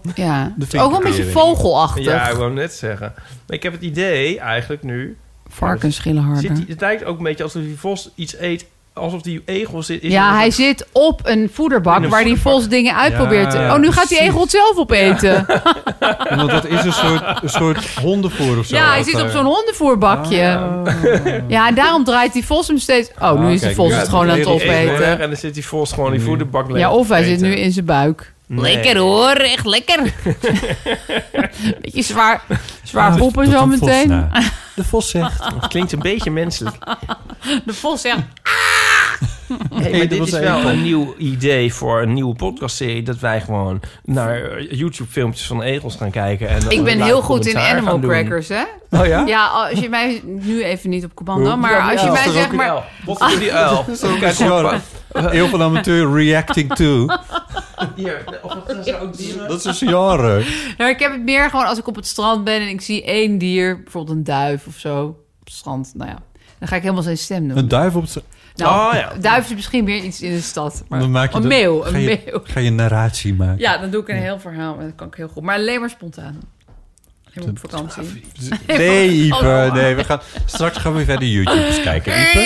Speaker 3: ja.
Speaker 4: De
Speaker 3: Het is ook wel een beetje vogelachtig.
Speaker 2: Ja, ik
Speaker 3: Ja,
Speaker 2: wou net zeggen. Maar ik heb het idee eigenlijk nu.
Speaker 3: Varkens schillen harder.
Speaker 2: Zit die, het lijkt ook een beetje alsof die vos iets eet alsof die egel zit. Is
Speaker 3: ja,
Speaker 2: er-
Speaker 3: hij zit op een voederbak
Speaker 2: In een
Speaker 3: waar hij
Speaker 2: voederbak.
Speaker 3: vols dingen uit
Speaker 4: Ja,
Speaker 3: probeert. te-
Speaker 4: ja,
Speaker 3: oh, nu gaat die
Speaker 4: precies.
Speaker 3: egel het zelf opeten. Ja,
Speaker 4: Want dat is een soort, een soort hondenvoer of zo. eh.
Speaker 3: hij
Speaker 4: Als
Speaker 3: zit
Speaker 4: daar-
Speaker 3: op zo'n hondenvoerbakje.
Speaker 2: Ah.
Speaker 3: ja. en daarom draait die vos hem steeds... Oh, nu is de
Speaker 4: kijk,
Speaker 3: vos
Speaker 4: nu
Speaker 3: het
Speaker 4: is
Speaker 3: gewoon
Speaker 4: de
Speaker 3: aan het
Speaker 4: egel
Speaker 2: Die egel weg
Speaker 3: opeten.
Speaker 2: En dan zit die volgens gewoon die
Speaker 4: Mm.
Speaker 2: voederbak leeg.
Speaker 3: Ja, of hij zit
Speaker 2: eten.
Speaker 3: nu in zijn buik.
Speaker 2: Nee.
Speaker 3: Lekker hoor, echt lekker. Beetje zwaar, zwaar
Speaker 4: Ah,
Speaker 3: poepen
Speaker 4: tot
Speaker 3: zo
Speaker 4: een vos
Speaker 3: meteen.
Speaker 4: na. De vos zegt...
Speaker 2: Het klinkt een beetje menselijk.
Speaker 3: De vos zegt...
Speaker 2: Hey,
Speaker 4: Hey,
Speaker 2: maar
Speaker 4: dat
Speaker 2: dit
Speaker 4: was
Speaker 2: is
Speaker 4: één
Speaker 2: wel
Speaker 4: kant.
Speaker 2: een nieuw idee voor een nieuwe podcastserie. Dat wij gewoon naar eh, YouTube-filmpjes van egels gaan kijken. En dan
Speaker 3: Ik ben
Speaker 2: laten
Speaker 3: heel goed in
Speaker 2: commentaar gaan
Speaker 3: animal
Speaker 2: doen.
Speaker 3: crackers, hè?
Speaker 2: Oh ja?
Speaker 3: Ja, als je mij nu even niet op commando,
Speaker 2: Ja,
Speaker 3: Nou, maar
Speaker 2: die
Speaker 3: als je
Speaker 2: uil.
Speaker 3: mij
Speaker 2: Dat is
Speaker 3: zegt
Speaker 2: ook een
Speaker 3: maar
Speaker 2: uil. Wat is die uil? Kijk,
Speaker 4: Zo,
Speaker 2: op,
Speaker 4: heel veel amateur reacting to.
Speaker 2: hier. Of dat zijn ook dieren.
Speaker 4: Dat is een genre.
Speaker 3: Nou, ik heb het meer gewoon als ik op het strand ben en ik zie één dier, bijvoorbeeld een duif of zo, op het strand. Nou ja, dan ga ik helemaal zijn stem doen.
Speaker 4: Een duif op zijn...
Speaker 3: nou,
Speaker 2: Oh, ja.
Speaker 3: duif is misschien meer iets in de stad. Maar
Speaker 4: Dan maak je
Speaker 3: een
Speaker 4: de-
Speaker 3: meeuw,
Speaker 4: ga
Speaker 3: een
Speaker 4: je,
Speaker 3: meeuw.
Speaker 4: Ga je een narratie maken.
Speaker 3: Ja, dan doe ik een heel verhaal en dat kan ik heel goed. Maar alleen maar spontaan. Helemaal op vakantie.
Speaker 4: Dus Nee, Ipe.
Speaker 3: Oh.
Speaker 4: Nee, we gaan, straks gaan we verder YouTube's kijken, Ipe.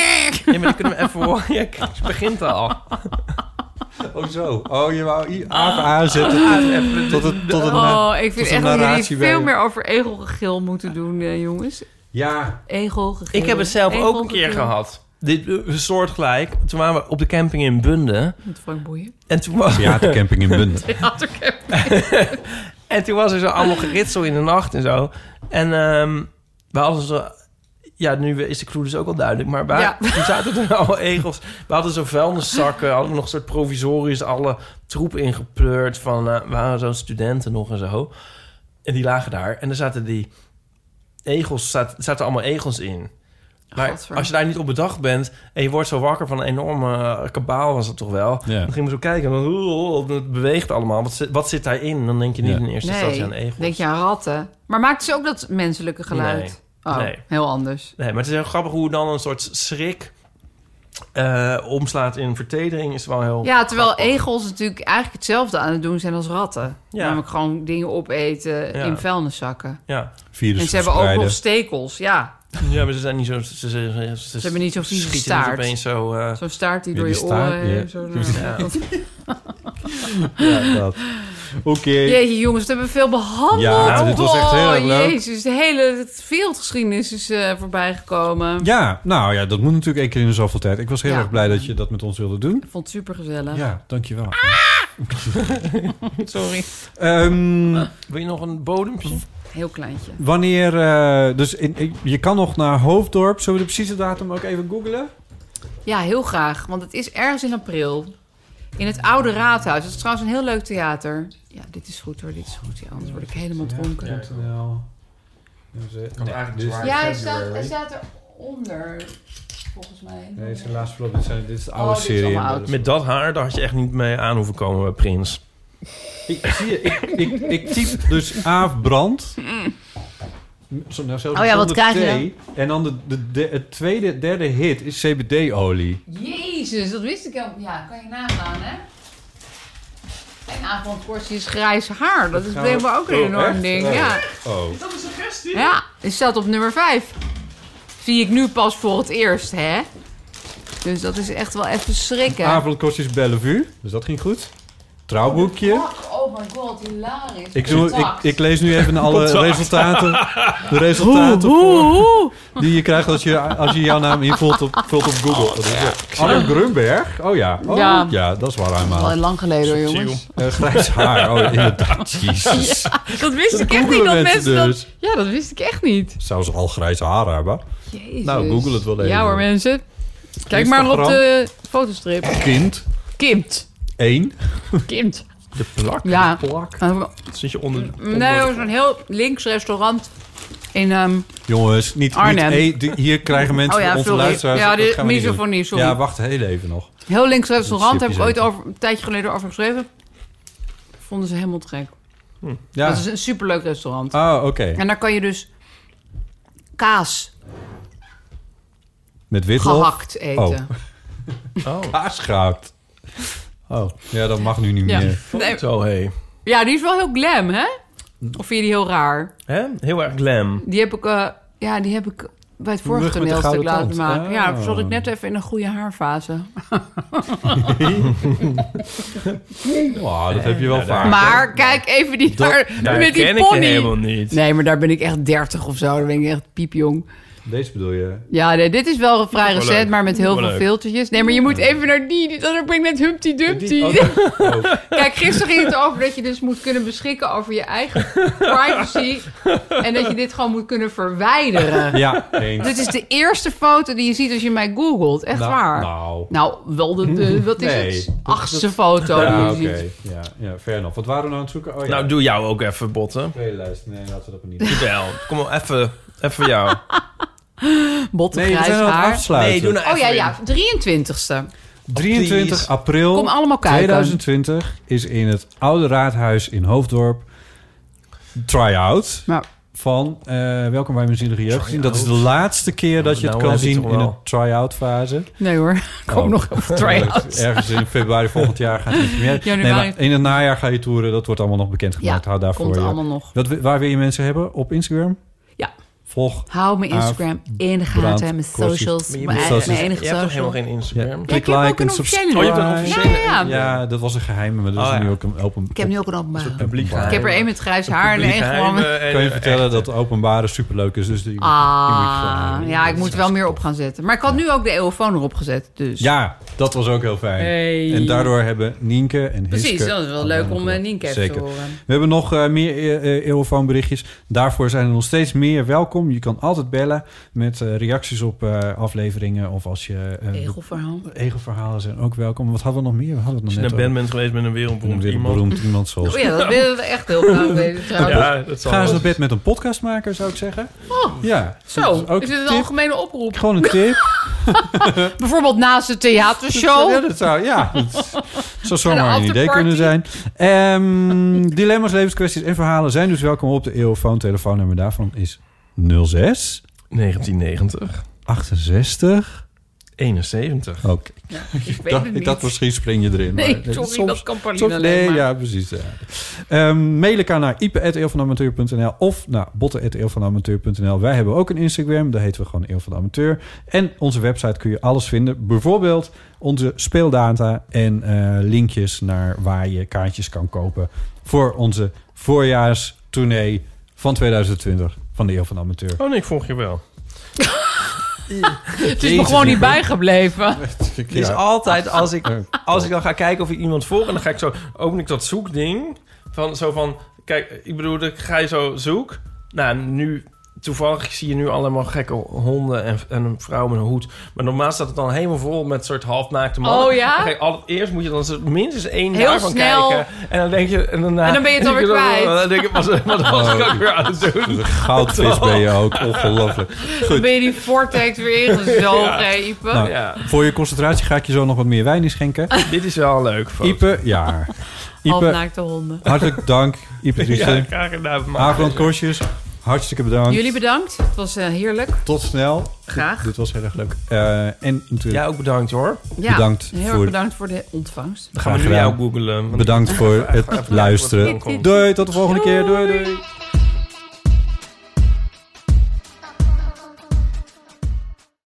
Speaker 2: Ja, maar die kunnen we even horen. Ja, kijk, het begint al.
Speaker 4: Oh zo. Oh, je wou I- Aaf aanzetten
Speaker 2: Even-
Speaker 4: tot het... Tot het na-
Speaker 3: Ah. Oh, ik vind
Speaker 4: is een
Speaker 3: echt dat jullie
Speaker 4: narratie bij
Speaker 3: veel
Speaker 4: je.
Speaker 3: meer over egelgegil moeten doen, eh, jongens.
Speaker 4: ja.
Speaker 3: Egelgegil.
Speaker 2: Ik heb het zelf ook een keer
Speaker 3: egelgegil.
Speaker 2: gehad. Dit eh, soortgelijk. Toen waren we op de camping in Bunde.
Speaker 3: Met Frank Boeien.
Speaker 2: En toen was,
Speaker 4: Theatercamping in Bunde.
Speaker 3: Had ik hem.
Speaker 2: en toen was er zo allemaal geritsel in de nacht en zo. En ehm we hadden zo... Ja, nu is de clue dus ook al duidelijk. Maar wij,
Speaker 3: Ja.
Speaker 2: toen zaten er nou al egels. We hadden zo vuilniszakken. Hadden we nog een soort provisorisch alle troep ingepleurd. Van, eh, we waren zo'n studenten nog en zo. En die lagen daar. En er zaten die egels... Zaten, zaten allemaal egels in. Maar
Speaker 3: Gadver.
Speaker 2: als je daar niet op bedacht bent... en je wordt zo wakker van een enorme eh, kabaal was het toch wel...
Speaker 4: Ja.
Speaker 2: dan gingen we zo kijken en dan... oeh, oeh, het beweegt allemaal. Wat zit, wat zit daarin? Dan denk je niet
Speaker 4: Ja.
Speaker 2: in de eerste instantie aan egels.
Speaker 3: denk je aan ratten. Maar maakt ze ook dat menselijke geluid? Oh,
Speaker 2: Nee.
Speaker 3: heel anders.
Speaker 2: Nee, maar het is heel grappig hoe dan een soort schrik... eh, omslaat in vertedering is wel heel...
Speaker 3: Ja, terwijl
Speaker 2: grappig.
Speaker 3: egels natuurlijk eigenlijk hetzelfde aan het doen zijn als ratten.
Speaker 2: Ja.
Speaker 3: Namelijk gewoon dingen opeten
Speaker 2: Ja.
Speaker 3: in vuilniszakken.
Speaker 2: Ja.
Speaker 4: Virus
Speaker 3: en ze hebben ook nog
Speaker 4: Dus verspreiden.
Speaker 3: stekels. Ja,
Speaker 2: ja, maar ze zijn niet zo... Ze, ze, ze, ze
Speaker 3: hebben niet zo'n vieze
Speaker 2: schieten niet
Speaker 3: staart.
Speaker 2: opeens zo... eh,
Speaker 3: zo'n staart die
Speaker 4: Ja,
Speaker 3: door
Speaker 4: die
Speaker 3: je
Speaker 4: staart,
Speaker 3: oren... heen,
Speaker 4: ja.
Speaker 3: Zo,
Speaker 2: Ja.
Speaker 3: Dat-
Speaker 4: Ja, dat. Oké.
Speaker 3: Jeetje jongens, dat hebben we veel behandeld.
Speaker 4: Ja, dit was echt heel erg
Speaker 3: Oh,
Speaker 4: leuk.
Speaker 3: Jezus, de hele wereldgeschiedenis is eh voorbijgekomen.
Speaker 4: Ja, nou ja, dat moet natuurlijk één keer in de zoveel tijd. Ik was heel
Speaker 3: Ja.
Speaker 4: erg blij dat je dat met ons wilde doen.
Speaker 3: Ik vond het supergezellig.
Speaker 4: Ja, dankjewel.
Speaker 3: Ah! Sorry.
Speaker 4: Ehm,
Speaker 2: wil je nog een bodempje?
Speaker 3: Heel kleintje.
Speaker 4: wanneer... eh, dus in, ik- je kan nog naar Hoofddorp. Zullen we de precieze datum ook even googlen?
Speaker 3: Ja, heel graag. Want het is ergens in april. In het Oude Raadhuis. Het is trouwens een heel leuk theater. Ja, dit is goed hoor. Dit is goed. Ja, anders word ik helemaal dronken. Ja,
Speaker 4: .nl. dus, eh, Nee,
Speaker 2: eigenlijk
Speaker 4: dit is-
Speaker 2: zwaar.
Speaker 3: hij, staat, hij staat eronder. Volgens mij.
Speaker 4: Nee, het is helaas flop. Dit, zijn, dit is de oude
Speaker 3: Oh, dit is
Speaker 4: serie.
Speaker 3: allemaal oud.
Speaker 2: Met dat haar, daar had je echt niet mee aan hoeven komen bij Prins.
Speaker 4: Ik, zie je, ik, ik, ik typ dus Aaf Brand. Zo- nou, zelfs
Speaker 3: Oh ja, wat
Speaker 4: zonder
Speaker 3: krijg je
Speaker 4: thee. En dan de, de, de- het tweede, derde hit is CBD-olie.
Speaker 3: Jezus, dat wist ik helemaal Ja, kan je nagaan hè. En avondportie is grijs haar. Dat is
Speaker 4: gaan we-
Speaker 3: blijkbaar ook een
Speaker 4: Oh,
Speaker 3: enorm
Speaker 4: echt?
Speaker 3: ding.
Speaker 4: Oh.
Speaker 3: Ja.
Speaker 4: Oh.
Speaker 3: ja, het staat op nummer 5. Zie ik nu pas voor het eerst hè. Dus dat is echt wel even schrikken.
Speaker 4: Avondkostjes Bellevue. Dus dat ging goed. Trouwboekje.
Speaker 3: Fuck, oh my god, hilarisch.
Speaker 4: Ik, doe, ik,
Speaker 3: Contact.
Speaker 4: ik lees nu even alle resultaten. De resultaten voor- die je krijgt als je, als je jouw naam invult op, vult op Google. Dat is het. Anne Oh, Grunberg. Oh ja. Oh, ja.
Speaker 3: Ja.
Speaker 4: dat is waar hij
Speaker 3: Al heel
Speaker 4: maakt.
Speaker 3: lang geleden, hoor, jongens.
Speaker 4: Eh, grijs haar. Oh, inderdaad. Jezus.
Speaker 3: Dat wist ik echt
Speaker 4: Googelen
Speaker 3: niet dat
Speaker 4: mensen
Speaker 3: mensen dat...
Speaker 4: dus.
Speaker 3: Ja, dat wist ik echt niet.
Speaker 4: Zou ze al grijs haar hebben?
Speaker 3: Jezus.
Speaker 4: Nou, google het wel even.
Speaker 3: Ja hoor, mensen. Kijk maar op de fotostrip.
Speaker 4: Kind.
Speaker 3: Kimt.
Speaker 4: Eén.
Speaker 3: Kimt.
Speaker 2: De plak?
Speaker 3: Ja.
Speaker 2: Zit je onder... onder-
Speaker 3: Nee, dat is een heel links restaurant in... ehm,
Speaker 4: Jongens, niet, niet
Speaker 3: Arnhem.
Speaker 4: e- die- Hier krijgen mensen
Speaker 3: Oh ja,
Speaker 4: onze
Speaker 3: sorry.
Speaker 4: luisteraars.
Speaker 3: Ja,
Speaker 4: dat
Speaker 3: dit-
Speaker 4: gaan we niet doen.
Speaker 3: misofonie, sorry.
Speaker 4: Ja, wacht heel even nog.
Speaker 3: heel links restaurant,
Speaker 4: Dat
Speaker 3: heb
Speaker 4: is
Speaker 3: ik ooit over, een tijdje geleden over geschreven. Vonden ze helemaal te gek.
Speaker 4: Ja.
Speaker 3: Dat is een superleuk restaurant.
Speaker 4: Oh, oké.
Speaker 3: En daar kan je dus kaas
Speaker 4: Met witlof.
Speaker 3: gehakt eten.
Speaker 2: Oh,
Speaker 4: Paasgoud. Oh, ja, dat mag nu niet
Speaker 3: Ja.
Speaker 4: meer.
Speaker 3: Nee,
Speaker 2: zo hé.
Speaker 3: Ja, die is wel heel glam, hè? Of vind je die heel raar?
Speaker 2: Hè? Heel erg glam.
Speaker 3: Die heb ik, eh, ja, die heb ik bij het vorige
Speaker 4: Mug met de
Speaker 3: toneelstuk
Speaker 4: gouden
Speaker 3: laten
Speaker 4: tand.
Speaker 3: maken. Ja,
Speaker 4: Oh.
Speaker 3: zat ik net even in een goede haarfase.
Speaker 4: Oh, dat heb je
Speaker 2: eh,
Speaker 4: wel vaak.
Speaker 3: maar kijk even die haar
Speaker 2: Daar
Speaker 3: met die
Speaker 2: ken ik je helemaal
Speaker 3: pony.
Speaker 2: niet.
Speaker 3: Nee, maar daar ben ik echt 30 of zo. Daar ben ik echt piepjong.
Speaker 4: Deze bedoel je?
Speaker 3: Ja, nee, dit is wel vrij
Speaker 2: wel
Speaker 3: recent,
Speaker 2: leuk.
Speaker 3: maar met heel
Speaker 2: Wel
Speaker 3: veel
Speaker 2: leuk.
Speaker 3: filtertjes. Nee, maar je moet even naar die. die- Dan ben ik net Humpty Dumpty.
Speaker 4: Die- oh, oh.
Speaker 3: Kijk, gisteren ging het over dat je dus moet kunnen beschikken over je eigen privacy. En dat je dit gewoon moet kunnen verwijderen.
Speaker 4: oh, Ja, eens.
Speaker 3: Dit is de eerste foto die je ziet als je mij googelt. Echt
Speaker 4: Nou,
Speaker 3: waar.
Speaker 4: Nou.
Speaker 3: Nou, wel de, de- wat is
Speaker 4: Nee,
Speaker 3: het?
Speaker 4: dat-
Speaker 3: Achtste
Speaker 4: dat-
Speaker 3: foto die
Speaker 4: Ja,
Speaker 3: je
Speaker 4: oké.
Speaker 3: ziet.
Speaker 4: Ja, ja, fair enough. Wat waren we nou aan het zoeken? Oh, ja.
Speaker 2: Nou, doe jou ook even botten.
Speaker 4: Playlist. Nee, laten we dat maar niet doen.
Speaker 2: Jawel, kom op, even, even jou.
Speaker 3: Botte
Speaker 4: Nee, we
Speaker 3: grijs
Speaker 4: zijn aan het
Speaker 3: haar.
Speaker 4: afsluiten.
Speaker 2: Nee, doe nou even
Speaker 3: Oh ja,
Speaker 2: in.
Speaker 3: ja, 23ste.
Speaker 4: 23
Speaker 2: Please.
Speaker 4: april
Speaker 3: Kom allemaal kijken.
Speaker 4: 2020 is in het Oude Raadhuis in Hoofddorp try-out
Speaker 3: Nou,
Speaker 4: van eh, Welkom bij Mijn Zielige Jeugd. Dat is de laatste keer dat je het
Speaker 2: Nou,
Speaker 4: kan
Speaker 2: heb je
Speaker 4: zien
Speaker 2: toch
Speaker 4: in
Speaker 2: wel.
Speaker 4: de try-out fase.
Speaker 3: nee hoor, ik kom
Speaker 4: Oh.
Speaker 3: nog op try-out.
Speaker 4: Ergens in februari volgend jaar gaat het première.
Speaker 3: Januari.
Speaker 4: Nee, maar in het najaar ga je toeren. Dat wordt allemaal nog bekendgemaakt.
Speaker 3: Ja,
Speaker 4: Hou daarvoor
Speaker 3: Komt
Speaker 4: je.
Speaker 3: allemaal nog.
Speaker 4: Wat, wi- waar wil je mensen hebben? Op Instagram?
Speaker 3: Ja.
Speaker 4: Volg.
Speaker 3: Hou mijn Instagram in de
Speaker 4: Ah, Brand,
Speaker 3: gaten. Mijn
Speaker 4: Kossie.
Speaker 3: socials.
Speaker 2: Maar je
Speaker 3: Mijn,
Speaker 2: moet-
Speaker 4: socials.
Speaker 3: mijn enige
Speaker 2: Je hebt toch helemaal
Speaker 3: social.
Speaker 2: geen
Speaker 4: Ja,
Speaker 2: Instagram?
Speaker 4: klik
Speaker 3: ik heb
Speaker 4: like
Speaker 3: ook een
Speaker 4: en subscribe.
Speaker 3: officiële.
Speaker 2: Oh, je hebt een
Speaker 3: Ja,
Speaker 2: officiële.
Speaker 3: ja, ja.
Speaker 4: Ja, dat was een geheim, maar dat is
Speaker 2: Oh, ja.
Speaker 4: nu ook een open.
Speaker 3: Ik heb nu ook een openbare.
Speaker 2: Publiek.
Speaker 3: Ik heb er één met grijs haar en één gewoon... met-
Speaker 2: Ik
Speaker 4: kan je vertellen dat de openbare superleuk is. Dus die, die moet je gewoon
Speaker 3: Ah,
Speaker 4: houden.
Speaker 3: ja, ik
Speaker 4: Dat
Speaker 3: moet
Speaker 4: is
Speaker 3: wel meer
Speaker 4: hartstikke
Speaker 3: op gaan zetten. Maar ik had nu ook de eeuwofoon erop gezet, dus...
Speaker 4: Ja, dat was ook heel fijn.
Speaker 3: Hey.
Speaker 4: En daardoor hebben Nienke en Hiske...
Speaker 3: Precies, dat is wel leuk om eh, Nienke even te
Speaker 4: Zeker.
Speaker 3: horen.
Speaker 4: We hebben nog eh, meer eh, eh berichtjes. Daarvoor zijn er nog steeds meer welkom. Je kan altijd bellen met eh, reacties op eh, afleveringen. Of als je... eh,
Speaker 3: Egelverhaal.
Speaker 4: Egelverhalen zijn ook welkom. Wat hadden we nog meer? We hadden het
Speaker 2: Als
Speaker 4: nog
Speaker 2: je naar
Speaker 4: net
Speaker 2: Ben
Speaker 4: over.
Speaker 2: bent geweest met een
Speaker 4: Een
Speaker 2: wereldberoemd
Speaker 4: weer
Speaker 2: iemand.
Speaker 4: beroemd iemand zoals...
Speaker 3: Oh ja, dat willen we echt heel graag weten trouwens.
Speaker 2: Ja, dat zal
Speaker 4: Ga eens
Speaker 2: wel.
Speaker 4: naar bed met een podcastmaker, zou ik zeggen. ja.
Speaker 3: Oh, Zo,
Speaker 4: ook
Speaker 3: is dit een
Speaker 4: tip.
Speaker 3: algemene oproep?
Speaker 4: Gewoon een tip.
Speaker 3: Bijvoorbeeld naast de
Speaker 4: Ja,
Speaker 3: theatershow.
Speaker 4: dat zou, ja, dat zou zomaar
Speaker 3: Een
Speaker 4: een idee
Speaker 3: afterparty.
Speaker 4: kunnen zijn. Ehm, dilemma's, levenskwesties en verhalen zijn dus welkom op de eeuwfoon. Telefoonnummer daarvan is 06
Speaker 2: 1990.
Speaker 4: 68.
Speaker 2: 71.
Speaker 4: Oké,
Speaker 3: Ik weet
Speaker 4: dat,
Speaker 3: het niet.
Speaker 4: dat misschien spring je erin.
Speaker 3: Nee,
Speaker 4: maar, eh,
Speaker 3: sorry,
Speaker 4: soms-
Speaker 3: dat kan Pauline
Speaker 4: soms-
Speaker 3: alleen
Speaker 4: nee,
Speaker 3: maar.
Speaker 4: ja, precies. Ja. Ehm, mail elkaar naar ipe.eeuwvanamateur.nl of naar botten.eeuwvanamateur.nl. Wij hebben ook een Instagram, daar heten we gewoon Eeuw van de Amateur. En onze website kun je alles vinden. Bijvoorbeeld onze speeldata en eh, linkjes naar waar je kaartjes kan kopen... voor onze voorjaarstournee van 2020 van de Eeuw van de Amateur.
Speaker 2: Oh nee, ik volg je wel.
Speaker 3: Het is me gewoon niet bijgebleven.
Speaker 2: Het is altijd als ik, als ik dan ga kijken of ik iemand volg... en dan ga ik zo, open ik dat zoekding. Van, zo van, kijk, ik bedoel, ik ga je zo zoek. Nou, nu, toevallig zie je nu allemaal gekke honden... en, en een vrouw met een hoed. Maar normaal staat het dan helemaal vol met soort halfnaakte mannen.
Speaker 3: Oh, ja?
Speaker 2: Dan ga je al- eerst moet je dan zo minstens één
Speaker 3: Heel
Speaker 2: daarvan
Speaker 3: snel.
Speaker 2: kijken. En dan denk je... En, daarna,
Speaker 3: En dan ben je het
Speaker 2: en
Speaker 3: alweer
Speaker 2: dan-
Speaker 3: kwijt.
Speaker 2: Dan denk ik, wat, wat was ik ook weer aan het doen?
Speaker 4: Goudvis ben je ook, ongelooflijk.
Speaker 3: Dan ben je die vortex weer ingezogen, hè, Ipe?
Speaker 4: Nou,
Speaker 2: Oh, Ja, Oh.
Speaker 4: Voor je concentratie ga ik je zo nog wat meer wijn inschenken.
Speaker 2: dit is wel leuk.
Speaker 4: Ipe, ja. Ipe,
Speaker 3: Halfnaakte honden.
Speaker 4: hartelijk dank. Ipe
Speaker 2: Ja,
Speaker 4: Driessen.
Speaker 2: graag gedaan. maar-
Speaker 4: Aafland Korsjes, hartstikke bedankt.
Speaker 3: Jullie bedankt. Het was eh, heerlijk.
Speaker 4: Tot snel.
Speaker 3: Graag.
Speaker 4: Dit, dit was heel erg leuk. Eh, en natuurlijk
Speaker 2: Jij ook bedankt hoor.
Speaker 3: Ja,
Speaker 4: Bedankt
Speaker 3: Heel
Speaker 4: voor-
Speaker 3: erg bedankt voor de ontvangst.
Speaker 2: Dan gaan we
Speaker 4: Graag
Speaker 2: nu
Speaker 4: gedaan.
Speaker 2: jou googelen. want-
Speaker 4: bedankt voor het luisteren.
Speaker 2: Welkom.
Speaker 4: Doei, tot de volgende keer. Doei, doei.